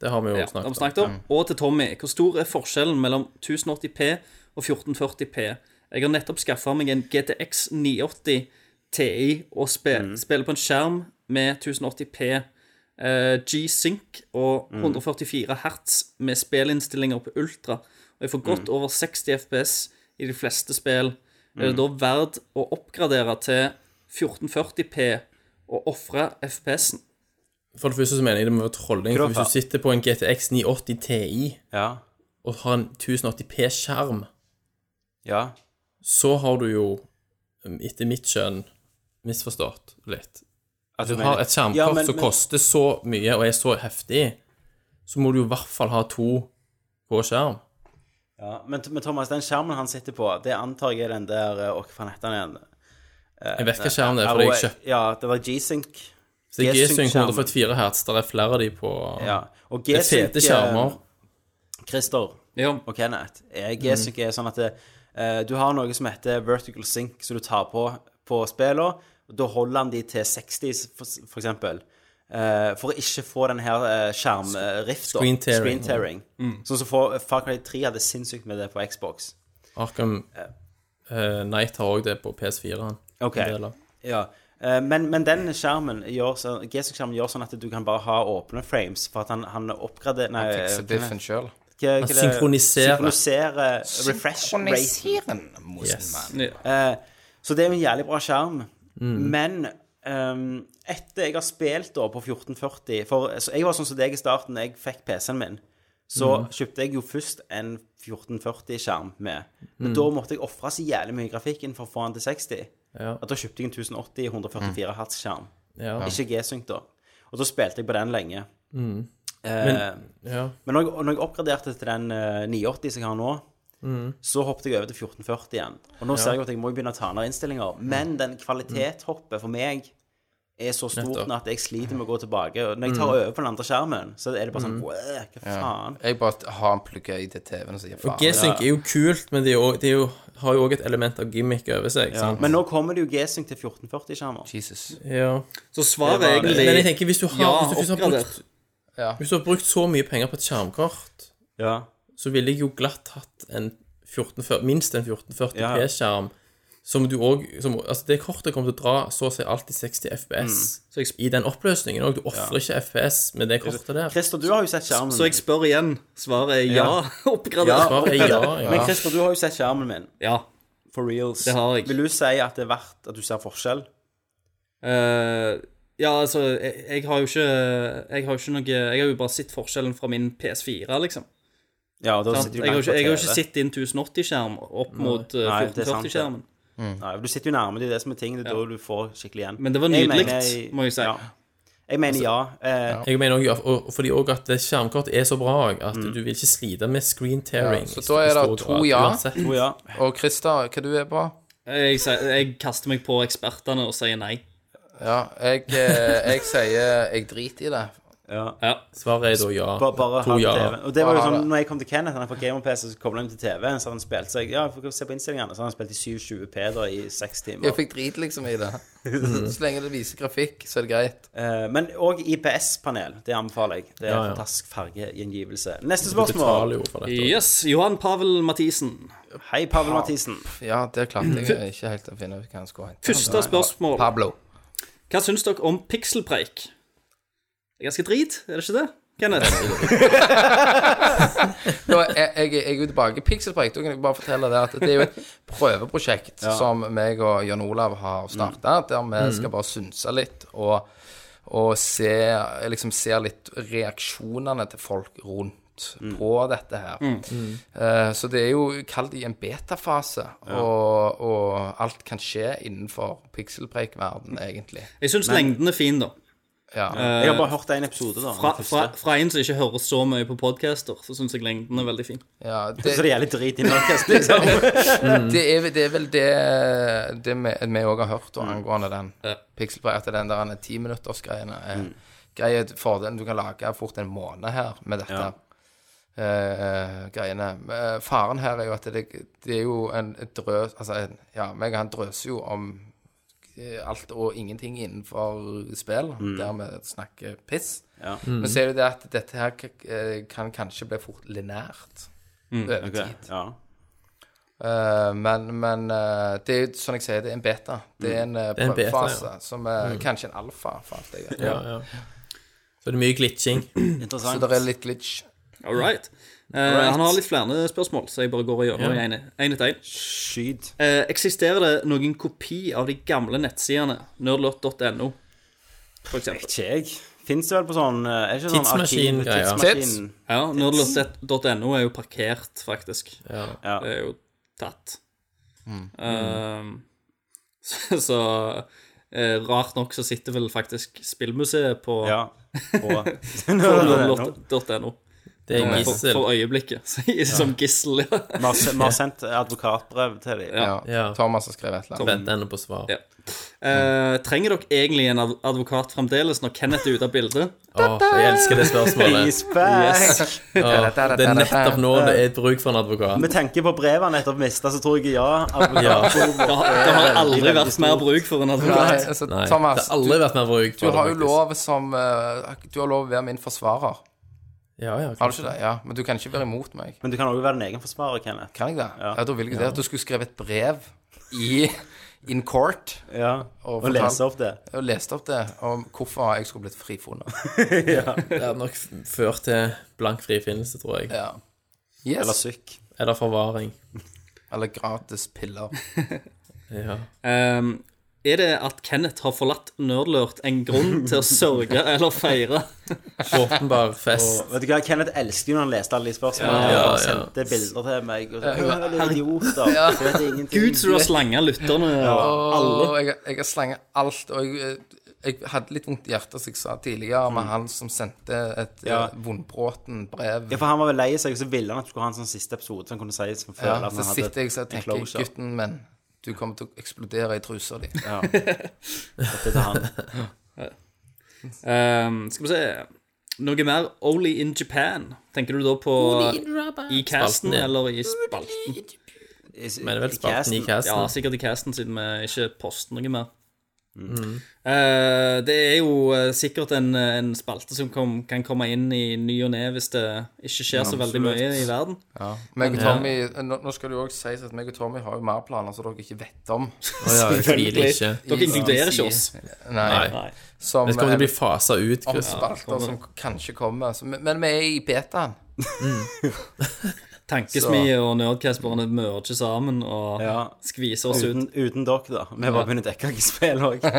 Speaker 6: Det har vi jo
Speaker 2: Ja, de
Speaker 6: snakket om.
Speaker 2: snakket om. Og til Tommy. Hvor stor er forskjellen mellom 1080P og 1440P? Jeg har nettopp skaffa meg en GTX 980 TI og
Speaker 6: Mm.
Speaker 2: spil, spiller på en skjerm med 1080P, eh, G-Sync og
Speaker 6: Mm.
Speaker 2: 144 hertz med spillinnstillinger på ultra. Og jeg får
Speaker 6: Mm.
Speaker 2: godt over 60 FPS i de fleste spill. Er det da
Speaker 6: Mm.
Speaker 2: verdt å oppgradere til 1440P og ofre FPS-en?
Speaker 6: For det første så mener jeg det må være trolling. For hvis du sitter på en GTX 980 Ti
Speaker 1: Ja.
Speaker 6: og har en 1080P-skjerm,
Speaker 1: ja.
Speaker 6: så har du jo, um, etter mitt skjønn, misforstått litt.
Speaker 1: At
Speaker 6: Du
Speaker 1: mener-
Speaker 6: har et skjermkort
Speaker 1: Ja, Altså, men-
Speaker 6: som
Speaker 1: men-
Speaker 6: koster så mye og er så heftig, så må du jo i hvert fall ha to på skjerm.
Speaker 1: Ja, men, men Thomas, den skjermen han sitter på, det antar jeg er den der eh, Åh, hva faen heter den igjen? eh,
Speaker 6: Jeg vet hva skjerm det er, for jeg kjøpte
Speaker 1: Ja, det var G-Sync.
Speaker 6: Så det er G-Sync
Speaker 1: G-Sync-skjerm.
Speaker 6: 144 hertz. Der er flere av de på
Speaker 1: Ja. Og
Speaker 6: Det er
Speaker 1: G-Sync
Speaker 6: fete skjermer. Mm.
Speaker 1: eh, Christer
Speaker 2: Ja.
Speaker 1: og Kenneth, eh, G-Sync er sånn at det, eh, du har noe som heter vertical sync, som du tar på på spillene. og Da holder han de til 60, for, for eksempel. eh, for å ikke få den her eh, skjermrifta.
Speaker 6: Screen
Speaker 1: Screen
Speaker 6: tearing.
Speaker 1: tearing. Sånn som for, Far Cry 3 hadde sinnssykt med det på Xbox.
Speaker 6: Arkham eh, Knight har òg det på PS4.
Speaker 1: Ok.
Speaker 6: En del av.
Speaker 1: Ja. Eh, Men, men den skjermen gjør, så- G-Sync-skjermen gjør sånn at du kan bare ha åpne frames, for at han, han oppgraderer Nei, eh,
Speaker 5: Fikse
Speaker 1: hva-
Speaker 5: biffen sjøl.
Speaker 1: hva- hva-
Speaker 6: synkroniserer.
Speaker 1: synkroniserer eh, refresh rate.
Speaker 6: Yes.
Speaker 1: Eh, Så det er jo en jævlig bra skjerm.
Speaker 6: Mm.
Speaker 1: Men ehm, etter jeg har spilt da på 1440 For så jeg var sånn som deg i starten, jeg fikk PC-en min. Så
Speaker 6: Mm.
Speaker 1: kjøpte jeg jo først en 1440-skjerm med.
Speaker 6: Mm.
Speaker 1: Men da måtte jeg ofre så jævlig mye grafikken for å få den til 60.
Speaker 6: Ja.
Speaker 1: At da kjøpte jeg en 1080 144 hertz-skjerm.
Speaker 6: Ja.
Speaker 1: Ikke G-Sync, da. Og da spilte jeg på den lenge. Eh,
Speaker 6: Men- ja.
Speaker 1: men når jeg, når jeg oppgraderte til den eh, 980 som jeg har nå, så hoppet jeg over til 1440 igjen. Og nå ser jeg at jeg må begynne å ta ned innstillinger. Men den kvalitetshoppet for meg er så stort nå at jeg sliter med å gå tilbake. Og når jeg tar over på den andre skjermen, så er det bare sånn «Wow, Hva faen?
Speaker 5: Jeg bare har en plugga i til TV-en og sier faen.
Speaker 6: G-Sync er jo kult, men det, er jo, det er jo, har jo òg et element av gimmick over seg. Sant?
Speaker 1: Men nå kommer det jo G-Sync til 1440-skjermer.
Speaker 5: Jesus.
Speaker 6: Ja.
Speaker 2: Så svaret er egentlig
Speaker 6: Men jeg tenker, hvis du har,
Speaker 2: ja,
Speaker 6: hvis du først har brukt,
Speaker 2: oppgradert.
Speaker 6: hvis du har brukt så mye penger på et skjermkort,
Speaker 1: Ja.
Speaker 6: så ville jeg jo glatt hatt en 1440, minst en 1440p-skjerm. Som du også, som, altså det kortet kommer til å dra så å si alltid 60 FPS
Speaker 1: Mm.
Speaker 2: Så jeg,
Speaker 6: i den oppløsningen òg. Du ofrer ikke FPS med det kortet der.
Speaker 1: Christer, du har jo sett skjermen.
Speaker 2: så jeg spør igjen. Svaret er ja. Oppgradert.
Speaker 6: Svaret er ja.
Speaker 1: Men
Speaker 6: ja.
Speaker 1: Christer, du har jo sett skjermen min.
Speaker 2: Ja.
Speaker 1: For reals.
Speaker 2: Det har jeg.
Speaker 1: Vil du si at det er verdt at du ser forskjell?
Speaker 2: Eh, ja, altså, jeg, jeg har jo ikke Jeg har jo ikke noe Jeg har jo bare sett forskjellen fra min PS4, liksom.
Speaker 1: Ja, og da
Speaker 2: Sant? Jeg
Speaker 1: sitter du
Speaker 2: har jo
Speaker 1: langt
Speaker 2: ikke, jeg har jo
Speaker 1: fra
Speaker 2: ikke
Speaker 1: TV.
Speaker 2: sett din 1080-skjerm opp mot eh,
Speaker 1: Nei, det er sant, det.
Speaker 2: 1440-skjermen.
Speaker 1: Nei, du sitter jo nærme, det er det som er ting. Det er da du får skikkelig igjen.
Speaker 2: Men det var
Speaker 1: Jeg
Speaker 2: nydelig,
Speaker 1: mener-
Speaker 2: må Altså- jeg si.
Speaker 1: Ja. Jeg mener ja. Eh,
Speaker 6: Jeg mener også, og- og fordi også at det skjermkort er så bra at
Speaker 1: Mm.
Speaker 6: du vil ikke slite med screen tearing.
Speaker 5: Ja, så da er det
Speaker 6: i stor
Speaker 5: to
Speaker 6: grad,
Speaker 5: ja.
Speaker 6: uansett.
Speaker 1: Jo, ja.
Speaker 5: Og Christer, hva du er på?
Speaker 2: Jeg, sier- jeg kaster meg på ekspertene og sier nei.
Speaker 5: Ja, jeg, eh, jeg sier jeg driter i det.
Speaker 6: Svaret er da ja.
Speaker 1: Bare, bare
Speaker 6: to
Speaker 1: ha
Speaker 6: ja.
Speaker 1: TV. Og det var jo
Speaker 5: Bare ha
Speaker 1: sånn,
Speaker 5: det.
Speaker 1: når jeg kom til Kenneth, han er fra gamer-PC, så koblet han til TV-en, så han spilte seg Ja, for å se på innstillingene, så han spilte i 720p da i seks timer.
Speaker 5: Jeg fikk drit liksom i det. Så lenge det viser grafikk, så er det greit.
Speaker 1: Eh, men òg IPS-panel. Det anbefaler jeg. Det er
Speaker 6: Ja, ja.
Speaker 1: fantastisk fargegjengivelse. Neste
Speaker 6: Du betaler
Speaker 1: spørsmål.
Speaker 6: jo for dette.
Speaker 2: Yes, Johan Pavel Mathisen.
Speaker 1: Hei, Pavel Mathisen.
Speaker 5: Ja, Eh, der klarte jeg ikke helt å finne ut hva han skulle hete.
Speaker 2: Første spørsmål.
Speaker 5: Pablo.
Speaker 2: Hva syns dere om pikselpreik? Det er Ganske drit, er det ikke det? Kenneth?
Speaker 5: Nå, jeg, jeg, jeg er jo tilbake. Pixelprojekt, da kan jeg bare fortelle det at det er jo et prøveprosjekt som meg og Jan Olav har starta, der vi
Speaker 1: Mm.
Speaker 5: skal bare synse litt og, og se, liksom, se litt reaksjonene til folk rundt
Speaker 1: Mm.
Speaker 5: på dette her. Eh, så det er jo kall det i en betafase, og, og alt kan skje innenfor pixelpreik-verden, egentlig.
Speaker 2: Jeg syns lengden er fin, da.
Speaker 5: Ja.
Speaker 1: Jeg har bare hørt en episode, da.
Speaker 2: Fra,
Speaker 1: den første.
Speaker 2: fra, fra en som ikke hører så mye på podcaster, så syns jeg lengden er veldig fin.
Speaker 5: ja
Speaker 1: Så det gjelder drit i Norcast, liksom.
Speaker 5: Det er, det er vel det, det vi vi òg har hørt og angående den Pixelplay, at den der timinuttersgreiene er greie fordelen du kan lage fort en måned her med dette. eh, greiene. Eh, Faren her er jo at det, det er jo en et drøs Altså, en, ja, meg og han drøser jo om eh, alt og ingenting innenfor spill, der vi snakker piss. Men så er det jo det at dette her k- eh, kan kanskje bli fort linært over tid.
Speaker 1: Ja.
Speaker 5: Eh, men men eh, det er jo som jeg sier, det er en beta. Det er en eh,
Speaker 6: er en beta, Mm.
Speaker 5: prøvefase som er kanskje en alfa, for alt jeg vet.
Speaker 6: Ja, ja. Så det er mye glitching.
Speaker 5: Så
Speaker 1: Interessant.
Speaker 5: det er litt glitch.
Speaker 2: All right. Eh, Han har litt flere spørsmål, så jeg bare går og gjør det én etter én.
Speaker 1: Skyt.
Speaker 2: Eh, eksisterer det noen kopi av de gamle nettsidene, nerdlot.no, for eksempel?
Speaker 1: Ikke jeg. Fins det vel på sånn eh, Er det ikke sånn
Speaker 6: Tidsmaskin,
Speaker 1: arkiv-
Speaker 6: ja, ja.
Speaker 1: Tidsmaskin.
Speaker 2: Ja, nerdlot.no er jo parkert, faktisk.
Speaker 1: Ja.
Speaker 2: Det er jo tatt. Ehm, så så eh, rart nok så sitter vel faktisk spillmuseet på
Speaker 1: Ja. Og
Speaker 2: nerdlot.no
Speaker 6: Det er en
Speaker 2: for,
Speaker 6: gissel.
Speaker 2: for øyeblikket. Som gissel, ja.
Speaker 1: Vi har se- vi har sendt advokatbrev til dem.
Speaker 5: Ja.
Speaker 6: Ja.
Speaker 5: Thomas har skrevet et eller annet.
Speaker 6: Vent ennå på svar.
Speaker 2: Ja. Eh, trenger dere egentlig en adv- advokat fremdeles når Kenneth er ute av bildet?
Speaker 6: Åh, jeg elsker det spørsmålet.
Speaker 1: He's back.
Speaker 6: Åh, det er nettopp nå det er bruk for en advokat.
Speaker 1: Med tanke på brevet han nettopp mista, så tror jeg ja.
Speaker 6: Ja.
Speaker 1: Advokat.
Speaker 2: Det har, det har aldri vært mer bruk for en
Speaker 5: Nei,
Speaker 2: advokat.
Speaker 5: altså,
Speaker 6: Nei, det
Speaker 5: Thomas,
Speaker 6: har aldri vært mer
Speaker 5: du,
Speaker 6: bruk for
Speaker 5: du har jo
Speaker 6: faktisk.
Speaker 5: lov som eh, Du har lov å være min forsvarer.
Speaker 6: Ja, ja,
Speaker 5: Har du ikke det? Ja, Men du kan ikke være imot meg.
Speaker 1: Men du kan også være din egen forsvarer, Kenneth.
Speaker 5: Kan jeg det? Ja, Da vil jeg det. At du skulle skrevet et brev i in court
Speaker 1: Ja. Og,
Speaker 5: fortell-
Speaker 1: lese opp det.
Speaker 5: og lest opp det om hvorfor jeg skulle blitt frifunnet.
Speaker 6: Det hadde nok f- ført til blank frifinnelse, tror jeg.
Speaker 5: Ja. Yes.
Speaker 1: Eller
Speaker 5: Eller,
Speaker 1: sykk.
Speaker 6: Eller forvaring.
Speaker 5: gratis piller.
Speaker 6: Ja.
Speaker 2: Ehm, er det at Kenneth har forlatt Nerdlurt en grunn til å sørge eller feire?
Speaker 6: Åpenbar fest.
Speaker 1: Vet du hva, Kenneth elsket jo når han leste alle de spørsmålene.
Speaker 6: Ja,
Speaker 1: Han
Speaker 6: ja.
Speaker 1: sendte bilder til meg. Og så, «Hva er det idioter. Jeg vet ingenting.
Speaker 2: Gud, så du har slanga lytterne.
Speaker 5: Alle. Jeg, jeg har slengt alt. Og jeg, eh, jeg hadde litt vondt i hjertet, som jeg sa tidligere, med han som sendte et
Speaker 1: Ja.
Speaker 5: eh, vondbråten brev.
Speaker 1: Ja, for han var vel lei seg, og så ville han at du skulle ha en sånn siste episode. Så han kunne si som føler
Speaker 5: Ja,
Speaker 1: at
Speaker 5: så
Speaker 1: han hadde
Speaker 5: sitter jeg og tenker
Speaker 1: closure.
Speaker 5: Gutten min, du kommer til å eksplodere i trusa di.
Speaker 1: dette til han.
Speaker 2: Ehm, skal vi se Noe mer Only in Japan. Tenker du da på i casten
Speaker 6: Spalten, ja.
Speaker 2: eller i spalten?
Speaker 6: Men det er vel spalten i
Speaker 2: Ja, altså,
Speaker 6: casten.
Speaker 2: sikkert i casten, siden vi ikke poster noe mer. Eh, det er jo eh, sikkert en, en spalte som kom, kan komme inn i ny og ne hvis det ikke skjer så veldig mye i verden.
Speaker 5: Meg og Tommy, eh, nå, nå skal det jo òg sies at meg og Tommy har jo mer planer som dere ikke vet om.
Speaker 6: Å ja, jeg tviler ikke.
Speaker 2: Dere inkluderer ikke oss.
Speaker 5: Nei.
Speaker 6: Nei.
Speaker 5: Som,
Speaker 6: Dette kommer til å
Speaker 5: eh,
Speaker 6: bli fasa ut,
Speaker 5: om
Speaker 6: Chris.
Speaker 5: spalter som kanskje kommer. Så, men, men vi er i betaen.
Speaker 2: Tankesmie og Nerdcast bare merger sammen og
Speaker 1: Ja.
Speaker 2: skviser oss ut.
Speaker 1: Uten, uten dere, da. Vi bare begynner å dekke ikke spill òg.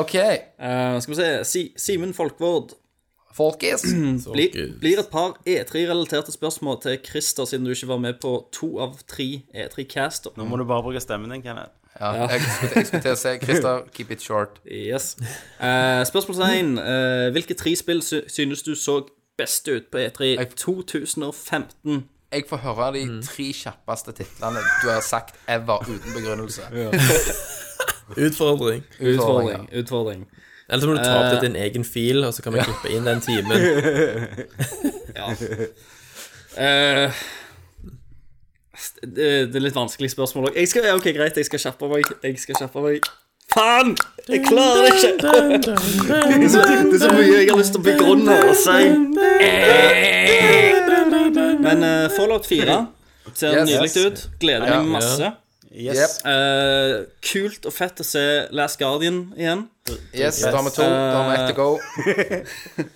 Speaker 5: OK,
Speaker 2: Eh, skal vi se si, Simen Folkvord.
Speaker 5: folkens.
Speaker 2: Bli,
Speaker 6: Gud.
Speaker 2: blir et par E3-relaterte spørsmål til Christer, siden du ikke var med på to av tre E E3-caster.
Speaker 1: Nå må du bare bruke stemmen din, Kenneth.
Speaker 5: Ja, jeg, skulle, jeg skulle til å si Christer, keep it short.
Speaker 2: Yes. Uh, spørsmålstegn. eh, hvilke tre spill sy synes du så best ut på E E3 2015?
Speaker 5: Jeg får høre de
Speaker 6: Mm.
Speaker 5: tre kjappeste titlene du har sagt ever uten begrunnelse.
Speaker 6: Utfordring.
Speaker 2: Utfordring. utfordring.
Speaker 6: Eller så må du ta opp det til en egen fil, og så kan vi klippe inn den timen.
Speaker 2: Ja. Eh, det, det er litt vanskelig spørsmål òg. Ja, OK, greit, jeg skal kjappe meg. Jeg skal kjappe meg. Faen! Jeg klarer det ikke! Det er så, det er så mye jeg har lyst til å begrunne og si. Eh. Men eh, Fallout 4 ser
Speaker 5: Yes.
Speaker 2: nydelig ut. Gleder meg masse.
Speaker 1: Yes.
Speaker 2: Eh, kult og fett å se Last Guardian igjen.
Speaker 5: Yes, da har vi to. Da har vi ett to go.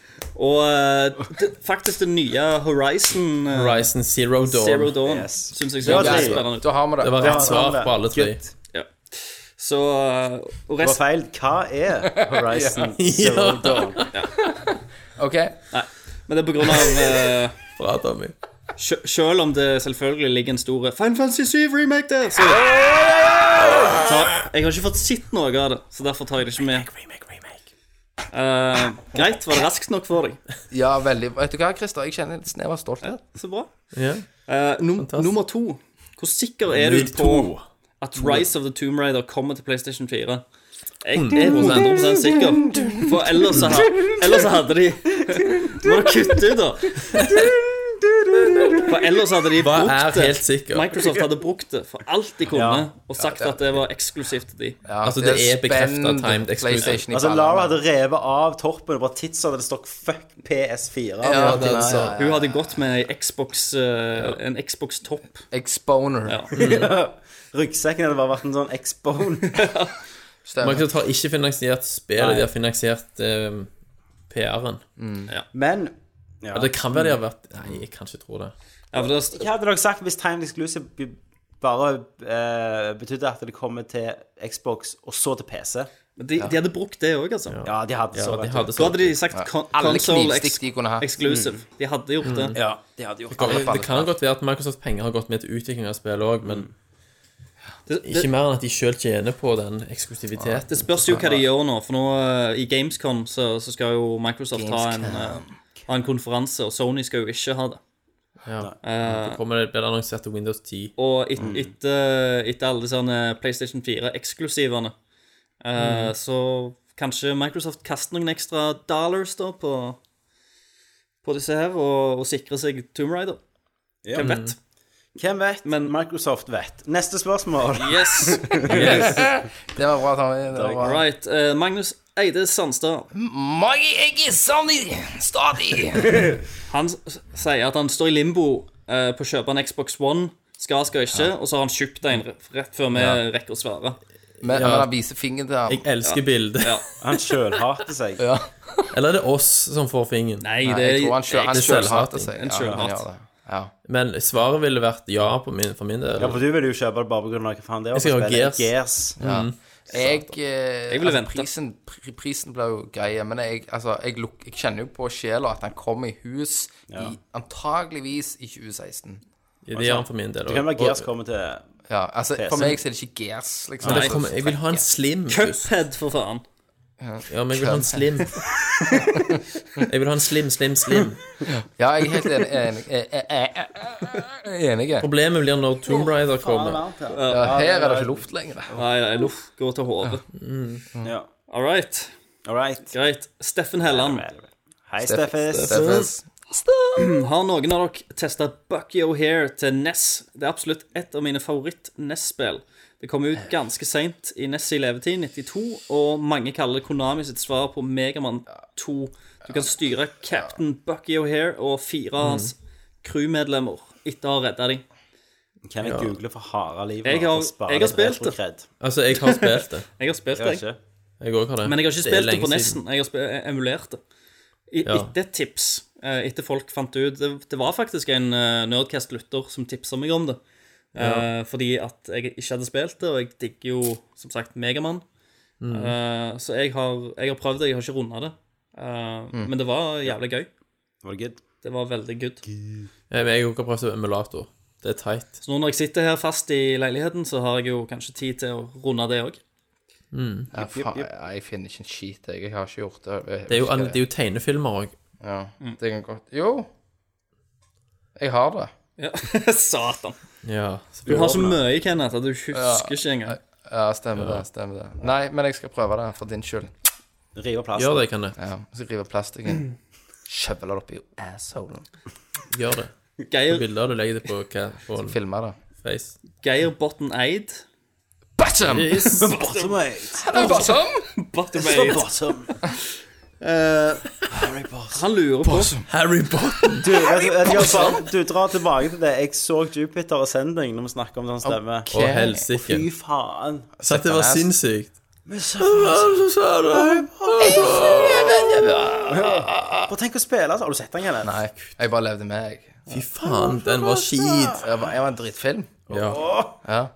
Speaker 2: Og eh, det, faktisk det nye Horizon eh,
Speaker 6: Horizon Zero
Speaker 2: Zero
Speaker 6: Dawn.
Speaker 2: Dawn
Speaker 1: Yes.
Speaker 2: syns jeg ser
Speaker 1: Ja,
Speaker 2: veldig
Speaker 1: det-
Speaker 2: spennende ut.
Speaker 5: Da har vi det.
Speaker 6: Det var
Speaker 1: Ja,
Speaker 6: rett svar
Speaker 1: det.
Speaker 6: på alle tre.
Speaker 1: Good.
Speaker 2: Ja. Så eh, Og
Speaker 1: Det var
Speaker 2: resten
Speaker 1: feil. Hva er Horizon Zero Dawn?
Speaker 5: OK.
Speaker 2: Nei. Men det er på grunn av eh,
Speaker 6: Bra, Tommy.
Speaker 2: sj Selv om det selvfølgelig ligger en stor eh, Final Fantasy 7 remake der, så, så Jeg har ikke fått sett noe av det, så derfor tar jeg det ikke med. Eh, greit, var det raskt nok for deg?
Speaker 5: Ja, veldig. Vet du hva, Christer? Jeg kjenner et snev av stolthet.
Speaker 2: Så bra.
Speaker 6: Ja.
Speaker 2: Eh, num nummer to. Hvor sikker er du
Speaker 6: Nummer
Speaker 2: på at Rise of the Tomb Raider kommer til PlayStation 4? Jeg er 100 sikker. For ellers så, ha- ellers så hadde de Må du kutte ut, da? For ellers hadde de
Speaker 6: Hva
Speaker 2: brukt
Speaker 6: er
Speaker 2: det.
Speaker 6: helt sikker?
Speaker 2: Microsoft hadde brukt det for alt de kunne,
Speaker 1: Ja.
Speaker 2: og sagt at det var eksklusivt til de.
Speaker 5: Ja,
Speaker 6: Altså, det er bekreftet
Speaker 5: spennende
Speaker 6: timed exclusive.
Speaker 5: PlayStation i
Speaker 1: Altså,
Speaker 5: ballene.
Speaker 1: Lara hadde revet av torpen og bare titsa der det stokk fuck PS4.
Speaker 5: Ja,
Speaker 1: Ja,
Speaker 5: det er
Speaker 6: altså.
Speaker 5: så.
Speaker 2: Hun hadde gått med ei Xbox, eh, en Xbox-topp.
Speaker 5: Exponer.
Speaker 2: Ja.
Speaker 1: Ryggsekken hadde bare vært en sånn X-bone.
Speaker 5: Stemmer.
Speaker 6: Microsoft har ikke finansiert spillet, de har finansiert eh, PR-en.
Speaker 1: Men ja.
Speaker 6: Ja, det kan være de har vært Nei, jeg kan ikke tro det.
Speaker 2: Ja, for det,
Speaker 1: Hva hadde dere sagt hvis Time Exclusive b- bare eh, betydde at det kommer til Xbox og så til PC?
Speaker 2: de, de hadde brukt det òg, altså.
Speaker 1: Ja, de hadde
Speaker 6: Ja,
Speaker 1: så
Speaker 6: de
Speaker 1: vet
Speaker 6: hadde
Speaker 1: du.
Speaker 2: Da
Speaker 6: så
Speaker 2: hadde de sagt kon
Speaker 5: Alle
Speaker 2: console
Speaker 5: knivstikk de
Speaker 2: ex
Speaker 5: kunne hatt.
Speaker 2: exclusive. De hadde gjort det.
Speaker 1: Ja, de hadde gjort
Speaker 5: Alle
Speaker 1: det.
Speaker 5: faller
Speaker 6: Det kan godt være at Microsoft penger har gått med til utvikling av spillet òg, men
Speaker 1: Mm.
Speaker 2: Det, det,
Speaker 6: ikke mer enn at de sjøl tjener på den eksklusiviteten.
Speaker 2: det spørs jo hva de gjør nå, for nå eh, i Gamescom så, så skal jo Microsoft ha en, eh, ha en konferanse, og Sony skal jo ikke ha det.
Speaker 6: Så kommer det, blir det annonsert til Windows 10.
Speaker 2: Og et, etter, etter alle sånne PlayStation 4-eksklusivene, så kanskje Microsoft kaster noen ekstra dollars da på, på disse her, og, og sikrer seg Tomb Raider.
Speaker 1: Ja.
Speaker 2: Hvem vet?
Speaker 1: Hvem vet? Men Microsoft vet. Neste spørsmål.
Speaker 2: Yes!
Speaker 5: Det var bra, Tommy. Det var bra.
Speaker 2: Right. eh, Magnus Eide Sandstad.
Speaker 8: Magi, jeg er sann i stadig.
Speaker 2: Han s- sier at han står i limbo eh, på å kjøpe en Xbox One. Skal, skal ikke. Og så har han kjøpt en re- rett før vi rekker å svare.
Speaker 5: Men men han viser fingeren til ham.
Speaker 6: Jeg elsker bildet.
Speaker 2: Ja.
Speaker 1: Han sjølhater seg.
Speaker 6: Eller er det oss som får fingeren?
Speaker 2: Nei, det
Speaker 5: Jeg tror han
Speaker 2: det er
Speaker 5: selv- han
Speaker 2: ikke
Speaker 5: selv
Speaker 6: selvhating.
Speaker 5: hater seg.
Speaker 2: En
Speaker 5: Ja, han
Speaker 2: selvhat.
Speaker 5: gjør det. Ja.
Speaker 6: Men svaret ville vært ja på min, for min del.
Speaker 1: Ja, for du ville jo kjøpe det bare pga. hva faen det er. å
Speaker 6: Jeg skal ha
Speaker 1: spille
Speaker 6: Gears.
Speaker 1: Gears.
Speaker 5: Jeg, eh,
Speaker 2: Jeg ville
Speaker 5: altså,
Speaker 2: vente.
Speaker 5: Prisen, pri- prisen ble jo greie, men jeg, altså, jeg, luk, jeg kjenner jo på sjela at han kommer i hus i, antageligvis i 2016.
Speaker 6: Det gjør han for min del
Speaker 1: Det kan
Speaker 6: også.
Speaker 1: være Gears kommer til
Speaker 5: Ja, altså,
Speaker 1: PC.
Speaker 5: for meg så er det ikke Gears, liksom.
Speaker 6: Men det
Speaker 5: Altså,
Speaker 6: kommer- Jeg vil ha en slim. først.
Speaker 2: Cuphead, for faen.
Speaker 6: Ja, men jeg vil ha en slim. Jeg vil ha en slim, slim, slim.
Speaker 5: Ja, jeg er helt enig. enig, eh, eh, eh, eh, eh, enig. jeg.
Speaker 6: Problemet blir når Tomb Raider kommer.
Speaker 5: Ja, her er det ikke luft lenger.
Speaker 2: Nei, nei, luff. Gå til hodet.
Speaker 1: Ja.
Speaker 2: All right.
Speaker 1: All right.
Speaker 2: Greit. Steffen Helland.
Speaker 1: Hei, Steffes.
Speaker 11: Steffes.
Speaker 2: Har noen av dere testa Bucky O'Hare til NES? Det er absolutt et av mine favoritt-NES-spill. Det kom ut ganske seint i NES i levetid, 92, og mange kaller det Konami sitt svar på Megaman 2. Du kan styre Captain Bucky O'Hare og fire av hans crewmedlemmer etter å ha redda dem.
Speaker 1: Kan jeg google for harde livet?
Speaker 2: Jeg har-
Speaker 1: og spare
Speaker 2: jeg har
Speaker 1: litt
Speaker 2: spilt det.
Speaker 1: retrokred?
Speaker 6: Altså, jeg har spilt det.
Speaker 2: Jeg har spilt det,
Speaker 1: Jeg vet
Speaker 2: jeg.
Speaker 1: ikke.
Speaker 6: Jeg også har det.
Speaker 2: Men jeg har ikke
Speaker 6: Det er
Speaker 2: spilt det
Speaker 6: lenge
Speaker 2: på
Speaker 6: siden.
Speaker 2: nesten. Jeg har spe- emulert det. I,
Speaker 6: Ja.
Speaker 2: Etter et tips, eh, etter folk fant ut Det, det var faktisk en eh, Nerdcast-lytter som tipsa meg om det. Eh, fordi at jeg ikke hadde spilt det, og jeg digger jo som sagt Megamann.
Speaker 6: Mm.
Speaker 2: Eh, så jeg har, jeg har prøvd det, jeg har ikke runda det. Eh,
Speaker 6: Mm.
Speaker 2: Men det var jævlig gøy.
Speaker 1: Var det good?
Speaker 2: Det var veldig good.
Speaker 6: Eh, men Jeg har også prøvd emulator. Det er teit.
Speaker 2: Så nå når jeg sitter her fast i leiligheten, så har jeg jo kanskje tid til å runde det òg.
Speaker 5: Ja, faen, jeg, jeg finner ikke en skit, jeg. Jeg har ikke gjort det. Jeg,
Speaker 6: Det er jo, an- det er jo tegnefilmer òg.
Speaker 5: ja,
Speaker 2: Mm.
Speaker 5: det kan godt Jo, jeg har det.
Speaker 2: Ja. Satan.
Speaker 6: Ja.
Speaker 2: Du har så mye, Kenneth, at du ikke husker ikke engang.
Speaker 5: Ja, stemmer det. stemmer det Nei, men jeg skal prøve det for din skyld.
Speaker 1: Rive plassen.
Speaker 6: Gjør det, Kenneth.
Speaker 5: Ja, jeg skal rive
Speaker 1: Mm.
Speaker 5: plastikken. Kjøvle det opp i assholen.
Speaker 6: Gjør det.
Speaker 2: Geir
Speaker 6: Bilder du legger det på, hva, på en
Speaker 5: Filme det.
Speaker 6: face.
Speaker 2: Geir Botten Eid.
Speaker 5: Bottom!
Speaker 1: Bottom eight.
Speaker 5: Bottom!
Speaker 2: Botten Eid.
Speaker 1: Bottom.
Speaker 2: Han lurer på
Speaker 6: Harry Potter!
Speaker 1: Du, vet du- vet du hva, Sven? du drar tilbake til det. Jeg så Jupiter Ascending når vi snakker om sånn stemme.
Speaker 6: Å, helsike.
Speaker 1: Fy faen.
Speaker 6: Så det var sinnssykt.
Speaker 1: Bare tenk å spille, altså. Har du sett den, Kenneth?
Speaker 5: Nei, jeg bare levde med, jeg.
Speaker 6: Fy faen, den var skit.
Speaker 5: Jeg var, jeg var en drittfilm.
Speaker 6: Ja.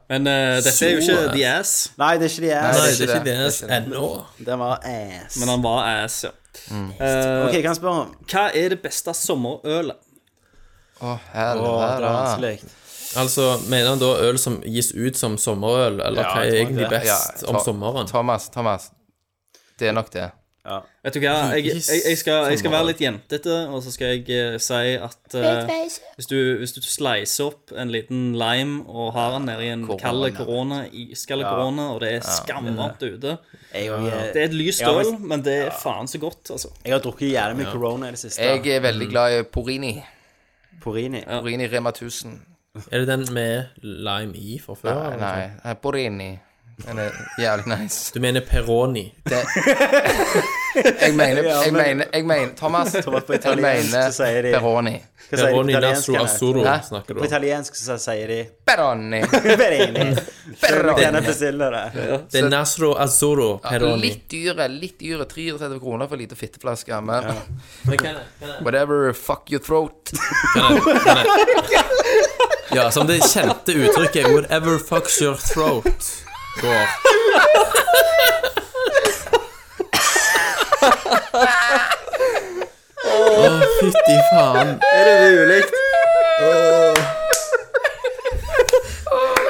Speaker 2: Men eh, dette er jo ikke
Speaker 6: Så-
Speaker 2: The Ass,
Speaker 1: Nei, det er ikke de jeg
Speaker 6: Nei,
Speaker 1: er.
Speaker 6: det er ikke
Speaker 5: det.
Speaker 6: det ennå.
Speaker 1: Den var ass.
Speaker 2: men han var ass, ja. Eh,
Speaker 1: OK, jeg kan spørre om
Speaker 2: Hva er det beste sommerølet?
Speaker 1: Å,
Speaker 5: Å,
Speaker 1: det er
Speaker 5: helvete.
Speaker 1: vanskelig.
Speaker 6: Altså, mener han da øl som gis ut som sommerøl, eller hva er egentlig
Speaker 1: det.
Speaker 6: best om
Speaker 5: Ta-
Speaker 6: sommeren?
Speaker 5: Thomas, Thomas. Det er nok det.
Speaker 2: Vet du hva, jeg, jeg, jeg, skal, jeg skal være litt jentete, og så skal jeg eh, si at eh, hvis, du, hvis du slicer opp en liten lime og har den nedi en kald korona, iskald korona, og det er skamvarmt ute
Speaker 1: Jeg, jeg,
Speaker 2: Det er et lyst
Speaker 1: Ja, men-
Speaker 2: øl, men det er faen så godt, altså.
Speaker 1: jeg har drukket jævlig mye corona i det siste.
Speaker 5: Jeg er veldig glad i Porini.
Speaker 1: Porini.
Speaker 5: Porini Rema 1000.
Speaker 6: Er det den med lime i fra før? eller?
Speaker 5: Nei, nei, Porini. Den er jævlig nice.
Speaker 6: Du mener Peroni.
Speaker 5: Jeg mener, jeg
Speaker 1: men-
Speaker 5: mener, jeg mener Thomas,
Speaker 1: Thomas, på
Speaker 5: jeg
Speaker 1: italiensk
Speaker 5: mener
Speaker 1: så sier de-
Speaker 5: Peroni.
Speaker 1: Hva sier de på
Speaker 6: Peroni
Speaker 1: italiensk?
Speaker 6: Nasso
Speaker 1: Kenneth?
Speaker 6: Azzurro
Speaker 5: Hæ?
Speaker 6: snakker du
Speaker 1: På
Speaker 6: om.
Speaker 1: italiensk så sier de
Speaker 5: Peroni.
Speaker 1: Peroni. Kenneth
Speaker 5: Peroni.
Speaker 1: bestiller det.
Speaker 6: Det er Nasso Azzurro Peroni.
Speaker 5: Litt dyre, litt dyre. 33 kroner for en liten fitteflaske. Men whatever, fuck your throat.
Speaker 6: Ja, som det kjente uttrykket 'whatever fucks your throat' går. Å, fytti faen.
Speaker 5: Jeg liker,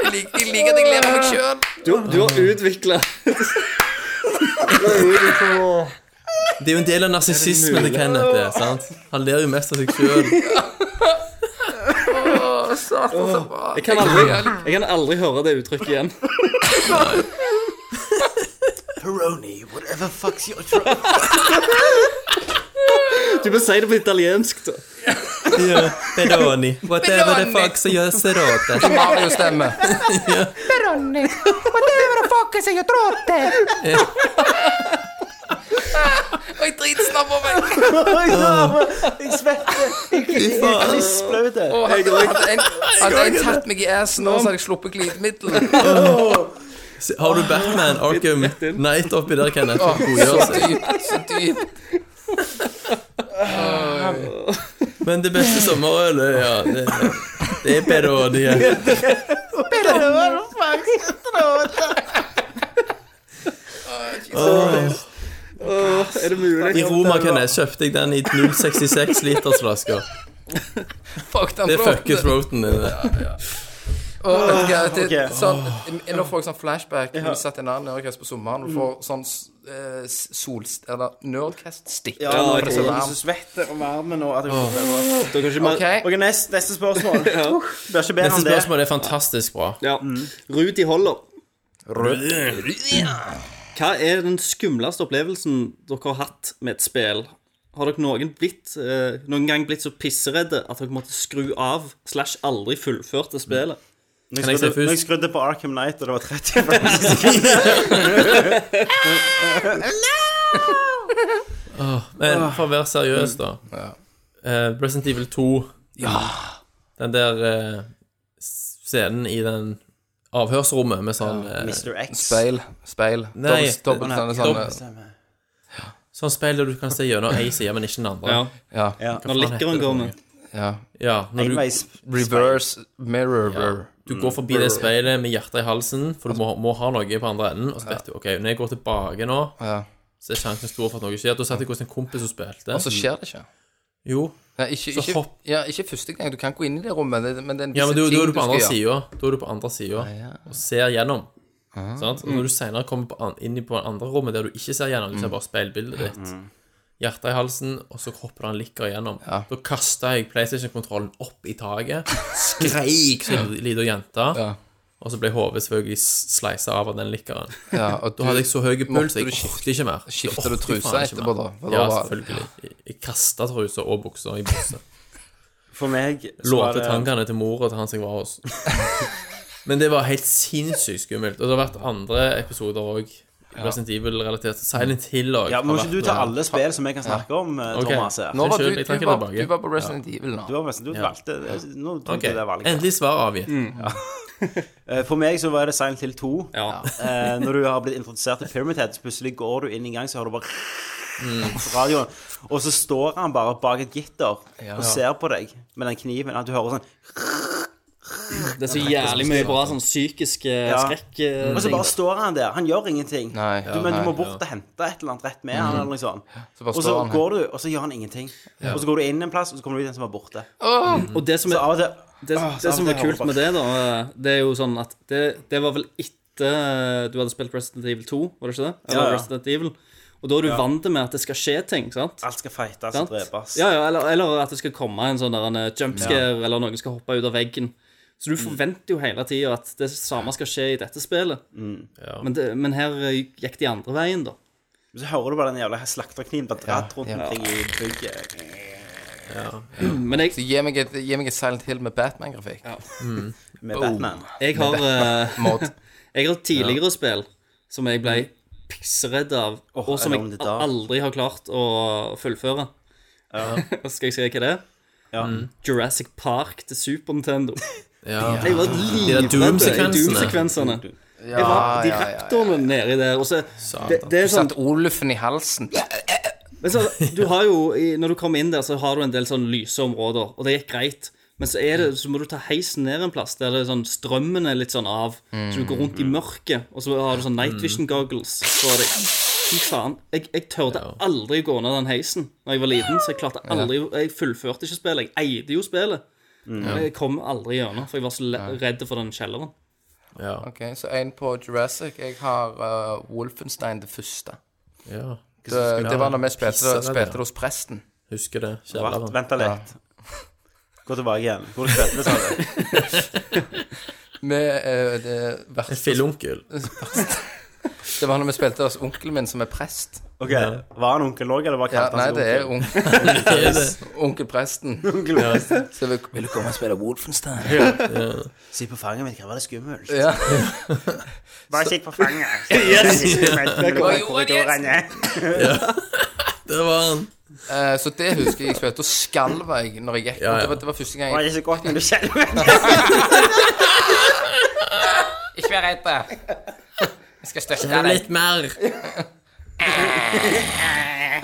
Speaker 5: jeg liker at jeg lever meg sjøl.
Speaker 2: Du, du har utvikla
Speaker 6: Det er jo en del av narsissismen til Kenneth, det, sant? Han ler jo mest av seg sjøl.
Speaker 2: Jeg kan aldri, jeg kan aldri høre det uttrykket igjen.
Speaker 1: Peroni, whatever fucks your throat.
Speaker 2: Du må si det på italiensk, da.
Speaker 6: Peroni. Whatever the fuck som gjør seg råte.
Speaker 5: Mario-stemme. Peroni. Whatever the fuck is your throat. Og jeg dritsnabb på meg.
Speaker 1: Jeg svetter. Jeg er klissblaut.
Speaker 5: Å, Hadde hadde en, hadde en tatt meg i assen nå, så hadde jeg sluppet glidemiddel.
Speaker 6: Har du Batman Arkham Knight oppi der,
Speaker 5: Å,
Speaker 6: Kenneth? for å godgjøre
Speaker 5: Så
Speaker 6: seg?
Speaker 5: dypt, så dypt.
Speaker 6: Men det beste sommerølet, ja. Det, det er Peroni. ja.
Speaker 2: Er det mulig?
Speaker 6: I Roma, Kenneth, kjøpte jeg den i 0,66 liters flasker.
Speaker 5: Fuck den
Speaker 6: Det fucker
Speaker 5: flåten.
Speaker 6: throaten din. det.
Speaker 5: Å, vet du hva, det-
Speaker 1: Ok.
Speaker 5: sånn, Nå får jeg sånn flashback. Vi satt i en annen Nerdcast på sommeren, og du får sånn eh, sol... Eller Sånn Nerdcast-stikk.
Speaker 1: Ja,
Speaker 2: Ja,
Speaker 1: nå
Speaker 2: ok.
Speaker 1: er det så varmt. Så svetter og varme nå. At jeg...
Speaker 2: Da kan ikke man-
Speaker 5: Ok,
Speaker 1: Ok, neste, neste spørsmål. Uff, Bør ikke bedre
Speaker 6: Neste
Speaker 1: enn det. Mm.
Speaker 6: spørsmål er fantastisk bra.
Speaker 2: Ja. Rudi Holler. Hva er den skumleste opplevelsen dere har hatt med et spill? Har dere noen, blitt, eh, noen gang blitt så pisseredde at dere måtte skru av slash aldri fullførte spillet?
Speaker 1: Når
Speaker 6: Kan jeg
Speaker 1: jeg,
Speaker 6: se
Speaker 1: skrudde, når jeg
Speaker 6: først?
Speaker 1: skrudde på Arkham Knight, og det var 30 frames
Speaker 6: Men for å være seriøs, da. Eh, Resident Evil 2. Den der eh, scenen i den avhørsrommet med sånn eh,
Speaker 1: Mr. X.
Speaker 5: Speil. Speil.
Speaker 6: Nei,
Speaker 5: Dobbelt- dobbelt
Speaker 1: Å, nei,
Speaker 5: sånne sånne
Speaker 1: Stemmer.
Speaker 6: Sånn speil der du kan se gjennom ei side, men ikke den andre.
Speaker 2: Ja,
Speaker 5: Ja.
Speaker 1: Ja.
Speaker 2: Når
Speaker 6: heter det
Speaker 2: likkeren
Speaker 6: for
Speaker 2: går
Speaker 6: noe?
Speaker 2: med.
Speaker 5: ja.
Speaker 6: Ja, når du,
Speaker 1: Enveis
Speaker 5: Reverse mirror.
Speaker 6: du går forbi det speilet med hjertet i halsen, for du må, må ha noe på andre enden, og så vet du OK, når jeg går tilbake nå,
Speaker 5: Ja.
Speaker 6: så er sjansen stor for at noe skjer. Da satt jeg hos en kompis som spilte.
Speaker 5: Og så skjer det ikke.
Speaker 6: Jo,
Speaker 5: Ja, ikke,
Speaker 6: Så
Speaker 5: ikke,
Speaker 6: hopp.
Speaker 5: ja, ikke første gang. Du kan gå inn i det rommet, det- men det er en
Speaker 6: Ja, men du,
Speaker 5: ting
Speaker 6: da er du på
Speaker 5: skal
Speaker 6: andre
Speaker 5: gjøre.
Speaker 6: sida. Da er du på andre sida
Speaker 5: Ah,
Speaker 6: og ser gjennom. Sant? Og når du senere kommer på an, inn i på det andre rommet der du ikke ser gjennom,
Speaker 5: Mm.
Speaker 6: du ser bare speilbildet ditt, hjertet i halsen, og så hopper det en likker gjennom. Da kasta jeg PlayStation-kontrollen opp i taket, skreik som ei lita jente, og så ble hodet selvfølgelig sleisa av av den likkeren.
Speaker 5: Ja, og du,
Speaker 6: Da hadde jeg så høy puls,
Speaker 5: måtte du
Speaker 6: jeg orket ikke mer.
Speaker 5: skiftet
Speaker 6: Jeg
Speaker 5: du trusa
Speaker 6: orket faen ikke
Speaker 5: etterpå
Speaker 6: mer.
Speaker 5: da? For da
Speaker 6: Ja,
Speaker 5: var-
Speaker 6: selvfølgelig. Jeg, jeg kasta trusa og buksa i buksa.
Speaker 1: For meg så var
Speaker 6: Låte
Speaker 1: det-
Speaker 6: tankene til mora til han som jeg var hos. Men det var helt sinnssykt skummelt. Og det har vært andre episoder òg. Resident Evil-relatert. Silent Hill òg.
Speaker 1: Ja, men Må ikke du ta alle spill som jeg kan snakke om, eh, Thomas? her?
Speaker 5: Nå var du,
Speaker 6: Unnskyld, jeg
Speaker 5: du,
Speaker 6: trekker
Speaker 5: var,
Speaker 6: tilbake.
Speaker 5: du var på Resident Evil nå.
Speaker 1: Du har mest, du valgte eh, Nå tok du det valget.
Speaker 6: Endelig svar avgitt.
Speaker 1: Eh, For meg så var det Silent Hill 2.
Speaker 2: Ja.
Speaker 1: Eh, når du har blitt introdusert til Pyramid Head, så plutselig går du inn i en gang, så har du bare
Speaker 2: Mm.
Speaker 1: på radioen. Og så står han bare bak et gitter og ser på deg med den kniven. At du hører sånn
Speaker 2: Det er så jævlig mye bra sånn psykisk eh,
Speaker 1: Ja.
Speaker 2: skrekk eh,
Speaker 1: Og så
Speaker 2: ting.
Speaker 1: bare står han der. Han gjør ingenting.
Speaker 5: Nei,
Speaker 1: du, men
Speaker 5: nei,
Speaker 1: du må bort og hente et eller annet rett med
Speaker 2: Mm.
Speaker 1: han, eller noe sånt.
Speaker 5: Så bare
Speaker 1: Og så
Speaker 5: står han her.
Speaker 1: går du, og så gjør han ingenting. Og så går du inn en plass, og så kommer du ut en som er borte.
Speaker 2: Og det som
Speaker 1: Så
Speaker 2: er
Speaker 1: av og til
Speaker 2: det,
Speaker 1: Ah,
Speaker 2: det som
Speaker 1: av og
Speaker 2: var
Speaker 1: til
Speaker 2: kult
Speaker 1: holder
Speaker 2: med det, da, det er jo sånn at det, det var vel etter du hadde spilt Resident Evil 2, var det ikke det? Eller
Speaker 1: Ja, ja.
Speaker 2: Resident Evil. Og da er du vant til med at det skal skje ting, sant?
Speaker 1: Alt skal fightes og
Speaker 2: sant?
Speaker 1: drepes.
Speaker 2: Ja, ja, eller, eller at det skal komme en sånn der, en jumpscare, eller noen skal hoppe ut av veggen. Så du forventer jo hele tida at det samme skal skje i dette spillet.
Speaker 1: Mm.
Speaker 2: Men, det, men her eh, gikk de andre veien, da.
Speaker 1: Så hører du bare den jævla slakterkniven bare dratt rundt omkring i bygget.
Speaker 2: Men jeg,
Speaker 5: Så gi meg, et, gi meg et Silent Hill med Batman-grafikk.
Speaker 1: med Batman.
Speaker 2: jeg har eh,
Speaker 5: Mod.
Speaker 2: Jeg har tidligere spill som jeg ble
Speaker 5: Mm.
Speaker 2: pissredd av, og som
Speaker 1: Alone in
Speaker 2: jeg
Speaker 1: the Dark.
Speaker 2: aldri har klart å fullføre. Skal jeg si hva det er?
Speaker 1: Ja.
Speaker 2: Jurassic Park til Super Nintendo.
Speaker 6: Ja.
Speaker 2: Jeg var livredd i
Speaker 6: Doom-sekvensene.
Speaker 2: Doom-sekvensene. jeg var de
Speaker 5: ja, ja, ja.
Speaker 2: raptorene nedi der. Og så, det, det er sånn,
Speaker 5: Satt Olufen i halsen.
Speaker 2: men så, du har jo, i- når du kommer inn der, så har du en del sånn lyse områder, og det gikk greit. Men så, er det, så må du ta heisen ned en plass der det er sånn, strømmen er litt sånn av. Så du går rundt i mørket, og så har du sånn night vision goggles på deg. Fy faen. Jeg, jeg tørde aldri gå ned den heisen Når jeg var liten. Så jeg klarte aldri Jeg fullførte ikke spillet. Jeg eide jo spillet. Men Jeg kom aldri gjennom, for jeg var så le- redd for den kjelleren.
Speaker 6: Ja.
Speaker 5: Ok, Så en på Jurassic. Jeg har eh, Wolfenstein det første.
Speaker 6: ja.
Speaker 5: Det, det var når vi spilte,
Speaker 6: Pisse, det der.
Speaker 5: spilte hos presten.
Speaker 6: Husker det.
Speaker 1: Vent,
Speaker 6: Kjelleren.
Speaker 1: vent litt. Gå tilbake igjen. Hvor du spilte, sa du?
Speaker 5: Med, eh, det, verste-
Speaker 6: En fillonkel.
Speaker 5: det var når vi spilte hos onkelen min, som er prest.
Speaker 1: Ok, Var han onkel òg, eller bare
Speaker 5: Ja,
Speaker 1: kalte
Speaker 5: nei,
Speaker 1: han
Speaker 5: det er
Speaker 1: seg
Speaker 5: onkel, onkel presten.
Speaker 1: onkel? onkel?
Speaker 5: Så vi,
Speaker 12: Vil du komme og spille Wolfenstein?
Speaker 1: Si på fanget mitt, hva var det skummelt?
Speaker 5: ja.
Speaker 1: Bare sitt på fanget. Yes!
Speaker 6: Det var han.
Speaker 5: Eh, så det husker jeg jeg spilte. Da skalv jeg når jeg gikk.
Speaker 6: Ja, ja.
Speaker 5: Det, var, det var første gang
Speaker 1: Var
Speaker 5: jeg
Speaker 1: det så godt når du skjelver?
Speaker 5: Ikke vær redd. Jeg skal støtte
Speaker 6: Litt mer.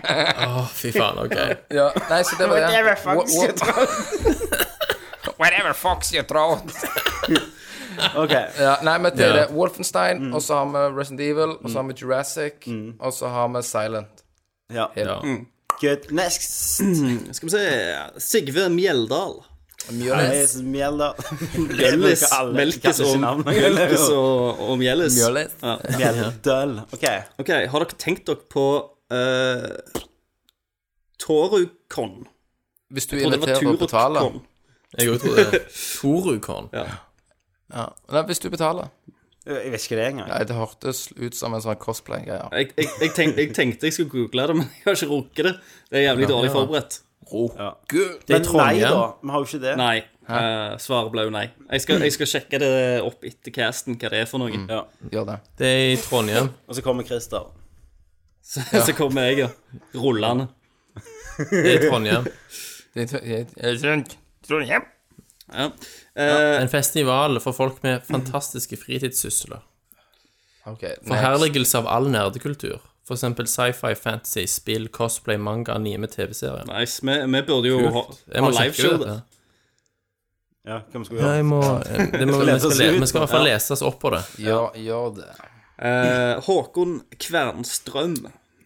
Speaker 6: Å, fy faen. OK.
Speaker 5: Ja, nei, så det var det.
Speaker 1: Whatever fox
Speaker 5: Wo- wo-
Speaker 1: you
Speaker 5: Whatever fox you throw.
Speaker 1: Ok,
Speaker 5: Ja, nei, men det er
Speaker 6: Ja. Mm.
Speaker 5: det. Wolfenstein, og så har vi Resident Evil, og så har vi Jurassic, og så har vi Silent.
Speaker 1: ja.
Speaker 6: Ja.
Speaker 1: Mm. Good. Next.
Speaker 2: Skal vi se Sigve Mjeldal.
Speaker 5: Mjølis.
Speaker 1: Nice. Mjelda.
Speaker 2: Gøllis.
Speaker 1: Alle-
Speaker 2: Melkes
Speaker 1: alle
Speaker 2: og,
Speaker 1: sin navn.
Speaker 2: Mjelkes og, og Mjelis.
Speaker 5: Mjølis.
Speaker 2: Ja.
Speaker 1: Mjeldøl. Ok.
Speaker 2: Ok, har dere tenkt dere på uh, Torukon?
Speaker 5: Hvis du
Speaker 2: Jeg trodde det var
Speaker 5: inviterer og betaler.
Speaker 2: Turukon.
Speaker 6: Jeg òg trodde Torukon.
Speaker 5: Ja. Nei, hvis du betaler.
Speaker 1: Jeg vet ikke det engang.
Speaker 5: Nei, det hørtes ut som en sånn cosplay-greie.
Speaker 2: Jeg, jeg, jeg, tenk, jeg tenkte jeg skulle google det, men jeg har ikke rukket det. Det er jævlig dårlig forberedt.
Speaker 1: Men nei,
Speaker 6: Trondheim.
Speaker 1: da. Vi har jo ikke det.
Speaker 2: Nei. eh, svaret ble jo nei. Jeg skal, jeg skal sjekke det opp etter casten, hva det er for noe.
Speaker 6: Mm.
Speaker 1: Ja.
Speaker 5: Gjør det.
Speaker 6: Det er i Trondheim.
Speaker 1: Og så kommer Christer.
Speaker 2: Så, så kommer jeg, ja. Rullende.
Speaker 6: Det er i Trondheim.
Speaker 5: Det er- jeg- jeg- jeg- Trondheim.
Speaker 2: Ja.
Speaker 1: Eh.
Speaker 6: En festival for folk med fantastiske fritidssysler.
Speaker 5: Ok, next.
Speaker 6: Forherligelse av all nerdekultur. For eksempel sci-fi, fantasy, spill, cosplay, manga, anime, TV-serier.
Speaker 2: Nice. Vi, vi burde jo ha,
Speaker 6: Kult. Jeg
Speaker 2: ha
Speaker 6: må sjekke
Speaker 2: liveshow.
Speaker 6: ut
Speaker 2: da.
Speaker 6: dette.
Speaker 1: Ja, hva vi skal
Speaker 6: Ja,
Speaker 1: gjøre?
Speaker 6: jeg må, eh, det må,
Speaker 1: skal
Speaker 6: vi,
Speaker 1: lese
Speaker 6: skal,
Speaker 1: oss
Speaker 6: le-
Speaker 1: ut.
Speaker 6: vi skal i hvert fall lese oss opp på det.
Speaker 5: Gjør, gjør det.
Speaker 2: Eh, Håkon Kvernstrøm.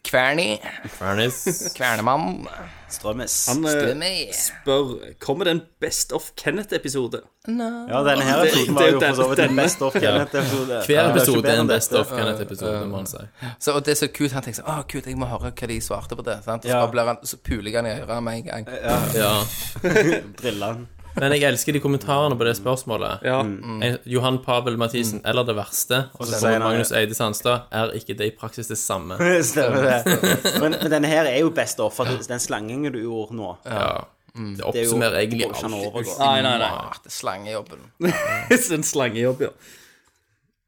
Speaker 5: Kverni.
Speaker 6: Fernis.
Speaker 5: Kvernemann.
Speaker 1: Strømmes.
Speaker 2: Han eh,
Speaker 5: Stemmer.
Speaker 2: spør Kommer det en Best of Kenneth-episode.
Speaker 1: Ja, denne her
Speaker 2: Det-
Speaker 1: episoden
Speaker 2: det
Speaker 1: var
Speaker 2: er
Speaker 1: jo
Speaker 2: jo
Speaker 1: for så vidt en
Speaker 2: denne.
Speaker 1: best of Kenneth-episode.
Speaker 6: Hver
Speaker 1: Ja, det er jo ikke
Speaker 6: episode
Speaker 1: bedre
Speaker 6: er
Speaker 1: enn
Speaker 6: en best
Speaker 1: dette.
Speaker 6: of Kenneth-episode, må man si.
Speaker 5: Så, og det er så kult. Han tenker sånn Å, kult, jeg må høre hva de svarte på det. Sant? Og så,
Speaker 1: Ja.
Speaker 5: bare blir han, så puler jeg han i øret med en gang.
Speaker 6: Ja.
Speaker 1: Driller han.
Speaker 6: Men jeg elsker de kommentarene på det spørsmålet.
Speaker 2: Ja.
Speaker 6: En- Johan Pavel Mathisen, eller det verste. Og
Speaker 1: Mm.
Speaker 6: så
Speaker 1: så sier
Speaker 6: kommer
Speaker 1: han-
Speaker 6: Magnus Eide Sandstad. Er ikke det i praksis det samme?
Speaker 1: Stemmer det. Men, men denne her er jo best of, for at den slangingen du gjorde nå
Speaker 6: Ja.
Speaker 1: Det
Speaker 6: Det
Speaker 1: er jo
Speaker 6: oppsummerer egentlig
Speaker 1: går ikke an å
Speaker 6: alt.
Speaker 1: overgå.
Speaker 2: Nei, eh, nei, nei.
Speaker 5: Ah, det er slangejobben.
Speaker 2: en slangejobb, ja.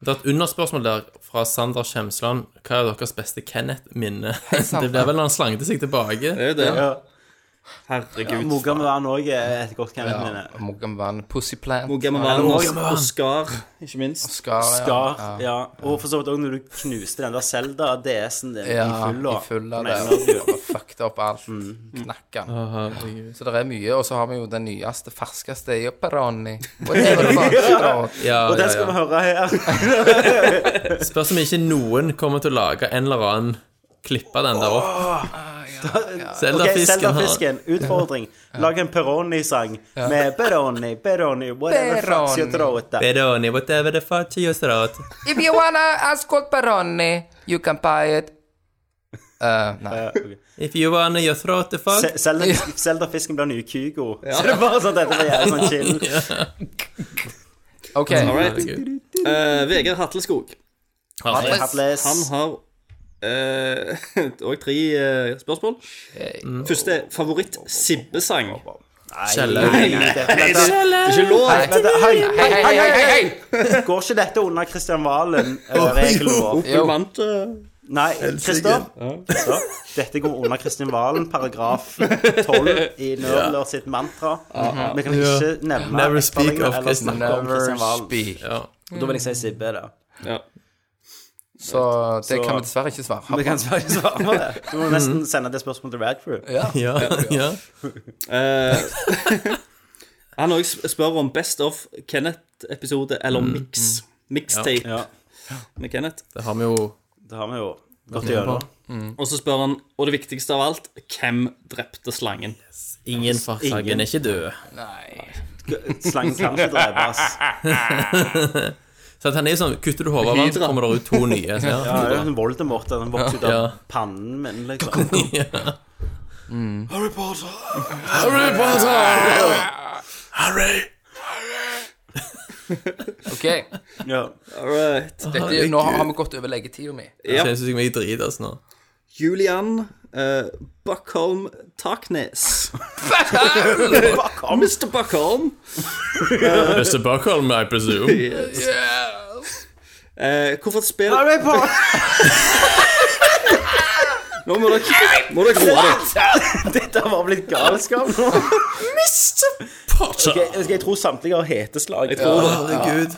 Speaker 6: Det er et underspørsmål der fra Sander Kjemsland. Hva er deres beste Kenneth-minne? Det blir vel når han slangte seg tilbake.
Speaker 2: Det er jo det.
Speaker 1: Ja.
Speaker 2: Herregud.
Speaker 1: Mogam Vann òg er et godt Kenneth-minne.
Speaker 5: Mogamvan. Pussyplant.
Speaker 2: Mogamavan og Skar, ikke minst.
Speaker 5: Skar.
Speaker 1: Skar. Ja. Og for så vidt òg når du knuste den der Zelda DS-en din
Speaker 5: Ja,
Speaker 1: i fylla.
Speaker 5: i full av det.
Speaker 1: Mener
Speaker 5: Og
Speaker 1: du?
Speaker 5: bare fucked opp alt. Knakk den. Så det er mye. Og så har vi jo den nyeste, ferskeste i Operoni. Whatever the fuck. Og-
Speaker 6: Ja,
Speaker 1: Og
Speaker 6: ja,
Speaker 1: den skal vi
Speaker 6: ja.
Speaker 1: høre her.
Speaker 6: Spørs om ikke noen kommer til å lage en eller annen klippe den der opp.
Speaker 1: Ok,
Speaker 6: Zelda-fisken har
Speaker 1: Zelda-fisken. Utfordring. Lag en Peroni-sang med Peroni, Peroni, whatever
Speaker 5: Peroni.
Speaker 1: fucks you throw at that.
Speaker 6: Beroni, whatever the fuck you thought.
Speaker 5: If you wanna ask what Peroni, you can buy it. Eh, nei.
Speaker 6: If you wanna your throat the fuck.
Speaker 1: Se- Zelda- Zelda-fisken blir nye Kygo. Så det er bare sånn at dette blir jævlig sånn chill.
Speaker 5: OK.
Speaker 2: All right.
Speaker 6: Herregud.
Speaker 2: Eh, Vegard Hatleskog.
Speaker 6: Herregud.
Speaker 1: Hatless.
Speaker 2: Han har òg tre eh, spørsmål. Første er favoritt-Sibbe-sang.
Speaker 6: Kjelle.
Speaker 1: Nei, nei, dette- dette-
Speaker 2: Det er ikke lov!
Speaker 1: dette- Hei,
Speaker 5: Hei, hei, hei, hei, hei!
Speaker 1: Går ikke dette under Kristian Valen-regelen vår?
Speaker 2: Du vant eh,
Speaker 1: Nei, Kristian. Dette går under Kristian Valen, paragraf 12 i Nerdler sitt mantra. Vi kan ikke nevne
Speaker 6: Never
Speaker 1: Erling
Speaker 6: speak of
Speaker 1: eller
Speaker 6: Christian-
Speaker 1: snakke om Kristian Valen.
Speaker 5: speak.
Speaker 6: Ja.
Speaker 1: Da vil jeg si Sibbe, da.
Speaker 2: ja.
Speaker 5: Så det kan vi dessverre ikke svare
Speaker 1: Vi
Speaker 5: på.
Speaker 1: kan svare svare på det. Du må nesten sende det spørsmålet til Radcrew.
Speaker 6: Ja, ja.
Speaker 2: Eh, Han òg spør om Best of Kenneth-episode eller mix. Mixtape
Speaker 1: Ja.
Speaker 2: med Kenneth.
Speaker 6: Det har vi jo
Speaker 1: Det har vi jo gått gjennom.
Speaker 2: Og så spør han, og det viktigste av alt, hvem drepte slangen?
Speaker 6: Ingen fra Sagen er ikke død.
Speaker 1: Slangen kan ikke drepes.
Speaker 6: Så at han er sånn, Kutter du hodet av ham, så
Speaker 2: Hydra.
Speaker 6: kommer det ut to nye. Så,
Speaker 1: Ja, det er jo
Speaker 6: ja.
Speaker 1: en Voldemort. Den vokser ut
Speaker 6: Ja.
Speaker 1: av pannen min, liksom.
Speaker 5: OK.
Speaker 1: Ja.
Speaker 2: Alright.
Speaker 5: Dette, nå har vi gått over leggetida mi.
Speaker 6: Ja. Jeg syns jeg driter nå.
Speaker 2: Julian eh, Buckholm Taknes. Mr. Buckholm.
Speaker 6: Mr. Buckholm, I presume.
Speaker 2: Eh, hvorfor spiller Nå må dere, må dere roe dere.
Speaker 1: Dette har bare blitt galskap nå.
Speaker 6: Potter.
Speaker 1: Ok, jeg- Jeg tror samtlige har heteslag.
Speaker 6: Herregud.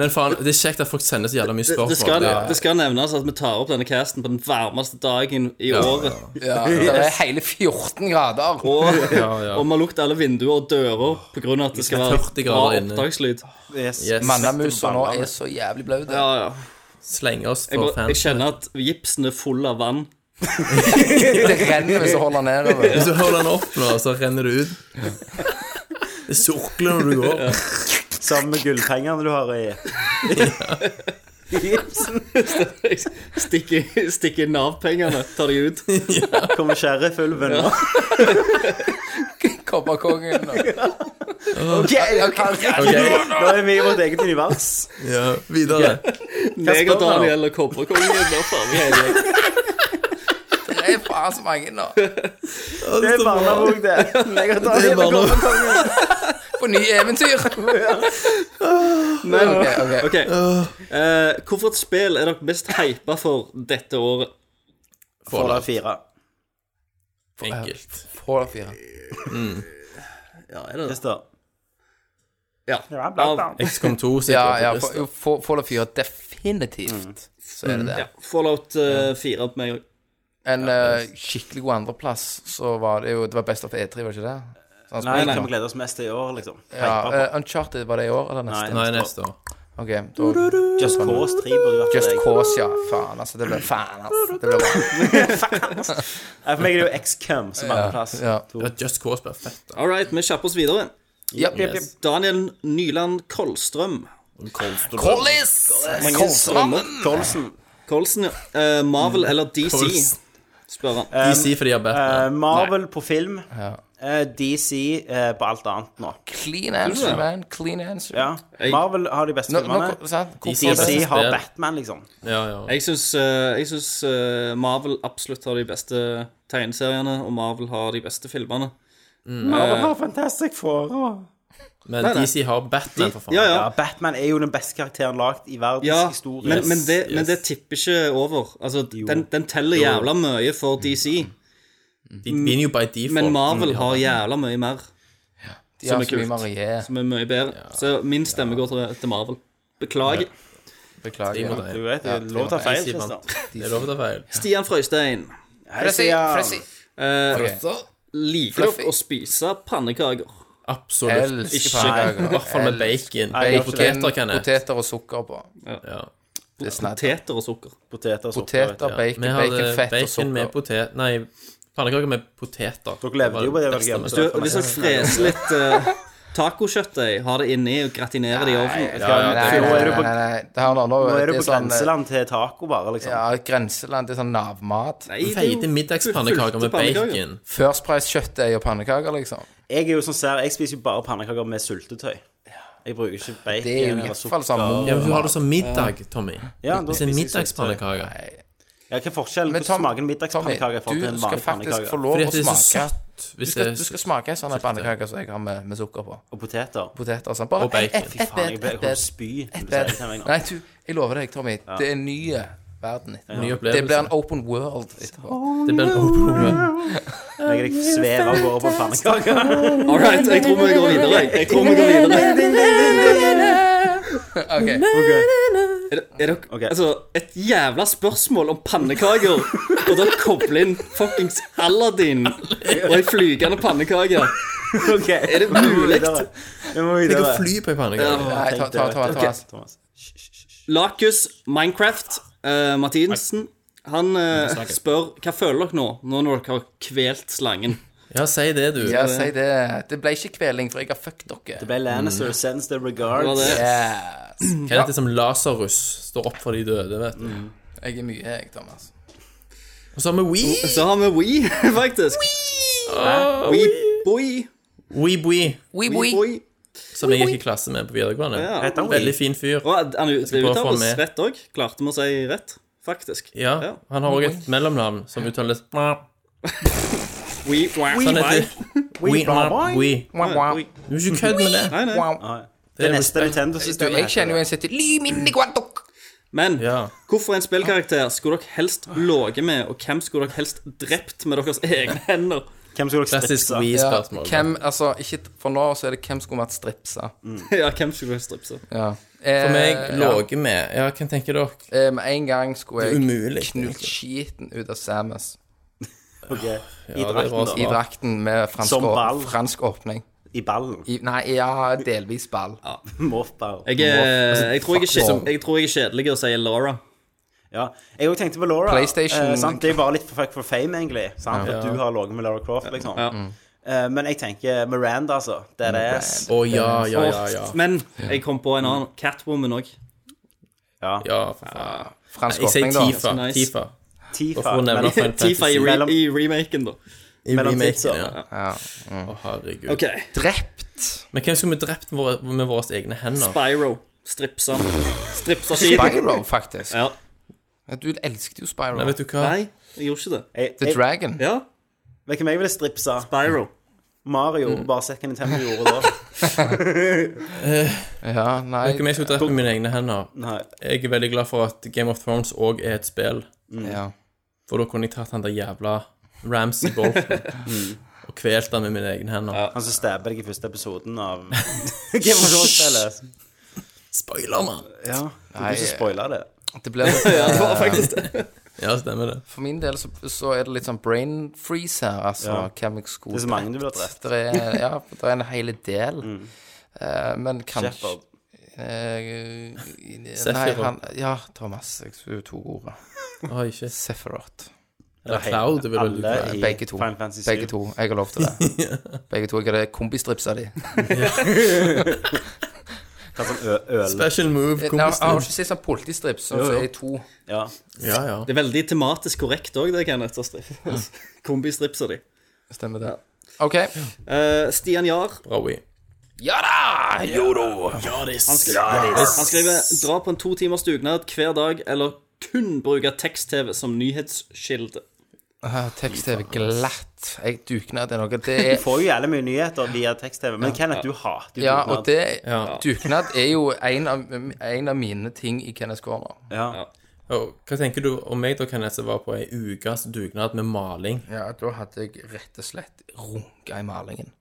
Speaker 6: Men faen, det er kjekt at folk sender så jævla mye
Speaker 2: Det skal,
Speaker 6: spørsmål.
Speaker 2: det skal nevnes at vi tar opp denne casten på den varmeste dagen i året.
Speaker 5: Ja, det er hele 14 grader.
Speaker 2: Og,
Speaker 6: ja.
Speaker 2: og vi har lukket alle vinduer og dører pga. at det skal
Speaker 6: Det er
Speaker 2: være
Speaker 6: 40
Speaker 2: bra
Speaker 6: grader inne.
Speaker 2: opptakslyd.
Speaker 1: Yes.
Speaker 6: Yes.
Speaker 5: Mannamusa nå er så jævlig blaut.
Speaker 2: Ja, ja.
Speaker 6: Slenger oss
Speaker 2: Jeg,
Speaker 6: for
Speaker 2: bare, jeg
Speaker 6: fans.
Speaker 2: kjenner at gipsen er full av vann.
Speaker 5: Det renner hvis du holder nedover.
Speaker 6: Hvis du holder den opp nå, så renner det ut. Det surkler når du går.
Speaker 1: Sammen med gullpengene du har i Gipsen.
Speaker 2: Jeg stikker, stikker Nav-pengene, tar de ut.
Speaker 1: Kommer sheriffulven.
Speaker 5: Kobberkongen og
Speaker 1: OK, ok, Nå er vi i vårt eget univers.
Speaker 6: Ja, videre.
Speaker 2: Jeg og Daniel og Kobberkongen blir farlige hele gjengen.
Speaker 5: Det er faen så mange nå.
Speaker 1: Det er barnebok, det. Jeg har tatt hele
Speaker 6: barnebok.
Speaker 1: Kobberkongen.
Speaker 5: På nye eventyr.
Speaker 2: Men
Speaker 5: Ok, ok.
Speaker 2: OK. Eh, hvorfor et spill er dere mest hypa for dette året?
Speaker 1: Fallout 4.
Speaker 6: Enkelt.
Speaker 5: På fire.
Speaker 2: Ja, er det det?
Speaker 1: Christer.
Speaker 2: Ja.
Speaker 1: Ja, blant
Speaker 2: Av-
Speaker 1: annet.
Speaker 6: XCOM 2 sitter
Speaker 5: Ja, ja.
Speaker 6: på
Speaker 5: for-
Speaker 6: lista.
Speaker 5: jo, for- Fallout 4, definitivt. Så er det det.
Speaker 2: ja. Fallout eh, 4 på meg òg.
Speaker 5: En eh, skikkelig god andreplass, så var det jo Det var Best of E3, var det ikke det? Så han
Speaker 1: Nei,
Speaker 5: spilte
Speaker 1: hva
Speaker 5: nå.
Speaker 1: vi gleder oss mest til i år, liksom.
Speaker 5: Ja,
Speaker 1: Hyper på.
Speaker 5: eh, Uncharted, var det i år eller neste?
Speaker 6: Nei, neste år.
Speaker 5: Ok, da
Speaker 1: Just Cause 3 burde vært
Speaker 5: Just
Speaker 1: for deg.
Speaker 5: Cause, ja. Faen, altså. Det ble faen, altså. Det ble bra.
Speaker 1: Nei, For meg er det jo XCOM som andreplass.
Speaker 5: Ja.
Speaker 6: Ja, Just Cause blir fett. da.
Speaker 2: All right, vi kjapper oss videre.
Speaker 5: Japp, japp, japp.
Speaker 2: Daniel Nyland Kolstrøm.
Speaker 5: Collis!
Speaker 2: Kolstrømmer.
Speaker 1: Colson.
Speaker 2: Kolsen, ja. Eh, Marvel eller DC,
Speaker 6: Kolsen.
Speaker 2: spør han.
Speaker 6: DC fordi jeg
Speaker 2: uh,
Speaker 6: har
Speaker 1: Eh,
Speaker 6: Batman.
Speaker 1: Marvel på film. Eh, DC eh, på alt annet nå.
Speaker 5: Clean answer, man. Clean answer.
Speaker 1: Ja. Marvel har de beste
Speaker 5: Nå, nå,
Speaker 1: filmene.
Speaker 5: sant?
Speaker 6: DC er
Speaker 1: DC
Speaker 6: best.
Speaker 1: har Batman, liksom.
Speaker 6: Ja, ja.
Speaker 2: Jeg syns, eh, jeg syns eh, Marvel absolutt har de beste tegneseriene, og Marvel har de beste filmene.
Speaker 1: Marvel har Fantastic Four og
Speaker 6: Men DC har Batman, for faen.
Speaker 2: Ja, ja.
Speaker 1: Ja, Batman er jo den beste karakteren lagd i verdens
Speaker 2: ja
Speaker 1: historie.
Speaker 2: men, men, det, men det tipper ikke over. Altså, den, den teller jævla mye for DC,
Speaker 6: De vinner jo by default.
Speaker 2: men Marvel
Speaker 6: Ja.
Speaker 2: har jævla mye mer er
Speaker 5: De har så mye
Speaker 2: kult.
Speaker 5: Marie.
Speaker 2: som er mye bedre. Så min stemme går til, til Marvel. Beklager.
Speaker 5: Beklager.
Speaker 6: Ja.
Speaker 5: Ja.
Speaker 1: Du vet, det er lov til å ta feil.
Speaker 6: Jeg sier
Speaker 1: Christer.
Speaker 6: Det er lov til å ta feil.
Speaker 2: Stian Frøystein.
Speaker 1: Hei, Stian.
Speaker 5: Fressi.
Speaker 2: Eh,
Speaker 5: Ok.
Speaker 2: Liker
Speaker 5: Fluffy.
Speaker 2: dere å spise pannekaker?
Speaker 6: Absolutt.
Speaker 5: Elsker
Speaker 6: Ikke.
Speaker 5: pannekaker.
Speaker 6: I hvert fall med bacon. Og poteter kan
Speaker 5: altså.
Speaker 6: jeg.
Speaker 5: Poteter og sukker på.
Speaker 6: Ja.
Speaker 5: Det er snadder.
Speaker 2: Poteter og sukker.
Speaker 1: Poteter og sokker.
Speaker 5: Poteter, bacon,
Speaker 6: Vi hadde
Speaker 5: bacon, fett og
Speaker 6: bacon med
Speaker 5: sukker.
Speaker 6: potet... Nei, pannekaker med poteter.
Speaker 1: Dere levde jo på det veldig
Speaker 2: Du,
Speaker 1: gøy.
Speaker 2: hvis dere freser litt uh, tacokjøttdeig, har det inni og gratinerer det i ovnen
Speaker 5: Nei, nei,
Speaker 1: Nå er du
Speaker 5: nei,
Speaker 1: på-
Speaker 5: nei, nei. Det her nå, nå
Speaker 1: Nå er du
Speaker 5: det
Speaker 1: på
Speaker 5: sånn, eh,
Speaker 1: grenseland til taco, bare, liksom.
Speaker 5: Ja, grenseland. Det er sånn navmat.
Speaker 2: Nei, det er jo
Speaker 6: Feite middagspannekaker med
Speaker 2: fulgte pannekaker.
Speaker 6: bacon.
Speaker 5: Førsprice-kjøttdeig og pannekaker, liksom.
Speaker 1: Jeg er jo sånn sær, jeg spiser jo bare pannekaker med sultetøy. Jeg bruker ikke bacon
Speaker 5: Det er jo i
Speaker 1: eller
Speaker 5: hvert
Speaker 1: sukker.
Speaker 5: fall sånn
Speaker 6: Ja, men
Speaker 5: mor-
Speaker 6: du har det som middag, Tommy.
Speaker 1: Ja, da
Speaker 6: Hvis en
Speaker 1: spiser jeg
Speaker 6: middagspannekake
Speaker 1: Ja, hva er forskjellen?
Speaker 5: Men
Speaker 1: Hvordan
Speaker 5: Tom-
Speaker 1: smaker en middagspannekake i forhold til
Speaker 5: Tommy,
Speaker 1: en
Speaker 5: du skal
Speaker 1: vanlig
Speaker 5: faktisk
Speaker 1: pannekake?
Speaker 5: få lov
Speaker 6: Fordi
Speaker 5: å
Speaker 6: at det er så
Speaker 5: smake.
Speaker 6: søtt.
Speaker 5: Du
Speaker 6: Hvis det
Speaker 5: skal,
Speaker 6: er
Speaker 5: du skal smake sånne pannekaker som jeg har med, med sukker på.
Speaker 1: Og poteter?
Speaker 5: Poteter og sånn. Bare
Speaker 6: Og bacon.
Speaker 5: ett- ett
Speaker 1: Faen, jeg ble- jeg kommer
Speaker 5: bed, ett
Speaker 1: til å
Speaker 5: bed.
Speaker 1: spy. når du sier det til meg nå.
Speaker 5: Nei, du, jeg lover deg, Tommy. Det er en ny verden etterpå.
Speaker 6: Ny
Speaker 5: Det blir
Speaker 6: opplevelse.
Speaker 5: en open world etterpå.
Speaker 6: Det blir en opera.
Speaker 1: Legger deg svev av gårde på en pannekake.
Speaker 2: All right, jeg tror vi går videre. jeg. Jeg tror vi går videre.
Speaker 5: Ok,
Speaker 2: Er, det- er dere,
Speaker 1: Ok.
Speaker 2: altså, et jævla spørsmål om pannekaker, og dere kobler inn fuckings Aladdin og ei flygende pannekake.
Speaker 1: Ok,
Speaker 2: Er det mulig?
Speaker 1: Vi må
Speaker 6: Jeg
Speaker 1: videre.
Speaker 6: kan fly på en pannekake.
Speaker 5: Nei, ta, ta, ta, ta, ta.
Speaker 1: Thomas. Hysj, hysj, hysj.
Speaker 2: Lakus Minecraft eh, Martinsen han eh, spør hva føler dere nå, nå når dere har kvelt slangen.
Speaker 6: Ja, si det, du.
Speaker 5: Ja, si det. Det ble ikke kveling, for jeg har fucked dere.
Speaker 1: Det ble Lannister sends the
Speaker 2: Det var
Speaker 1: regards.
Speaker 2: det.
Speaker 5: Yes.
Speaker 6: Hva er dette som Lasarus står opp for de døde, vet du.
Speaker 5: Jeg er mye, jeg, Thomas.
Speaker 6: Og så har vi Wee.
Speaker 2: Så har vi We, faktisk. We Boy.
Speaker 6: Wee Wee,
Speaker 5: Oui,
Speaker 2: We
Speaker 5: oui.
Speaker 2: Boy.
Speaker 6: som jeg gikk i klasse med på videregående.
Speaker 2: Ja.
Speaker 1: Heter han
Speaker 6: Veldig
Speaker 1: Wee?
Speaker 6: fin fyr.
Speaker 2: Og han- han det
Speaker 6: prøve å få han
Speaker 2: uttales
Speaker 6: med.
Speaker 2: rett òg. Klarte vi å si rett, faktisk.
Speaker 6: Ja, han har òg et mellomnavn som uttales Sånn
Speaker 2: We, we,
Speaker 6: heter
Speaker 1: Wee.
Speaker 6: Wee. Wee.
Speaker 5: Wah, wah.
Speaker 6: Du må ikke kødde med det.
Speaker 2: Nei, nei.
Speaker 5: Wah.
Speaker 1: Det
Speaker 6: er
Speaker 1: neste
Speaker 6: respekt.
Speaker 5: Du,
Speaker 1: Nintendo-systemet
Speaker 5: jeg kjenner jo en som heter Lymini Guantoc.
Speaker 2: Men
Speaker 6: Ja.
Speaker 2: hvorfor en spillkarakter skulle dere helst ligget med, og hvem skulle dere helst drept med deres egne hender?
Speaker 1: Hvem skulle dere
Speaker 6: Klassisk
Speaker 1: stripse?
Speaker 5: Ja,
Speaker 6: Wee-spørsmål.
Speaker 5: hvem, altså, ikke, for nå så er det hvem skulle vært stripsa.
Speaker 2: ja, hvem skulle dere stripse?
Speaker 5: Ja.
Speaker 6: For meg
Speaker 5: Eh,
Speaker 6: lå jeg med Ja, hva tenker dere?
Speaker 5: Eh, Med en gang skulle jeg
Speaker 6: Umulig.
Speaker 5: knust skiten ut av Samus
Speaker 1: Ok, I
Speaker 6: det var
Speaker 1: drakten,
Speaker 5: i
Speaker 1: da.
Speaker 5: drakten med fransk,
Speaker 1: Som
Speaker 5: åp-
Speaker 1: ball.
Speaker 5: fransk åpning.
Speaker 1: I ballen.
Speaker 5: I, nei, ja, delvis ball.
Speaker 1: Morfball.
Speaker 2: Jeg,
Speaker 6: altså,
Speaker 2: er- jeg, tror jeg, er
Speaker 5: fuck
Speaker 2: kje-
Speaker 5: off.
Speaker 2: jeg tror jeg er kjedelig og sier Laura.
Speaker 1: Ja. Jeg òg tenkte på Laura.
Speaker 5: PlayStation.
Speaker 1: Eh, sant? Det er bare litt for fuck for fame, egentlig. Sant? At du har ligget med Laura Croft, liksom.
Speaker 2: Ja.
Speaker 1: Eh, men jeg tenker Miranda, altså. Det er ass.
Speaker 6: Å ja, ja, ja. ja.
Speaker 2: Men jeg kom på en annen. Catwoman òg.
Speaker 1: Ja.
Speaker 6: Ja, for faen.
Speaker 5: Fransk
Speaker 6: Jeg sier
Speaker 5: åpning, da.
Speaker 6: Tifa.
Speaker 2: Nice.
Speaker 6: Tifa.
Speaker 1: Tifa.
Speaker 6: Hvorfor nevner
Speaker 1: men-
Speaker 6: jeg Final
Speaker 2: Tifa i,
Speaker 6: Fantasy?
Speaker 2: re
Speaker 1: Mellom-
Speaker 2: i remaken, da.
Speaker 6: I
Speaker 1: Mellom
Speaker 6: remaken,
Speaker 1: titser.
Speaker 6: ja. Å, herregud.
Speaker 2: OK.
Speaker 5: Drept!
Speaker 6: Men hvem skulle vi drept våre, med våre egne hender?
Speaker 2: Spyro. Stripsa. Stripsa skipet.
Speaker 5: Spyro, faktisk.
Speaker 2: Ja.
Speaker 5: Ja, Du elsket jo Spyro.
Speaker 6: Nei, vet du hva?
Speaker 2: Nei, jeg gjorde ikke det.
Speaker 1: Jeg,
Speaker 5: The
Speaker 1: jeg,
Speaker 5: Dragon.
Speaker 2: Ja,
Speaker 1: vet du hvem jeg ville stripsa?
Speaker 2: Spyro.
Speaker 1: Mario.
Speaker 5: Mm.
Speaker 1: Bare sett hva Nintendo gjorde da.
Speaker 5: Ja,
Speaker 6: Vet du
Speaker 5: nei
Speaker 6: hvem jeg skulle drept med mine egne hender?
Speaker 1: Nei.
Speaker 6: Jeg er veldig glad for at Game of Thrones òg er et spill.
Speaker 5: ja.
Speaker 6: For da kunne jeg tatt han der jævla Ramsay Bolton og kvelt han med mine egne hender.
Speaker 1: Han som stabber deg i første episoden av Game of Thrones-spillet.
Speaker 6: Spoiler, mann!
Speaker 1: Ja. Det er du som spoiler det.
Speaker 5: Det ble litt, eh,
Speaker 2: Det var faktisk det.
Speaker 6: Ja, stemmer det.
Speaker 5: For min del så, så er det litt sånn brain freeze her. Altså
Speaker 1: Ja.
Speaker 5: hvem jeg skulle
Speaker 1: Det er så mange du ville drept.
Speaker 5: Det er, ja, det er en hel del. Eh, men kanskje
Speaker 1: Shepard.
Speaker 5: eh, Nei,
Speaker 6: Sephiroth.
Speaker 5: han Ja, Thomas. Jeg skulle jo to ord.
Speaker 6: Oi, shit.
Speaker 5: Sephiroth. Eh,
Speaker 6: Eller Cloud det vil du
Speaker 1: Alle i
Speaker 5: Begge to.
Speaker 1: Final Fantasy 7.
Speaker 5: Begge to. Jeg har lov til det. Begge to. Jeg hadde kombistripsa de.
Speaker 1: Hva som ø- øl.
Speaker 6: Special move,
Speaker 5: Nei, jeg har
Speaker 6: kompisen.
Speaker 5: ikke sett sånn politistrips, sånn
Speaker 1: Jo,
Speaker 5: som
Speaker 1: jo.
Speaker 5: er i to.
Speaker 1: Ja.
Speaker 6: Ja, ja.
Speaker 2: Det er veldig tematisk korrekt òg, det, Kenneth. å strippe. Kombistripser de.
Speaker 5: Stemmer det. OK.
Speaker 2: Eh, Stian Jahr
Speaker 6: Bra, we.
Speaker 5: Ja da! Jo da!
Speaker 2: han, skri han skriver Dra på en to timers dugnad hver dag, eller kun bruke tekst-TV som nyhetskilde.
Speaker 5: Ah, Tekst-TV glatt. Jeg duknad er noe. Det er
Speaker 1: Du får jo jævlig mye nyheter via tekst-TV, men Kenneth, du hater jo
Speaker 5: Ja,
Speaker 1: dugnad.
Speaker 5: og det Duknad er jo en av, en av mine ting i Kenneth Corner.
Speaker 1: ja.
Speaker 6: Og hva tenker du om meg da, Kenneth, som var på ei ukes dugnad med maling?
Speaker 5: Ja, da hadde jeg rett og slett runka i malingen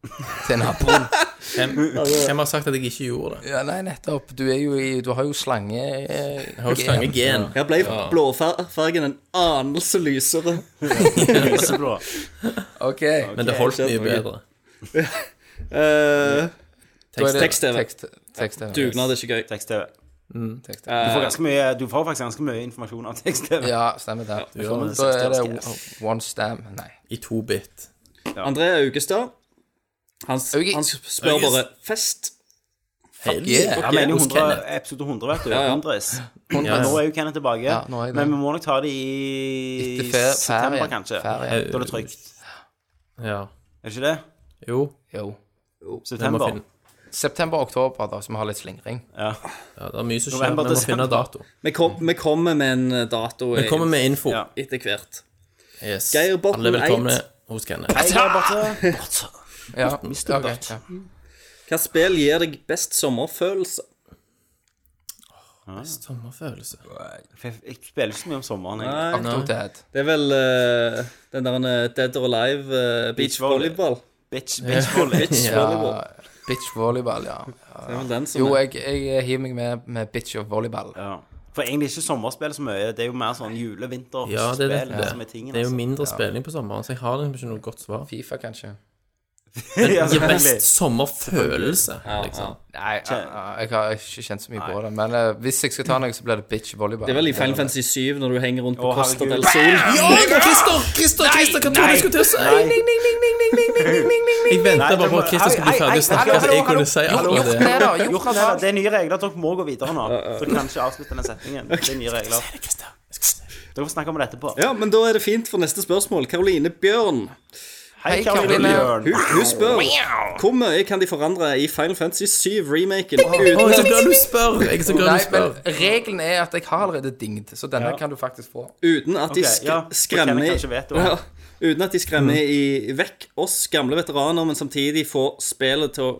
Speaker 5: til naboen.
Speaker 6: Hvem, hvem har sagt at jeg ikke gjorde det?
Speaker 5: ja, nei, nettopp. Du er jo i Du har jo slange... eh,
Speaker 6: Jeg har jo slange gen.
Speaker 2: Her ble blåfargen en anelse lysere.
Speaker 1: Lyseblå.
Speaker 5: OK.
Speaker 6: Men det holdt mye bedre.
Speaker 2: Eh,
Speaker 5: da er det
Speaker 2: tekst-TV.
Speaker 5: Tekst, tekst-TV.
Speaker 2: dugnad er ikke gøy.
Speaker 1: Tekst-TV.
Speaker 5: Tekst-TV.
Speaker 1: Du får, ganske mye, du får faktisk ganske mye informasjon av tekst-TV.
Speaker 5: Ja, stemmer det.
Speaker 1: det.
Speaker 5: da er det One Stam Nei.
Speaker 6: I to bit.
Speaker 2: André Augestad, han, s-
Speaker 5: Auge-
Speaker 2: han spør bare Fest.
Speaker 6: Fuck
Speaker 5: yeah.
Speaker 1: Han mener jo
Speaker 6: Hos
Speaker 1: 100,
Speaker 6: Kenneth.
Speaker 1: episode 100, vet du.
Speaker 2: ja.
Speaker 1: 100s. Men nå er jo Kenneth tilbake.
Speaker 5: Ja, nå er det.
Speaker 1: Men vi må nok ta det i
Speaker 5: Etter fe-
Speaker 1: september,
Speaker 5: ferien.
Speaker 1: kanskje.
Speaker 5: Ferien.
Speaker 1: Da er det trygt.
Speaker 6: Ja.
Speaker 1: Er det ikke det?
Speaker 6: Jo,
Speaker 5: Jo.
Speaker 6: vi må
Speaker 1: September.
Speaker 6: finne
Speaker 5: September-oktober, da, så vi har litt slingring.
Speaker 6: Ja, det er mye som skjer.
Speaker 1: November,
Speaker 6: Vi må
Speaker 1: desember.
Speaker 6: finne dato.
Speaker 2: Vi, kom, vi kommer med en eh, dato
Speaker 6: Vi kommer med
Speaker 5: Oh.
Speaker 6: info.
Speaker 1: Ja.
Speaker 2: etter hvert.
Speaker 6: Yes.
Speaker 2: Geir Botten
Speaker 6: Alle velkomne
Speaker 2: Eit.
Speaker 6: hos Kenneth.
Speaker 1: Jeg har bare til
Speaker 5: Ja, okay, ja.
Speaker 2: Hva spill gir deg best sommerfølelse?
Speaker 6: Sommerfølelse.
Speaker 1: Jeg spiller ikke så mye om sommeren, egentlig.
Speaker 5: Octodad.
Speaker 2: Det er vel eh, den der eh, Dead or Alive eh, beach
Speaker 1: Beachvolley.
Speaker 2: volleyball.
Speaker 1: Bitch, bitch, volley.
Speaker 2: Bitch volleyball.
Speaker 5: Bitch volleyball, ja. ja.
Speaker 2: Det er vel den som
Speaker 5: Jo,
Speaker 2: er.
Speaker 5: jeg, jeg hiver meg med, med bitch og volleyball.
Speaker 1: Ja. For egentlig ikke sommerspill så mye, det er jo mer sånn jule-vinterspill
Speaker 6: Ja, det er det.
Speaker 1: som er tingen.
Speaker 6: Det er altså. jo mindre spilling på sommeren, så jeg har liksom ikke noe godt svar.
Speaker 5: Fifa, kanskje.
Speaker 1: altså. Ja,
Speaker 6: Gir
Speaker 1: selvfølgelig.
Speaker 6: best sommerfølelse, liksom.
Speaker 5: Nei, jeg, jeg har ikke kjent så mye på det. Men eh, hvis jeg skal ta noe, så blir det bitch volleyball.
Speaker 2: Det er vel i Final Fantasy 7 når du henger rundt på
Speaker 1: Å,
Speaker 2: Costa
Speaker 1: herregud.
Speaker 2: del Sol.
Speaker 6: Ja, Christer! Christer, Christer, hva tror du jeg skulle til å si? Jeg venta bare på at Christer skulle
Speaker 1: Nei, nei,
Speaker 6: bli ferdig å
Speaker 1: nei,
Speaker 6: snakke,
Speaker 1: hallo,
Speaker 6: så jeg
Speaker 1: hallo,
Speaker 6: kunne si akkurat det.
Speaker 5: Nei da, jo,
Speaker 1: Gjort det, det er nye regler, dere må gå videre nå. Så kan ikke avslutte den setningen. Det er nye regler. Dere får snakke om det etterpå.
Speaker 2: Ja, men da er det fint for neste spørsmål. Caroline Bjørn.
Speaker 1: Hei,
Speaker 5: Hei,
Speaker 1: Karoline
Speaker 5: Karoline.
Speaker 1: Bjørn.
Speaker 2: Hun, hun spør hvor mye kan de forandre i Final Fantasy 7-remaken uten
Speaker 6: Å, så
Speaker 2: at,
Speaker 6: glad du spør! Jeg er så glad
Speaker 5: Nei,
Speaker 6: du
Speaker 5: men
Speaker 6: spør.
Speaker 5: regelen er at jeg har allerede dinget, så denne kan du faktisk få.
Speaker 2: uten at de
Speaker 1: Ok,
Speaker 2: sk
Speaker 1: ja, for
Speaker 2: skremmer
Speaker 1: Kenneth kanskje vet det
Speaker 2: ja,
Speaker 1: også.
Speaker 2: Uten at de skremmer i, vekk oss gamle veteraner, men samtidig får spillet til å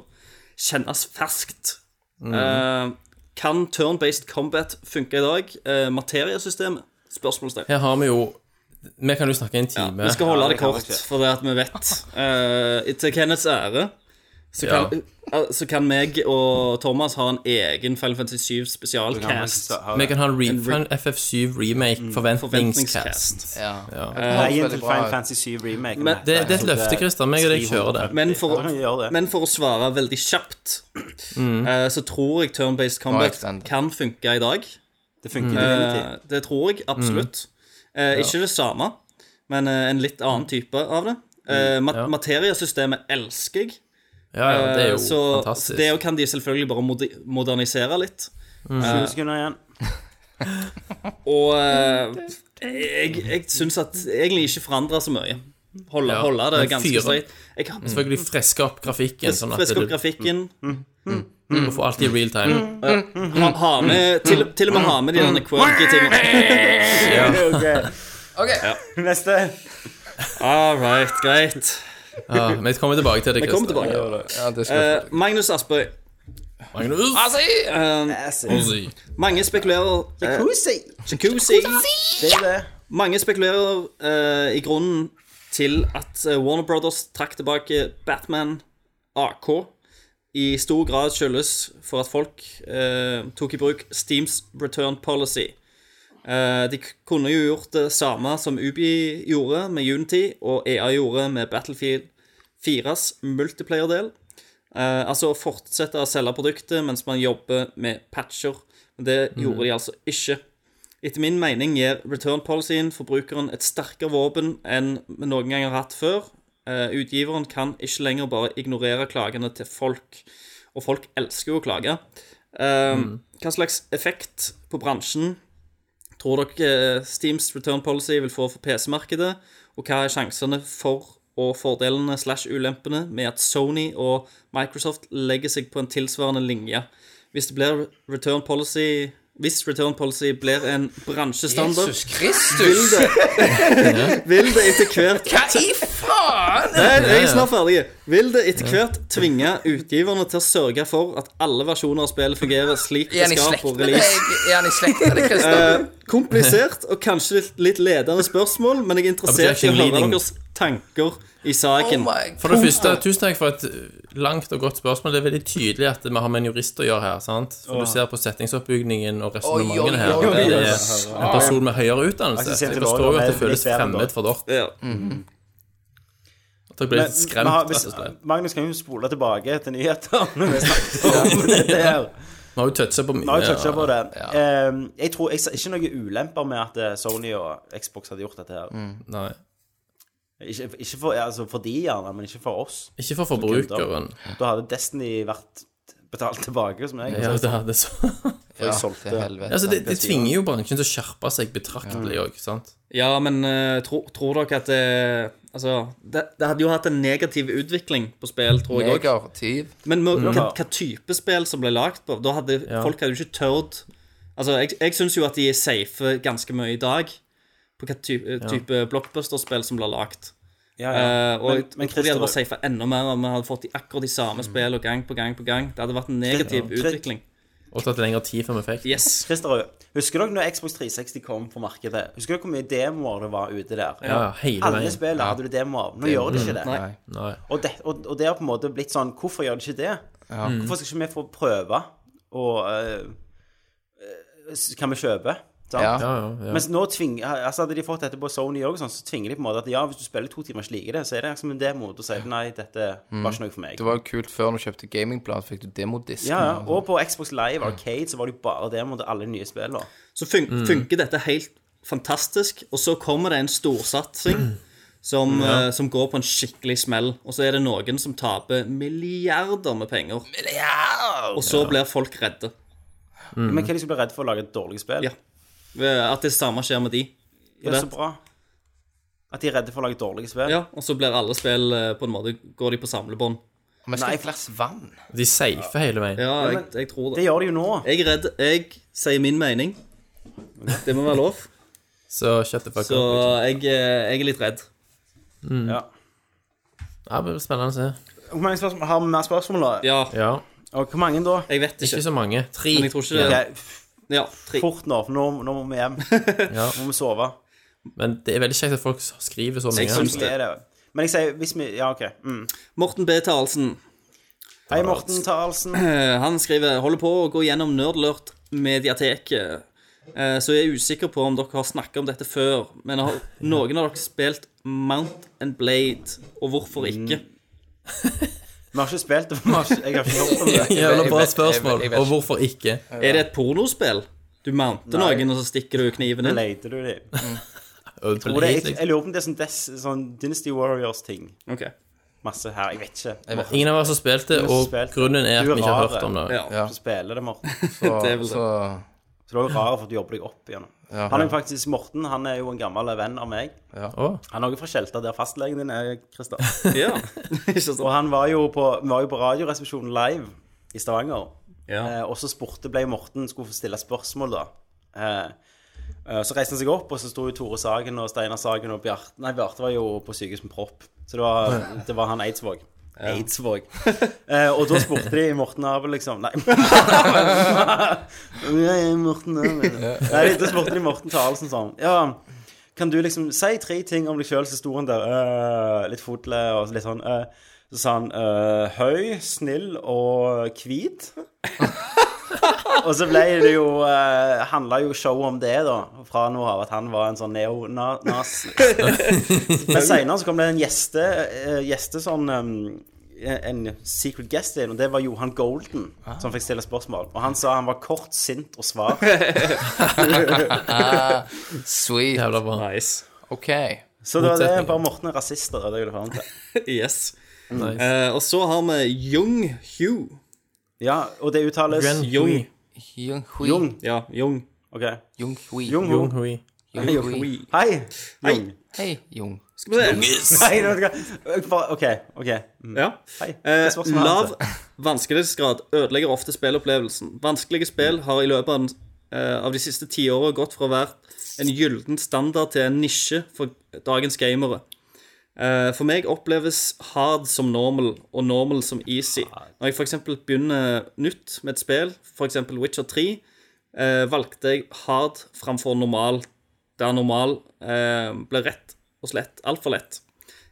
Speaker 2: kjennes ferskt. Eh, kan turn-based combat funke i dag? Eh, materiesystemet? Spørsmålstegn.
Speaker 6: Her har vi jo Vi kan jo snakke i en time.
Speaker 2: Vi skal holde det
Speaker 1: kan vi
Speaker 2: kort,
Speaker 1: ikke.
Speaker 2: for det at vi vet eh, Til Kenneths ære så
Speaker 6: Ja.
Speaker 2: kan, eh, så kan meg og Thomas ha en egen Final Fantasy 7 spesialcast.
Speaker 6: Vi kan ha en re- en FF7 remake, forventningscast.
Speaker 2: Forventningscast.
Speaker 5: Ja.
Speaker 1: Veien til
Speaker 5: Veldig bra.
Speaker 1: Final Fantasy 7 remake.
Speaker 2: Men
Speaker 6: Det, det er et løfte, Christer. Meg og deg kjører det.
Speaker 2: Men for,
Speaker 1: Ja, vi gjør det.
Speaker 2: men for å svare veldig kjapt,
Speaker 6: Mm.
Speaker 2: eh, så tror jeg turn-based combat
Speaker 5: extend.
Speaker 2: kan funke i dag.
Speaker 1: Det funker i din
Speaker 2: Eh, det tror jeg absolutt. Eh, ikke det samme, men eh, en litt annen type av det. Eh, mat Materiesystemet elsker jeg. Eh,
Speaker 6: Ja, ja, Eh, det er jo
Speaker 2: så
Speaker 6: fantastisk.
Speaker 2: det kan de selvfølgelig bare modi- modernisere litt.
Speaker 1: 20 sekunder igjen.
Speaker 2: Og eh, jeg, jeg syns at egentlig ikke forandrer så mye. Holde,
Speaker 6: Ja,
Speaker 2: holde det
Speaker 6: men Mm.
Speaker 2: ganske
Speaker 6: fyren-
Speaker 2: streit. Jeg kan
Speaker 6: Selvfølgelig freske opp grafikken. Sånn at
Speaker 2: friske opp
Speaker 6: du,
Speaker 2: grafikken.
Speaker 6: Mm. du får alltid real
Speaker 1: Mm.
Speaker 6: time.
Speaker 2: Ha, ha med, til, til og med ha med
Speaker 6: Mm.
Speaker 2: de derne quirky tingene.
Speaker 5: OK.
Speaker 1: Neste.
Speaker 2: All right, greit.
Speaker 6: Ja, men jeg kommer tilbake til det,
Speaker 2: Vi kommer
Speaker 6: Christer.
Speaker 2: tilbake.
Speaker 5: Ja, det skal
Speaker 2: Eh, Magnus Aspøy.
Speaker 6: Magnus!
Speaker 2: eh,
Speaker 6: Ozzy.
Speaker 2: mange spekulerer eh,
Speaker 1: Jacuzzi.
Speaker 2: Jacuzzi.
Speaker 1: Det er det.
Speaker 2: Mange spekulerer eh, i grunnen til at eh, Warner Brothers trakk tilbake Batman AK. I stor grad skyldes for at folk eh, tok i bruk Steams return policy. Eh, de k- kunne jo gjort det samme som Ubi gjorde med Unity, og EA gjorde med Battlefield 4s multiplayer-del. Eh, altså fortsette å selge produktet mens man jobber med patcher. Men det gjorde de altså ikke. Etter min mening gir return-policyen forbrukeren et sterkere våpen enn vi noen gang har hatt før. Eh, utgiveren kan ikke lenger bare ignorere klagene til folk, og folk elsker jo å klage. Eh, Hva slags effekt på bransjen tror dere eh, Steams return policy vil få for PC-markedet? Og hva er sjansene for og fordelene slash ulempene med at Sony og Microsoft legger seg på en tilsvarende linje? Hvis det blir return policy Hvis return policy blir en bransjestandard,
Speaker 5: Jesus Kristus!
Speaker 2: vil det etter hvert
Speaker 5: Hva i faen?
Speaker 2: Nei, jeg er snart ferdig. Vil det etter hvert tvinge utgiverne til å sørge for at alle versjoner av spillet fungerer slik
Speaker 5: Er
Speaker 2: det
Speaker 5: han i
Speaker 2: skal
Speaker 5: slekt
Speaker 2: på
Speaker 5: med
Speaker 2: release?
Speaker 5: deg? Er han i slekt med deg, Christer?
Speaker 2: Komplisert og kanskje litt- litt ledende spørsmål, men jeg er interessert i å høre deres tanker i saken.
Speaker 5: Oh my
Speaker 6: For det første, tusen takk for et eh, langt og godt spørsmål. Det er veldig tydelig at vi har med en jurist å gjøre her. sant? For Du ser på setningsoppbyggingen
Speaker 5: Oi,
Speaker 6: og
Speaker 5: oi,
Speaker 6: resonnementene
Speaker 5: oi,
Speaker 6: her.
Speaker 5: oi,
Speaker 6: Det
Speaker 5: oi.
Speaker 6: er en person med høyere utdannelse.
Speaker 1: Jeg synes
Speaker 6: Så jeg
Speaker 1: det var-
Speaker 6: forstår jo at det
Speaker 1: det er
Speaker 6: føles
Speaker 1: litt bedre enn
Speaker 6: fremmed for dere.
Speaker 2: Ja.
Speaker 6: Dere ble litt
Speaker 1: Men har-
Speaker 6: skremt,
Speaker 1: hvis-
Speaker 6: rett og slett.
Speaker 1: Magnus kan jo spole tilbake til nyheter. når vi snakker om dette her.
Speaker 6: Vi har jo toucha på
Speaker 1: Vi har jo toucha på
Speaker 6: mye.
Speaker 1: det. Ehm, Jeg tror jeg ser ikke noen ulemper med at eh, Sony og Xbox hadde gjort dette her.
Speaker 6: Nei.
Speaker 1: Ikke, ikke for, altså for de, gjerne, men ikke for oss.
Speaker 6: Ikke for forbrukeren.
Speaker 1: Da hadde Destiny vært betalt tilbake hos meg.
Speaker 6: Ja,
Speaker 1: altså,
Speaker 6: det hadde så...
Speaker 1: for jeg solgte.
Speaker 5: Til helvete.
Speaker 6: altså, det, det tvinger jo bransjen til å skjerpe seg betraktelig òg, sant?
Speaker 2: Ja, men eh, tro, tror dere at det Altså, det, det hadde jo hatt en negativ utvikling på spill, tror jeg òg.
Speaker 5: Negativ.
Speaker 2: Men
Speaker 1: Mm.
Speaker 2: med, hva, hva type spill som ble lagt på Da hadde folk hadde jo ikke tørt Altså, jeg, jeg syns jo at de er safe ganske mye i dag på hva type, type blockbuster-spill som blir lagt.
Speaker 1: Ja,
Speaker 2: Eh,
Speaker 1: ja.
Speaker 2: og jeg
Speaker 1: men
Speaker 2: tror de hadde vært
Speaker 1: Christer-
Speaker 2: safe enda mer om vi hadde fått de akkurat de samme spillene gang på gang på gang. Det hadde vært en negativ
Speaker 1: Krit-
Speaker 2: utvikling.
Speaker 6: Og tatt lengre tid før vi fikk det.
Speaker 2: Yes.
Speaker 1: Christer, husker dere når Xbox 360 kom på markedet? Husker dere hvor mye demoer det var ute der?
Speaker 6: Ja, ja, hele
Speaker 1: Alle
Speaker 6: veien.
Speaker 1: spillene hadde du demoer. Nå gjør de ikke det.
Speaker 2: Nei.
Speaker 6: Nei.
Speaker 1: Og det, og, og det har på en måte blitt sånn Hvorfor gjør de ikke det? Hvorfor skal ikke vi få prøve og eh, s- Kan vi kjøpe? Sant?
Speaker 5: Ja.
Speaker 6: Ja, ja, ja.
Speaker 1: Mens nå tvinger, altså Hadde de fått dette på Sony òg, sånn, så tvinger de på en måte at ja, hvis du spiller to timer og ikke liker det, så er det som en demo. Da sier du nei, dette var ikke noe for meg.
Speaker 5: Det var jo kult før når du kjøpte gamingblad, fikk du demodisken.
Speaker 1: Ja, ja. Og på Xbox Live Arcade så var det jo bare demo til alle nye spillene.
Speaker 2: Så fun funker dette helt fantastisk, og så kommer det en storsatsing som, eh, som går på en skikkelig smell, og så er det noen som taper milliarder med penger. Og så blir folk redde.
Speaker 1: Men hva er de skal bli redd for å lage et dårlig spill?
Speaker 2: Ja. Ved Eh, At det samme skjer med de.
Speaker 1: Ja, så bra. At de er redde for å lage dårlige spill?
Speaker 2: Ja, Og så blir alle spill eh, på en måte Går de på samlebånd.
Speaker 5: Men skal ha et glass vann.
Speaker 6: De safer hele veien.
Speaker 2: Ja, jeg, jeg tror
Speaker 1: Det
Speaker 2: det.
Speaker 1: gjør de jo nå.
Speaker 2: Jeg er redd. Jeg sier min mening. Det må være lov.
Speaker 6: Så shut the fuck
Speaker 2: Så
Speaker 6: up.
Speaker 2: jeg, eh, jeg er litt redd.
Speaker 1: Ja.
Speaker 6: Ja, men Spennende å se.
Speaker 1: Hvor mange spørsmål, Har vi mer spørsmål, da?
Speaker 2: Ja,
Speaker 6: Ja.
Speaker 1: Og hvor mange da?
Speaker 2: jeg vet
Speaker 6: Ikke
Speaker 2: ikke.
Speaker 6: så mange. Tre.
Speaker 2: Men jeg tror ikke det
Speaker 1: Ok,
Speaker 2: Ja, tre.
Speaker 1: Fort nå, for nå, nå må vi hjem.
Speaker 6: Ja.
Speaker 1: Nå må vi sove.
Speaker 6: Men det er veldig kjekt at folk skriver så mye.
Speaker 2: syns
Speaker 1: Vi er det. Men jeg sier hvis vi Ja, OK. Mm.
Speaker 2: Morten B. Taraldsen.
Speaker 1: Hei, Morten Taraldsen.
Speaker 2: Eh, Han skriver holder på å gå gjennom Nerdlurt mediateket. Eh, Så jeg er usikker på om dere har snakket om dette før, men har noen av dere spilt Mount and Blade, og hvorfor ikke?
Speaker 1: Vi har ikke spilt det, vi har ikke, jeg har ikke hørt om det.
Speaker 6: Jævla
Speaker 5: Jeg
Speaker 6: bra
Speaker 5: vet- jeg vet-
Speaker 6: spørsmål.
Speaker 5: jeg vet
Speaker 6: Og hvorfor ikke?
Speaker 2: Er det et pornospill? Du mounter
Speaker 1: Nei.
Speaker 2: noen, og så stikker du kniven inn?
Speaker 1: Leter du dem? Og det, jeg,
Speaker 6: Ødelig.
Speaker 1: jeg lurer på om det er sånn, des, sånn Dynasty Warriors-ting.
Speaker 2: Ok.
Speaker 1: Masse her. Jeg vet ikke.
Speaker 6: Ingen av oss har spilt det, og
Speaker 1: spilt det.
Speaker 6: grunnen er at
Speaker 1: Du er
Speaker 6: vi ikke har
Speaker 1: rare.
Speaker 6: hørt om det.
Speaker 2: Ja.
Speaker 1: Du spiller det, Morten.
Speaker 5: Så,
Speaker 2: Det er vel det.
Speaker 5: så,
Speaker 1: Så det var rart for å jobbe deg opp igjen. Han er jo faktisk, Morten han er jo en gammel venn av meg.
Speaker 6: Å.
Speaker 1: Han er også fra Skjelta, der fastlegen din er, Kristian.
Speaker 2: Ja. Ikke sant?
Speaker 1: Og han var jo på, vi var jo på Radioresepsjonen live i Stavanger. Eh,
Speaker 2: Ja.
Speaker 1: og så spurte ble Morten skulle få stille spørsmål, da. Eh, eh, så reiste han seg opp, og så sto jo Tore Sagen og Steinar Sagen og Bjarte Nei, Bjarte var jo på sykehus med propp. Så det var, det var han Eidsvåg. Eidsvåg. Eh, og da spurte de Morten Abel, liksom. Nei. Nei, Morten Abel. Nei, da spurte de Morten Tarelsen sånn. Ja, kan du liksom si tre ting om deg sjøl, så sto han der øh, litt fotle og litt sånn øh. Så sa han øh, høy, snill og hvit. og så ble det jo øh, Handla jo showet om det, da, fra nå av, at han var en sånn neonas. Men seinere så kom det en gjeste, øh, gjeste sånn øhm, en secret guest inn, og det var Johan Golden
Speaker 2: Ah.
Speaker 1: som fikk stille spørsmål. Og han sa han var kort, sint og svar.
Speaker 8: Sweet.
Speaker 6: Jævla bra.
Speaker 2: Nice.
Speaker 8: OK.
Speaker 1: Så det var det.
Speaker 6: Motsetninger.
Speaker 1: Bare Morten er rasist, og det er det jeg ville fram til.
Speaker 2: Yes. Eh, og så har vi Jung Hugh.
Speaker 1: Ja, og det uttales
Speaker 6: Yuan
Speaker 2: Jung.
Speaker 8: Jung-hui.
Speaker 1: Jung.
Speaker 2: Ja, Jung.
Speaker 1: Ok.
Speaker 8: Jung-hui.
Speaker 1: Jung Ho.
Speaker 6: Jung Hui.
Speaker 8: Jung-hui.
Speaker 1: Hei.
Speaker 2: Hei.
Speaker 1: Jung.
Speaker 8: Hei, Jung.
Speaker 2: Skal vi se.
Speaker 1: Nei, nå vet jeg hva. Ok, ok. Mm.
Speaker 2: Ja.
Speaker 1: Hei.
Speaker 2: Eh,
Speaker 1: Hva spørsmålet er,
Speaker 2: lav
Speaker 1: altså?
Speaker 2: vanskelighetsgrad ødelegger ofte spillopplevelsen. Vanskelige spill har i løpet av, den, eh, av de siste tiåra gått fra å være en gylden standard til en nisje for dagens gamere. Eh, for meg oppleves hard som normal og normal som easy. Når jeg f.eks. begynner nytt med et spill, f.eks. Witcher 3, eh, valgte jeg hard framfor normal, der normal eh, ble rett og slett altfor lett.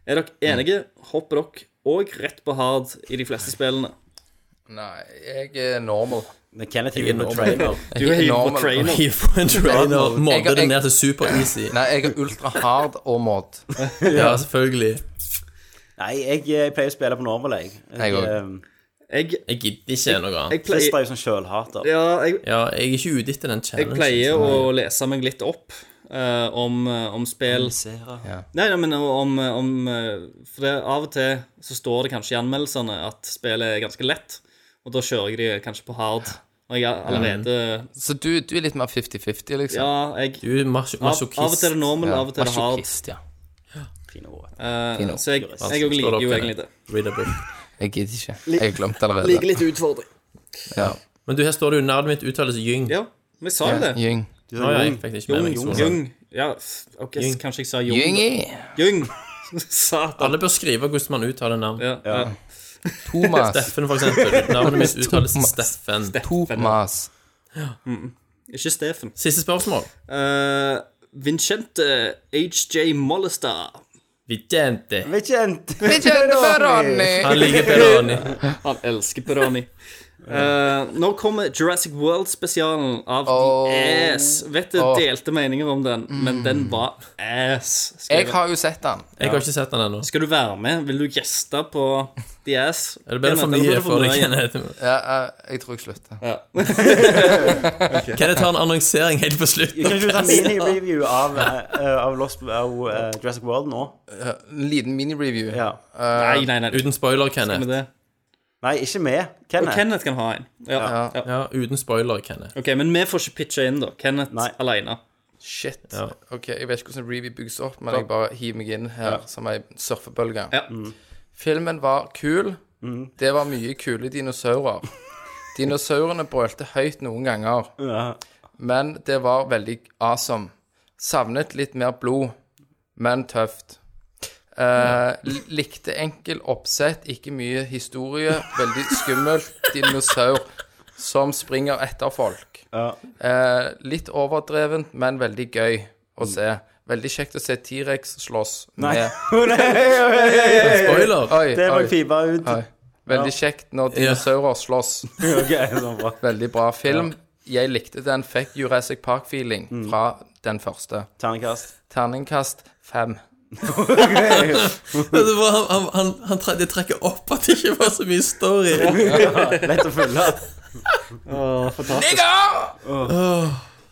Speaker 2: Er dere enige? Hopper dere òg rett på hard i de fleste spillene?
Speaker 5: Nei, jeg er normal.
Speaker 1: Men Kenneth hiver på trainer.
Speaker 2: Du er jo
Speaker 5: Normal.
Speaker 2: på trainer.
Speaker 6: Hiv på en trainer. Modde
Speaker 8: Jeg-
Speaker 6: det
Speaker 8: jeg-
Speaker 6: ned til super easy.
Speaker 8: Nei, jeg er ultra-hard og mod.
Speaker 6: Ja, selvfølgelig.
Speaker 1: Nei, jeg, jeg pleier å spille på normal, jeg.
Speaker 8: Jeg også.
Speaker 1: ehm,
Speaker 2: Jeg,
Speaker 6: Jeg gidder ikke noe annet.
Speaker 2: jeg
Speaker 1: Christer
Speaker 2: pleier,
Speaker 1: er jo sånn sjølhater.
Speaker 2: ja, jeg,
Speaker 6: Ja, jeg er ikke ute etter den
Speaker 2: jeg
Speaker 6: challengen.
Speaker 2: pleier å lese meg litt opp eh, om, eh, om spill Nei, nei, men om, om eh, For det, av og til så står det kanskje i anmeldelsene at spillet er ganske lett, og da kjører jeg de kanskje på hard. Og jeg er allerede
Speaker 8: Så du, du er litt mer 50-50, liksom?
Speaker 2: Ja, jeg
Speaker 6: Du er mas
Speaker 2: av, av og til
Speaker 6: masochist.
Speaker 2: er det normal, av og til er det hard.
Speaker 8: Masochist, ja.
Speaker 1: Fine ord.
Speaker 2: eh,
Speaker 8: Fint ord.
Speaker 2: så jeg jeg òg
Speaker 6: Står
Speaker 2: liker jo
Speaker 6: dere-
Speaker 2: egentlig det.
Speaker 6: Read a book.
Speaker 8: Jeg gidder ikke. Jeg har glemt det allerede.
Speaker 2: litt utfordring.
Speaker 8: Ja.
Speaker 6: Men du, her står det jo navnet mitt uttales Jung.
Speaker 2: Ja, vi sa jo det.
Speaker 8: Jung.
Speaker 6: Nå ja, jeg fikk det ikke
Speaker 2: Jung,
Speaker 6: med meg.
Speaker 2: Jung,
Speaker 6: sånn.
Speaker 2: Jung. Ja, f- ok, så kanskje jeg sa Jung. da.
Speaker 8: Jungi!
Speaker 2: Jung. Satan.
Speaker 6: Alle bør skrive hvordan man uttaler navn.
Speaker 2: Ja, ja.
Speaker 8: Thomas.
Speaker 6: Steffen, for eksempel. Navnet mitt uttales Steffen.
Speaker 8: Thomas.
Speaker 2: Ikke Steffen.
Speaker 6: Siste spørsmål.
Speaker 2: Eh, Vincente HJ Mollestad.
Speaker 6: Vigente.
Speaker 1: Vet ikke en
Speaker 8: Vi kjenner på Ronny!
Speaker 6: Han liker Peroni.
Speaker 2: Han elsker Peroni. Eh, nå kommer Jurassic World-spesialen av
Speaker 8: Oh.
Speaker 2: The Ass. Vet det
Speaker 8: Oh.
Speaker 2: delte meninger om den, men den var ass. Skal,
Speaker 8: Jeg har jo sett den.
Speaker 6: Jeg har ikke sett den ennå.
Speaker 2: skal du være med? Vil du gjeste på The Ass?
Speaker 6: Er det bedre for mye for deg, Kenneth?
Speaker 8: Ja, eh, jeg tror jeg slutter.
Speaker 6: Kenneth har en annonsering helt på slutten.
Speaker 1: Kan ikke du ta mini-review av, eh, eh, av Lost av eh, Jurassic World nå?
Speaker 8: En liten mini-review.
Speaker 1: Ja.
Speaker 2: Nei, nei, nei.
Speaker 6: Uten spoiler,
Speaker 2: Med
Speaker 6: Kenneth.
Speaker 2: det.
Speaker 1: Nei, ikke med.
Speaker 2: Og
Speaker 1: Kenneth.
Speaker 2: Kenneth kan ha en. Ja. Ja.
Speaker 6: Ja, uten spoiler, Kenneth.
Speaker 2: Ok, Men vi får ikke pitche inn, da. Kenneth
Speaker 1: Nei.
Speaker 2: alene.
Speaker 5: Shit.
Speaker 6: Ja.
Speaker 5: Ok, Jeg vet ikke hvordan review bygges opp, men jeg bare hiver meg inn her som ei surfebølge.
Speaker 2: Ja.
Speaker 5: Filmen var kul.
Speaker 1: Mm.
Speaker 5: Det var mye kule dinosaurer. Dinosaurene brølte høyt noen ganger,
Speaker 1: Ja.
Speaker 5: men det var veldig awesome. Savnet litt mer blod, men tøft. Eh, l- Likte enkel oppsett, ikke mye historie. Veldig skummelt dinosaur som springer etter folk. Eh, litt overdrevent, men veldig gøy
Speaker 1: Mm.
Speaker 5: å se. Veldig kjekt å se T-rex slåss med
Speaker 6: Spoiler!
Speaker 5: Oi,
Speaker 1: Det var
Speaker 5: oi.
Speaker 1: jeg fiba ut.
Speaker 5: Oi. Veldig kjekt når dinosaurer slåss.
Speaker 1: Ok, så bra.
Speaker 5: Veldig bra film. Jeg likte den. Fikk Jurassic Park-feeling
Speaker 1: Mm.
Speaker 5: fra den første.
Speaker 1: Terningkast.
Speaker 5: Terningkast fem.
Speaker 6: Det var, han, han, han tre, det trekker opp at det ikke var så mye story.
Speaker 1: Lett å følge.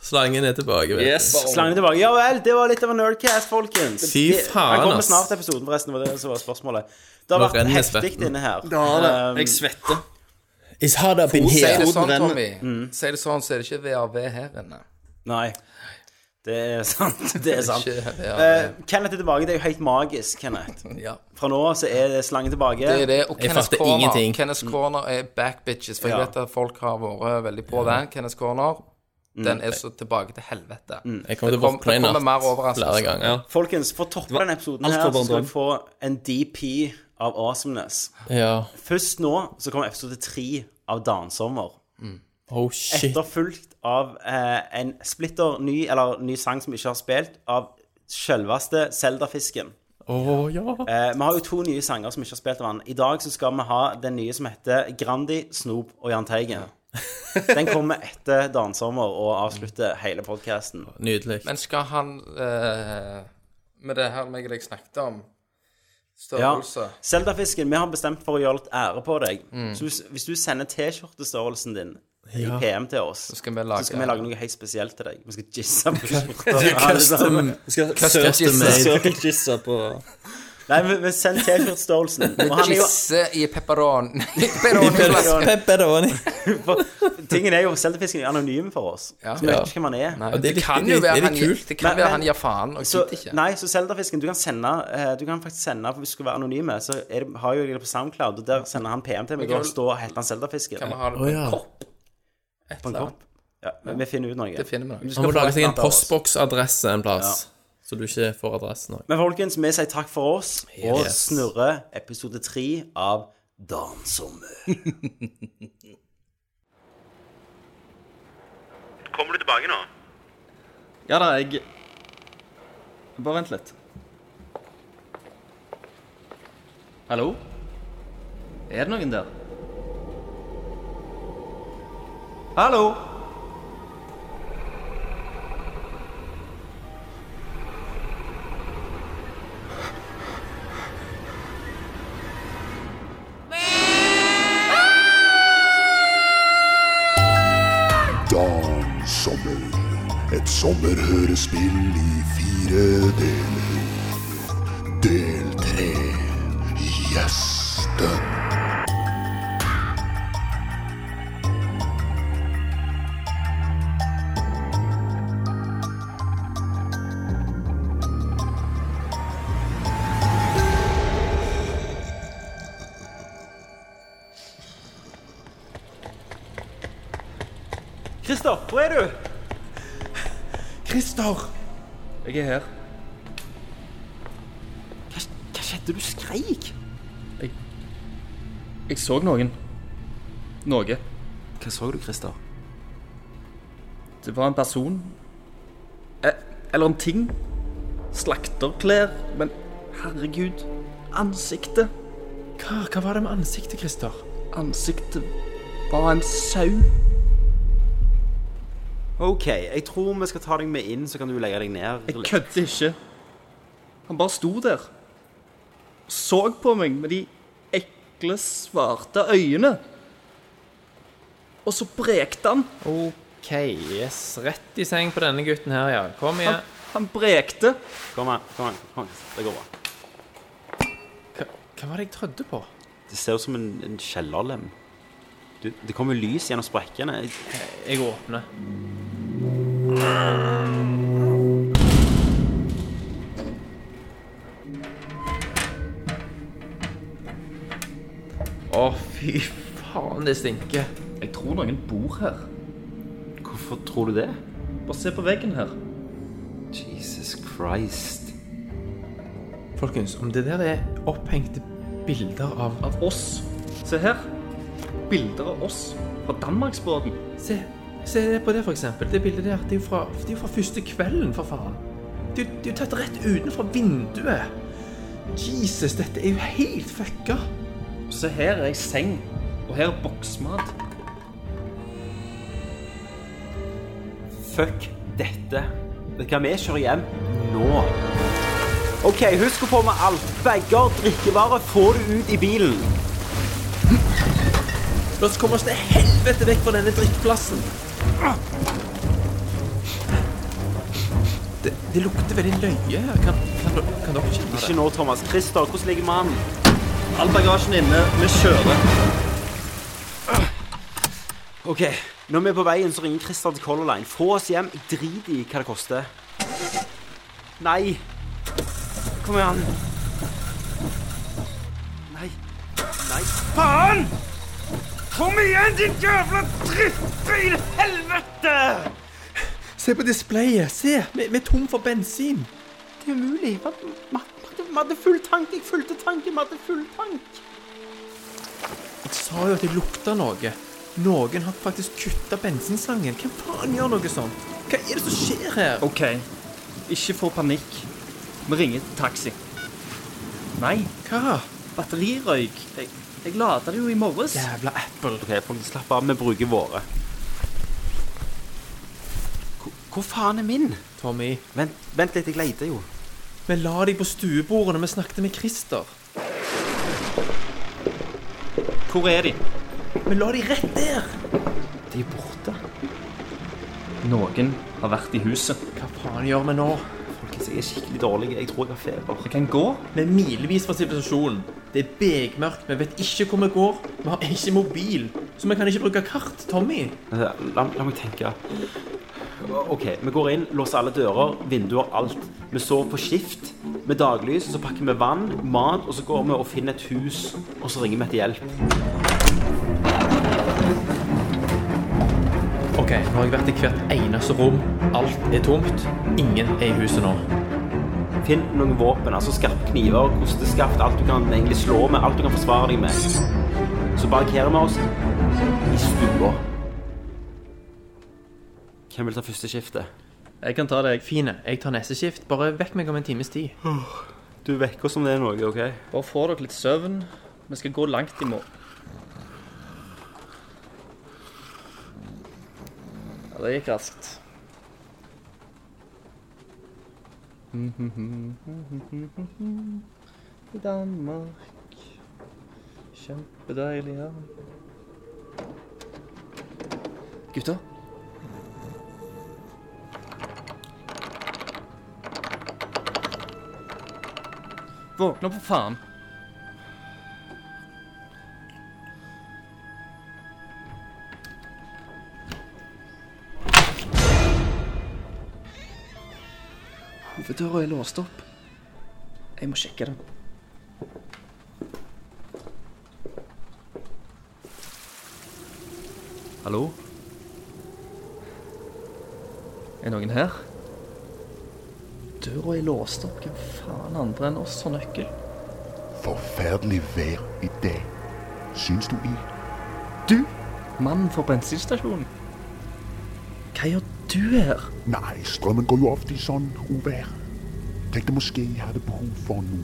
Speaker 6: Slangen er tilbake. Vet.
Speaker 2: Yes.
Speaker 1: Slangen tilbake. Ja vel, det var litt av en nerdcast, folkens.
Speaker 6: Fy
Speaker 1: Det-
Speaker 6: faen,
Speaker 1: Han kommer
Speaker 6: ass.
Speaker 1: snart til episoden, forresten. Det var det som var spørsmålet. Det har
Speaker 6: Nå
Speaker 1: vært
Speaker 6: renner
Speaker 1: heftig
Speaker 6: svetten.
Speaker 1: inne her.
Speaker 2: Ja, det.
Speaker 1: Um,
Speaker 2: Jeg svetter.
Speaker 7: It's hot up in
Speaker 5: Si det
Speaker 7: here.
Speaker 5: sånn, Tommy.
Speaker 1: Mm.
Speaker 5: Si det sånn, så er det ikke VRV her inne.
Speaker 1: Nei. Det er sant. Det er sant.
Speaker 5: Ikke VRV.
Speaker 1: Eh, Kenneth er tilbake. Det er jo helt magisk, Kenneth.
Speaker 5: Ja.
Speaker 1: Fra nå av så er slangen tilbake.
Speaker 5: Det er det. Og Kenneth
Speaker 7: fatter
Speaker 5: Corner,
Speaker 7: ingenting.
Speaker 5: Kenneth Corner er backbitches, for jeg
Speaker 1: Mm. Ja.
Speaker 5: vet at folk har vært veldig på den. Kenneth Corner,
Speaker 1: Mm.
Speaker 5: den er så tilbake til helvete.
Speaker 6: Jeg kommer til å
Speaker 5: kom-
Speaker 6: våkne i
Speaker 5: det kommer mer
Speaker 6: natt
Speaker 5: overraskelser.
Speaker 6: flere ganger.
Speaker 1: Folkens, for å toppe denne episoden
Speaker 2: alt
Speaker 1: her,
Speaker 2: for
Speaker 1: så skal
Speaker 2: barndom.
Speaker 1: jeg få en DP av awesomeness.
Speaker 6: Ja.
Speaker 1: Først nå så kommer episode tre av Dansommer.
Speaker 6: Oh, shit.
Speaker 1: Etterfulgt av eh, en splitter ny, eller ny sang som vi ikke har spilt, av selveste Zeldafisken.
Speaker 6: Å, ja.
Speaker 1: Eh, vi har jo to nye sanger som vi ikke har spilt av han. I dag så skal vi ha den nye som heter Grandi, Snoop og Jahn Teigen. Den kommer etter Dansommer og avslutter hele podkasten.
Speaker 6: Nydelig.
Speaker 5: Men skal han eh, Med det her meg og deg snakket om,
Speaker 1: Ja.
Speaker 5: størrelse
Speaker 1: Zeldafisken, vi har bestemt for å gjøre litt ære på deg.
Speaker 5: Mm.
Speaker 1: Så hvis, hvis du sender T-skjortestørrelsen din i PM til oss, så
Speaker 5: skal vi lage-
Speaker 1: skal vi lage noe helt spesielt til deg. Vi skal jizze på skjorta.
Speaker 6: sånn-
Speaker 2: Vi skal circle-jizze på
Speaker 1: Nei, men, men send T-skjortestørrelsen. Og han er jo
Speaker 5: Gisse i pepperon. Pepperoni-flaske.
Speaker 7: Pepperoni.
Speaker 1: Tingen er jo, Zeldafisken er anonym for oss. Så vi vet ikke hvem han er.
Speaker 5: Nei,
Speaker 6: Og det er
Speaker 5: Det
Speaker 6: litt-
Speaker 5: kan
Speaker 6: det
Speaker 5: jo
Speaker 6: er litt-
Speaker 5: være
Speaker 6: det er
Speaker 5: han
Speaker 6: litt
Speaker 5: gir-
Speaker 6: kult.
Speaker 5: det kan
Speaker 1: Men-
Speaker 5: være
Speaker 1: men-
Speaker 5: han gir faen og
Speaker 1: Så,
Speaker 5: gidder ikke.
Speaker 1: nei, så Zeldafisken, du kan sende eh, Du kan faktisk sende, for hvis du skal være anonyme, så er det, har jo jeg det på SoundCloud, og der sender han PM til meg, og da står heter han Zeldafisken
Speaker 5: Vi har det på en kopp.
Speaker 1: på en kopp. Ja, men vi finner ut noe.
Speaker 5: Det finner vi nok.
Speaker 6: Han må lage seg en
Speaker 1: forvente av oss.
Speaker 6: postboksadresse en plass, så du ikke får adressen òg.
Speaker 1: Men folkens, vi sier takk for oss, og
Speaker 6: Yes.
Speaker 1: snurrer episode tre av Dansommer. Kommer du tilbake nå?
Speaker 2: Ja da, jeg Bare vent litt. Hallo? Er det noen der? Hallo?
Speaker 13: Dan Sommer. Et sommerhørespill i fire deler. Del tre Gjesten.
Speaker 1: Christer, hvor er du?
Speaker 7: Christer!
Speaker 2: Jeg er her.
Speaker 1: Hva skjedde? Du skreik.
Speaker 2: Jeg så noen. Noe.
Speaker 1: Hva så du, Christer?
Speaker 2: Det var en person. E- Eller en ting. Slakterklær. Men herregud. Ansiktet.
Speaker 6: Hva, hva var det med ansiktet, Christer?
Speaker 2: Ansiktet var en sau.
Speaker 1: OK, jeg tror vi skal ta deg med inn, så kan du legge deg ned.
Speaker 2: Jeg kødder ikke. Han bare sto der. Så på meg med de ekle, svarte øynene. Og så brekte han.
Speaker 6: OK, yes. Rett i seng på denne gutten her, ja. Kom igjen.
Speaker 2: Han brekte.
Speaker 1: Kom her. kom her, kom her. Det går bra.
Speaker 6: Hva, hva var det jeg trødde på?
Speaker 1: Det ser ut som en, en kjellerlem. Du, det kommer lys gjennom sprekkene.
Speaker 6: Jeg åpner. Å, fy faen, det stinker.
Speaker 2: Jeg tror noen bor her.
Speaker 1: Hvorfor tror du det?
Speaker 2: Bare se på veggen her.
Speaker 1: Jesus Christ.
Speaker 6: Folkens, om det der er opphengte bilder av
Speaker 2: Av oss. Se her. Bilder av oss fra Danmarksbåten.
Speaker 6: Se, se på det, for eksempel. Det bildet der, det er jo fra, det er jo fra første kvelden, for faen. Det, er jo- det er jo tatt rett utenfor vinduet. Jesus, dette er jo helt fucka.
Speaker 2: Se her er ei seng. Og her er boksmat.
Speaker 1: Fuck dette. Vet du hva, vi kjører hjem nå. OK, husk å få med alt. Bager, drikkevarer får du ut i bilen.
Speaker 6: La oss komme oss til helvete vekk fra denne drikkplassen. Det, det lukter veldig løye her. Kan, kan, kan dere kjenne det?
Speaker 1: Ikke nå, Thomas. Christer, hvordan ligger mannen?
Speaker 2: All bagasjen inne. Vi kjører.
Speaker 1: OK. Når vi er på veien, så ringer Christer til Color Line. Få oss hjem. Jeg driter i hva det koster. Nei. Kom igjen. Nei. Nei. Faen! Kom igjen, din jævla drittbil! Helvete!
Speaker 4: Se på displayet. Se, vi, vi er tom for bensin.
Speaker 1: Det er umulig. Vi hadde full tank. Jeg fulgte tanken. Vi hadde full tank.
Speaker 4: Jeg sa jo at det lukta noe. Noen har faktisk kutta bensinslangen. Hvem faen gjør noe sånt? Hva er det som skjer her?
Speaker 7: OK, ikke få panikk. Vi ringer til taxi. Nei,
Speaker 4: Hva?
Speaker 7: batterirøyk. Jeg, jeg lada det jo i morges.
Speaker 4: Jævla Apple.
Speaker 1: OK, folk, slapp av. Vi bruker våre. Hvor, hvor faen er min?
Speaker 4: Tommy,
Speaker 1: Vent, vent litt, jeg leter jo.
Speaker 4: vi la deg på stuebordet når vi snakket med Christer.
Speaker 7: Hvor er de?
Speaker 4: Vi la deg rett der.
Speaker 7: De er borte. Noen har vært i huset.
Speaker 4: Hva faen gjør vi nå?
Speaker 1: Folkens, jeg er skikkelig dårlig. Jeg tror jeg har feber.
Speaker 7: Vi kan gå.
Speaker 4: Vi er milevis fra sivilisasjonen. Det er begmørkt, vi vet ikke hvor vi går. Vi har ikke mobil, så vi kan ikke bruke kart, Tommy.
Speaker 1: La, la meg tenke. OK, vi går inn, låser alle dører, vinduer, alt. Vi sover på skift med daglys, så pakker vi vann, mat, og så går vi og finner et hus, og så ringer vi etter hjelp.
Speaker 4: Ok, nå har jeg vært i hvert eneste rom. Alt er tomt. Ingen er i huset nå.
Speaker 1: Finn noen våpen, altså skarpe kniver, kosteskaft, alt du kan egentlig slå med, alt du kan forsvare deg med. Så barrikerer vi oss i stua. Hvem vil ta første skiftet?
Speaker 2: Jeg kan ta deg.
Speaker 4: Fine, jeg tar neste skift. Bare vekk meg om en times tid.
Speaker 1: Du vekker oss om det er noe, OK?
Speaker 7: Bare få dere litt søvn. Vi skal gå langt i morgen. Ja, det gikk raskt. I Danmark Kjempedeilig ja. Gutter? Våkne opp, for faen. Hoveddøra er låst opp. Jeg må sjekke den. Hallo? Er noen her? Døra er låst opp. Hvem faen andre enn oss har nøkkel?
Speaker 13: Forferdelig vejr i dag. Synes du ikke?
Speaker 7: Du! Mannen fra bensinstasjonen. Hva gjør du her?
Speaker 13: Nej, strømmen går jo ofte i sådan uvær. Tænkte måske, jeg havde behov for nu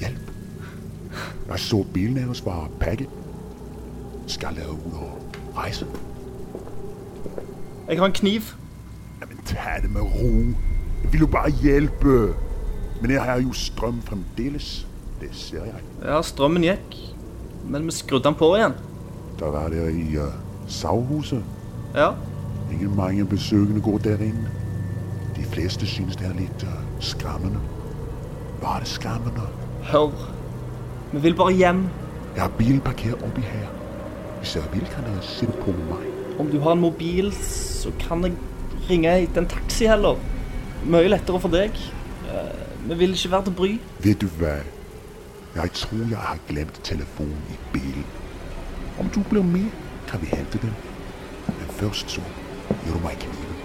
Speaker 13: hjælp. Jeg så bilen af os var pakket. Skal lade ud og rejse.
Speaker 7: Jeg har en kniv.
Speaker 13: Jamen, tag det med ro. Jeg vil jo bare hjælpe. Men jeg har jo strøm fremdeles. Det ser jeg.
Speaker 7: Ja, strømmen gikk. Men vi skrudde den på igjen.
Speaker 13: Der var der i uh, Savhuset.
Speaker 7: Ja,
Speaker 13: Ikke mange besøgende går derinde. De fleste synes, det er lidt øh, skræmmende. Var det skræmmende?
Speaker 7: hør. Vi vil bare hjem.
Speaker 13: Jeg har bilen parkeret oppe i her. Hvis jeg vil, kan jeg sætte på mig.
Speaker 7: Om du har en mobil, så kan jeg ringe i den taxi heller. Mye lettere for deg. Eh, Vi vil ikke være til bry.
Speaker 13: Ved du hvad? Jeg tror, jeg har glemt telefonen i bilen. Om du bliver med, kan vi hente den. Men først så, giver du mig kniven.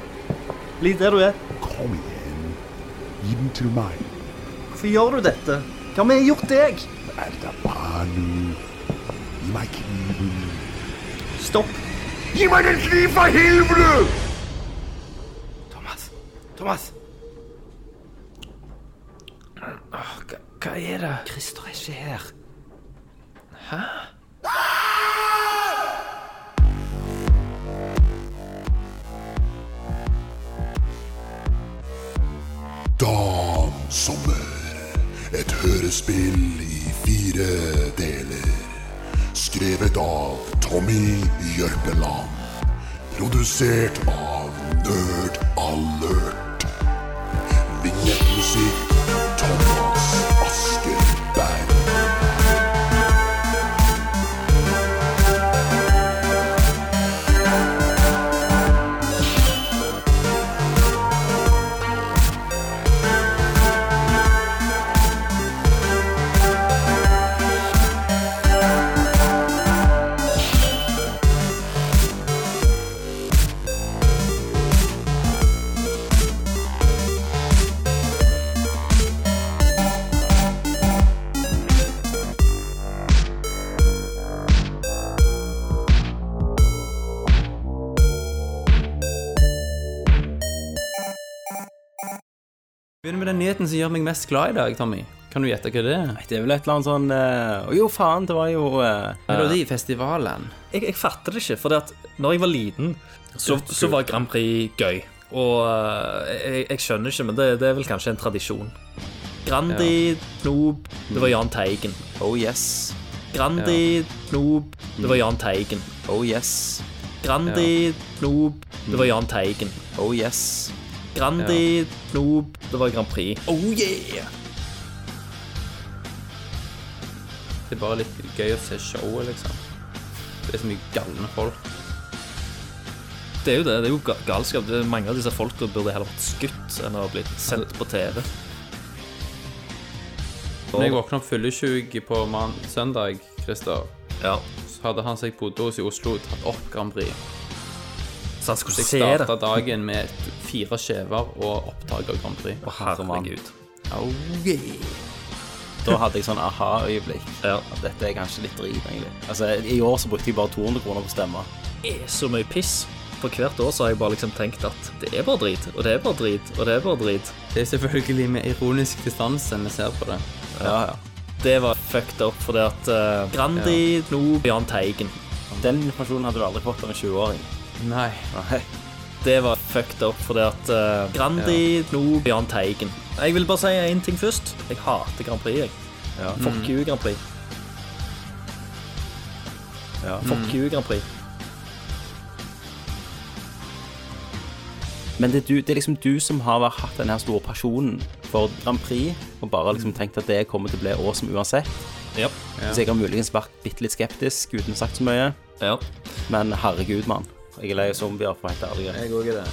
Speaker 7: Bli der du er.
Speaker 13: Kom igen. Giv den til mig.
Speaker 7: Hvorfor gjør du dette? Hva har vi gjort deg?
Speaker 13: Alt er bare nu. Giv mig kniven.
Speaker 7: Stopp.
Speaker 13: Giv mig den kniv for helvede!
Speaker 1: Thomas! Thomas!
Speaker 4: Hva, hva er det?
Speaker 1: Christer er ikke her.
Speaker 13: Dam Sommer. Et hørespill i fire deler. Skrevet av Tommy Jørpeland. Produsert av Nerd Alert. Vignettmusikk Thomas Askelberg.
Speaker 6: Begynner med den nyheten som gjør meg mest glad i dag, Tommy. Kan du gjette hva det er?
Speaker 1: Nei, Det er vel et eller annet sånn eh, Å jo, faen, det var jo eh,
Speaker 6: Melodifestivalen.
Speaker 2: Jeg, jeg fatter det ikke, for at når jeg var liten, så, så var Grand Prix gøy. Og eh, jeg, jeg skjønner ikke, men det, det er vel kanskje en tradisjon. Grandi, Knob, det var Jahn Teigen.
Speaker 6: Oh yes.
Speaker 2: Grandi, Knob, det var Jahn Teigen.
Speaker 6: Oh yes.
Speaker 2: Grandi, Knob, det var Jahn Teigen.
Speaker 6: Oh yes.
Speaker 2: Grandi, Knob, det var Grand Prix.
Speaker 6: Oh yeah! Det er bare litt gøy å se showet, liksom. Det er så mye galne folk.
Speaker 2: Det er jo det, det er jo ga- galskap. Det er mange av disse folka burde heller vært skutt enn å blitt sendt på TV.
Speaker 6: Når jeg våkna opp fyllesyk på mann søndag, Christer,
Speaker 2: Ja,
Speaker 6: så hadde han som jeg bodde hos i Oslo, tatt opp Grand Prix.
Speaker 2: Så han skulle
Speaker 6: Så jeg
Speaker 2: se det.
Speaker 6: starta dagen med et- fire skjever og opptak av Grand Prix.
Speaker 2: Å, herregud.
Speaker 6: Oh,
Speaker 1: Da hadde jeg sånn aha-øyeblikk.
Speaker 2: Ja.
Speaker 1: At dette er kanskje litt drit, egentlig. Altså, I år så brukte jeg bare 200 kroner på stemme.
Speaker 2: Det er så mye piss. For hvert år så har jeg bare liksom tenkt at det er bare drit, og det er bare drit, og det er bare drit.
Speaker 6: Det er selvfølgelig med ironisk distanse vi ser på det.
Speaker 1: Ja, ja.
Speaker 2: Det var fucked up fordi at eh, Grandi, Knob, Jahn Teigen.
Speaker 1: Den informasjonen hadde du aldri fått av en 20-åring.
Speaker 6: Nei.
Speaker 1: Nei.
Speaker 2: Det var fucked up fordi at eh, Grandi, Knob, Jahn Teigen. Jeg vil bare si én ting først. Jeg hater Grand Prix, jeg.
Speaker 1: Ja.
Speaker 2: Fuck you, Grand Prix.
Speaker 1: Ja.
Speaker 2: Fuck you, Grand Prix.
Speaker 1: Men det er, du, det er liksom du som har vært- hatt den her store pasjonen for Grand Prix, og bare liksom tenkt at det kommer til å bli år som uansett.
Speaker 2: Mm. Ja.
Speaker 1: Så jeg har muligens vært bitte litt skeptisk uten sagt så mye.
Speaker 2: ja.
Speaker 1: Men herregud, mann. Jeg er lei av zombier, for å være helt ærlig.
Speaker 6: Jeg òg er det.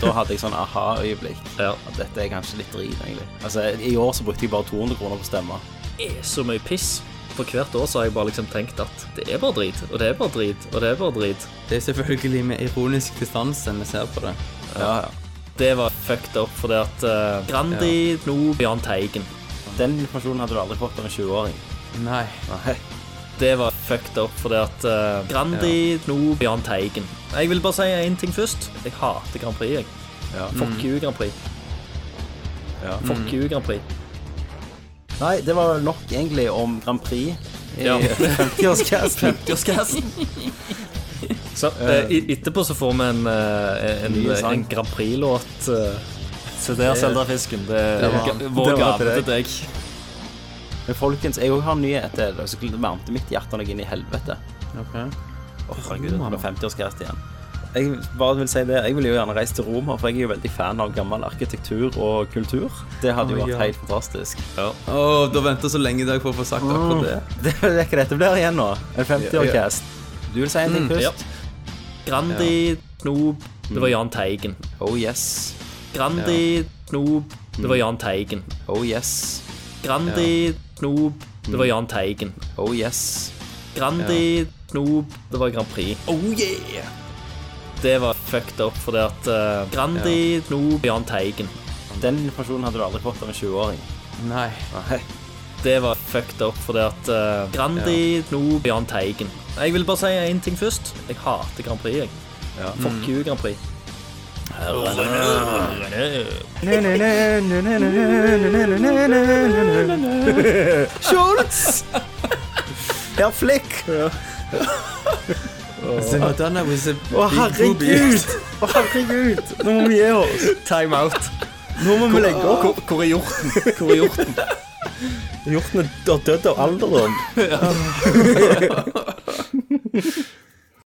Speaker 1: Da hadde jeg sånn aha-øyeblikk.
Speaker 2: Ja.
Speaker 1: At dette er kanskje litt drit, egentlig. Altså, I år så brukte jeg bare 200 kroner på stemme.
Speaker 2: Det er så mye piss. For hvert år så har jeg bare liksom tenkt at det er bare drit, og det er bare drit, og det er bare drit.
Speaker 6: Det er selvfølgelig med ironisk distanse vi ser på det.
Speaker 1: Ja, ja.
Speaker 2: Det var fucked up fordi at eh, Grandi, Knob, Jahn Teigen.
Speaker 1: Den informasjonen hadde du aldri fått av en 20-åring.
Speaker 6: Nei.
Speaker 1: Nei.
Speaker 2: Det var fucked up fordi at eh, Grandi, Knob, Jahn Teigen. Jeg vil bare si én ting først. Jeg hater Grand Prix, jeg.
Speaker 1: Ja.
Speaker 2: Fuck you, Grand Prix.
Speaker 1: Ja.
Speaker 6: Mm.
Speaker 2: Fuck you, Grand Prix.
Speaker 1: Nei, det var nok egentlig om Grand Prix i
Speaker 2: Ja.
Speaker 1: 50-årskassen.
Speaker 2: Så, eh, i- etterpå så får vi en, eh, en,
Speaker 1: Ny sang.
Speaker 2: en Grand Prix-låt. eh. Se der, Selderfisken. Det
Speaker 1: det
Speaker 2: er
Speaker 1: var-
Speaker 2: ga-
Speaker 1: det
Speaker 2: vår
Speaker 1: var
Speaker 2: gave
Speaker 1: til
Speaker 2: til
Speaker 1: deg.
Speaker 2: deg.
Speaker 1: Men folkens, jeg òg har nyhet til dere, så varmte mitt hjerte noe inn i helvete.
Speaker 6: Ok.
Speaker 1: Åh, herregud, det var 50-årskrest igjen. Jeg bare vil si det, jeg ville jo gjerne reist til Roma, for jeg er jo veldig fan av gammel arkitektur og kultur. Det hadde jo
Speaker 6: Å,
Speaker 1: vært
Speaker 6: ja.
Speaker 1: helt fantastisk.
Speaker 6: Å, du har venta så lenge i dag for å få sagt akkurat det.
Speaker 1: Det er ikke dette blir igjen nå. En 50-årskrest. Du vil si en
Speaker 6: Mm.
Speaker 1: ting
Speaker 2: Ja.
Speaker 1: først?
Speaker 2: Grandi, Knob, det var Jahn Teigen.
Speaker 1: Oh yes.
Speaker 2: Grandi, Knob, det var Jahn Teigen.
Speaker 1: Oh yes.
Speaker 2: Grandi, Knob, det var Jahn Teigen.
Speaker 1: Oh yes.
Speaker 2: Grandi, Knob, det var Grand Prix. Oh yeah! Det var fucked up fordi at eh, Grandi, Knob, Jahn Teigen.
Speaker 1: Den informasjonen hadde du aldri fått av en 20-åring.
Speaker 6: Nei.
Speaker 1: Nei.
Speaker 2: Det var fucked up fordi at eh, Grandi, Knob, Jahn Teigen. Jeg vil bare si én ting først. Jeg hater Grand Prix, jeg. Fuck you, Grand Prix.
Speaker 1: Schultz! Herr Flick!
Speaker 6: The Madonna was a
Speaker 1: Å, herregud! Å, herregud! Nå må vi gi oss.
Speaker 6: Time out.
Speaker 1: Nå må vi legge opp.
Speaker 6: Hvor er hjorten? Hvor er hjorten?
Speaker 1: Hjorten er død av alderdom.